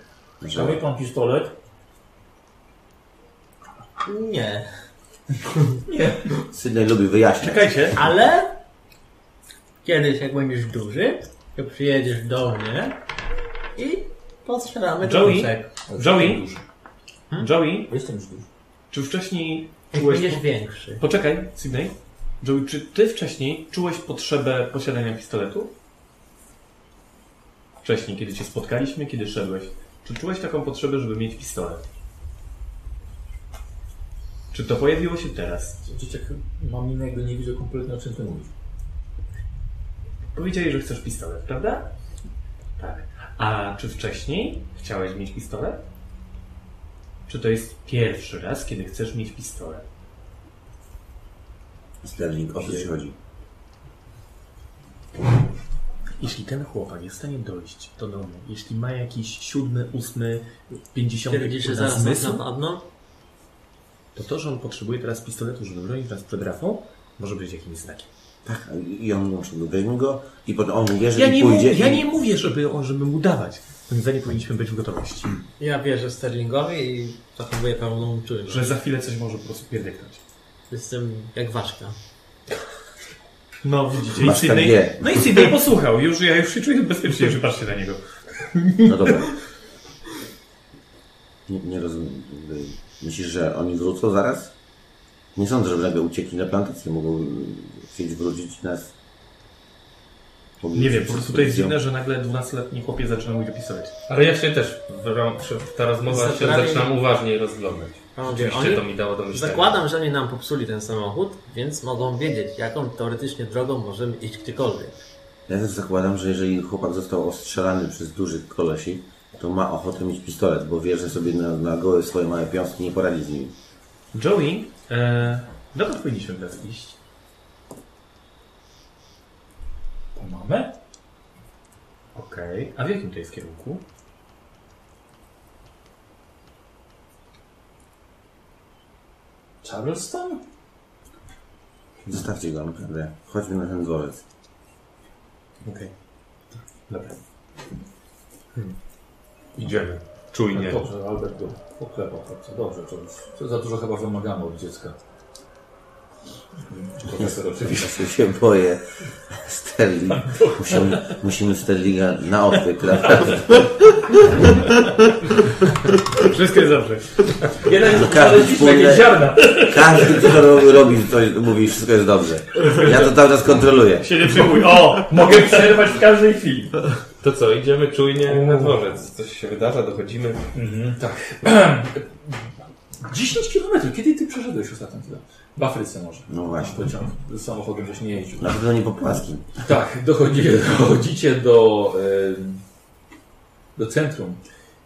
Da mi
Że...
pan pistolet.
Nie.
Sydney lubi wyjaśniać.
Czekajcie,
Ale kiedyś jak będziesz duży, to przyjedziesz do mnie i postrzelamy
Joey?
duszek.
Joey, Joey,
Jestem już duży.
czy wcześniej
Jak
czułeś...
będziesz większy.
Poczekaj, Sydney. Joey, czy ty wcześniej czułeś potrzebę posiadania pistoletu?
wcześniej, kiedy cię spotkaliśmy, kiedy szedłeś. Czy czułeś taką potrzebę, żeby mieć pistolet? Czy to pojawiło się teraz?
Dzieciak ma minę, jakby nie widział kompletnie o czym ty mówisz.
Powiedziałeś, że chcesz pistolet, prawda? Tak. A czy wcześniej chciałeś mieć pistolet? Czy to jest pierwszy raz, kiedy chcesz mieć pistolet?
Sterling, o co ci chodzi?
Jeśli ten chłopak jest w stanie dojść do domu, jeśli ma jakiś siódmy, ósmy, pięćdziesiąty
Kiedy się
kurwa,
zaraz no- nas napadną?
to to, że on potrzebuje teraz pistoletu, żeby bronić nas przed Rafą, może być jakimś znakiem.
I on musi go, weźmy go i potem on uwierzy
Ja
i
nie, mu,
pójdzie.
ja
i...
nie mówię, żeby, on, żeby mu dawać. Moim zdaniem powinniśmy być w gotowości.
Ja wierzę Sterlingowi i zachowuję pełną czujność.
Że za chwilę coś może po prostu pierdyknąć.
Jestem jak ważka.
No widzicie, i
Masz
Sydney,
takie.
no i Sydney posłuchał. Już, ja już się czuję bezpiecznie, że patrzcie na niego.
No dobra. Nie, nie rozumiem. jakby Myślisz, że oni wrócą zaraz? Nie sądzę, żeby nagle uciekli na plantację. Mogą y, chcieć wrócić nas.
Nie wiem, po prostu to jest dziwne, że nagle 12-letni chłopiec zaczyna mówić o pistolet.
Ale ja się też, w ram- przy- ta rozmowa się
Zabrali-
zaczynam uważniej rozglądać.
No,
Oczywiście to mi dało do myślenia.
Zakładam, że oni nam popsuli ten samochód, więc mogą wiedzieć, jaką teoretycznie drogą możemy iść gdziekolwiek.
Ja też zakładam, że jeżeli chłopak został ostrzelany przez dużych kolesi, to ma ochotę mieć pistolet, bo wie, że sobie na, na gołe swoje małe piąstki nie poradzi z nimi.
Joey, e, dokąd powinniśmy teraz iść?
Po mamę?
Okej, a w jakim to jest kierunku?
Charleston?
Zostawcie go, naprawdę. Chodźmy na ten dworzec.
Okej. Dobra.
Idziemy.
No
Czujnie.
Dobrze, Albert go poklepał. chłopca. Dobrze, to już to za dużo chyba wymagamy od dziecka. Profesor oczywiście.
Ja się boję. Sterling. Musimy, musimy Sterlinga na odwyk, naprawdę.
Wszystko jest dobrze.
Jeden
No Każdy
znaleźliśmy jakieś
wspólny-
ziarna.
Każdy, kto ro- robi coś, mówi, wszystko jest dobrze. Ja to cały czas kontroluję.
Się nie przejmuj. O! Mogę przerwać w każdej chwili.
To co, idziemy czujnie na dworzec. Coś się wydarza, dochodzimy.
Mhm, tak. [CLEARS THROAT] 10 km. Kiedy ty przeszedłeś ostatnio tyle? W Afryce może.
No właśnie.
Pociąg. Z samochodem żeś nie jeździł.
Na pewno nie po płaskim.
Tak, dochodzi, [LAUGHS] dochodzicie do, e, do centrum.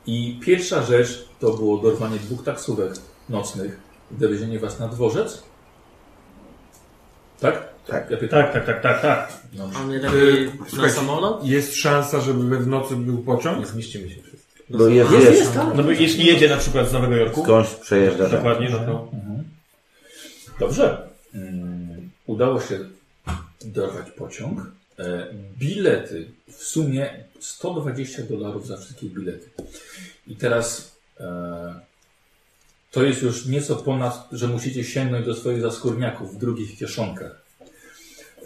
I pierwsza rzecz to było dorwanie dwóch taksówek nocnych i dowiezienie was na dworzec. Tak?
Tak.
Ja pytam.
Tak, tak, tak, tak, tak.
Dobrze.
A mnie lepiej na
słuchajcie,
samolot?
Jest szansa, żeby w nocy był pociąg?
Nie zmieścimy się wszyscy.
Bo jest, jest.
tak.
No bo jeśli jedzie na przykład z Nowego Jorku,
Skądś przejeżdża. tam.
dokładnie, no to...
Dobrze. Mm, Udało się dorwać pociąg. E, Bilety w sumie 120 dolarów za wszystkie bilety. I teraz e, to jest już nieco ponad, że musicie sięgnąć do swoich zaskórniaków w drugich kieszonkach.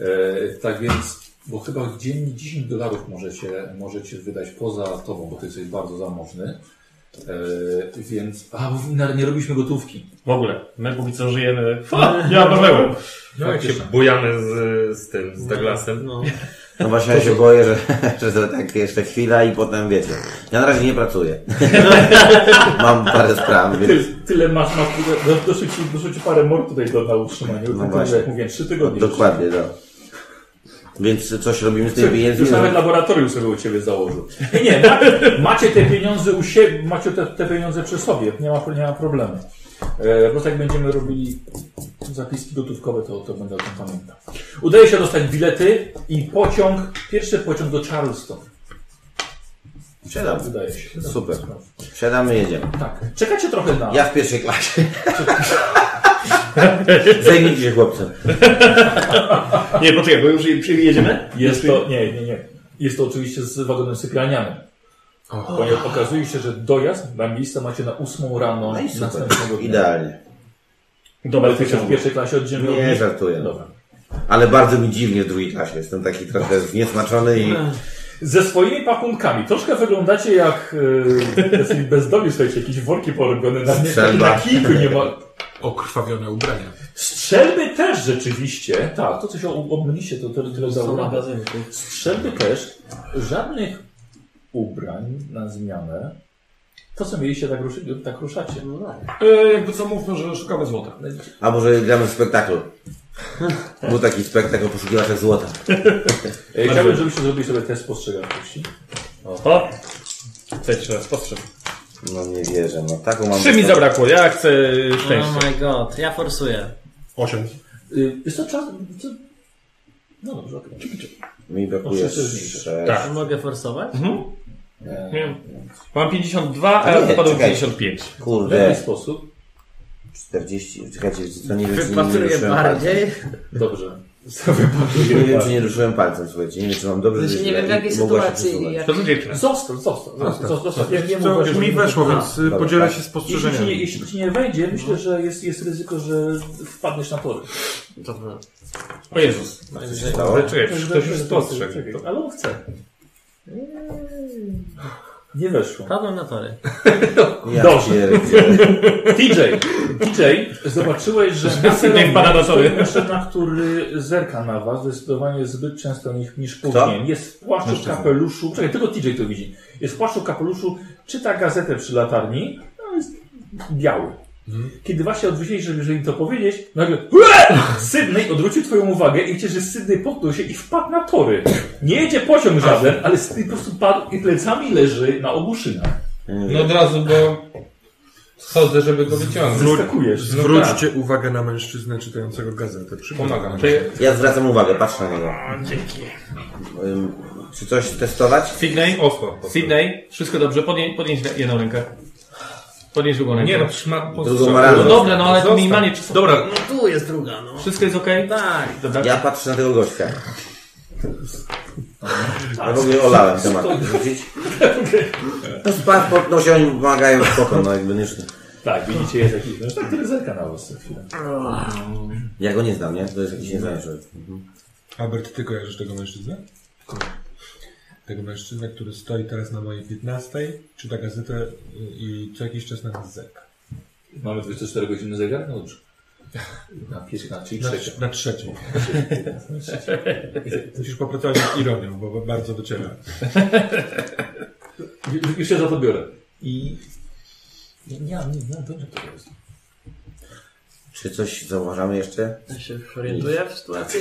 E, tak więc, bo chyba dziennie 10 dolarów możecie, możecie wydać poza tobą, bo ty jesteś bardzo zamożny. E, więc, a nawet nie robiliśmy gotówki.
W ogóle, my póki co żyjemy... Ha! Ja Paweł!
Jak Tak się bujamy z, z tym, z Douglasem.
No.
No właśnie ja się boję, że, [LAUGHS] że to tak jeszcze chwila i potem wiecie. Ja na razie nie pracuję. Mam parę spraw, więc
Ty, tyle masz, masz tyle, do- doszło, ci, doszło ci parę mord tutaj do, na utrzymanie. tylko,
No właśnie.
że jak mówię, trzy tygodnie.
dokładnie, no. Więc coś robimy z tymi
Ty,
pieniędzmi?
już nawet laboratorium sobie u Ciebie założył. Nie, nie, ma, macie te pieniądze u siebie, macie te, te pieniądze przy sobie, nie ma, nie ma problemu. E, po prostu jak będziemy robili zapiski gotówkowe, to, to będę o tym pamiętał. Udaje się dostać bilety i pociąg, pierwszy pociąg do Charleston.
Siadamy.
Udaje się. No
Super. Siadamy, jedziemy.
Tak. Czekacie trochę na...
Ja w pierwszej klasie. Zajmijcie się chłopcem.
Nie, poczekaj, bo już przyjedziemy?
Jest to, nie, nie, nie. Jest to oczywiście z wagonem sypialnianym. Ponieważ okazuje się, że dojazd na miejsce macie na 8 rano
No i super.
następnego dnia.
Idealnie.
Dobra,
Jesteś w
pociągu.
pierwszej klasie oddzielnie od
Nie
nich.
żartuję. no.
Dobra.
Ale bardzo mi dziwnie w drugiej klasie. Jestem taki trochę zniesmaczony i
Ze swoimi pakunkami. Troszkę wyglądacie jak yy, bezdomni, słuchajcie, jakieś worki porobione na, na,
Strzelba.
na kijku nie ma.
Okrwawione ubrania.
Strzelby też rzeczywiście. Tak, to co się obmyliście, to tyle- tyle
Są
załoga.
magazynku.
Strzelby też. Żadnych ubrań na zmianę. To, co mieliście, tak, ruszy, tak ruszacie. E,
E, jakby co mówmy, że szukamy złota.
A może gramy w spektaklu. Był taki spektakl o poszukiwaczach złota.
E, Chciałbym, żebyście zrobili sobie test spostrzegawczości.
Oho! Chcę jeszcze raz postrzec.
No nie wierzę, no taką mam...
Trzy mi zabrakło, ja chcę szczęścia.
Oh my god, ja forsuję.
Osiem.
Y, Jest to czas... Co? No dobrze, okej.
Mi
O,
brakuje
sześć jest mniejsze.
sześć.
Tak.
Mogę forsować?
Mam
A
52, a
nie,
wypadło
czekaj.
55.
W jaki
Kurde,
sposób?
40... Czekajcie, co nie wiem, czy nie
Wypatruję
ruszyłem palcem.
bardziej.
Dobrze.
Nie wiem, czy nie ruszyłem palcem, słuchajcie. Nie wiem, czy mam dobrze...
Znaczy,
czy
nie
źle.
wiem w jakiej
Mogła się
sytuacji.
przesunąć.
Jak...
To są dziewczyny.
Zostaw, zostaw, zostaw, zostaw. Ja nie
Co, już mi weszło,
A,
więc y,
dobra,
podzielę
tak.
Jeśli ci,
się
nie,
spostrzeżeniami.
jeśli ci nie wejdzie, myślę, że jest, jest ryzyko, że wpadniesz na tory.
Dobra.
O Jezus.
No, Stało?
Ale czekaj, przecież ktoś już spostrzegł.
Czekaj, Ale on chce. Nie weszło.
Padłem na tory.
Ja
Dobrze.
pierdzielę.
TJ, TJ, zobaczyłeś, że
Nie wpada na tory.
Ten mężczyzna, który zerka na was zdecydowanie zbyt często niż, niż powinien. Jest w płaszczu, kapeluszu, czekaj, tylko TJ to widzi. Jest w płaszczu, kapeluszu, czyta gazetę przy latarni, no jest biały. Kiedy właśnie odwrócili, żeby, żeby im to powiedzieć, nagle "Ue!" Sydney odwrócił twoją uwagę i widzisz, że Sydney potknął się i wpadł na tory. Nie jedzie pociąg żaden, ale Sydney po prostu padł i plecami leży na obu szynach.
No od razu, bo schodzę, żeby go wyciągnąć.
Zeskakujesz.
Zwróćcie uwagę na mężczyznę czytającego gazetę.
Pomagam.
Przypominam.
Czy
Ja zwracam uwagę, patrzę na niego. Ym, Czy coś testować?
Sydney,
osła?
Sydney, wszystko dobrze, podnieś, podnieś jedną rękę. Podnieś drugą rękę.
Nie no, trzyma...
Drugą ma radę.
No dobra, no ale to
Zostaw.
minimalnie czy
No
Dobra,
tu jest druga, no.
wszystko jest okej?
Tak.
Dobra.
Ja patrzę na tego gościa. Ja w ogóle olałem temat. Rzucić? No spadł, podnosi, oni pomagają, spoko, no jakby nie szli.
Tak, widzicie, jest jakiś mężczyzna, który zerka na was za chwilę.
Ja go nie znam, nie? To jest jakiś nieznany człowiek.
Albert, ty kojarzysz tego mężczyznę? Tego mężczyznę, który stoi teraz na mojej 15, czyta gazetę y, i co jakiś czas na nas zerka.
Mamy 24 godziny zegar? No dobrze. Na 15, czyli
Na,
trzecia.
na trzeciej. Musisz popracować nad ironią, bo bardzo dociera.
Ju- Już się za to biorę. I... Nie, nie, nie, nie dobrze to jest.
Czy coś zauważamy jeszcze?
Ja się orientuję w sytuacji.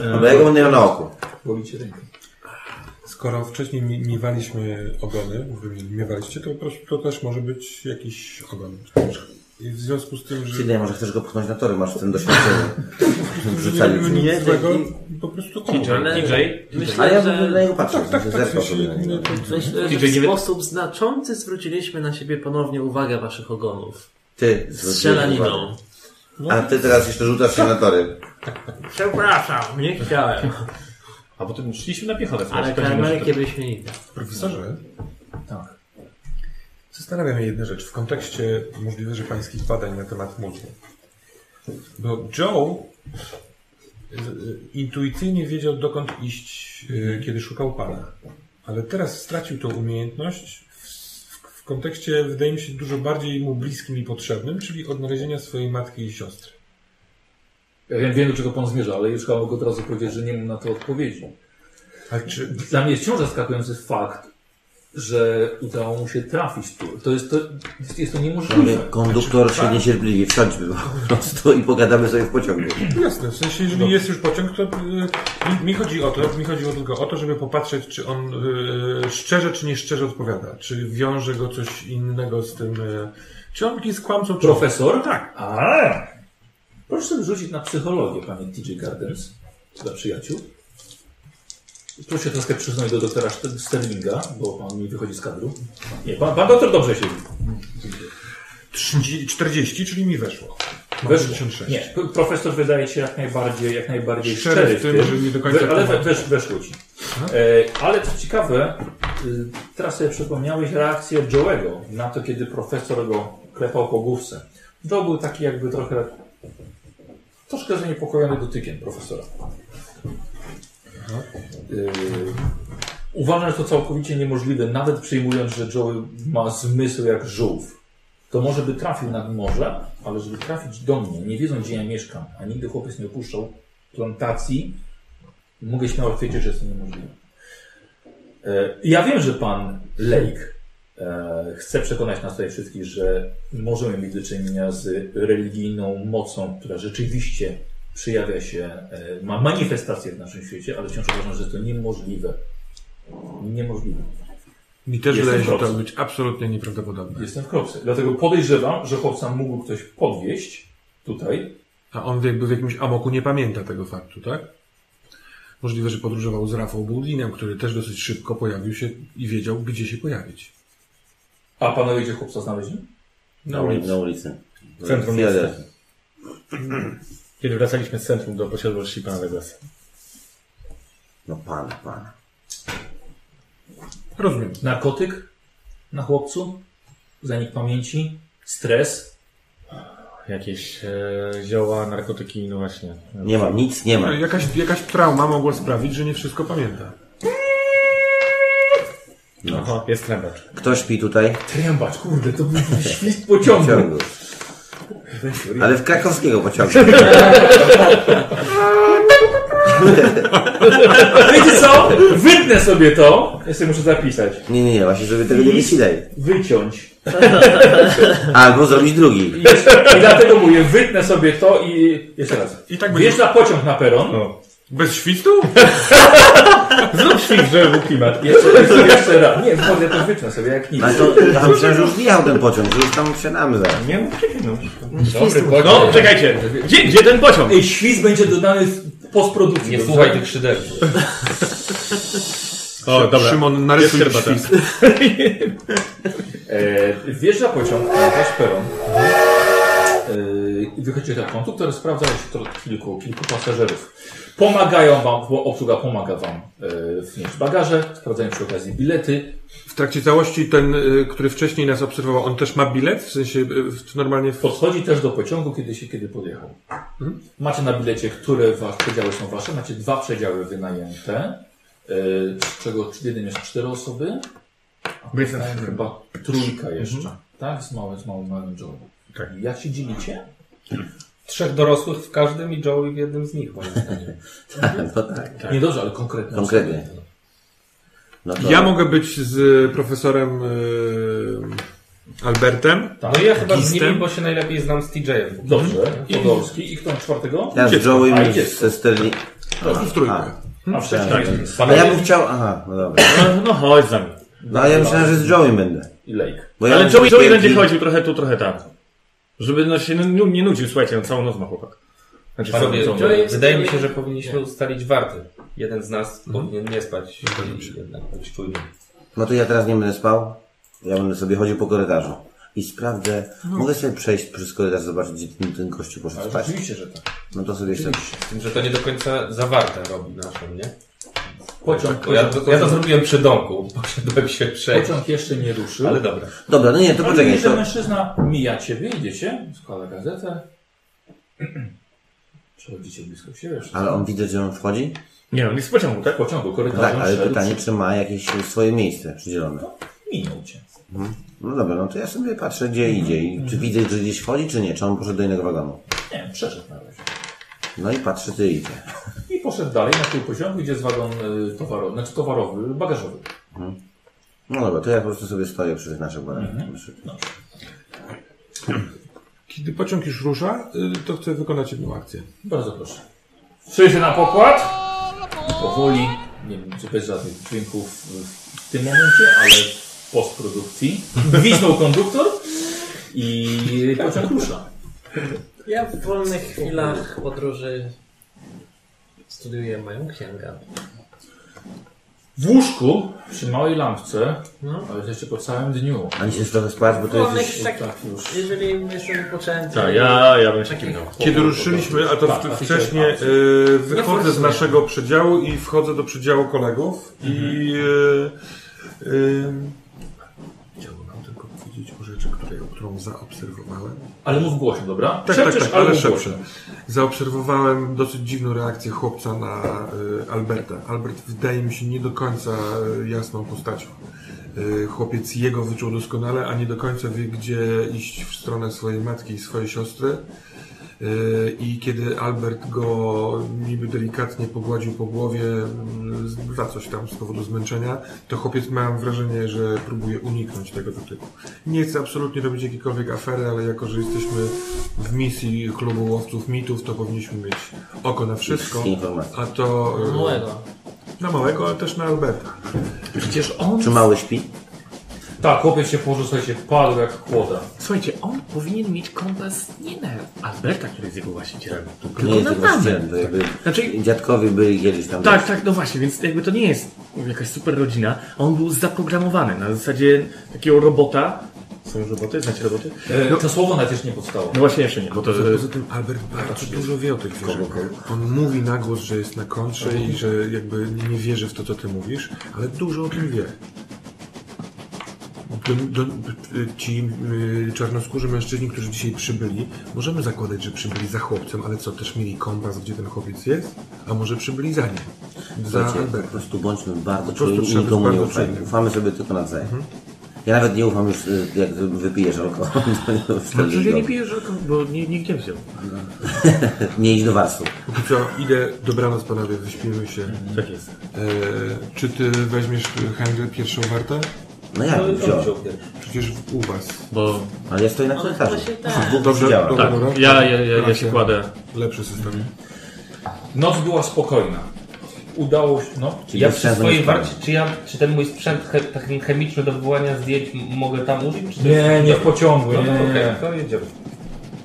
e,
No bo ja go będę miał na oku.
Bolicie rękę.
Skoro wcześniej mi- miewaliśmy ogony, wy mi- miewaliście, to, po prostu to też może być jakiś ogon. I w związku z tym, że
Sydney, może chcesz go pchnąć na tory, masz w tym
[LAUGHS]
doświadczenie. Wrzucali
zrobimy nic
ci.
złego, po prostu ogon.
Ale
DJ?
Ale
myślę,
ja w ogóle na
że,
niego patrzę,
Tak, tak, tak.
zerkał
się-
sobie na niego.
myślę, że
DJ nie
w
wie-
sposób znaczący zwróciliśmy na siebie ponownie uwagę waszych ogonów.
Ty,
Strzelaniną.
A ty teraz jeszcze rzucasz się na tory.
Przepraszam, nie chciałem.
A bo to szliśmy na piechotę.
Ale karmelki byśmy nigdy.
Profesorze,
Tak.
Zastanawia mnie jedna rzecz w kontekście możliwe, że pańskich badań na temat mózgu. Bo Joe y, y, intuicyjnie wiedział, dokąd iść, y, kiedy szukał pana. Ale teraz stracił tą umiejętność w, w, w kontekście, wydaje mi się, dużo bardziej mu bliskim i potrzebnym, czyli odnalezienia swojej matki i siostry.
Ja wiem, wiem, do czego pan zmierza, ale już chciałbym go od razu powiedzieć, że nie mam na to odpowiedzi.
Ale czy
Dla mnie jest wciąż zaskakujący fakt, że udało mu się trafić tu. To jest to, jest, jest to
No,
niemożliwe.
Ale
tak.
konduktor się niecierpliwi, wsiądźmy po prostu i pogadamy sobie w pociągu.
Jasne, w sensie, jeżeli jest już pociąg, to y, mi, mi chodzi o to, mi chodziło tylko o to, żeby popatrzeć, czy on y, szczerze, czy nie szczerze odpowiada, czy wiąże go coś innego z tym, y, czy on jest kłamcą, czy
Profesor? Tak. Ale. Proszę sobie rzucić na psychologię, panie TJ Gardens, dla przyjaciół. Proszę się troszkę przyznać do doktora Szter- Sterlinga, bo pan mi wychodzi z kadru. Nie, pan, pan doktor dobrze siedzi.
Trzydzie- 40, czyli mi weszło. Mam
Weszło.
56.
Nie, p- profesor wydaje się jak najbardziej, jak najbardziej
Szczery
szczery,
w tym, że nie do końca No.
We, ale we,
kumam.
wesz, weszło ci. E, ale co ciekawe, y, teraz sobie przypomniałeś reakcję Joe'ego na to, kiedy profesor go klepał po główce. Joe był taki jakby trochę, troszkę zaniepokojony dotykiem profesora. Y, uważam, że to całkowicie niemożliwe, nawet przyjmując, że Joe ma zmysł jak żółw to może by trafił nad morze, ale żeby trafić do mnie, nie wiedząc gdzie ja mieszkam, a nigdy chłopiec nie opuszczał plantacji, mogę śmiało twierdzić, że jest to niemożliwe. E, Ja wiem, że pan Lake e, chce przekonać nas tutaj wszystkich, że możemy mieć do czynienia z religijną mocą, która rzeczywiście przyjawia się, e, ma manifestację w naszym świecie, ale wciąż uważam, że jest to niemożliwe. Niemożliwe.
Mi też
Jestem
wydaje się to
prost.
być absolutnie nieprawdopodobne.
Jestem w kropce. Dlatego podejrzewam, że chłopca mógł ktoś podwieźć tutaj.
A on jakby w jakimś amoku nie pamięta tego faktu, tak? Możliwe, że podróżował z Rafał Buldinem, który też dosyć szybko pojawił się i wiedział, gdzie się pojawić.
A panowie gdzie chłopca znaleźli?
Na ulicy. Na ulicy.
Centrum
Filadelfii.
miasta. [CLEARS THROAT] Kiedy wracaliśmy z centrum do posiadłości pana Leglasa.
No pan, pan.
Rozumiem.
Narkotyk na chłopcu, zanik pamięci, stres.
Jakieś e, zioła, narkotyki, no właśnie.
Nie ma, nic nie ma.
No, Jakaś, jakaś trauma mogła sprawić, że nie wszystko pamięta.
Aha, jest trębacz.
Kto śpi tutaj?
Trębacz, kurde, to był świst pociągu.
Pociągu. Ale w krakowskiego pociągu.
[LAUGHS] Wiecie co? Wytnę sobie to. Ja sobie muszę zapisać.
Nie, nie, nie, właśnie, żeby tego nie wycinaj.
Wyciąć.
Albo zrobić drugi.
I dlatego mówię, wytnę sobie to i... Jeszcze raz. I tak Wiesz na pociąg na peron.
No.
Bez świstu?
Zrób świt, żeby był klimat.
Jeszcze, jeszcze, jeszcze raz. Nie, może to wytnę sobie jak nic.
A to, ja myślałem, że już wjechał ten pociąg, że już tam wsiadamy zaraz.
Nie, no czekaj, no.
Dobry pociąg.
No, czekajcie. Gdzie, gdzie ten pociąg?
Ej, świst będzie dodany w postprodukcji.
Nie
dobrze?
słuchaj tych szyderców.
O, dobra.
Szymon,
Jest tak.
narysuj
herbata.
świst.
E, wjeżdża pociąg na wasz peron. E, i wychodzi do frontu, który sprawdza już to kilku, kilku pasażerów. Pomagają wam, bo obsługa pomaga wam e, wnieść bagaże, sprawdzają przy okazji bilety.
W trakcie całości ten, y, który wcześniej nas obserwował, on też ma bilet? W sensie y, w- normalnie w...
Podchodzi też do pociągu, kiedy się kiedy podjechał. Mhm. Macie na bilecie, które wasz przedziały są wasze. Macie dwa przedziały wynajęte, e, z czego w jednym jest cztery osoby, a
Byłem
tam chyba trójka jeszcze. Tak, z małym, z małym, małym Joe'em. Jak się dzielicie?
Trzech dorosłych w każdym i Joey w jednym z nich, moim zdaniem.
No tak,
Nie dobrze, ale konkretnie.
konkretnie. No to
Ja mogę być z y, profesorem y, Albertem.
No i ja chyba z nimi,
Gistem?
bo się najlepiej znam z TJ-em.
Dobrze. Podolski. I kto mam czwartego?
ja z
A, No,
Joe'em
dziecko.
ze Sterling.
W trójkę.
A,
A wcześniej.
a ja
Panowie
bym chciał... Aha, no dobra.
No, no chodź za mną.
No a ja myślałem, że z Joe'em będę.
i Lake.
Bo ja
Ale
mam
Joey, Joey
wielki-
będzie chodził trochę tu, trochę tam. Żeby no, się no, nie nudził, słuchajcie, no, całą noc ma chłopak. Znaczy,
Panowie,
całą, całą
Joey, wydaje mi się, że powinniśmy ustalić warty. Jeden z nas powinien nie spać i jednak być czujny.
No to ja teraz nie będę spał. Ja będę sobie chodził po korytarzu. I sprawdzę,
No.
mogę sobie przejść przez korytarz, zobaczyć, gdzie ten, ten gościu poszedł spać.
Oczywiście, że tak.
No to sobie jeszcze...
Z tym, że to nie do końca zawarte robi naszą, nie?
Pociąg,
Bo ja,
pociąg,
to, ja to zrobiłem przy domku, [LAUGHS] poszedłem się przejść.
pociąg jeszcze nie ruszył.
Ale dobra.
Dobra, no nie, to
Ale widzisz,
poczekaj,
że
to...
mężczyzna mija ciebie, idziecie, składa gazetę. [CLEARS THROAT] Przechodzicie blisko siebie. jeszcze.
Ale on widzę, że on wchodzi?
Nie, on jest w pociągu,
W
tak?
pociągu
No tak,
korytarzem
ale
szedł,
pytanie, czy ma jakieś swoje miejsce przydzielone.
minął cię.
No dobra, no to ja sobie patrzę, gdzie
Mhm.
idzie i czy widzę, że gdzieś wchodzi, czy nie, czy on poszedł do innego wagonu.
Nie, przeszedł na razie.
No i patrzę, ty idzie.
I poszedł dalej na tył pociągu, idzie z wagon y, towarowy, znaczy towarowy, bagażowy.
No dobra, to ja po prostu sobie stoję przy naszych badaniach.
Mhm.
Kiedy pociąg już rusza, y, to chcę wykonać jedną akcję.
Bardzo proszę. Słyszę na pokład. Powoli, nie wiem czy bez żadnych dźwięków w- w tym momencie, ale w postprodukcji. Gwiznął konduktor i pociąg rusza.
Ja w wolnych chwilach podróży studiuję moją księgę.
W łóżku, przy małej lampce,
No.
ale jeszcze po całym dniu.
A się trochę spać, bo
W
to
wolnych
jest już...
tak,
tak już.
jeżeli jestem wypoczęty.
Tak, ja, ja bym się
Takich
kimnął.
Kiedy ruszyliśmy, a no, to
Tak,
w-
a ty
wcześniej
się- a,
y,
Nie
wychodzę
forsuj.
z naszego przedziału i wchodzę do przedziału kolegów i y, y, chciałbym wam tylko powiedzieć o rzeczy, której, którą zaobserwowałem.
Ale mów głośno, dobra?
Tak,
Szepczesz,
tak, tak, ale
mów
szepczę.
głośno.
Zaobserwowałem dosyć dziwną reakcję chłopca na y, Alberta. Albert wydaje mi się nie do końca y, jasną postacią. Y, chłopiec jego wyczuł doskonale, a nie do końca wie, gdzie iść w stronę swojej matki i swojej siostry. Yy, I kiedy Albert go niby delikatnie pogładził po głowie yy, za coś tam z powodu zmęczenia, to chłopiec miałem wrażenie, że próbuje uniknąć tego dotyku. Nie chcę absolutnie robić jakiejkolwiek afery, ale jako, że jesteśmy w misji klubu łowców mitów, to powinniśmy mieć oko na wszystko.
Wszystkie informacje.
A to... yy,
Małego.
Na małego, ale też na Alberta.
Przecież on...
Czy mały śpi?
Tak, chłopiec się położył, słuchajcie, padł jak kłoda.
Słuchajcie, on powinien mieć kompas nie na Alberta, który jest jego właścicielem, tylko
Nie jest
na
jego
mamę.
właścicielem, to jakby
Znaczy,
dziadkowie byli kiedyś tam.
Tak, tak, no właśnie, więc jakby to nie jest jakaś super rodzina, a on był zaprogramowany na zasadzie takiego robota. Są już roboty? Znacie roboty?
No.
E, to słowo nawet jeszcze nie powstało.
Tak.
No właśnie jeszcze nie, bo to...
Poza tym Albert bardzo dużo wie o tych zwierzętach. On mówi na głos, że jest na kontrze i że jakby nie wierzy w to, co ty mówisz, ale dużo o tym wie. Do, do, ci y, czarnoskórzy mężczyźni, którzy dzisiaj przybyli, możemy zakładać, że przybyli za chłopcem, ale co, też mieli kompas, gdzie ten chłopiec jest? A może przybyli za nim? Za
Słuchajcie,
tak.
po
Albertem.
prostu bądźmy bardzo
prostu
czujni i
trzeba być
nikomu nie
bardzo
ufajmy.
czujnym.
Ufamy sobie tylko nawzajem.
Mhm.
Ja nawet nie ufam już, y, jak wypijesz alkohol. [LAUGHS] To nie wiem,
No przecież ja nie
wtedy
piję alkoholu, bo nie, nigdzie wziął.
go- [LAUGHS] Nie idź do warstw.
Póki co, idę, dobranoc panowie, wyśpimy się.
Tak jest.
E, czy ty weźmiesz, y, Henry, pierwszą wartę?
No ja bym wziął.
Przecież u was.
Bo...
Ale ja stoję na korytarzu.
właśnie tak.
Dwóch
Dobrze,
siedziałem.
dobra,
Tak,
dobra.
ja, ja, ja, ja się
Racja.
kładę.
Lepszy system.
Noc była spokojna. Udało się, no.
Czyli
Ja
jest
przy
szansa
swojej
mieszkania.
warcie, czy ja, czy ten mój sprzęt he, taki chemiczny do wywołania zdjęć m- mogę tam użyć? Czy to jest-
Nie, nie w pociągu,
No
nie,
to
nie,
okej,
nie.
to jedziemy.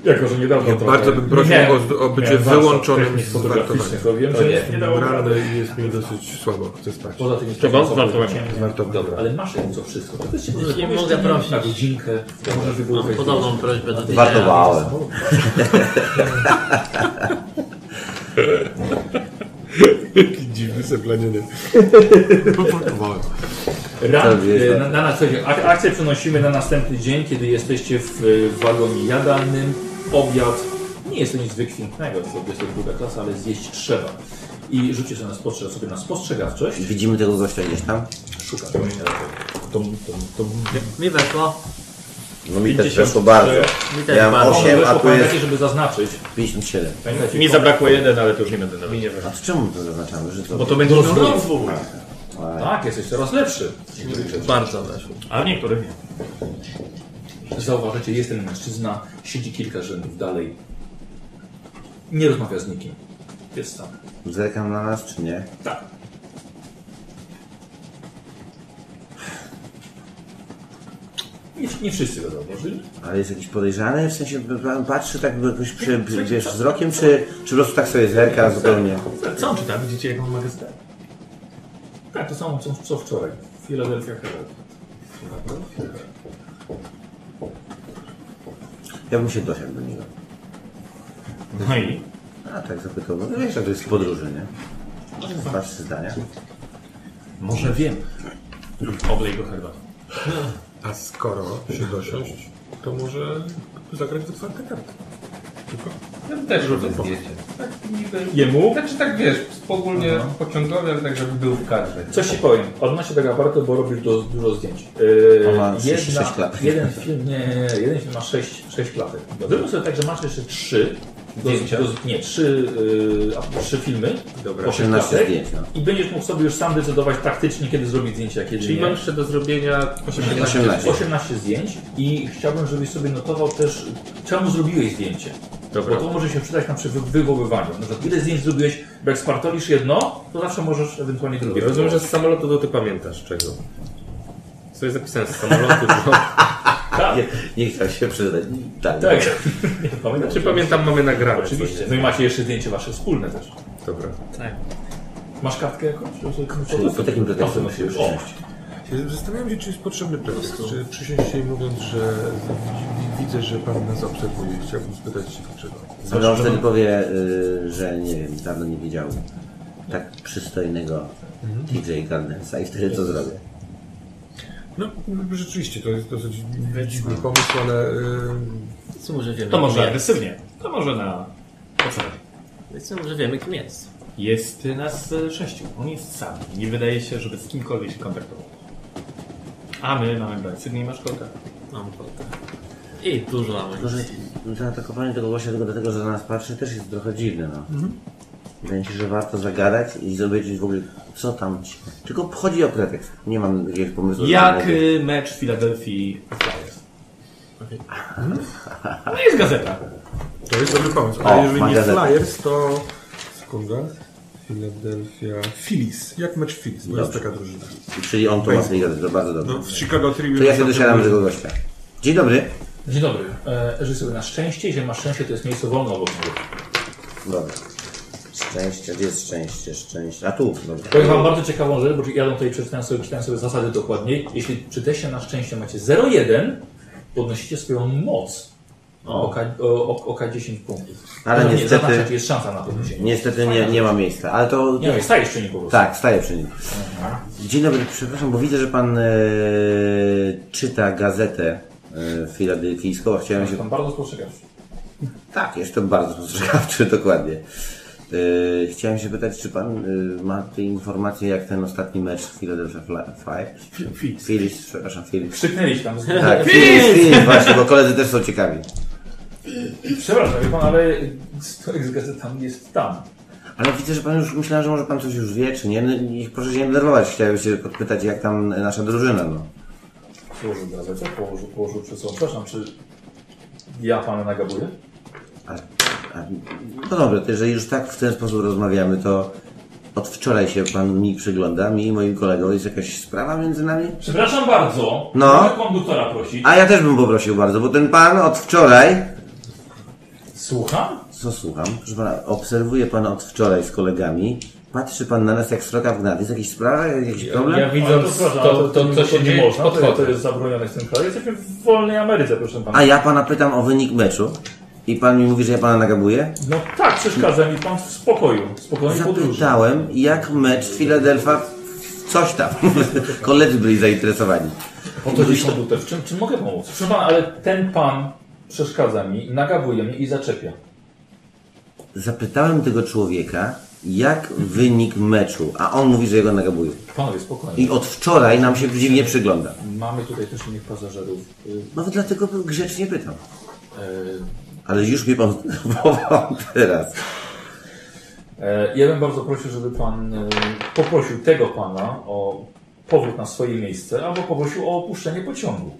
Jako, że niedawno
Ja bardzo bym prosił
Miałem-
o, o bycie
miałem warsztat
wyłączonym
technik
z
fotograficznych,
wartowania.
To wiem, że nie, nie dało
Ranny i jest mi dosyć słabo, chcę spać.
Poza tym jest
Czego?
czasem
Zwartowanie.
ciemno.
Zwartowanie.
Dobra, ale masz jak co wszystko. To się może
Nie
powiesz,
mogę
nie,
prosić.
Na godzinkę. Możesz
Mam
wybudować.
podobną prośbę do tej
Wartowałem.
Jaki dziwny
[LAUGHS]
seplanienie. Poportowałem.
Ran,
Tak, jest
e,
tak.
na, na, na, słuchajcie, ak- akcję przenosimy na następny dzień, kiedy jesteście w e, wagonie jadalnym. Obiad. Nie jest to nic wykwintnego, to jest to druga klasa, ale zjeść trzeba. I rzućcie sobie na, spostrze, sobie na spostrzegawczość.
Widzimy tego gościa gdzieś tam?
Szukam. Tom, tom, tom.
Mi weszło.
No mi też weszło bardzo.
Mi też
Ja mam
bardzo.
Osiem,
8, a
weszło,
tu jest
pamiętajcie, żeby zaznaczyć.
57.
Pamiętajcie,
Mi
kom-
zabrakło jeden, ale to już nie będę nawet.
A to czemu to zaznaczamy? Że to...
Bo to będzie rozwój.
Tak, jesteś coraz lepszy.
Bardzo weszło.
A w niektórych nie.
Zauważycie, jest ten mężczyzna, siedzi kilka rzędów dalej. Nie rozmawia z nikim. Jest tam.
Zerkam na nas, czy nie?
Tak. Nie, nie wszyscy go zauważyli.
Ale jest jakiś podejrzany? W sensie pan patrzy tak jakoś przy, wiesz, wzrokiem, czy, czy po prostu tak sobie zerka zupełnie?
Co on czyta? Widzicie jaką magazynę?
Tak, to samo co, co wczoraj. Filadelfia Herald.
Ja bym się dosiadł do niego.
No i?
A tak zapytał, no wiesz, jak to jest w podróży, nie? Masz trzy zdania.
Może wiem. Oblej go herbatą.
A skoro się dosiąść, to może zagrać w otwarte karty. Tylko.
Ja bym też rzucę zdjęcie. Tak niby...
Jemu?
Znaczy tak wiesz, ogólnie pociągowy, ale tak żeby był w kadrze.
Coś ci powiem. Odnośnie tego aparatu, bo robisz do, dużo zdjęć. Yy,
On ma sześć- sześć klapek.
jeden film, nie, nie, nie, jeden film ma 6, 6 klapek. Zrób sobie tak, że masz jeszcze 3
Zdjęcia?
nie, 3, yy, a- trzy filmy.
Dobra.
po sześć
18
klapek.
zdjęć,
I
no.
będziesz mógł sobie już sam decydować taktycznie, kiedy zrobić zdjęcia, a kiedy
Czyli
nie.
mam jeszcze do zrobienia 18.
18.
18 zdjęć i chciałbym, żebyś sobie notował też, czemu zrobiłeś zdjęcie.
Dobra.
Bo to może się przydać nam przy wy- wywoływaniu. Na przykład, ile zdjęć zrobiłeś, bo jak spartolisz jedno, to zawsze możesz ewentualnie drugie.
Rozumiem, że z samolotu to ty pamiętasz czego. Co jest zapisane z samolotu? Bo...
Tak,
Nie, nie chciał się przyznać. Tak.
tak. Nie pamiętam.
Czy pamiętam, mamy nagrane.
Oczywiście. No i macie jeszcze zdjęcie wasze wspólne też.
Dobra.
Masz kartkę jakąś? Żeby sobie
Czyli
fotografię?
po takim pretekście
O,
musimy
O,
przyjść.
Ja Zastanawiam się, czy jest potrzebny tekst. Czy przysiąść jej mówiąc, że wi- widzę, że pan nas obserwuje. Chciałbym spytać się dlaczego.
Ale on wtedy powie, y, że nie wiem, dawno nie widział tak przystojnego
Mhm.
DJ Gardensa i wtedy co zrobię?
No, rzeczywiście, to jest dosyć dziwny pomysł, ale... y,
Co może wiemy?
To
kim
może
jest?
agresywnie. To może na... Po co?
Co może wiemy, kim jest?
Jest nas e, sześciu. On jest sam. Nie wydaje się, żeby z kimkolwiek się kontaktował. A my mamy broń. Sydney masz kontakt.
Mam kontakt. I dużo amunicji.
Może zaatakowanie tego gościa tylko dlatego, że na nas patrzy, też jest trochę dziwne, no. Wydaje mi się, że warto zagadać i zobaczyć w ogóle, co tam ci... Tylko chodzi o pretekst. Nie mam jakiegoś pomysłu.
e,
Jak
żadnego.
y, mecz w Filadelfii Flyers. No i jest gazeta.
To jest dobry pomysł.
O,
Ale jeżeli
ma
nie
gazetę.
Flyers, to... Sekunda. Philadelphia... Phillies. Jak mecz Phillies, bo jest
Dobrze.
taka drużyna.
Czyli on to ma sobie gadać, to bardzo dobrze.
No, w Chicago Tribune...
To ja się dosiadam do tego gościa. Dzień dobry.
Dzień dobry. E, Żyj sobie na szczęście, jeżeli masz szczęście, to jest miejsce wolne obok mnie.
Dobra. Szczęście, gdzie jest szczęście? Szczęście. A tu, dobra.
Powiem Wam bardzo ciekawą rzecz, bo ja tutaj przeczytałem sobie, czytałem sobie zasady dokładniej. Jeśli przy teście na szczęście macie 0,1, podnosicie swoją moc o K, o, o, o K10 punktów.
Ale
no nie,
niestety-
zaznacza, czy jest szansa na podniesienie.
Niestety nie, nie ma miejsca, ale to...
Nie, nie, stajesz przy nim po prostu.
Tak, staję przy nim. Dzień dobry, przepraszam, bo widzę, że pan e, czyta gazetę e, filadelfijską, a chciałem się...
Tam bardzo spostrzegawczy.
Tak, jestem bardzo spostrzegawczy, [LAUGHS] dokładnie. E, chciałem się pytać, czy pan e, ma te informacje, jak ten ostatni mecz w Philadelphia Fly- Fly- Phillies, przepraszam,
[LAUGHS]
Phillies.
Krzyknęliście tam. Z...
Tak, Phillies, Phillies, właśnie, bo koledzy też są ciekawi.
Przepraszam, wie Pan, ale stojek z gazetami jest tam.
Ale widzę, że pan już myślałem, że może pan coś już wie, czy nie? No, niech proszę się nie denerwować, chciałem się podpytać, jak tam nasza drużyna, no.
Położył gazetę, położył, położył przed sobą. Przepraszam, czy ja Pana nagabuję?
A, a, no dobra, to jeżeli już tak w ten sposób rozmawiamy, to od wczoraj się pan mi przygląda, mi i moim kolegom. Jest jakaś sprawa między nami?
Przepraszam bardzo.
No.
Mogę konduktora prosić.
A ja też bym poprosił bardzo, bo ten pan od wczoraj...
Słucham?
Co słucham? Proszę pana, obserwuję pana od wczoraj z kolegami. Patrzy pan na nas jak sroka w gnat. Jest jakaś sprawa, jakiś problem?
Ja widząc to,
Ale
to, to,
nie-
co się
nie
dzieje,
można, to, to
podchodzę.
jest zabronione w tym kraju. Jesteśmy w wolnej Ameryce, proszę pana.
A ja pana pytam o wynik meczu i pan mi mówi, że ja pana nagabuję?
No tak, przeszkadza mi pan w spokoju, w spokojnej podróży.
Zapytałem, jak mecz Filadelfa... Coś tam. [LAUGHS] Koledzy byli zainteresowani.
Po to dziś komputer. W czym, czym mogę pomóc? Proszę pana, ale ten pan przeszkadza mi, nagabuje mnie i zaczepia.
Zapytałem tego człowieka, jak wynik meczu, a on mówi, że jego nagabuje.
Panowie, spokojnie.
I od wczoraj nam się dziwnie przygląda.
Mamy tutaj też innych pasażerów. Y,
Nawet dlatego grzecznie pytam.
y,
Ale już mnie pan [LAUGHS] zdenerwował teraz.
E, Ja bym bardzo prosił, żeby pan e, poprosił tego pana o powrót na swoje miejsce, albo poprosił o opuszczenie pociągu.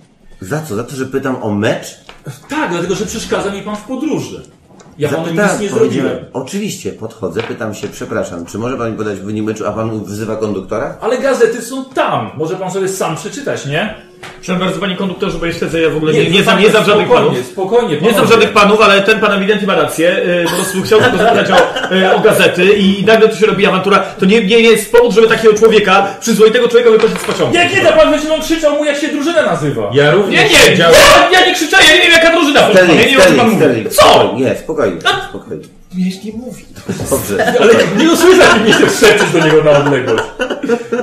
Za co? Za to, że pytam o mecz?
Tak, dlatego że przeszkadza mi pan w podróży. Ja panu nic
tak,
Zapytałem,
nie
powiedziałem-
zrobiłem.
Oczywiście, podchodzę, pytam się, przepraszam, czy może pan mi podać wynik meczu, a pan wzywa konduktora?
Ale gazety są tam. Może pan sobie sam przeczytać, nie?
Przepraszam bardzo, panie konduktorze, bo ja śledzę, ja w ogóle nie, nie,
proszę
znam, nie znam
pana,
żadnych
spokojnie,
panów.
Spokojnie,
Nie znam
panowie.
żadnych panów, ale ten pan ewidentnie ma rację. Yy, po prostu chciał tylko zapytać o, yy, o gazety i nagle tu się robi awantura. To nie, nie jest powód, żeby takiego człowieka, przyzwoitego człowieka wyprosić z pociągu.
Jak nie da pan wyciągnął, krzyczał mu, jak się drużyna nazywa.
Ja również
Nie, nie,
siedziałem-
ja, ja nie krzyczałem, ja nie wiem jaka drużyna. proszę pana, Ja nie wiem o czym pan mówi. Co?
Nie, spokojnie, spokojnie. nie mówi. Dobrze.
[LAUGHS] Ale nie usłyszał, nie się szepczyć do niego na odległość.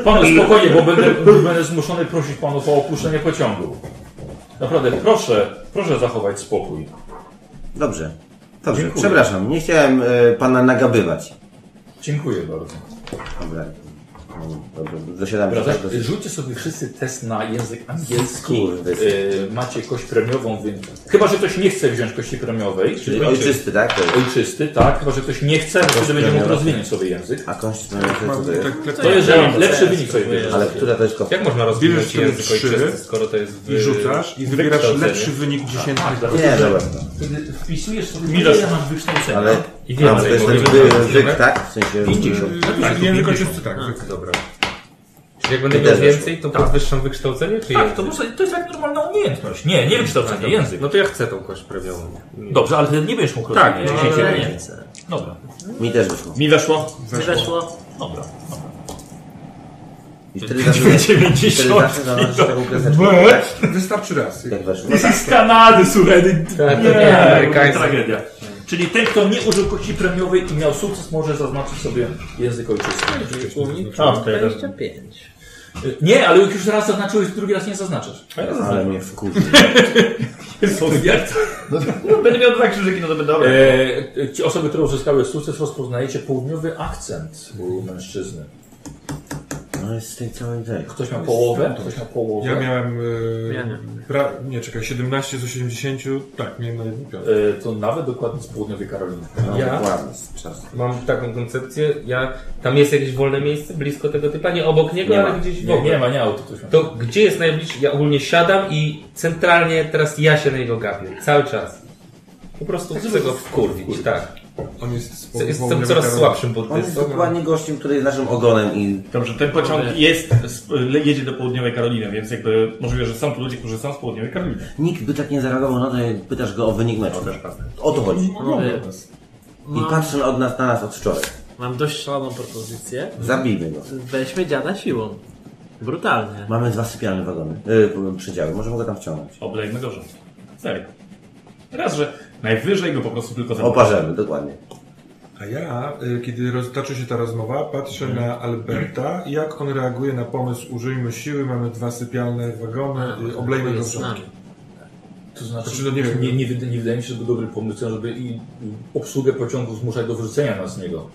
Panu spokojnie, bo będę, będę zmuszony prosić panów o opuszczenie pociągu. Naprawdę, proszę, proszę zachować spokój.
Dobrze. Dobrze,
Dziękuję.
przepraszam, nie chciałem e, pana nagabywać.
Dziękuję bardzo.
Dobra. Dobra, dosiadam się
Wracasz,
tak do
rzućcie sobie wszyscy test na język angielski.
Kurde.
E, macie kość premiową, więc... Chyba, że ktoś nie chce wziąć kości premiowej.
Czyli ojczysty, tak? To jest.
Ojczysty, tak. Chyba, że ktoś nie chce, to wtedy będzie mógł
premiowa.
rozwinąć sobie język.
A konstytucja co to jest?
To jeżeli lepszy wynik sobie wybierze.
Ale która to jest kopia?
Jak można
Bierzesz
rozwinąć
sobie
język
trzy
ojczysty, skoro to jest w...
I rzucasz i wybierasz
wykształcenie.
lepszy wynik
Tak.
dziesiętnych.
Nie, dobra.
Wtedy wpisujesz sobie, ile masz wykształcenia.
Ale
I
a, to
więcej.
jest ten
mówimy.
wy- wyk, tak? W sensie...
Napisz język ojczysty, tak. wy-
Dobra. Czyli jak będę
Ty
miał
też
więcej, to podwyższam wykształcenie, czy
Tak,
język?
to, może, to jest jak normalna umiejętność. Nie, nie wykształcenie, język.
No to ja chcę tą kość premiową.
Dobrze, ale ty nie będziesz mógł
Tak,
rozumieć.
no,
Dziesięciu
ale-
nie. Dobra,
Mi też wyszło.
Mi weszło.
Nie weszło?
dobra.
I wtedy zawsze... I wtedy zawsze zaznaczysz taką kreseczkę. Tak,
Wystarczy raz.
Jak weszło.
z Kanady, słuchaj.
Tak,
Nie,
amerykański.
tragedia. Czyli ten, kto nie użył kości premiowej i miał sukces, może zaznaczyć sobie język ojczysty.
A, to ja też.
25.
Nie, ale jak już raz zaznaczyłeś, drugi raz nie zaznaczasz.
Ale mnie wkurzy.
Jak
Będę miał dwa krzyżyki, no to będę dobre.
E, ci osoby, które uzyskały sukces, rozpoznajecie południowy akcent u mężczyzny.
A, No jest z tej całej tej.
Ktoś ma połowę, ktoś ma połowę.
Ja miałem. e,
Ja nie.
Pra... Nie, czekaj, 17 z 80. Tak, miałem na jednym piątym.
E, To nawet dokładnie z południowej Karoliny.
No,
Ja?
Dokładnie, z czasu.
Mam taką koncepcję, ja... Tam jest jakieś wolne miejsce blisko tego typa, nie obok niego,
Nie
ale
ma.
gdzieś w
Nie,
ogóle.
nie ma, nie auto ktoś ma.
To gdzie jest najbliższy? Ja ogólnie siadam i centralnie teraz ja się na niego gapię. Cały czas. Po prostu chcę go wkurwić, tak.
On jest z
Chcę- Jestem
południowej
coraz
Karoliny.
słabszym
On jest
buddystą.
dokładnie gościem, który jest naszym ogonem i
Dobrze, ten pociąg jest, z- jedzie do południowej Karoliny, więc jakby możliwe, że są tu ludzie, którzy są z południowej Karoliny.
nikt by tak nie zareagował na to, jak pytasz go o wynik meczu. O to chodzi.
Panowie,
I
mam,
patrzy od nas na nas od wczoraj.
mam dość szaloną propozycję.
Zabijmy go.
Weźmy dziada siłą. Brutalnie.
Mamy dwa sypialne wagony, yy, przedziały, możemy go tam wciągnąć.
Oblejmy go rząd. Serio. Raz, że najwyżej go po prostu tylko
Oparzemy, dokładnie.
A ja, y, kiedy roztoczy się ta rozmowa, patrzę na Alberta, jak on reaguje na pomysł użyjmy siły, mamy dwa sypialne wagony, y, oblejmy go
Jest z
wrzątkiem.
nami.
To znaczy,
Znaczy, no nie wiem.
nie, nie, wyda- nie wydaje mi się, żeby dobrym pomysłem, żeby i i obsługę pociągu zmuszać do wyrzucenia nas z niego.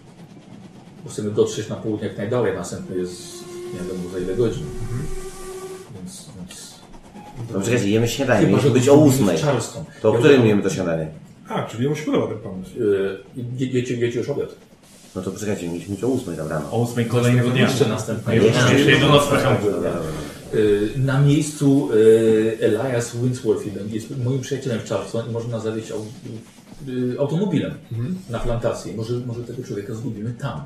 Bo chcemy dotrzeć na południe jak najdalej, następny jest nie wiadomo za ile godzin.
Mhm.
Więc, więc...
No czekajcie, jemy śniadanie,
Chyba,
musi
że
być o
musimy
ósmej.
w Charleston.
To o
Ja
którym
bym-
jemy to śniadanie?
A, czyli mu się podoba ten pomysł.
Y, je- Jecie, jecie już obiad.
No to poczekajcie, mieliśmy mieć o ósmej tam rano.
O ósmej kolejnego dnia.
Jeszcze następnego.
Jeszcze jeszcze jedną noc pociągu.
Y, Na miejscu y, Elias Winsworth jeden jest moim przyjacielem w Charleston i może nas zawieźć au, y, automobilem na plantację. Może, może tego człowieka zgubimy tam.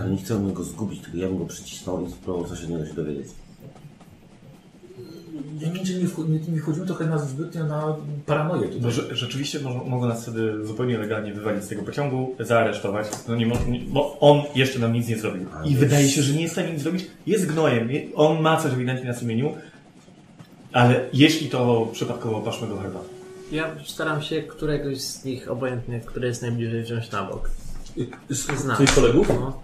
Ale nie chcemy go zgubić, tylko ja bym go przycisnął i spróbował coś od niego się dowiedzieć.
Ja nie, nie, wcho- nie, nie wchodzimy trochę na zbytnio na paranoję tutaj.
No, rze- rzeczywiście mo- mogą nas wtedy zupełnie legalnie wywalić z tego pociągu, zaaresztować, no nie, mo- nie, bo on jeszcze nam nic nie zrobił. I wydaje się, że nie jest w stanie nic zrobić. Jest gnojem, je- on ma coś ewidentnie na sumieniu, ale jeśli to przypadkowo paszmy do herbaty.
Ja staram się któregoś z nich, obojętnie, który jest najbliżej, wziąć na bok.
E,
Znam.
Twoich kolegów?
No.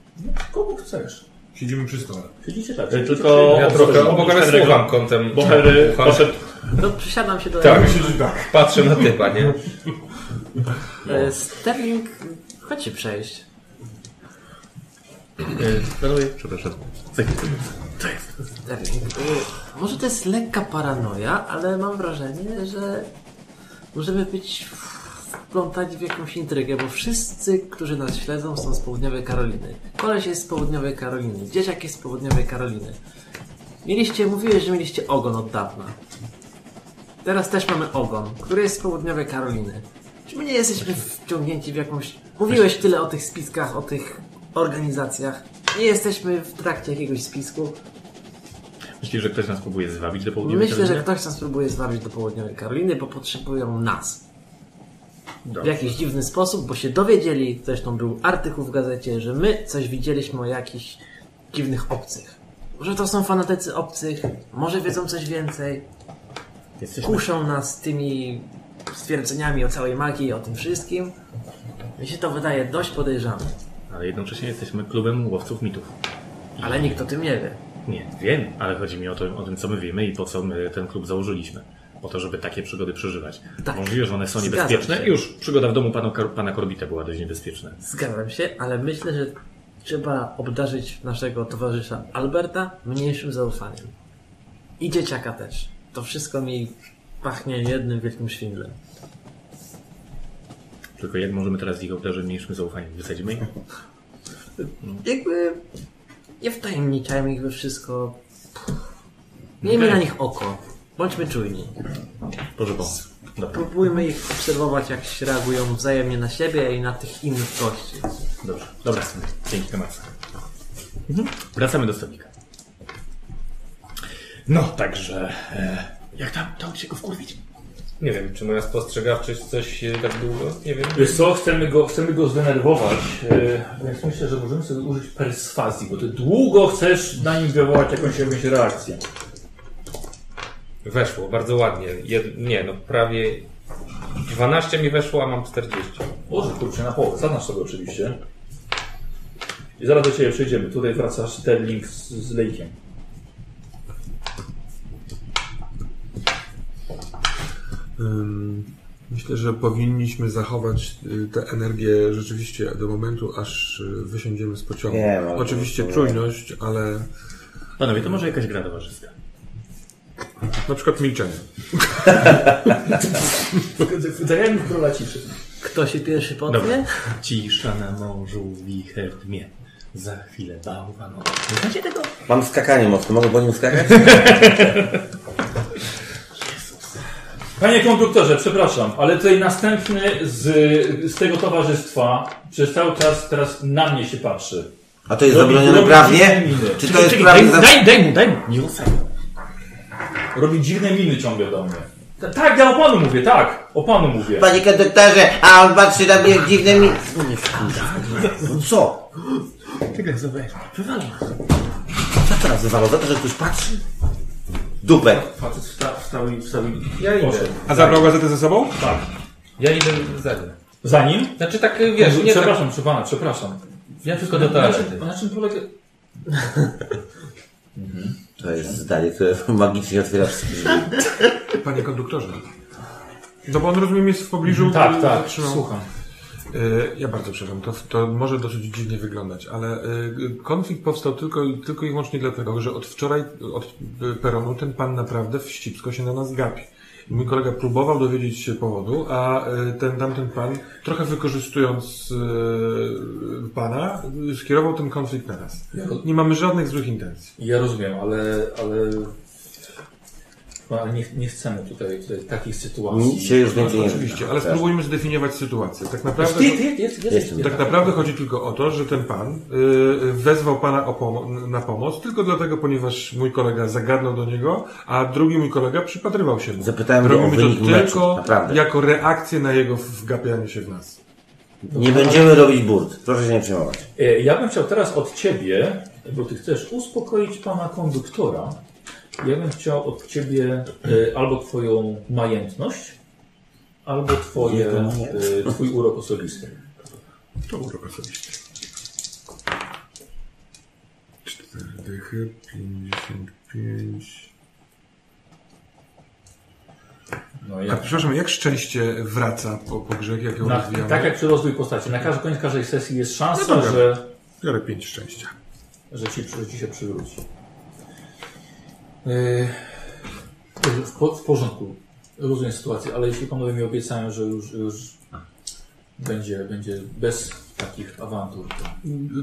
Kogo chcesz?
Siedzimy przy stole.
Siedzicie tak.
E, tylko-
Ja trochę obok ale
Henryka.
słucham kątem.
Bo Harry
[LAUGHS] ucha.
poszedł
To przysiadam się do...
Tak.
Siedzi tak.
Patrzę na typa, nie?
E, Sterling, chodź się przejść.
Przepraszam.
Sterling, e, może to jest lekka paranoja, ale mam wrażenie, że możemy być wplątani w jakąś intrygę, bo wszyscy, którzy nas śledzą, są z południowej Karoliny. Koleś jest z południowej Karoliny, dzieciak jest z południowej Karoliny. Mieliście, mówiłeś, że mieliście ogon od dawna. Teraz też mamy ogon, który jest z południowej Karoliny. Czy my nie jesteśmy wciągnięci w jakąś... Mówiłeś tyle o tych spiskach, o tych organizacjach. Nie jesteśmy w trakcie jakiegoś spisku.
Myślisz, że ktoś nas próbuje zwabić do południa?
Myślę, że ktoś nas próbuje zwabić do południowej Karoliny, bo potrzebują nas. W jakiś dziwny sposób, bo się dowiedzieli, zresztą był artykuł w gazecie, że my coś widzieliśmy o jakichś dziwnych obcych. Może to są fanatycy obcych, może wiedzą coś więcej. Kuszą nas tymi stwierdzeniami o całej magii, o tym wszystkim. Mi się to wydaje dość podejrzane,
Ale jednocześnie jesteśmy klubem łowców mitów.
ale nikt o tym nie wie.
Nie, wiem, ale chodzi mi o, to, o tym, co my wiemy i po co my ten klub założyliśmy. Po to, żeby takie przygody przeżywać.
Tak.
Możliwe, że one są
Zgadzam
niebezpieczne.
się.
Już przygoda w domu pana, Kor- pana Korbita była dość niebezpieczna.
Zgadzam się, ale myślę, że trzeba obdarzyć naszego towarzysza Alberta mniejszym zaufaniem. I dzieciaka też. To wszystko mi pachnie jednym wielkim świndlem.
Tylko jak możemy teraz ich obdarzyć mniejszym zaufaniem? Wysadzimy ich?
Jakby nie wtajemniczajmy ich we wszystko. Miejmy na nich oko. Bądźmy czujni.
Boże pomóc. Dobra,
Próbujmy ich obserwować, jak się reagują wzajemnie na siebie i na tych innych gości.
dobrze. Dobra, dzięki Tomasz. Mhm. Wracamy do stolika. No, także... E, jak tam? Dało ci się go wkurwić?
Nie wiem, czy moja spostrzegawczość coś e, tak długo? Nie wiem.
Wiesz co, chcemy go, chcemy go zdenerwować, e, więc myślę, że możemy sobie użyć perswazji, bo ty długo chcesz na nim wywołać jakąś, jakąś reakcję.
Weszło, bardzo ładnie. Jed... Nie, no prawie 12 mi weszło, a mam 40.
Boże, kurczę, na połowę. Zaznasz sobie oczywiście. I zaraz do Ciebie przyjdziemy. Tutaj wraca Sterling z, z lejkiem.
Ym, Myślę, że powinniśmy zachować y, tę energię rzeczywiście do momentu, aż y, wysiądziemy z pociągu.
Nie, no,
Oczywiście
to-
czujność, ale
Panowie, to może jakaś gra towarzyska.
Na przykład milczenie.
Zagrałem w króla ciszy.
Kto się pierwszy potknie?
Dobra. Cisza na morzu, wicher tmie. Za chwilę bałwan. Nie znacie tego?
Mam skakanie mocne, mogę po nim skakać?
Panie konduktorze, przepraszam, ale tutaj następny z, z tego towarzystwa przez cały czas teraz na mnie się patrzy.
A to jest
Robi-
zabronione
robi
prawnie?
dziwne miny.
Czy to jest prawnie? za-
Daj, daj mu, daj mu! Nie ruszaj.
Robi dziwne miny ciągle do mnie. Ta- Tak, ja o panu mówię, tak, o panu mówię.
Panie konduktorze, a on patrzy na mnie dziwne mi... No nie wkurza. No co?
Czekaj, zobacz. Wywalaj.
Co teraz wywalał? Za to, że ktoś patrzy? Dupę.
Facet wsta- wstał i wstał i
Ja idę.
poszedł.
A zabrał gazetę ze sobą?
Ja idę za nim.
Za nim?
Znaczy tak, wiesz, nie tak...
przepraszam, proszę pana, przepraszam.
Ja tylko do toalety.
Na czym polega...
To jest zdanie, które magicznie otwiera wszystkie drzwi.
Panie konduktorze. No bo on rozumiem jest w pobliżu.
Tak,
y,
tak,
zatrzymał.
słucham.
Y, Ja bardzo przepraszam, to, to może dosyć dziwnie wyglądać, ale y, konflikt powstał tylko, tylko i wyłącznie dlatego, że od wczoraj, od y, peronu, ten pan naprawdę wścibsko się na nas gapi. Mój kolega próbował dowiedzieć się powodu, a y, ten tamten pan, trochę wykorzystując y, pana, y, skierował ten konflikt na nas. Nie mamy żadnych złych intencji.
Ja rozumiem, ale... ale... No, ale nie, nie chcemy tutaj, tutaj takich sytuacji.
Nic się już więcej nie
Oczywiście, ale
Jasne.
spróbujmy zdefiniować sytuację. Tak
Jest,
naprawdę.
jest, jest, jest, jest,
Jestem.
jest.
Tak naprawdę chodzi tylko o to, że ten pan y, y, wezwał pana o pomo- na pomoc tylko dlatego, ponieważ mój kolega zagadnął do niego, a drugi mój kolega przypatrywał się mu.
Zapytałem go o
Robimy
wynik
to
meczu,
tylko
naprawdę.
jako reakcję na jego wgapianie się w nas.
Nie będziemy robić burt. Proszę się nie przejmować.
E, Ja bym chciał teraz od Ciebie, bo Ty chcesz uspokoić Pana konduktora, ja bym chciał od Ciebie e, albo Twoją majętność, albo twoje, e, Twój urok osobisty.
To urok osobisty. Cztery dychy, 55.
No,
A
jak,
przepraszam, jak szczęście wraca po, po grzech, jak ją
na,
rozwijamy?
tak jak przy rozwoju postaci, na każdy koniec każdej sesji jest szansa,
No dobra.
że,
Biorę 5 szczęścia.
że, ci, że Ci się przywróci. E, dobrze, w, po, w porządku, rozumiem sytuację, ale jeśli Panowie mi obiecają, że już, już będzie, będzie bez takich awantur, to...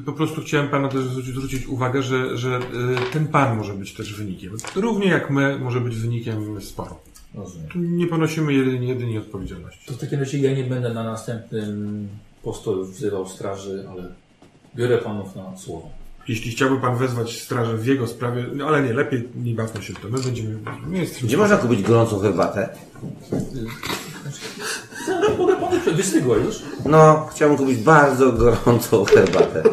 Po prostu chciałem pana też zwrócić, zwrócić uwagę, że, że y, ten pan może być też wynikiem. Równie jak my może być wynikiem sporu.
Rozumiem.
Tu nie ponosimy jedynie, jedynie odpowiedzialności.
To w takim razie ja nie będę na następnym postoju wzywał straży, ale biorę panów na słowo.
Jeśli chciałby pan wezwać strażę w jego sprawie, no ale nie, lepiej nie bawmy się w to. My będziemy... Nie jesteśmy...
Gdzie można kupić gorącą herbatę?
Mogę panu prze- wystygła już?
No, chciałbym kupić bardzo gorącą herbatę.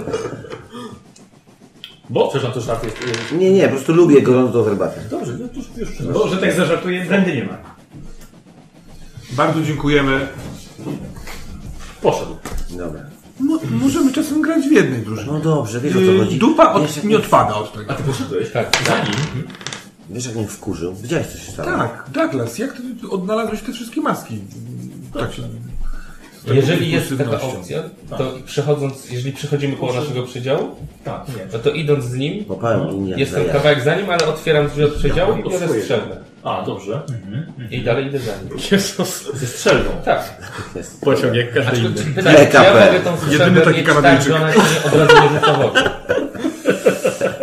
Bo? Przepraszam, to żart jest. y,
Nie, nie, po prostu lubię gorącą herbatę.
Dobrze, no to już, już przynoszę.
Bo, że tak zażartuję, brandy nie ma.
Bardzo dziękujemy.
Poszedł.
Dobra.
Mo- możemy czasem grać w jednej
No
drużynie.
dobrze, wiesz o
Yy,
co
Y,
chodzi.
dupa
Wiesz,
od, nie odpada od
A
tego.
ty poszedłeś? Tak. Za nim.
Wiesz jak mnie wkurzył? Widziałeś co się stało?
Tak, Douglas, jak ty odnalazłeś te wszystkie maski? Tak się... z taką
Jeżeli jest taka
impulsywnością.
opcja, to przechodząc, jeżeli przechodzimy koło naszego przydziału,
Tak, nie.
no to idąc z nim,
Łapałem linię
jestem
za
kawałek za nim, ale otwieram drzwi od
Ja
przedziału i
mam
biorę
swoje.
strzelbę.
A, dobrze. Mhm.
I dalej idę za nim.
Jezus.
Ze strzelbą.
Tak.
Pociąg jak każdy
Aczkolwiek
inny.
pytanie, czy ja
PKP.
mogę tą
Jedyny
strzelbę
taki
mieć tak,
Kanadyjczyk.
że ona się nie od razu nie rzuca w
[LAUGHS]
oczy.
Tak,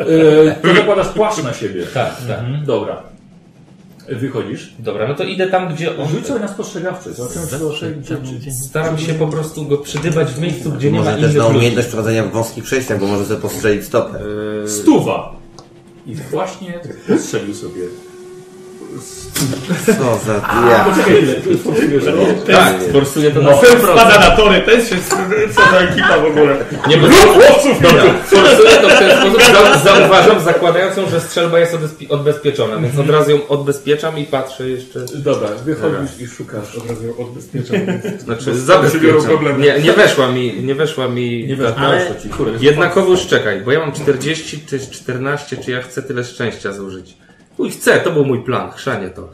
Yy, to zakładasz płaszcz na siebie.
Tak, tak.
Mhm, dobra. Wychodzisz.
Dobra, no to idę tam, gdzie on...
Rzuć sobie na spostrzegawczy. Zobaczymy, czy doszedł.
Staram się po prostu go przydybać w miejscu, gdzie nie ma
Może też
innych
na
ludzi.
umiejętność prowadzenia w wąskich przejściach, bo może sobie postrzelić stopę.
Stuwa! I właśnie strzelił sobie.
Co za ja.
Poczekaj, ile? Poczekaj, że...
Tak, forsuję to na
No,
100%.
spada na tory, też się skurczy, co za ekipa w ogóle.
Nie, bo
Chłopców, no!
forsuję to w ten sposób, za- zauważam zakładającą, że strzelba jest odespi- odbezpieczona, więc od razu ją odbezpieczam i patrzę jeszcze...
Dobra, wychodzisz i szukasz.
Od razu ją odbezpieczam.
Znaczy
biorą
zabezpieczam.
problemy.
Nie, nie weszła mi, nie weszła mi...
Nie wiesz,
ale-
proszę ci, kurde, jest
Jednakowoż czekaj, bo ja mam 40 czy 14, czy ja chcę tyle szczęścia zużyć. Uj, chcę, to był mój plan, chrzanie to.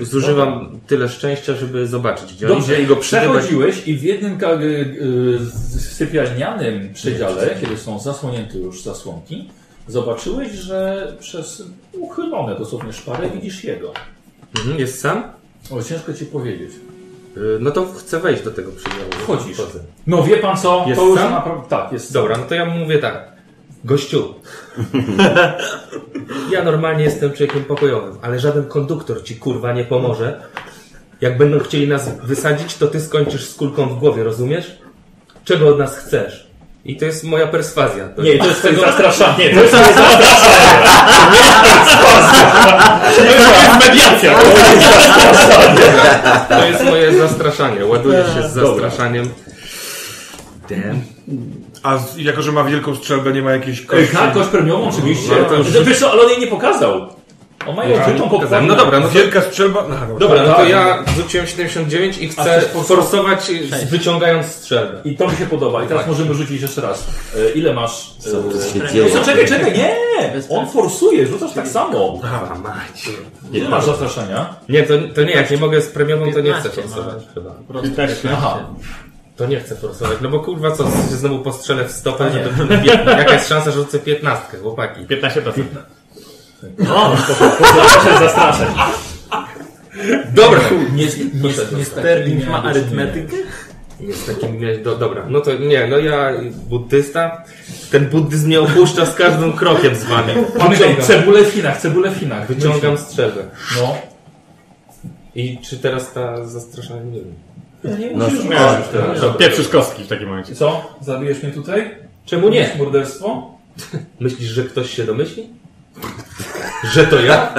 Zużywam tyle szczęścia, żeby zobaczyć, gdzie on
Dobrze,
idzie
i
i go
go
przydybać.
przechodziłeś i w jednym ka- y, y, z- sypialnianym przedziale, kiedy są zasłonięte już zasłonki, Zobaczyłeś, że przez uchylone dosłownie szparę widzisz jego.
Mhm, jest sam?
O, ciężko ci powiedzieć.
Y, No to chcę wejść do tego przyjazdu.
Wchodzisz. No wie pan co?
Jest
to już
sam?
naprawdę tak, jest
Dobra, no to ja mu mówię tak. Gościu. ja normalnie jestem człowiekiem pokojowym, ale żaden konduktor ci kurwa nie pomoże. Jak będą chcieli nas wysadzić, to ty skończysz z kulką w głowie, rozumiesz? Czego od nas chcesz? I to jest moja perswazja. To
Nie, to [LAUGHS] jest tego zastraszanie. To jest
To jest moje zastraszanie. Ładujesz się z zastraszaniem. Damn.
A z- jako, że ma wielką strzelbę, nie ma jakiejś
Ej,
kości.
tak, kość premiową oczywiście.
No, to już-
Wiesz co, ale on jej nie pokazał. On ma ją odkrytą pokładkę.
No dobra, no to,
Wielka strzelba... No, dobra.
dobra, no
Tak.
to ja rzuciłem 79 i chcę
chcesz forsować?
forsować y, wyciągając strzelbę.
I to mi się podoba. I teraz
Tak.
możemy rzucić jeszcze raz. E, Ile masz?
Co tu
e,
się dzieje?
Co, czekaj, czekaj, nie! On forsuje, rzucasz tak samo. Ile masz zastraszenia?
Nie, to, to nie, jak nie mogę z premiową, to nie chcę
15
forsować chyba.
Aha.
To nie chcę forsować, no bo kurwa co, się znowu postrzelę w stopę, żeby jaka jest szansa, że rzucę 15, chłopaki. No.
15%.
Dobra,
Nie, nie, nie Sterling ma arytmetykę?
Jest takim, nie, do, dobra, no to nie, no ja buddysta, ten buddyzm mnie opuszcza z każdym krokiem z wami.
Pamiętaj,
Wyciągam,
cebulę w Chinach, cebulę w Chinach.
wyciągam strzelbę.
No.
I czy teraz ta zastraszanie, nie wiem.
No,
no.
Pieprzysz kostki w takim momencie.
Co? Zabijesz mnie tutaj?
Czemu
Nie. Morderstwo?
Myślisz, że ktoś się domyśli? Że to ja?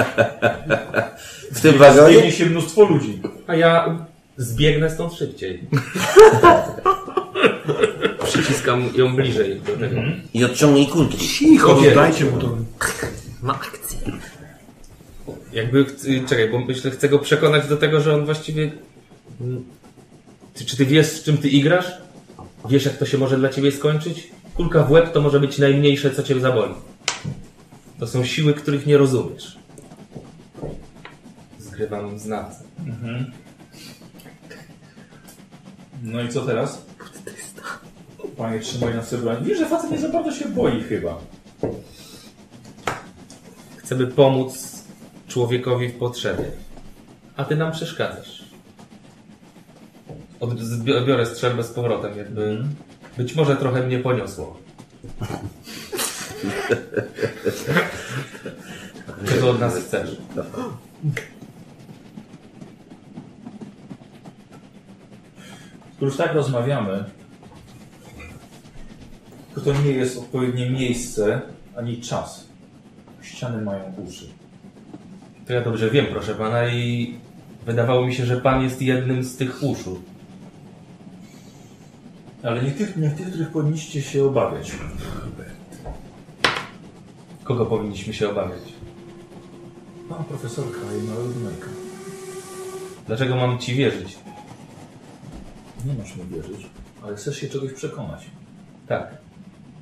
w tym wagonie?
Zajmie się mnóstwo ludzi.
A ja zbiegnę stąd szybciej. [LAUGHS] Przyciskam ją bliżej do tego.
I odciągnij kulki.
Cicho, dajcie mu to.
Ma akcję.
Jakby, ch- y, czekaj, bo myślę, chcę go przekonać do tego, że on właściwie... Mm, Ty, czy ty wiesz, z czym ty igrasz? Wiesz, jak to się może dla ciebie skończyć? Kulka w łeb to może być najmniejsze, co cię zaboli. To są siły, których nie rozumiesz. Zgrywam znawcę.
No i co teraz? Panie, trzymaj na sobie broń. Wiesz, że facet nie za bardzo się boi chyba.
Chcemy pomóc człowiekowi w potrzebie. A ty nam przeszkadzasz. Od, zbi- biorę strzelbę z powrotem, jakby. Być może trochę mnie poniosło. Czego od nas chcesz?
Skoro już tak rozmawiamy, to to nie jest odpowiednie miejsce ani czas. Ściany mają uszy.
To ja dobrze wiem, proszę pana, i wydawało mi się, że pan jest jednym z tych uszu.
Ale nie tych, nie tych których powinniście się obawiać.
Kogo powinniśmy się obawiać?
Pan profesor Kaj ma równego.
Dlaczego mam ci wierzyć?
Nie masz mi wierzyć, ale chcesz się czegoś przekonać.
Tak.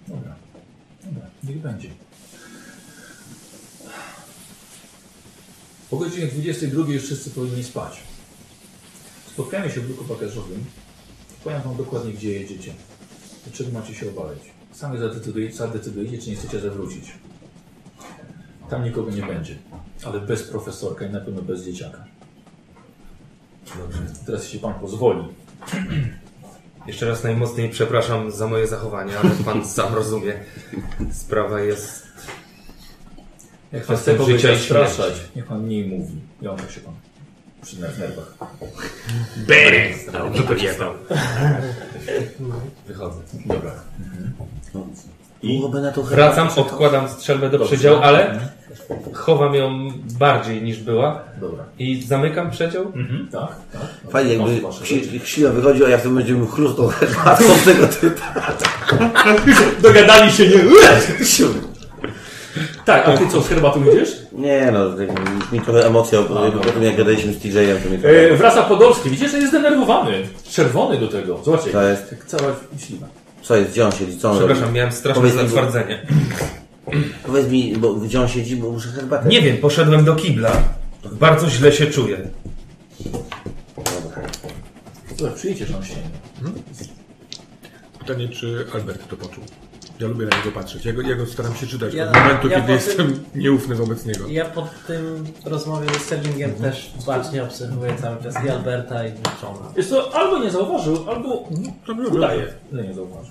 Dobra. Dobra, niech będzie. Po godzinie 22 już wszyscy powinni spać. Spotkajmy się w druku bagażowym. Powiem Wam dokładnie, gdzie jedziecie. I czego macie się obawiać. Sami zadecydujecie, zadecydujecie, czy nie chcecie zawrócić. Tam nikogo nie będzie. Ale bez profesorka i na pewno bez dzieciaka. Dobrze. Teraz jeśli Pan pozwoli.
Jeszcze raz najmocniej przepraszam za moje zachowanie, ale pan sam rozumie. Sprawa jest
Jak
pan chce kogoś zastraszać,
niech Pan mniej mówi. Ja mam tak się Pan przy nerwach.
Wychodzę.
Byłoby na to
Wracam, odkładam strzelbę do przedziału, ale
Mhm.
chowam ją bardziej niż była
Dobra.
i zamykam przedział.
Mhm. Tak, tak.
Fajnie, jakby
Masz wasze rzeczy.
ksi- ksiła wychodzi, a ja w tym będziemy [LAUGHS] chrustą herbatką tego typa.
[LAUGHS] Dogadali się,
[LAUGHS]
nie? Tak, a ty co, z herbatą idziesz? no.
Nie no, tak mi trochę emocja, bo po tym jak gadaliśmy z TJ-em, to mi trochę...
E, wraca Podolski, widzisz, że jest zdenerwowany. Czerwony do tego. Zobaczcie,
To jest-
tak cała ślina.
Co jest, gdzie on siedzi, co on robi?
Przepraszam, miałem straszne
Powiedz mi, bo-
zatwardzenie.
[CLEARS THROAT] Powiedz mi, bo gdzie on siedzi, bo muszę herbatę.
Nie wiem, poszedłem do kibla. Bardzo źle się czuję.
Dobra, przyjdziecie tam śnienie.
Pytanie, czy Albert to poczuł?
Ja lubię na niego patrzeć. Ja go, ja go staram się czytać
Ja-
od momentu,
ja
kiedy
po tym-
jestem nieufny wobec niego.
Ja po tym rozmowie z Sterlingiem
Mhm.
też bacznie obserwuję cały czas i Alberta i Johna.
Jest to albo nie zauważył, albo
To było
udaje, że No, nie zauważył.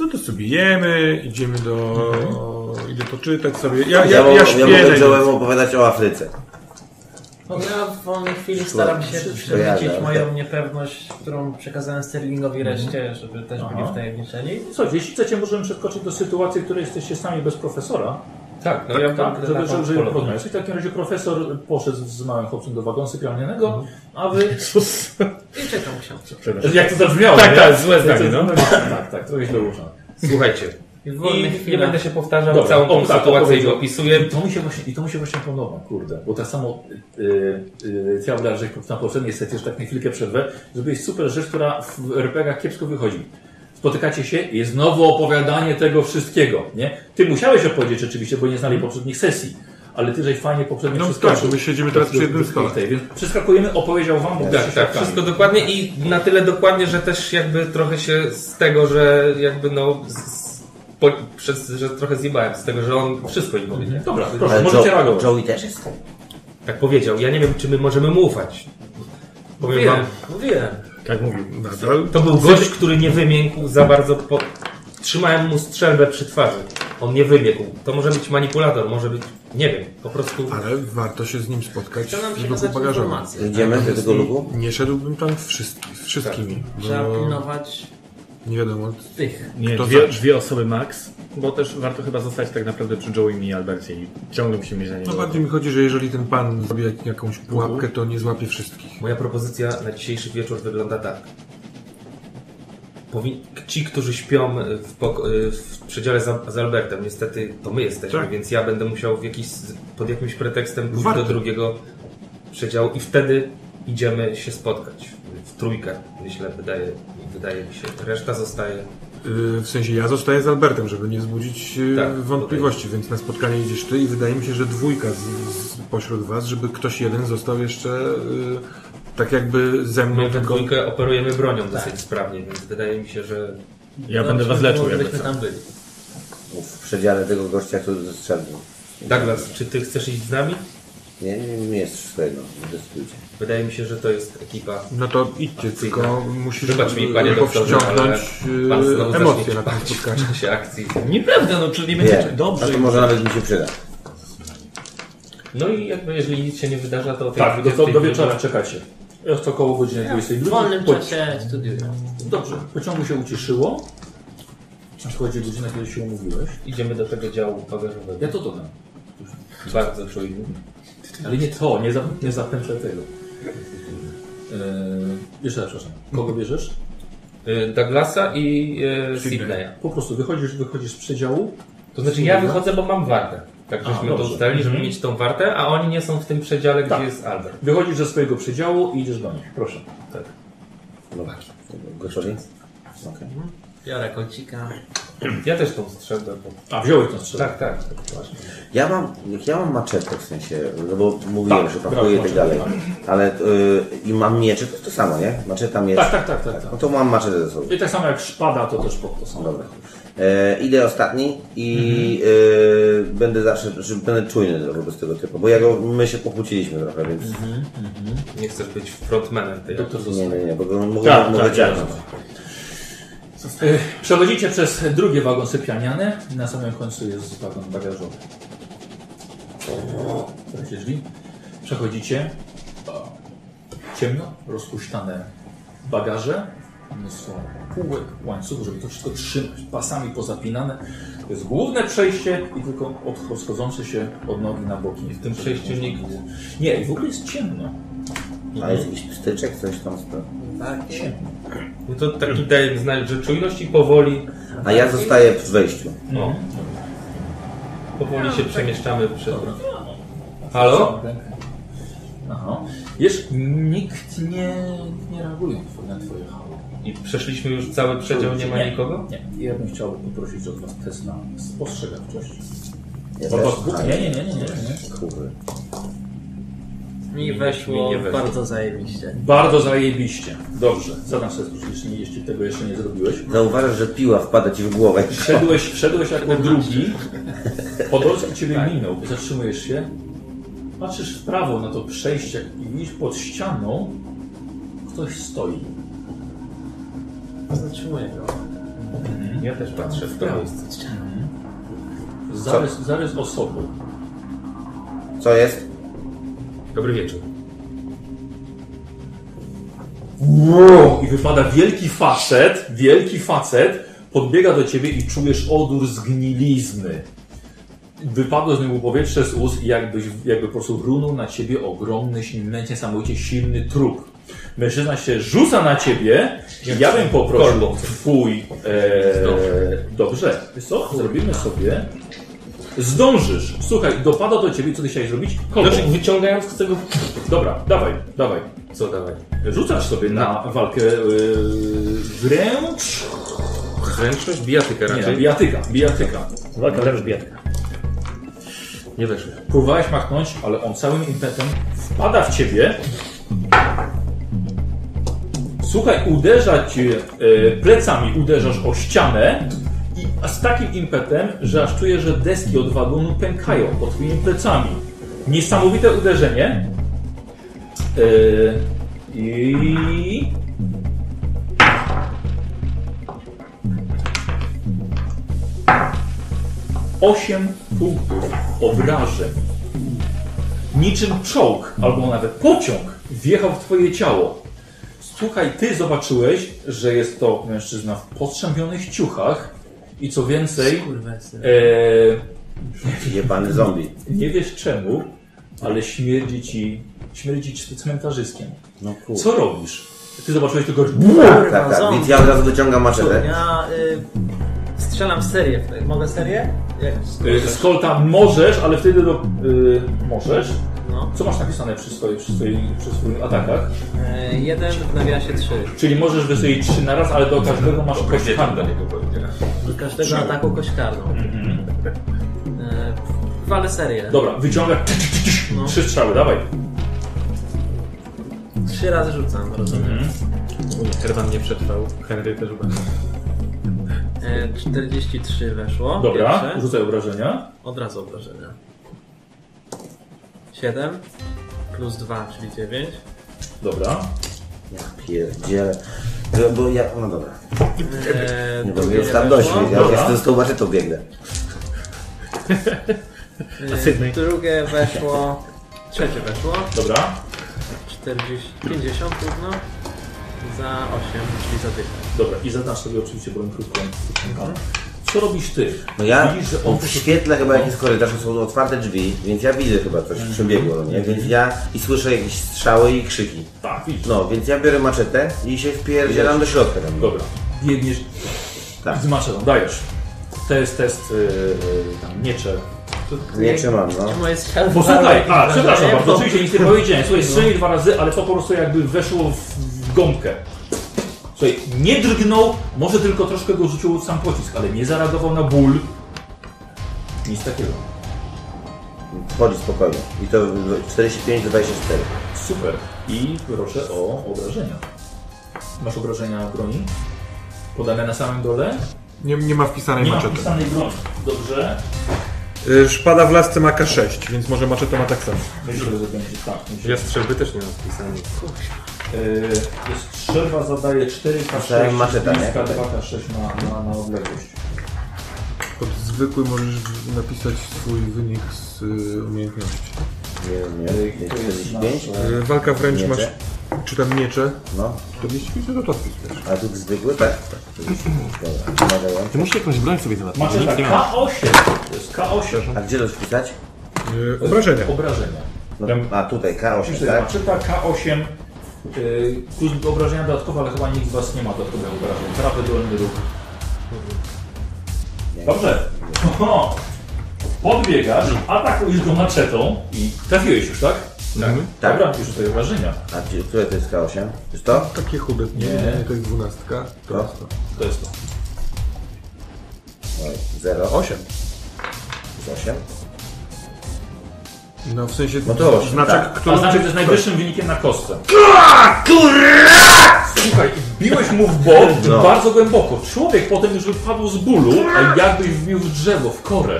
No to sobie jemy, idziemy do... Idę poczytać sobie.
Ja,
Ja, ja, ja,
mo- ja
śpię.
mogę Joe'emu opowiadać o Afryce.
No ja w wolnej chwili staram się przerzucić
Kojarzę.
moją niepewność, którą przekazałem Sterlingowi
Mhm.
reszcie, żeby też byli wtajemniczeni.
Słuchajcie, jeśli chcecie, możemy przeskoczyć do sytuacji, w której jesteście sami bez profesora. Tak, tak, ja tak, żeby, żeby, żeby porozmawiać. I W takim razie profesor poszedł z małym chłopcem do wagonu sypialnianego, a wy...
I czekam książkę.
Mhm. Jak to zabrzmiało, Tak, tak, złe zdanie, no. Tak, tak, to jest dołożone.
Słuchajcie,
I w wolnej
i nie
chwili.
będę się powtarzał,
Dobra,
całą
on
tą
tak
sytuację i
opowiedział.
opisuję.
I E, to mi się właśnie, i to mi się właśnie podoba, kurde. Bo tak samo yy, yy, Teodora, że na poprzedniej sesji, że tak na chwilkę przerwę, zrobiłeś super rzecz, która w RPG-ach kiepsko wychodzi. Spotykacie się i jest znowu opowiadanie tego wszystkiego, nie? Ty musiałeś opowiedzieć rzeczywiście, bo nie znali poprzednich sesji. Ale ty żeś fajnie poprzednio
No
przeskoczył.
tak, bo my siedzimy teraz przy jednym stole.
Tej, Więc przeskakujemy, opowiedział wam, bo
Tak, tak, wszystko dokładnie i na tyle dokładnie, że też jakby trochę się z tego, że jakby no, z, z, po, przez, że trochę zjebałem z tego, że on wszystko im powiedział.
Mhm. Dobra, proszę,
Ale
możecie
Joe,
reagować.
Joey też jest.
Tak powiedział, ja nie wiem czy my możemy mu ufać. Powiem
Mówiłem,
wam,
mówiłem.
Tak mówił. Nadal.
to był gość, który nie wymiękł za bardzo, po... trzymałem mu strzelbę przy twarzy. On nie wybiegł. To może być manipulator, może być, nie wiem, po prostu...
Ale warto się z nim spotkać
Chciał nam
w
przekazać
luku bagażowym.
informację.
Idziemy do tego lugu?
Nie szedłbym tam wszystkich, z wszystkimi,
Trzeba
bo
pilnować
nie wiadomo.
tych.
Nie,
Kto
dwie,
zacznie?
dwie osoby max, bo też warto chyba zostać tak naprawdę przy Joey'm i Albercie i ciągle musimy mieć na niego.
No bardziej mi chodzi, że jeżeli ten pan zrobi jak- jakąś pułapkę, to nie złapie wszystkich.
Moja propozycja na dzisiejszy wieczór wygląda tak. Powin... Ci, którzy śpią w, poko... w przedziale za... z Albertem, niestety to my jesteśmy,
Tak.
więc ja będę musiał w jakiś... pod jakimś pretekstem pójść
Warto.
do drugiego przedziału i wtedy idziemy się spotkać. W trójkę, myślę, wydaje, wydaje mi się. Reszta zostaje.
Yy, W sensie ja zostaję z Albertem, żeby nie wzbudzić yy,
Tak,
wątpliwości, więc na spotkanie idziesz ty i wydaje mi się, że dwójka z, z pośród was, żeby ktoś jeden został jeszcze yy, tak jakby ze mną,
My we
tylko Tak.
dwójkę operujemy bronią dosyć sprawnie, więc wydaje mi się, że...
Ja będę was leczył jakby co.
tam byli.
W przedziale tego gościa, który zestrzelił.
Douglas, czy ty chcesz iść z nami?
Nie, nie, nie jest swojego. Dyskutujcie.
Wydaje mi się, że to jest ekipa
no to idźcie, tylko musisz
Wybacz mi,
yy,
panie doktorze, ale
powściągnąć
pan
yy,
znowu
emocje
zacznie
na tym
trwać.
spotkaniu.
w czasie akcji.
Nieprawda, no czyli nie
Nie,
Znaczy,
będzie
a
dobrze.
to może nawet mi się przyda.
No i jakby jeżeli nic się nie wydarza, to
Tak, do,
20
do, do wieczora czekacie. Jest to około godziny
Tak, W
22.
wolnym
Po-
czasie studiuję.
Dobrze, pociągu się uciszyło. Nadchodzi godzina, kiedy się umówiłeś.
idziemy do tego działu bagażowego.
Ja to dodam.
Bardzo czujny.
Ale nie to, nie, za, nie zapętlę tego. Eee, jeszcze raz, przepraszam. Kogo bierzesz?
Y, Douglasa i y, Sydneya.
Po prostu wychodzisz, wychodzisz z przedziału.
To znaczy ja wychodzę, bo mam wartę. Tak
A,
żeśmy to
dobrze. Mhm.
ustalili, żeby mieć tą wartę, a oni nie są w tym przedziale,
Tak.
gdzie jest Albert.
Wychodzisz ze swojego przedziału i idziesz do nich. Proszę. Tak.
Nowaki. No Gotowi? Okej.
Biorę kocika.
Ja też tą strzelbę. Bo...
A, wziąłeś tą strzelę.
Tak, tak. tak, właśnie.
Ja mam, jak ja mam maczetę w sensie, no bo mówiłem,
Tak,
że pakuję i
brałeś
tak dalej.
maczetę,
Ale y, i mam miecze, to jest to samo, nie? Maczeta, miecz.
Tak, tak, tak, tak,
No to mam maczetę ze sobą.
I tak samo jak szpada, to też pod to samo.
Dobra. E, idę ostatni i
Mhm.
e, będę zawsze, znaczy, będę czujny wobec tego typu, bo ja go, my się pokłóciliśmy trochę, więc
Mhm.
Nie chcesz być frontmanem tej
Doktor
nie,
zostaje.
nie, nie, bo go mogę,
Tak,
mogę
tak,
ciągnąć.
Y, Przechodzicie przez drugie wagon sypialniane i na samym końcu jest wagon bagażowy. Otwieracie drzwi. Przechodzicie. O, Ciemno, rozpuściane bagaże, mnóstwo półek, łańcuchów, żeby to wszystko trzymać, pasami pozapinane. To jest główne przejście i tylko od- rozchodzące się od nogi na boki.
I w tym przejściu nikt.
Nie, w ogóle jest ciemno.
A jest jakiś pstyczek, coś tam. z-
Tak, Ciemno.
No to taki daje mi znać, że czujność i powoli,
A
tak.
ja zostaję w wejściu.
no, powoli się przemieszczamy przez... Halo?
Aha. Wiesz, nikt nie, nie reaguje na twoje- na twoje halo.
I przeszliśmy już cały przedział, nie ma nikogo?
Nie. Ja bym chciał poprosić od was test na spostrzegawczość. tak.
Ja
Od
też?
was dwóch?
A,
Nie, nie, nie, nie, nie. nie.
Kurwa.
Mi weszło
mi nie weszło.
bardzo zajebiście.
Bardzo zajebiście. Dobrze, zadam sobie sprawę, jeśli- jeśli tego jeszcze nie zrobiłeś.
Zauważasz, że piła wpada ci w głowę. [LAUGHS]
Wszedłeś, wszedłeś jako drugi. Podolski ciebie minął. Zatrzymujesz się. Patrzysz w prawo na to przejście i widzisz pod ścianą ktoś stoi.
Zatrzymuję go.
Ja też patrzę w to
No.
Prawo.
miejsce.
Zarys, zarys osoby.
Co jest?
Dobry wieczór.
Wow! I wypada wielki facet, wielki facet, podbiega do ciebie i czujesz odór zgnilizny. Wypadło z niego powietrze z ust i jakbyś, jakby po prostu runął na ciebie ogromny, silny, niesamowicie silny trup. Mężczyzna się rzuca na ciebie i ja bym poprosił twój... E, dobrze, wiesz co? Zrobimy sobie... Zdążysz! Słuchaj, dopada do ciebie, co ty chciałeś zrobić? Kolbą.
Znaczy, wyciągając z tego...
Dobra, dawaj, dawaj.
Co dawaj?
Rzucasz sobie na walkę yy, wręcz.
Zręczność? Bijatyka
Nie,
raczej? Nie,
bijatyka, bijatyka.
Walka wręcz biedka.
nie weszło.
Próbowałeś machnąć, ale on całym impetem wpada w ciebie. Słuchaj, uderza cię e, plecami, uderzasz o ścianę i z takim impetem, że aż czujesz, że deski od wagonu pękają pod twoimi plecami. Niesamowite uderzenie. E, I... Osiem punktów obrażeń. Niczym czołg albo nawet pociąg wjechał w twoje ciało. Słuchaj, ty zobaczyłeś, że jest to mężczyzna w postrzępionych ciuchach i co więcej,
Kurwesy.
e,
Jebany zombie.
nie wiesz czemu, ale śmierdzi ci, śmierdzi ci cmentarzyskiem.
No kurwa.
Co robisz? Ty zobaczyłeś tylko...
Tak, tak,
Zombie.
więc ja od razu wyciągam maczetę.
Ja y, strzelam serię. w- Mogę serię? Jak,
E, Z kolta możesz, ale wtedy do... e, możesz?
no.
Co masz napisane przy swoich, przy swoich, przy swoich atakach?
Y, jeden w nawiasie trzy.
Czyli możesz wysłać trzy na raz, ale do każdego masz kość handel.
Do każdego ataku kość karną. Y, walę serię.
Dobra, wyciąga
No.
trzy strzały, dawaj.
Trzy razy rzucam, rozumiem.
Herman nie przetrwał, Henry też chyba.
Y, 43 weszło.
Dobra,
Pierwsze.
rzucaj obrażenia.
Od razu obrażenia. 7 plus 2, czyli 9.
Dobra.
Pierdziele. Bo- Bo ja, no dobra.
Eee,
Nie wiem, już tam dość. Ja
Dobra.
jeszcze z tą maczetą biegnę.
eee, drugie weszło. Trzecie weszło.
Dobra,
40, 50 trudno. Za 8, czyli za dychę.
dobra. I zadasz sobie oczywiście broń krótką. Co robisz ty?
No ja
Widzisz, że on
w świetle chyba jakichś korytarzy są otwarte drzwi, więc ja widzę chyba coś
Mhm.
przebiegło, no nie? Więc ja i słyszę jakieś strzały i krzyki.
Tak, widzisz.
No, więc ja biorę maczetę i się wpierdzielam do środka tam.
Dobra. Biegniesz
Tak.
z maczetą, dajesz. To jest test yy, tam miecze.
Nie trzymam, no.
Moje strzały.
Posłuchaj, a przepraszam
Nie,
bardzo,
bo-
oczywiście nic nie powiedziałem. Słuchaj, no. strzelił dwa razy, ale to po prostu jakby weszło w, w gąbkę. Słuchaj, nie drgnął, może tylko troszkę go rzucił sam pocisk, ale nie zareagował na ból. Nic takiego.
Chodzi spokojnie. I to 45 do 24.
Super. I proszę o obrażenia. Masz obrażenia broni? Podane na samym dole?
Nie, nie ma wpisanej
Nie ma
maczety.
wpisanej broni. Dobrze.
Y,
E,
Szpada w lasce ma K6, więc może maczeta ma tak samo.
Myślę, że będzie tak. Myślę.
Ja strzelby też nie mam wpisanej.
Yy, jest strzelba zadaje 4K6
Myślałem maczeta, nie?
bliska 2K6 na, na, na odległość.
Pod zwykły możesz w- napisać swój wynik z
e,
y, umiejętności.
Tak.
Nie wiem, nie.
To jest
45?
E,
nasze-
Y, Walka wręcz
Miecze?
masz, czy tam miecze,
No.
45, no to odpisujesz.
A tu zwykły? Tak. 45. Dobra, pomagają.
Ty musisz jakąś broń sobie załatwić.
Macie tak,
nie ma.
K8. To jest K8.
A gdzie to wpisać?
Y, Obrażenia.
Obrażenia.
No, a tutaj K8,
Myślę,
tak?
że maczyta K8. Yy, plus obrażenia dodatkowe, ale chyba nikt z Was nie ma dodatkowych obrażeń. Prawy dolny ruch. Dobrze. [LAUGHS] Oho. Podbiegasz, atakujesz go maczetą i trafiłeś już, tak?
Mhm.
Tak.
Dobra, już tutaj obrażenia.
A gdzie- które to jest K8? Jest to?
Takie chude, nie, nie, to jest dwunastka.
To?
To jest to.
No, Oj, 0. 8. 8.
No w sensie
No to-
znaczek,
To
który...
znaczy, to jest najwyższym wynikiem na kostce. Słuchaj, biłeś mu w [LAUGHS] bok
No.
bardzo głęboko. Człowiek potem już wypadł z bólu, a jakbyś wbił w drzewo, w korę.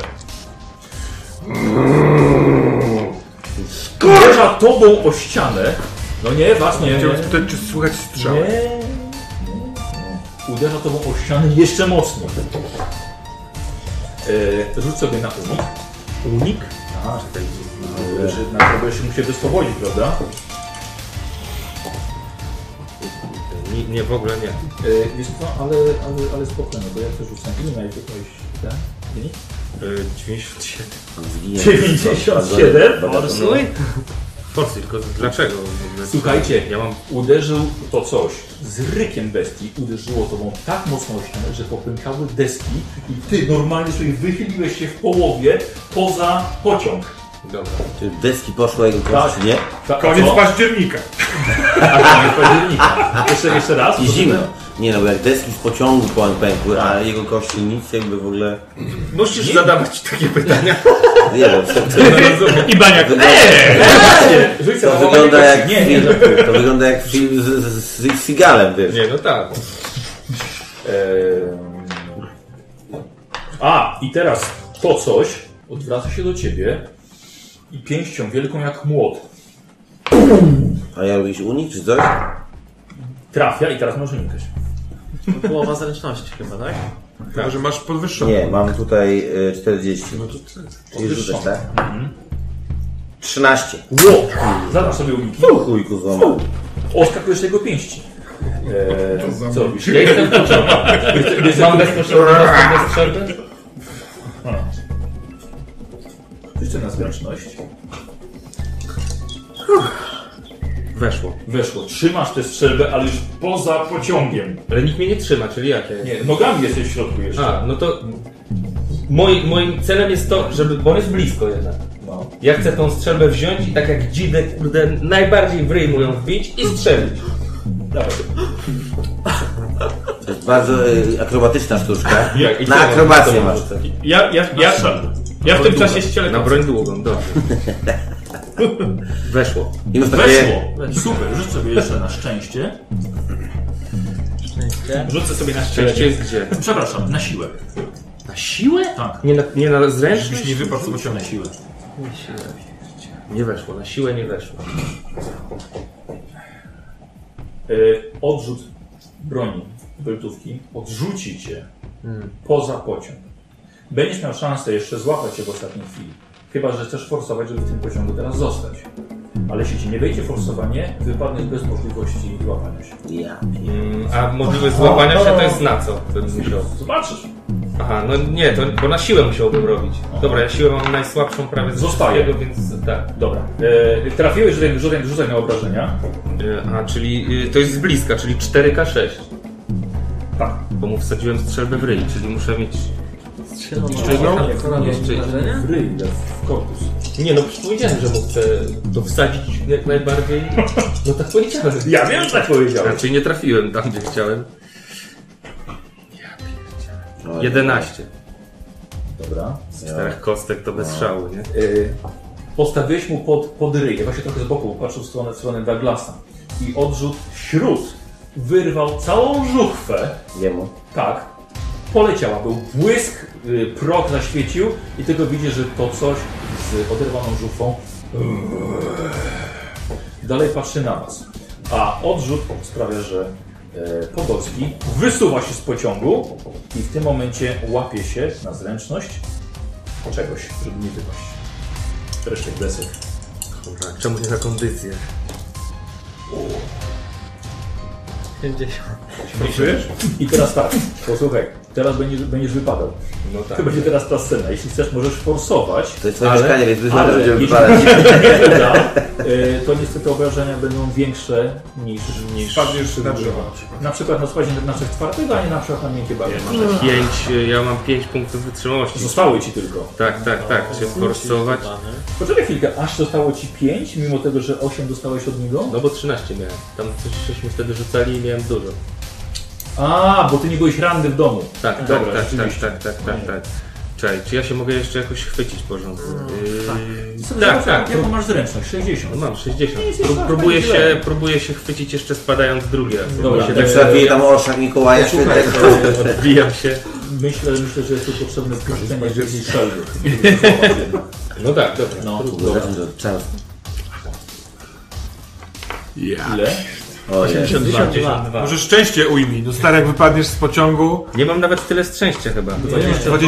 Uderza tobą o ścianę. No nie, was nie, nie.
Chciałbym spytać, czy słychać strzały.
Nie. Uderza tobą o ścianę jeszcze mocniej. E, rzuć sobie na unik. Unik? A, tak czekaj. że Na kogo jeszcze musi wyswobodzić, prawda?
Nie, nie, w ogóle nie.
E, wiesz co, ale, ale, ale spokojnie, bo ja też rzucam. Ile miałeś jakoś, tak? Wynik?
Y, 97.
Zginie.
97? Forsuj?
Forsy, tylko dlaczego? w ogóle?
Słuchajcie,
ja mam
Uderzył to coś z rykiem bestii, uderzyło tobą tak mocno o ścianę, że popękały deski i ty normalnie sobie wychyliłeś się w połowie poza pociąg.
Dobra.
Czy deski poszło jego kość, czy nie?
Ta,
Koniec
co?
października.
A, koniec października. Jeszcze, jeszcze raz.
I zimno. Nie no, bo jak deski z pociągu pę- pękły, a jego kości nic jakby w ogóle...
Musisz zadawać takie pytania.
[LAUGHS] Nie wiem, to,
I baniak. Eee! Właśnie! Rzuć
to
sobie na
wygląda
łamanie
jak
kości. Nie, nie,
film, to wygląda jak film z, z, z, z Sigalem, wiesz.
Nie, no tak.
Em, A, i teraz to coś odwraca się do ciebie i pięścią wielką jak młot
A ja jakiś unik czy coś?
trafia i teraz możesz unikać.
To połowa zręczności chyba, tak?
Chyba, że masz podwyższone.
Nie, mam tutaj y, 40. No to Czyli rzucasz, tak? 13.
Ło! Zadasz sobie uniki.
Tu chujku złamał.
Oskakujesz z jego pięści. Eee, co robisz? Ja jestem Mam Jeszcze na zręczność.
Weszło.
Weszło. Trzymasz tę strzelbę, ale już poza pociągiem.
Ale nikt mnie nie trzyma, czyli jak ja jestem.
Nie, nogami jesteś w środku jeszcze.
A, no to moi, moim celem jest to, żeby, bo on jest blisko jednak.
No.
Ja chcę tą strzelbę wziąć i tak jak dzidę, kurde, najbardziej w ryj mu ją wbić i strzelić.
Dawaj.
To jest bardzo y, akrobatyczna sztuczka.
Jak? I
Na
co mam- co
akrobację
mam
masz.
rzucać?
Ja, ja, ja, ja w tym czasie ścielę
Na broń długą, dobrze. Weszło.
I masz takie...
Weszło. Super, rzuć sobie jeszcze na szczęście.
Rzucę sobie na
Częściej
szczęście.
jest gdzie?
Przepraszam, na siłę. Na siłę? Tak.
Nie na, nie na zręczność?
Nie wypadł z pociągu.
Na siłę.
Nie weszło, na siłę nie weszło.
Yy, odrzut broni wyltówki odrzuci cię Hmm. poza pociąg. Będziesz miał szansę jeszcze złapać się w ostatniej chwili. Chyba, że chcesz forsować, żeby w tym pociągu teraz zostać. Ale jeśli ci nie wejdzie forsowanie, wypadniesz bez możliwości złapania się.
Ja.
Mm, a możliwość złapania się to jest na co? Bym musiał.
Zobaczysz.
Aha, no nie, to, bo na siłę musiałbym robić. Dobra, ja siłę mam najsłabszą prawie z
Zostaje.
wszystkiego, więc tak.
Dobra. Yy, trafiłeś, rzucaj, rzucaj, rzucaj na obrażenia.
Y, A, czyli y, to jest z bliska, czyli 4K6.
Tak.
Bo mu wsadziłem strzelbę w ryj, czyli muszę mieć...
Strzelną?
Jeszcze-
Jeszcze
W ryj, w korpus.
Nie no, przecież powiedziałem, że mu chcę to wsadzić jak najbardziej. No tak powiedziałem.
Ja wiem, że tak powiedziałem.
Raczej nie trafiłem tam, gdzie chciałem.
No,
11.
Dobra.
Z czterech kostek to bez szału, nie?
Y, Postawiłeś mu pod, pod ryj, ja właśnie trochę z boku patrzył w stronę, w stronę Douglasa i odrzut śród wyrwał całą żuchwę,
Jemu.
tak, poleciała, był błysk, y, prog zaświecił i tylko widzisz, że to coś z oderwaną żuchwą dalej patrzy na was. A odrzut sprawia, że e, Podolski wysuwa się z pociągu i w tym momencie łapie się na zręczność czegoś, żeby nie wypaść. Resztek desek.
Kurwa, czemu nie na kondycję?
50.
I teraz tak, posłuchaj, teraz będziesz, będziesz wypadał.
No tak.
To będzie teraz ta scena. Jeśli chcesz, możesz forsować.
To jest twoje
ale-
mieszkanie, więc wyznaczasz,
ale
będziemy
jeśli [LAUGHS]
wypadać.
nie uda, [LAUGHS] y, to niestety obrażenia będą większe niż, niż
Spadniesz na drzewo na przykład.
na przykład na spadzie na trzech twardych, a nie na przykład na miękkie barwy.
Pięć, y, ja mam 5 punktów wytrzymałości.
Zostały ci tylko.
Tak, tak, tak. Cię forsować.
Poczekaj chwilkę, aż zostało ci 5, mimo tego, że 8 dostałeś od niego?
No bo 13 miałem. Tam coś żeśmy wtedy rzucali i miałem dużo.
A, bo ty nie byłeś ranny w domu.
Tak, tak,
Dobra,
tak, tak,
rzeczywiście.
No, tak, tak, tak, tak. Czekaj, czy ja się mogę jeszcze jakoś chwycić porządku? Yy,
sobie
Tak,
tak,
tak.
jaką masz zręczność? 60.
No
No.
Mam 60.
Nic nie
Pró-
masz,
Próbuję
tak źle.
się, próbuję się chwycić jeszcze spadając drugi raz.
Dobra,
Się
Jak
tak-
sobie tam orszak Mikołaja
Słuchaj,
Świętego.
e,
Odbijam się.
myślę, myślę, że jest tu potrzebne wpuszczenie więcej szelby.
No tak, dobra.
No, dobra.
Dobrze, czas.
Ile?
Ojej.
82.
No, Może szczęście ujmij. No stary, jak wypadniesz z pociągu,
Nie mam nawet tyle szczęścia chyba.
22.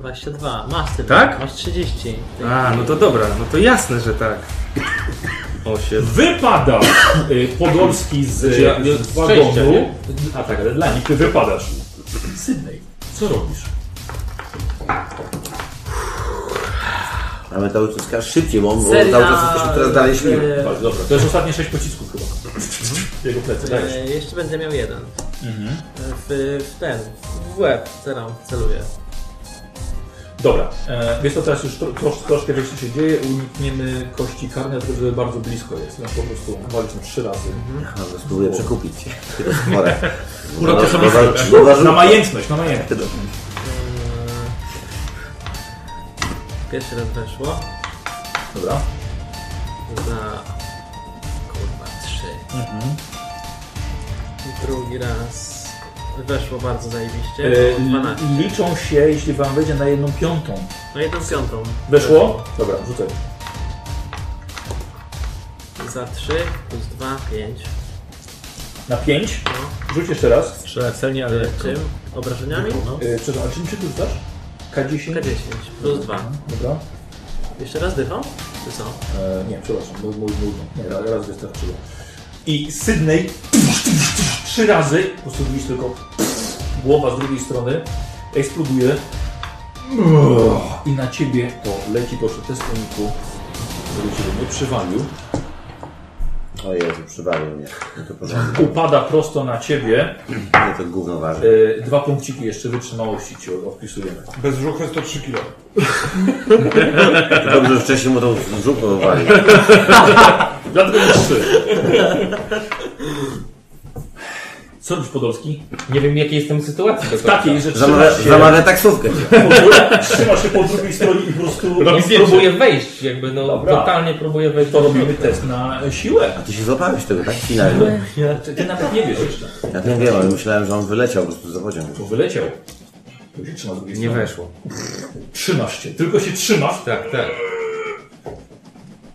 22. Masz ty,
Tak?
Masz 30.
A, no to dobra, no to jasne, że tak. Osiem.
Wypada y, Podolski z,
Znaczy,
z
ja- szczęścia,
wagonu.
nie?
A tak, ale dla nich ty wypadasz. Sydney, co robisz?
Mamy ta ucieczka szybciej, bo bo cały
Seria,
czas jesteśmy teraz dalej śmigamy.
e,
Bardzo dobra. To jest ostatnie sześć pocisków chyba. Jego plecy, dajesz.
e, jeszcze będę miał jeden. E, W, w ten. W łeb. Ceram, celuję.
Dobra, e, więc to teraz już tro, trosz, troszkę wiesz co się dzieje, unikniemy kości karnej, dlatego że bardzo blisko jest. No po prostu walczą trzy razy.
Dobra, no, Spróbuję przekupić. Tylko chore.
Urocze są
Bo-
istotne.
bo- bo-
Na majętność, na majętność.
Eee, Pierwszy raz weszło.
Dobra.
Za. Kurwa, trzy. I Drugi raz. Weszło bardzo zajebiście.
E,
Eee, 12.
li- liczą się, jeśli wam wejdzie, na jedną piątą.
No jedną piątą.
Weszło? Dobra, rzucaj.
Za 3 plus 2, 5.
Na pięć. Rzuć jeszcze raz.
Strzelać celnie, ale lekko.
E, Czym? Obrażeniami? No.
E, przepraszam, a czym czy ty rzucasz? K10?
K10 plus 2.
Dobra.
Jeszcze raz dychą? Czy co?
E, nie, przepraszam, mój, mój, mój. Nie, raz, raz wystarczyło. I Sydney trzy razy, po prostu widzisz tylko głowa z drugiej strony, eksploduje i na ciebie to leci, proszę, test uniku, żeby ciebie nie przywalił.
O Jezu, przywalił mnie. No to porządnie.
Upada prosto na ciebie,
Mnie to gówno waży.
e, dwa punkciki jeszcze wytrzymałości ci odpisujemy.
Bez żuchwy 103 kg.
To Dobrze, że wcześniej mu tą żuchę wywalił.
Dlatego już trzy. Co robisz Podolski?
Nie wiem jakiej jestem sytuacji. do końca.
Takiej, że
Zamawia,
trzymasz się,
zamawia taksówkę.
trzymasz się po drugiej stronie i po prostu...
No,
robisz
próbuję wejść, jakby no
Dobra.
totalnie próbuję wejść.
To robimy test na siłę.
A ty się złapałeś tego, tak? Finalnie.
Ty, ty nawet nie wiesz jeszcze.
Ja tym wiem, ale myślałem, że on wyleciał po prostu za pociąg.
Bo wyleciał. To się trzyma z drugiej
Nie
strony.
weszło.
Trzymasz się, tylko się trzymasz.
Tak, tak.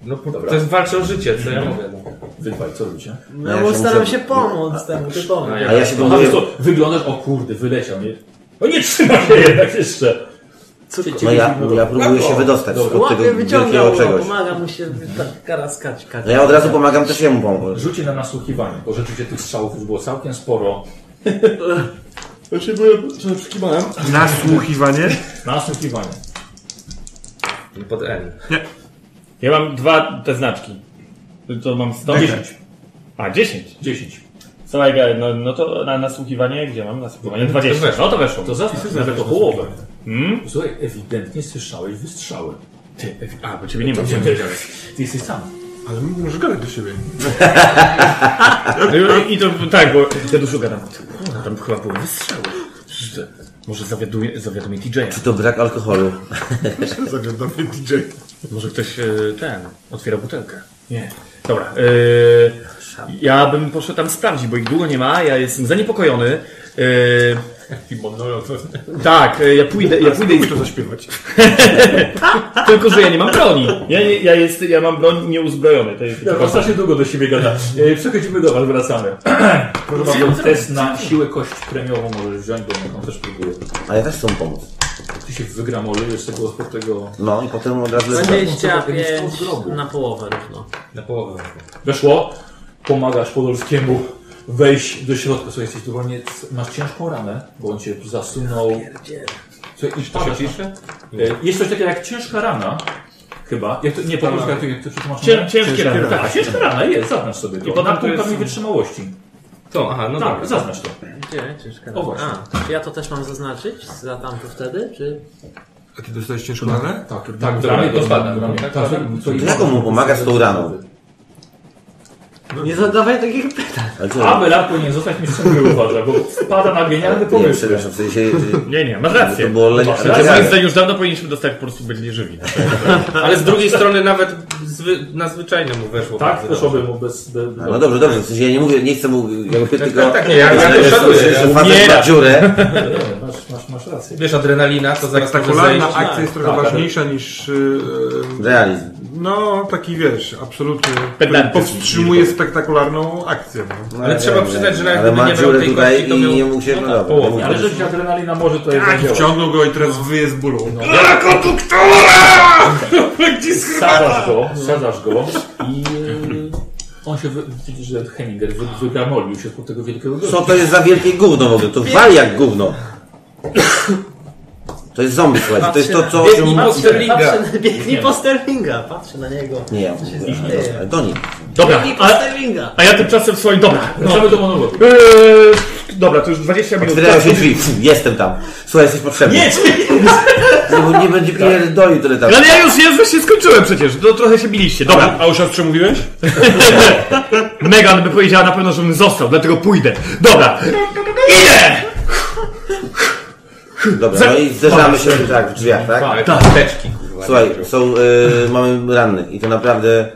No po,
Dobra.
to jest walczy o życie, co ja mówię. No.
Wydwaj, co ludzie.
No,
ja
bo
się
staram
muszę-
się pomóc temu typowi.
A ja-
A ja się
No,
próbuję...
to wyglądasz, o kurde, wyleciał. Nie? O nie trzyma się jednak jeszcze. Co
No ja, ja próbuję się wydostać spod
Łapie,
tego wielkiego
wyciągał, no,
czegoś.
pomaga mu się tak karaskać.
No ja od razu pomagam też jemu pomóc.
Rzucie na nasłuchiwanie, bo rzeczywiście tych strzałów już było całkiem sporo.
Ja się byłem, że przykiwałem.
Nasłuchiwanie?
Nasłuchiwanie.
Pod N.
Ja mam dwa te znaczki. To mam 100. 10. A, 10.
10.
Cała gra, no, no to na nasłuchiwanie, gdzie mam nasłuchiwanie? 20.
weszło.
No to weszło.
To zaznacz nawet o połowę.
Mm?
Słuchaj, ewidentnie słyszałeś wystrzały. Ty, ewi-
A, bo ciebie nie ma.
ty, ty jesteś sam.
Ale możesz gadać do siebie.
I to tak, bo ja dużo gadam.
No tam chyba były wystrzały. Że- Może zawiaduję, zawiaduję DJ-a.
Czy to brak alkoholu?
Zagadamy DJ.
Może ktoś e, ten otwiera butelkę.
Nie.
Dobra. y, ja bym poszedł tam sprawdzić, bo ich długo nie ma. Ja jestem zaniepokojony. Y, tak, y, ja pójdę, ja pójdę i
to zaśpiewać.
[LAUGHS] Tylko, że ja nie mam broni. Ja, nie- ja, jest, ja mam broń nieuzbrojony. To jest,
Ja to strasznie no, długo do siebie [LAUGHS] gada. E, Przechodzimy do was, wracamy. [CLEARS THROAT] Proszę bardzo, test na siłę kość premiową możesz wziąć, bo on też próbuje.
A ja też chcę mu pomóc.
Ty się wygramolujesz z tego, z tego...
No i potem od razu lecę.
25 na połowę równo.
Na połowę.
Weszło, pomagasz Podolskiemu wejść do środka. Słuchaj, jesteś dowolnie... Masz ciężką ranę, bo on cię zasunął. Słuchaj, i
To się
padasz na-
pisze?
E, Jest coś takiego jak ciężka rana. Chyba. Jak to, nie, po polsku jak to, jak to przetłumaczymy?
Cię- ciężkie
Ciężka
rany.
Tak, ciężka rana jest, zaznacz sobie to. I
potem
potem
to
punktami
jest-
wytrzymałości.
To, aha, no
tak,
dobra.
zaznacz to.
Gdzie? Ciężka
O, właśnie.
A, czy ja to też mam zaznaczyć? Za tamto wtedy? Czy...
A ty dostajesz ciężką ranę?
Tak, tak,
dobra, to zbadam.
dobra.
Tak,
Tak,
zbadam.
co-
Jak on mu pomaga z tą raną?
No Nie zadawaj takich pytań.
Ale co?
Abelard powinien zostać mistrzem gry, uważa, bo wpada na genialny
nie,
pomysł.
przepraszam, w sensie... że-
Nie, nie, masz
To
rację.
było le... tak.
Masz
ale
Moim
ciekawe.
zdaniem już dawno powinniśmy dostać po prostu byli żywi.
Ale z drugiej strony nawet zwy, na zwyczajnie mu weszło.
Tak,
bardzo dobrze.
poszłoby mu bez... bez
A, No dobrze, dobrze, w sensie ja nie mówię, nie chcę mu jakby tylko...
tak, tak, nie, ja- ja
Ale
to szanuję,
że-
ja
że facet ma
umieram.
dziurę.
Masz, masz, masz rację.
Wiesz, adrenalina to zaraz może zejść.
Spektakularna akcja jest trochę ważniejsza niż... Yy,
Realizm.
no, taki wiesz, absolutny, który
Pedantyzm.
powstrzymuje spektakularną akcję. No.
Ale trzeba przyznać, że nawet
Ale
gdyby
ma
nie miał
dziurę
tej
tutaj
kości, to
i
miał-
nie mógł się... No dobra.
połowę.
mógł-
Ale rzucić adrenalina może
Tak,
to jednak działać.
Wciągnął go i teraz wyje z bólu.
Sadzasz go, sadzasz go i... e, On się, wy- widzisz, że Henninger wy- wygramolił się pod tego wielkiego gościa.
Co to jest za wielkie gówno w ogóle? To wali jak gówno. To jest zombie, słuchajcie. To jest to, co... o czym-
Biegnij po Sterlinga.
Patrzę, biegnij po Sterlinga, patrzę na niego.
Nie, ja
dzieje?
ale do nich.
Dobra,
Biegnij po
a,
Sterlinga.
a ja tymczasem swoim. Dobra. No.
Wracamy do monologu.
Eee, dobra, to już 20 minut.
Otwierają się drzwi. Pff, Jestem tam. Słuchaj, jesteś potrzebny. Nie, bo nie będzie pierdolił tyle tam.
Ale ja już jest, się skończyłem przecież. To trochę się biliście. Dobra.
A już o czym mówiłeś?
Megan by powiedziała na pewno, żebym został, dlatego pójdę. Dobra. Idę!
Dobra, no i zderzamy się tak w drzwiach, tak?
Ale kosteczki.
Słuchaj, są, y, mamy rannych i to naprawdę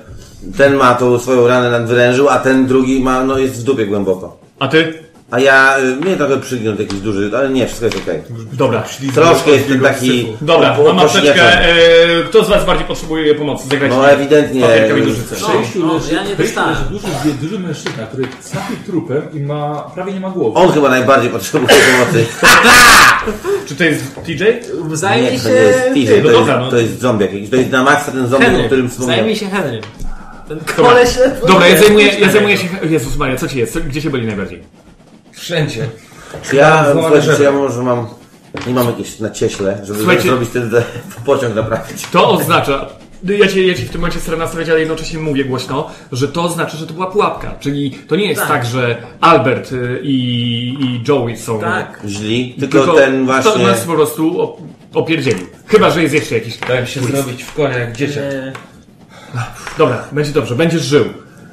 ten ma tą swoją ranę nadwyrężył, a ten drugi ma, no jest w dupie głęboko.
A ty?
A ja, y, mnie trochę przygniótł jakiś duży, ale nie, wszystko jest okej.
Dobra.
Troszkę jestem taki...
Dobra,
po-
mam maseczkę.
pośniaczony.
Eee, kto z was bardziej potrzebuje pomocy? Zagrać
No ewidentnie.
papierkami nożyce.
Sześciu
no,
leży,
ja nie
sześciu
dostałem.
leży tak, duży, dwie- duży mężczyzna, który sapi trupem i ma, prawie nie ma głowy.
On chyba najbardziej potrzebuje pomocy.
[LAUGHS] Czy to jest TJ?
Zajmij
Nie, to
się...
nie jest
ty,
Tizen,
no
to,
dobra,
jest,
no.
to jest zombie jakiś. To jest na maksa ten zombie, o którym
Henrym.
wspomniałem.
Zajmij się Henrym. Ten koleś...
Dobra, ja zajmuję, ja zajmuję się... Jezus Maria, co ci jest? Co- Gdzie się boli najbardziej?
Wszędzie.
Czy ja,
Mam złamane
słuchajcie, czy
żebra.
ja może mam... Nie mam jakieś na cieśle, żeby
Słuchajcie-
zrobić ten de- [LAUGHS] pociąg naprawić.
To oznacza... no Ja ci, ja ci w tym momencie staram nastawiać, ale jednocześnie mówię głośno, że to znaczy, że to była pułapka. Czyli to nie jest tak, że Albert y, i, i Joey są...
Tak.
Źli, tylko, ten
To
właśnie...
nas po prostu op- opierdzielił. Chyba, że jest jeszcze jakiś...
Tak.
Dałem się zrobić w konia jak dzieciak.
e,
Dobra, będzie dobrze, będziesz żył.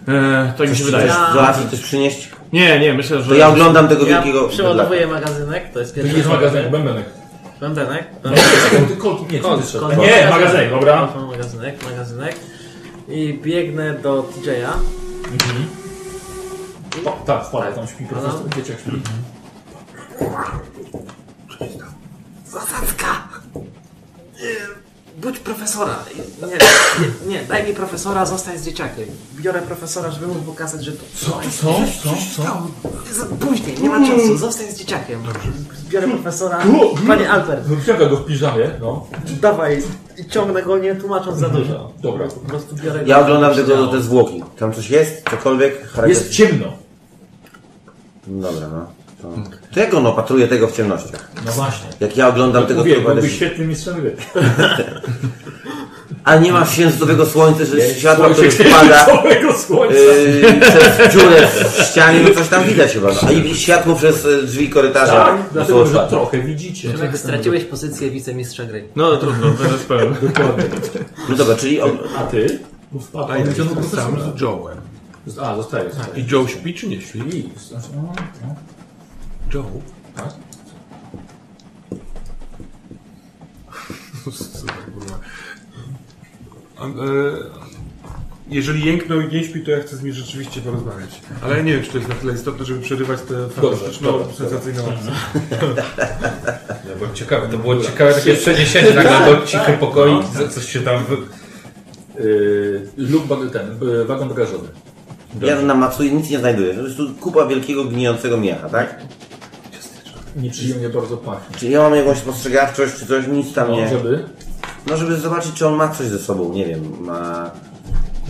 E, tak mi się wydaje.
Ja-
Zobaczyć, coś przynieść?
Nie, nie, myślę, że...
To ja oglądam tego
Ja
wielkiego...
przeładowuję magazynek, to jest
To nie
pierwszy
jest magazynek, bębenek.
bębenek.
Ty kolki, nie, co ty strzelasz?
Kon-
Nie, magazynek, dobra.
Kon- Magazynek, magazynek. I biegnę do TJ'a.
O, tak, wpada, tam śpi po prostu, dzieciak śpi.
Zasadzka! Budź profesora! Nie, nie, nie, daj mi profesora, zostań z dzieciakiem. Biorę profesora, żeby mu pokazać, że to...
Co, co, co, co?
Za- Później, nie ma czasu, zostań z dzieciakiem. Biorę profesora. Panie Albert,
Wyciąga go w piżamie, no.
dawaj. I ciągnę go, nie tłumacząc za dużo.
Dobra.
Po prostu biorę go.
Ja oglądam tego, te zwłoki. Tam coś jest? Cokolwiek?
Jest
Charakter...
ciemno.
Dobra, no. To... to jak on opatruje tego w ciemnościach?
No właśnie.
Jak ja oglądam tego
No Mówię,
trupa...
byłby
też-
świetnym mistrzem gry.
A nie ma księżycowego słońca, że światło,
[LAUGHS]
które
Słońce
spada...
Całego słońca.
Yy, przez dziurę w ścianie, no coś tam widać chyba. A i światło przez y, drzwi korytarza.
Tak,
No
dlatego, że
słuchaj,
trochę widzicie.
Przemek, straciłeś pozycję wicemistrza gry.
No trudno, będę spełnił.
No dobra, czyli on,
A ty? Bo wpadł.
A ja
on
jestem
profesora.
sam z Joe'em.
A, zostaje. zostaje.
I Joe śpi czy nie śpi?
I- znaczy, no, no.
Joe. [LAUGHS] A, e, Jeżeli jęknął i nie śpi, to ja chcę z nim rzeczywiście porozmawiać. Ale ja nie wiem, czy to jest na tyle istotne, żeby przerywać tę fantastyczną,
dobra, dobra.
sensacyjną akcję.
Ja byłem ciekawy, to było ciekawe takie przeniesienie nagle do cichy pokoi, co- coś się tam... Wy...
Yy, lub bag- ten, yy, wagon bagażowy.
ja na Matsui nic nie znajduję. To jest tu kupa wielkiego, gnijącego mięcha, tak?
Nieprzyjemnie bardzo pachnie.
Czy ja mam jakąś spostrzegawczość, czy coś? Nic tam
No,
nie.
żeby
No, żeby zobaczyć, czy on ma coś ze sobą. Nie wiem, ma...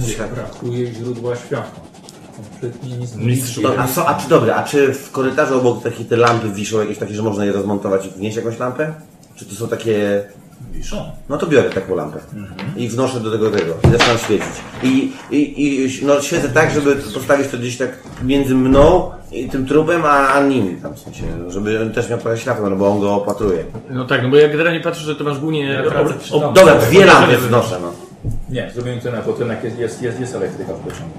Coś tak-
brakuje źródła światła. Kompletnie nic nie
Mistrzu. No, a, co, a czy dobra, a czy w korytarzu obok takie te lampy wiszą jakieś takie, że można je rozmontować i wnieść jakąś lampę? Czy to są takie...
wiszą. Mhm.
No to biorę taką lampę i wnoszę do tego tego i zaczynam świecić. I, i, i no, świecę tak, żeby postawić to gdzieś tak między mną i tym trupem, a, a nim tam w sensie, żeby on też miał trochę światła, no bo on go opatruje.
No tak, no bo ja generalnie patrzę, że to masz głównie... obra-
Wracać tam.
Dobra, dwie lampy wnoszę, no.
Nie, zrobimy to na bo ten jak jest, jest, jest, jest elektryka w pociągu.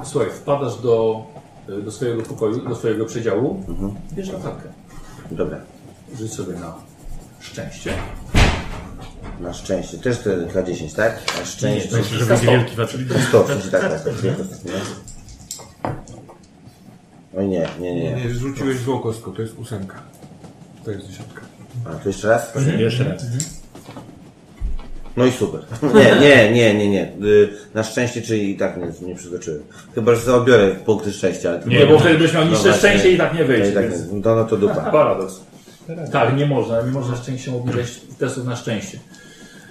E, słuchaj, wpadasz do, e, do swojego pokoju, do swojego przedziału, bierz latarkę.
Dobra.
Rzuć sobie na szczęście.
Na szczęście. Też te K10, tak? Na szczęście.
Myślę, że będzie wielki facet.
Stop, czyli tak, tak, tak. nie, to- nie. Oj nie, nie,
Nie,
nie.
nie, rzuciłeś złą kostką, to jest ósemka. To jest dziesiątka.
A, to jeszcze raz?
Mhm. Jeszcze raz.
No i super. [LAUGHS] Nie, nie, nie, nie, nie. Y, Na szczęście, czyli i tak nie, nie przeskoczyłem. Chyba, że sobie odbiorę punkty szczęścia, ale...
Nie, bo wtedy byś miał niższe
właśnie.
szczęście i tak nie
No
wyjdzie.
i tak,
więc...
nie. no, no to dupa.
Paradoks. Tak, nie można, nie można szczęściem obniżać testów na szczęście.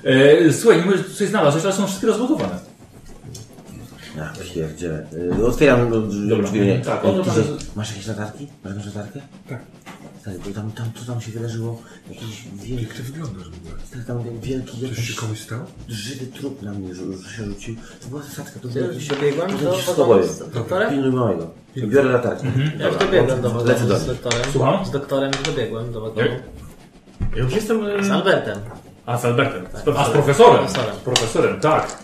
E, słuchaj, nie możesz coś znalazłeś, ale są wszystkie rozbudowane.
Ja pierdzielę. Y, Otwieram y, drzwi.
Dobra.
drzwi nie.
Tak,
O,
no,
ty,
dobra.
masz jakieś latarki? Masz jakąś latarkę? Tak. Stary, bo tam, tam, co tam się wydarzyło? Jakiś wielki...
Jak ty wyglądasz w ogóle?
Stary, tam ten wielki,
Coś się
jakiś
komuś stało?
żywy trup na mnie rzu- rzu- się rzucił. To była zasadka, to
Ja
był
już
jakiś...
dobiegłem
to
do
jakiś
pokoju
schodowy.
z doktorem?
Pilnuj małego. Biorę latarkę.
Ja już dobiegłem do
Lecę do
wagonu z
nich.
doktorem.
Słucham?
Z doktorem już dobiegłem do wagonu.
Ja już jestem... e,
Z Albertem.
A, z Albertem. Z
Tak. A z
profesorem.
profesorem.
Profesorem.
Z profesorem, tak.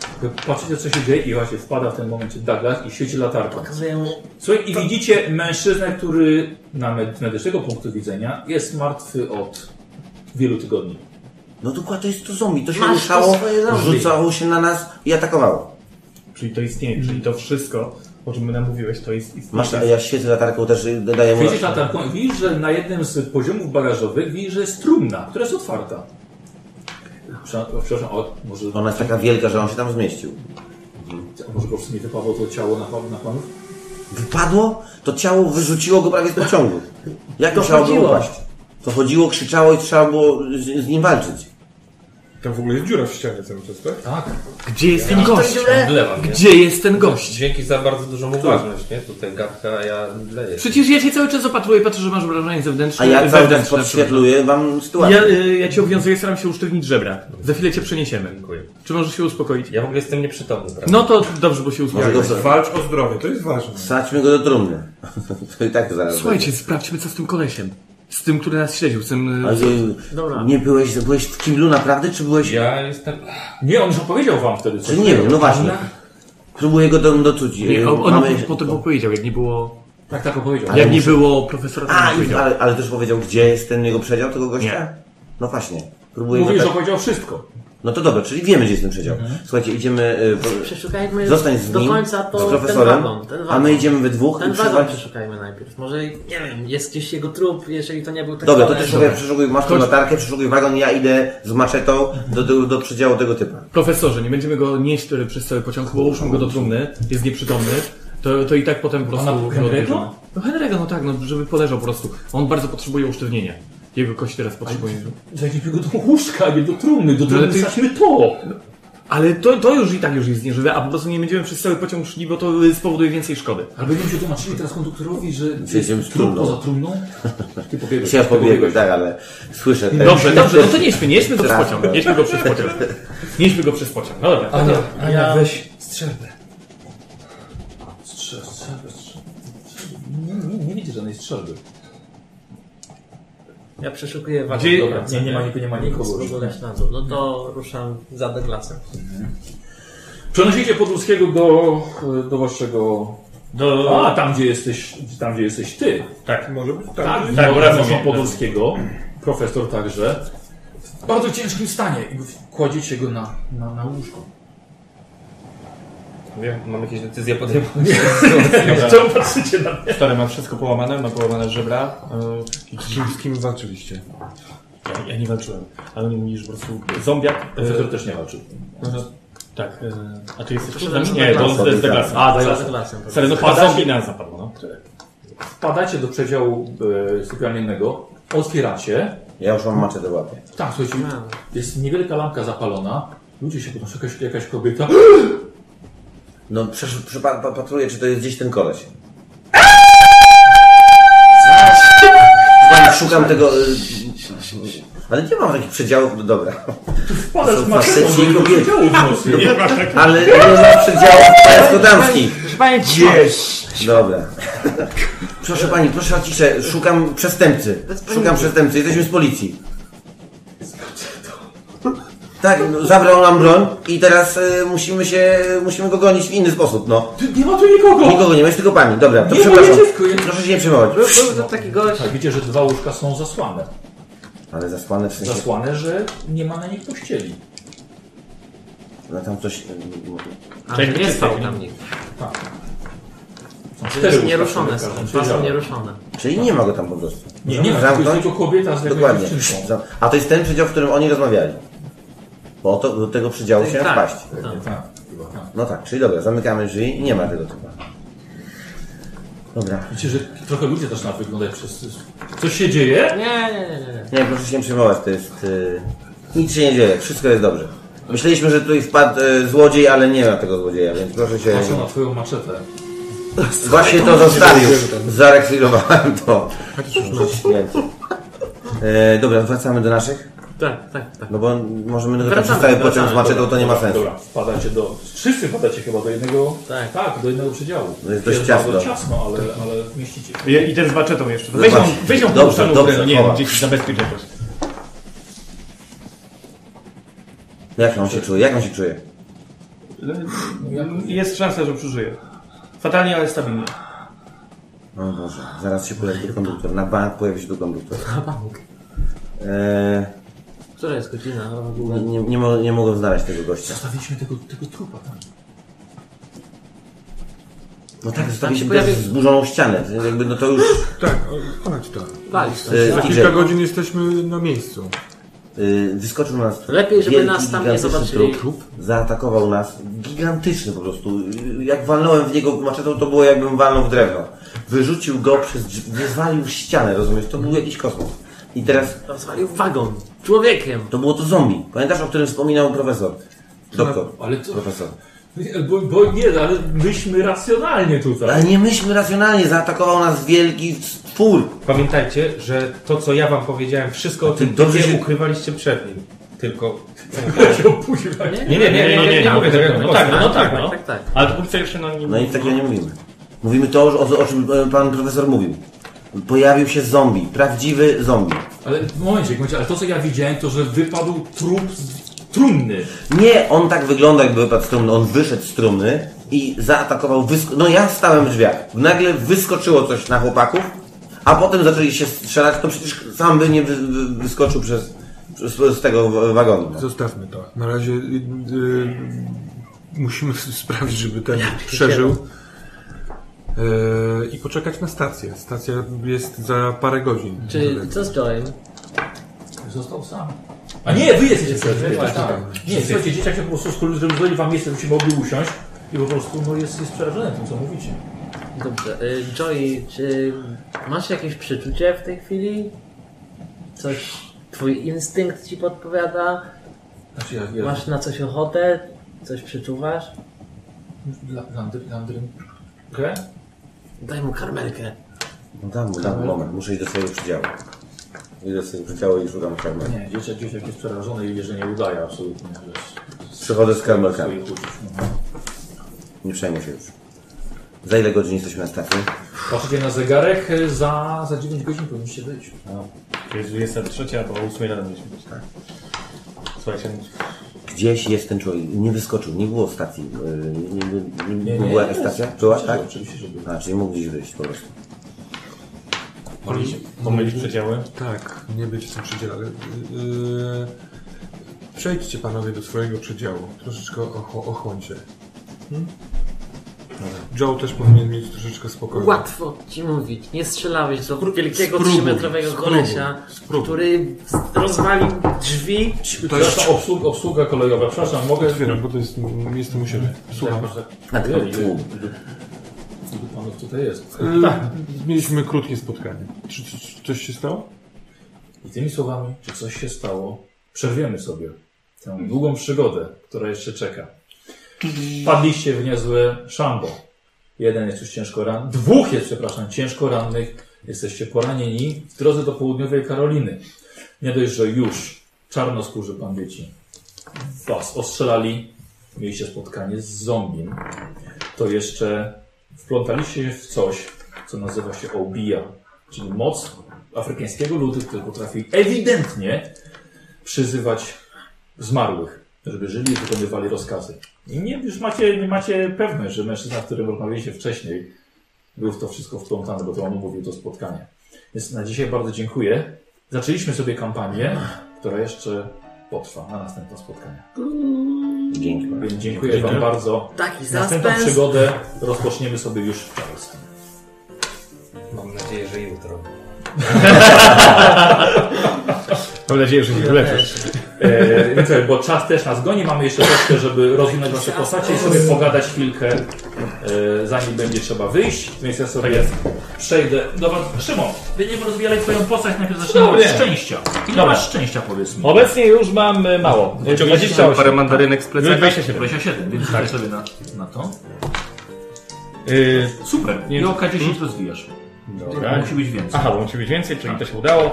Patrzycie, co się dzieje i właśnie wpada w tym momencie Douglas i świeci latarką.
Pokazuję mu
Słuchaj, i widzicie mężczyznę, który na med- medycznego punktu widzenia jest martwy od wielu tygodni.
No dokładnie, to jest to zombie. To się
Masz to
ruszało,
swoje zombie.
rzucało się na nas i atakowało.
Czyli to istnieje, czyli to wszystko, o czym my nam mówiłeś, to jest istnieje.
Masz, ja świecę latarką też y, dodaję mu...
Świecisz latarką i widzisz, że na jednym z poziomów bagażowych widzisz, że jest trumna, która jest otwarta. Przepraszam, o, przepraszam, o, może,
Ona jest taka wielka, że on się tam zmieścił.
może go w sumie wypało to ciało na, pan- na panów?
Wypadło? To ciało wyrzuciło go prawie z pociągu. Jak
To
musiało go
chodziło.
upaść? To chodziło, krzyczało i trzeba było z, z nim walczyć.
Tam w ogóle jest dziura w ścianie cały czas, tak?
Gdzie jest ten gość?
Wlewam.
Gdzie jest ten gość?
Dzięki za bardzo dużą uważność, nie? Tutaj gadka, a ja leję.
Przecież ja cię cały czas opatruję, patrzę, że masz wrażenie zewnętrzne.
A ja cały czas
wewnętrzne,
podświetluję wam
przepraszam. Ja,
sytuację.
y, ja cię obwiązuję, staram się usztywnić żebra. Za chwilę cię przeniesiemy.
Dziękuję.
Czy możesz się uspokoić?
Ja w ogóle jestem nieprzytomny, prawda?
No to dobrze, bo się
Może
uspokoiłeś.
go wsa-
Walcz o zdrowie, to jest ważne.
wsadźmy go do trumny. [LAUGHS] To i tak zaraz.
Słuchajcie, sprawdźmy co z tym kolesiem. Z tym, który nas śledził, z tym... e,
będzie. Ale,
Dobra.
Nie byłeś, byłeś w kiblu naprawdę, czy byłeś...
Ja jestem...
Nie, on już opowiedział wam wtedy
Czy
coś.
nie wiem, no właśnie. Próbuję go do, docuć.
Nie,
Y,
on, on
mamy-
po- potem opowiedział, jak nie było...
Tak, tak opowiedział.
Jak nie było profesora, to
A,
on
i,
powiedział.
ale, ale też powiedział, gdzie jest ten jego przedział, tego gościa?
Nie.
No właśnie. Próbuję
Mówisz, Mhm.
go
że
tak...
opowiedział wszystko.
No to dobra, czyli wiemy, gdzie jest ten przedział. Słuchajcie, idziemy... y, po-
Przeszukajmy
Zostań z
do
nim,
końca to
z
ten
profesorem,
wagon. Ten wagon.
a my idziemy we dwóch
Ten
i
wagon
przeszukać...
przeszukajmy najpierw. Może, nie wiem, jest gdzieś jego trup, jeżeli to nie był tak ten
Dobra, to
koleś.
ty sobie przeszukuj, masz tą latarkę, przeszukuj wagon, ja idę z maczetą do, do, do przedziału tego typa.
Profesorze, nie będziemy go nieść y, przez cały pociąg, bo uszmy go do trumny, jest nieprzytomny. To, to i tak potem po prostu...
Pana
go
Henry'ego?
odbierzemy. No Henry'ego, no tak, no żeby poleżał po prostu. On bardzo potrzebuje usztywnienia. Jego kość teraz potrzebuje. No,
Zajdziemy go do łóżka, a nie do trumny. Do
Ale
trumny
ty-
wsadźmy to.
Ale to, to już i tak już jest nieżywe, a po prostu nie będziemy przez cały pociąg szli, bo to y, spowoduje więcej szkody.
Ale będziemy się tłumaczyli teraz konduktorowi, że
Jedziemy z
trup
trumną.
poza trumną. Ty pobiegłeś.
Ja
ty
pobiegłem, tak, ale słyszę ten...
Dobrze, dobrze, no to nieśmy, nieśmy go przez
Tak.
pociąg. Nieśmy go przez pociąg. Nieśmy go przez pociąg. No dobra.
Ania,
Ja-
weź strzelbę.
Strzel, strzel, strzel. Nie, nie, nie widzę żadnej strzelby.
Ja przeszukuję wagon.
Gdzie-
Dobra,
Nie, nie ma, nie, nie ma nikogo.
Spróbuję na dół. No to ruszam za Douglasem.
Przenosicie Podłuskiego do, e, do waszego... Do... A, tam gdzie jesteś, tam gdzie jesteś ty.
Może być tak.
Tak, tak obrazy są Podolskiego, profesor także. W bardzo ciężkim stanie i kładziecie go na, na, na łóżko.
Wiem, mam jakieś decyzje podejmować.
Czemu patrzycie na mnie?
Stary ma wszystko połamane, ma połamane żebra.
I z kim, z kim walczyliście?
e, Ja, ja nie walczyłem, ale oni mówili, że po prostu zombiak... e,
Profesor też nie walczył.
no to- Tak, e, a ty jesteś...
Proszę,
Nie, nie, to
Douglasem.
jest Douglas.
A, za Douglasem.
Stary, no
tak.
chyba zombie nas zapadło, no.
Wpadacie do przedziału e, sypialniennego, otwieracie.
Ja już mam maczetę w łapie.
Tak, słuchajcie, jest niewielka lampka zapalona. Ludzie się podnoszą, jakaś, jakaś
[GASPS]
kobieta.
No przesz- przypa- pa- patruję, czy to jest gdzieś ten koleś. Szukam tego... y, Ale nie mam takich przedziałów, dobra.
Wpadasz
Są
na
faceci i
do
kobiety.
przedziału w nocy.
Ale nie mam przedziałów pajacko-damskich. Dobra. Proszę pani, proszę o ciszę. Szukam przestępcy. Szukam przestępcy. Jesteśmy z policji. Tak, no, zabrał nam broń i teraz y, musimy się, musimy go gonić w inny sposób, no.
Nie ma tu nikogo!
Nikogo nie ma, jest tylko pani, dobra, to
Nie, bo
przepraszam.
jedzie w kuj-
Proszę się nie przejmować.
Był taki gość.
Tak, widzicie, że dwa łóżka są zasłane.
Ale zasłane w sensie,
Zasłane, że nie ma na nich pościeli.
no tam coś... y,
Ale nie spał tam nikt.
Są
Też
cztery
nieruszone
łóżka,
są.
które
Dwa są
siedziały.
nieruszone.
Czyli nie ma go tam po prostu.
Nie, nie ma, to jest
Zamknąć?
tylko kobieta z jakąś
Dokładnie.
dziewczynką.
Za- A to jest ten przedział, w którym oni rozmawiali. Bo to, do tego przedziału się
Tak.
wpaść.
Tak.
No tak, czyli dobra, zamykamy drzwi i nie ma tego typa. Dobra.
Widzicie, że trochę ludzie zaczyna wyglądać przez... Coś się dzieje?
Nie, nie, nie, nie.
Nie, proszę się nie przejmować, to jest... y, Nic się nie dzieje, wszystko jest dobrze. Myśleliśmy, że tutaj wpadł y, złodziej, ale nie ma tego złodzieja, więc proszę się...
Tak,
Patrzę na twoją maczetę.
Właśnie to zostawił. Zarekwirowałem to. Święty. E, dobra, wracamy do naszych.
Tak, tak, tak.
No bo możemy tylko tak
Wracamy,
przestały pociąg z
wracamy,
maczetą, to nie ma sensu.
Dobra, wpadacie do... Wszyscy wpadacie chyba do jednego...
Tak.
do jednego przedziału.
No jest dość
bardzo
ciasno.
ciasno, ale, ale mieścicie. się.
I ten z maczetą jeszcze. Weź ją,
Zobaczcie.
weź ją
Dobrze,
puszczaną,
dobrze,
nie wiem,
chowa.
gdzieś zabezpieczę też.
No Jak on się czuje? Jak on się czuje?
Jest szansa, że przeżyję. Fatalnie, ale stabilnie.
O Boże, zaraz się pojawi tu konduktor. Na bank pojawi się tu konduktor. Na bank. E,
Która jest godzina w ogóle?
no nie, nie, mo- nie mogłem znaleźć tego gościa.
Zostawiliśmy tego, tego trupa tam.
No tak,
się
zostawiliśmy
pojawi-
pojawi... zburzoną ścianę. To Jakby, no to już...
Tak, o- chodź to.
Walić to.
E,
Za
i
kilka
że,
godzin jesteśmy na miejscu.
e, wyskoczył na nas
Lepiej, żeby
wielki,
nas tam nie
gigantyczny
zobaczyli.
Trup, zaatakował nas. Gigantyczny po prostu. Jak walnąłem w niego maczetą, to było jakbym walnął w drewno. Wyrzucił go przez drzwi, wywalił w ścianę, rozumiesz? To był jakiś kosmos. I teraz
Rozwalił wagon. Człowiekiem.
to było to zombie. Pamiętasz, o którym wspominał profesor? Doktor.
No,
Ale to...
Profesor.
Bo, bo nie, ale myśmy racjonalnie tutaj.
Ale nie myślmy racjonalnie, zaatakował nas wielki stwór.
Pamiętajcie, że to, co ja wam powiedziałem, wszystko o tym
dobrze
dobrze
się-
ukrywaliście przed nim. Tylko...
Nie,
Nie, nie, nie, nie, nie, nie mówię tego.
No tak, no tak, no tak, tak.
Ale to kurczę jeszcze no nie...
No i takiego nie mówimy. Mówimy to, o, o czym e, pan profesor mówił. Pojawił się zombie, prawdziwy zombie.
Ale momencik, momencik, ale to co ja widziałem, to że wypadł trup z trumny.
Nie, on tak wygląda, jakby wypadł z trumny. On wyszedł z trumny i zaatakował. Wysk- no ja stałem w drzwiach. Nagle wyskoczyło coś na chłopaków, a potem zaczęli się strzelać. To przecież sam by nie wy- wy- wyskoczył przez, przez, z tego w- wagonu. no.
Zostawmy to. Na razie y, y, musimy [LAUGHS] sprawdzić, żeby ten przeżył. Y, I poczekać na stację. Stacja jest za parę godzin.
Czy co z Joyem?
Został sam. A nie, wy jesteście przed tak, tak. Nie, słuchajcie, dzieciak się po prostu skrócił, żeby zrobił wam miejsce, żebyście mogli usiąść. I po prostu no, jest, jest przerażony tym, co mówicie.
Dobrze. y, Joy, czy masz jakieś przeczucie w tej chwili? Coś twój instynkt ci podpowiada?
Znaczy, ja, ja
Masz na coś ochotę? Coś przeczuwasz?
Dla- Landry, landry. Okay.
Daj mu karmelkę.
No dam, mu, dam mu moment, muszę iść do swojego przedziału. Idę do swojego przedziału i szukam karmel.
Nie, dzieciak, dzieciak jest przerażony i wie, że nie udaje absolutnie. że jest-
Przychodzę z karmelkami.
swoich uczuć. No.
Nie przejmuj się już. Za ile godzin jesteśmy na stacji?
Patrzycie na zegarek, e, za, za 9 godzin powinniście być.
Jest 23, to o 8 rano mieliśmy być, tak? Słuchajcie,
Gdzieś jest ten człowiek. Nie wyskoczył, nie było stacji. Yy, Nie, nie, nie,
nie,
była
nie,
jakaś
jest.
stacja? Była, tak?
Oczywiście, że był.
A, czyli mógł gdzieś wyjść po prostu.
pomylić przedziały.
Tak, nie być w tym przedziale. Y, y, przejdźcie panowie do swojego przedziału. Troszeczkę och ochłoncie. Hmm? Joe też powinien mieć troszeczkę spokoju.
Łatwo ci mówić. Nie strzelałeś do wielkiego
spróbuj,
3-metrowego
spróbuj,
kolesia,
spróbuj.
który rozwalił drzwi.
To jest
Zresztą obsługa, obsługa kolejowa, przepraszam, mogę...
otwieram, bo to jest m- jestem u siebie. Słucham.
Na tylko
Ojej,
tłum.
Ilu panów tutaj jest?
Y, Mieliśmy krótkie spotkanie. Czy, czy, czy coś się stało?
I tymi słowami, czy coś się stało, przerwiemy sobie tę długą przygodę, która jeszcze czeka. Padliście w niezłe szambo. Jeden jest już ciężko ranny, dwóch jest, przepraszam, ciężko rannych. Jesteście poranieni w drodze do południowej Karoliny. Nie dość, że już czarnoskórzy bandyci was ostrzelali, mieliście spotkanie z zombiem, to jeszcze wplątaliście się w coś, co nazywa się obija, czyli moc afrykańskiego ludu, który potrafi ewidentnie przyzywać zmarłych, żeby żyli i wykonywali rozkazy. I nie, już macie, nie macie pewność, że mężczyzna, z którym rozmawialiście wcześniej, był w to wszystko wplątany, bo to on mówił to spotkanie. Więc na dzisiaj bardzo dziękuję. Zaczęliśmy sobie kampanię, która jeszcze potrwa na następne spotkanie.
Dzięki.
Więc dziękuję Wam bardzo.
Taki
Następną
suspens.
przygodę rozpoczniemy sobie już w Charleston.
Mam nadzieję, że jutro.
[LAUGHS] Mam nadzieję, że nie uleczysz.
E, więc, bo czas też nas goni, mamy jeszcze troszkę, żeby rozwinąć nasze postacie i sobie pogadać chwilkę, e, zanim będzie trzeba wyjść, więc ja
Tak
sobie przejdę do was. Szymon, będziemy rozwijali twoją postać, najpierw zaczniemy od
Dobry.
szczęścia. Ile
Dobra.
masz szczęścia, powiedz mi?
Obecnie już mam e, mało. E, 28.
parę mandarynek z
Już
plecaka.
27.
27, więc tak. sobie na, na to.
Y,
Super,
Nie- hmm?
i OK 10 rozwijasz.
Dobra.
Musi być więcej.
Aha, bo musi być więcej, czyli to się udało.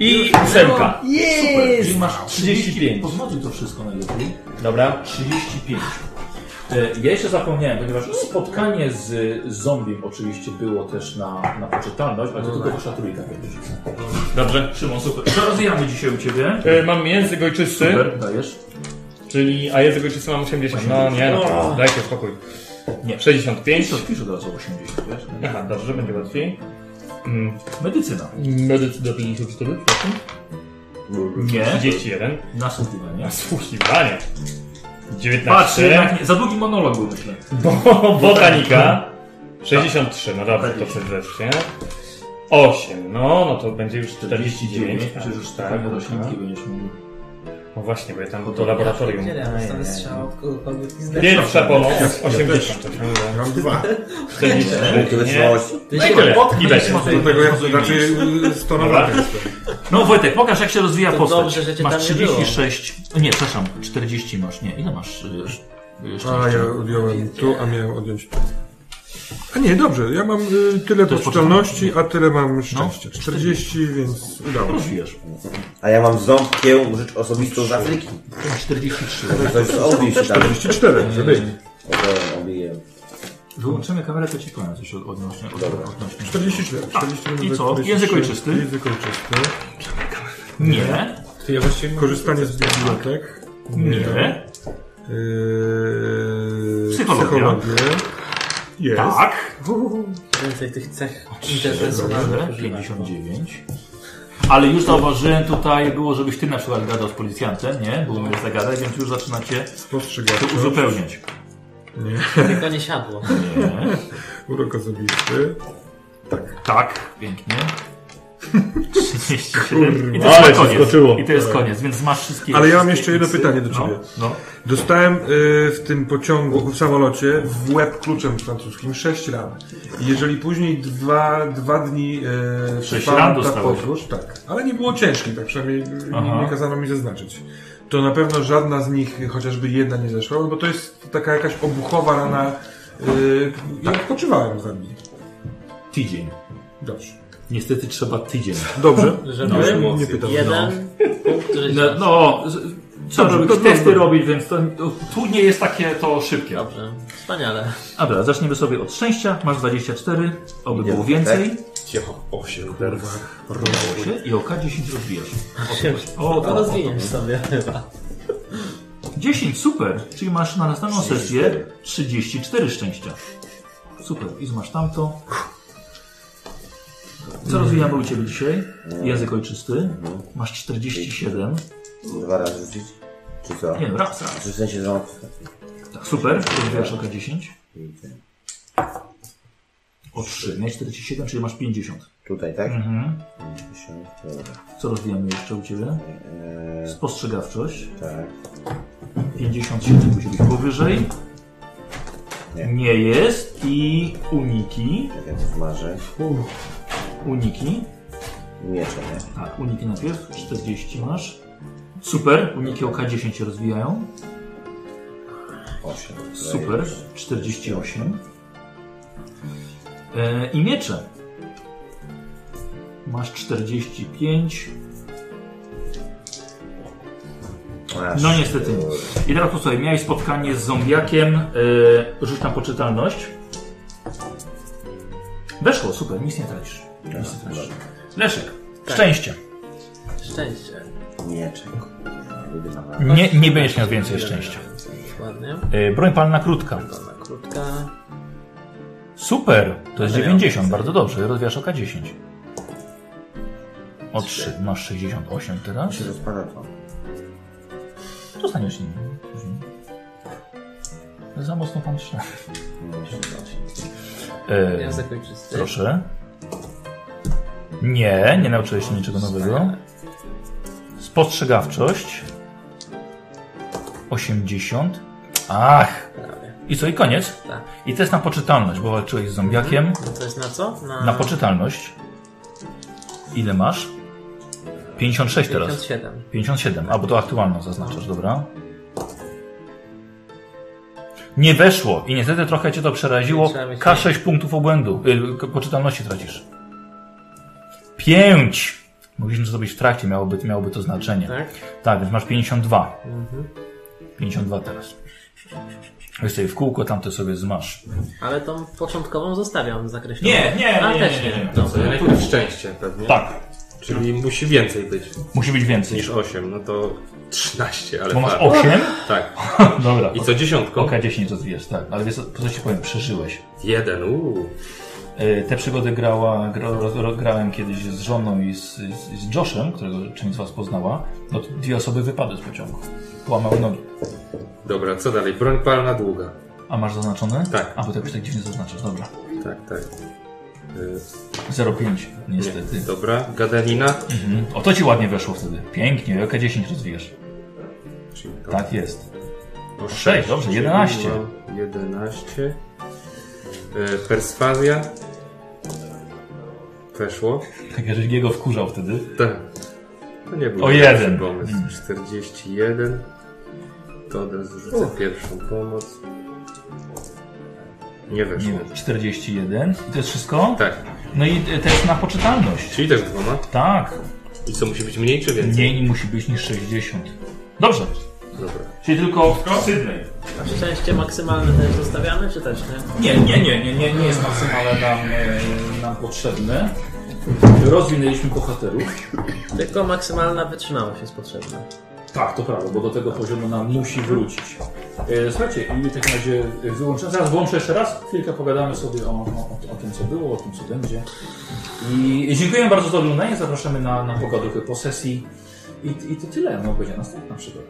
I ósemka.
Super, czyli masz
35.
Pozwolę to wszystko najlepiej.
Dobra.
35. E, Ja jeszcze zapomniałem, ponieważ spotkanie z zombiem oczywiście było też na, na poczytalność, ale to tylko wasza trójka będzie.
Dobrze.
Szymon, super. Co rozwijamy dzisiaj u Ciebie?
Y, Mam język ojczysty,
Super, dajesz?
czyli. A język ojczysty mam 80. No nie, no. Dajcie spokój.
Nie.
65.
To wpisz od razu 80, wiesz?
Aha, dobrze, będzie łatwiej. Mm,
Medycyna.
Medycyna do 54?
Nie.
31.
Nasłuchiwanie.
Nasłuchiwanie. 19.
Patrz, jednak nie. Za długi monolog był, myślę.
Bo, botanika. 63, no dobrze, to przedwreszcie. 8, no, no to będzie już 49.
Przecież już
tak,
tak,
tak.
roślinki będziesz mówił.
No właśnie, bo ja tam do laboratorium.
Dostanę strzał no, od kogokolwiek i zdechnę.
Pierwsza pomoc, 80.
Ja mam dwa.
44,
Punkty
nie.
wytrzymałości.
No i tyle. I
Będziesz
będzie.
mocno
Dlatego No ja
mocno
raczej
imię.
y, stonowaty jestem.
No Wojtek, pokaż jak się rozwija
To
postać.
dobrze, że cię
Masz
tam nie było.
36. o Nie, przepraszam, 40 masz. Nie, ile masz? y, y,
A ja odjąłem tu, a miałem odjąć tu. A nie, dobrze, ja mam y, tyle poczytalności, a tyle mam szczęścia. 40, więc udało się.
Rozwijasz.
A ja mam ząbkiem rzecz osobistą z Afryki.
43.
Ktoś z Obi się tam
44, wtedy.
o, obiję.
Wyłączymy kamerę, to ci powiem coś od- odnośnie. od- odnośnie.
44. 44
I co? Język ojczysty?
Język ojczysty.
Nie,
To ja właściwie korzystanie z bibliotek.
nie,
Yy,
Psychologia.
Jest.
tak.
Więcej tych cech interpersonalnych.
Dobrze, 59. Ale już zauważyłem tutaj było, żebyś ty na przykład gadał z policjantem, nie? Było mnie zagadać, więc już zaczynacie to
Spostrzegawczość.
uzupełniać.
Tylko nie siadło.
Nie.
Urok osobisty.
Tak,
[LAUGHS]
pięknie. 37. I to
Kurwa, ale
jest
cię
koniec.
skoczyło.
I to jest koniec, więc masz wszystkie.
Ale ja mam
wszystkie
jeszcze jedno pytanie
plusy.
do
No,
ciebie.
no.
Dostałem y, w tym pociągu, w samolocie, w łeb kluczem francuskim 6 ran. I Jeżeli później dwa, dwa dni y,
Sześć
trwała
ran
ta
dostałeś?
podróż, tak, ale nie było ciężkich, tak przynajmniej y,
Aha.
nie kazano mi zaznaczyć. To na pewno żadna z nich, y, chociażby jedna nie zeszła, no bo to jest taka jakaś obuchowa rana. Y, ja odpoczywałem za nimi.
Tydzień.
Dobrze.
Niestety trzeba tydzień.
Dobrze.
Żeby
Już
mocno.
nie pytam.
jeden punkt, który się...
No, no z- trzeba
Dobrze,
robić
dobrze,
testy
dobrze.
robić, więc to, tu nie jest takie to szybkie.
Dobrze, wspaniale.
A dobra, zaczniemy sobie od szczęścia. Masz 24, oby
Idziemy,
było więcej.
Osiem.
Udało się. I oka 10 rozwijasz.
No
O,
to
o, o,
rozwiniesz sobie chyba.
10, super. Czyli masz na następną sesję 34 szczęścia. Super, i masz tamto. Co rozwijamy u Ciebie dzisiaj? Język ojczysty. Masz 47.
Dwa razy rzucić? Czy co?
Nie no, raz, raz.
Czy w sensie ząb?
Tak, super, rozwijasz oka 10. O 3, nie 47, czyli masz 50.
Tutaj, tak?
Mhm.
Dziesiąt, dobra.
Co rozwijamy jeszcze u Ciebie? Spostrzegawczość.
Eee, Tak.
57 musi być powyżej.
Nie.
Nie jest. I uniki.
Tak jak w marze.
Uniki.
Miecze, nie?
Tak, uniki najpierw. 40 masz. Super. Uniki OK 10 się rozwijają.
Osiem.
Super. 48. E, I miecze. Masz 45.
Aż,
No niestety nie.
kurde.
I teraz posłuchaj, miałeś spotkanie z zombiakiem. E, rzuć tam poczytalność. Weszło, super, nic nie tracisz. Nic nie tracisz. Leszek, szczęście.
Szczęście.
Miecze. jedyna.
Nie, nie będziesz miał więcej szczęścia.
Dokładnie.
E.
Y, Broń palna krótka.
Dobra, krótka.
Super, to jest 90, bardzo dobrze. Rozwijasz oka 10. O 3, masz 68 teraz.
się rozpada to.
Dostaniesz nim. później. Za mocno pan strzela.
Ja
E,
zakończę z tym.
proszę. Nie, nie nauczyłeś się niczego nowego. Spostrzegawczość. 80. Ach! I co, i koniec?
Tak.
I test na poczytalność, bo walczyłeś z zombiakiem.
No to jest na co?
Na poczytalność. Ile masz? 56 teraz.
57.
57, albo to aktualną zaznaczasz, dobra? Nie weszło i niestety trochę cię to przeraziło.
Trzeba mieć-
K6 punktów obłędu, y, k- poczytalności tracisz. 5! Mogliśmy to zrobić w trakcie, miałoby, miałoby to znaczenie.
Tak? Mhm.
Tak, więc masz 52. 52 teraz. Weź sobie w kółko, tamte sobie zmasz.
Ale tą początkową zostawiam zakreśloną.
nie,
A, też nie.
Co, ja najpierw szczęście pewnie.
Tak,
Czyli musi więcej być
musi być więcej.
niż 8, no to 13, ale
Bo masz
tak.
8?
Tak.
[LAUGHS] Dobra.
I co dziesiątką?
Oka 10 rozwijasz, tak. Ale wiesz, co, po co ci powiem, przeżyłeś.
Jeden, uuu.
E, Te przygody grała, gra, roz- roz- grałem kiedyś z żoną i z, z, z Joshem, którego część z was poznała. No, to dwie osoby wypadły z pociągu. Połamały nogi.
Dobra, co dalej? Broń palna długa.
A masz zaznaczone?
Tak.
A, bo to jakoś tak dziwnie zaznaczasz, dobra.
Tak, tak. Y,
0,5
nie,
niestety.
dobra, gadanina.
Mhm. O, to ci ładnie weszło wtedy. Pięknie, oka 10 rozwijasz.
Czyli to
Tak jest.
o
sześć,
sześć,
dobrze,
czyli
11.
mam 11. Y, Perswazja. Weszło.
Tak, żeś jego wkurzał wtedy.
Tak. To nie był
O
dobry
jeden.
pomysł.
Mm.
41. To od razu rzucę pierwszą pomoc. Nie weszło.
Nie wiem, 41. I to jest wszystko?
Tak.
No i e, test na poczytalność.
Czyli też dwoma.
Tak.
I co, musi być mniej czy więcej?
Mniej musi być niż 60. Dobrze.
Dobra.
Czyli tylko Sydney.
A szczęście maksymalne też zostawiamy, czy też nie?
Nie, nie, nie, nie, nie, nie jest maksymalnie nam, e, nam potrzebne. Rozwinęliśmy bohaterów.
Tylko maksymalna wytrzymałość jest potrzebna.
Tak, to prawda, bo do tego poziomu nam musi wrócić. E, Słuchajcie, i w takim razie e, wyłączę, zaraz włączę jeszcze raz, chwilkę pogadamy sobie o, o, o tym, co było, o tym, co będzie. I dziękuję bardzo za oglądanie, zapraszamy na, na pogaduchy po sesji. I, I to tyle, no będzie następna przygoda.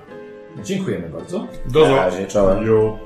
Dziękujemy bardzo.
Do Na razie, czołem.
Jo.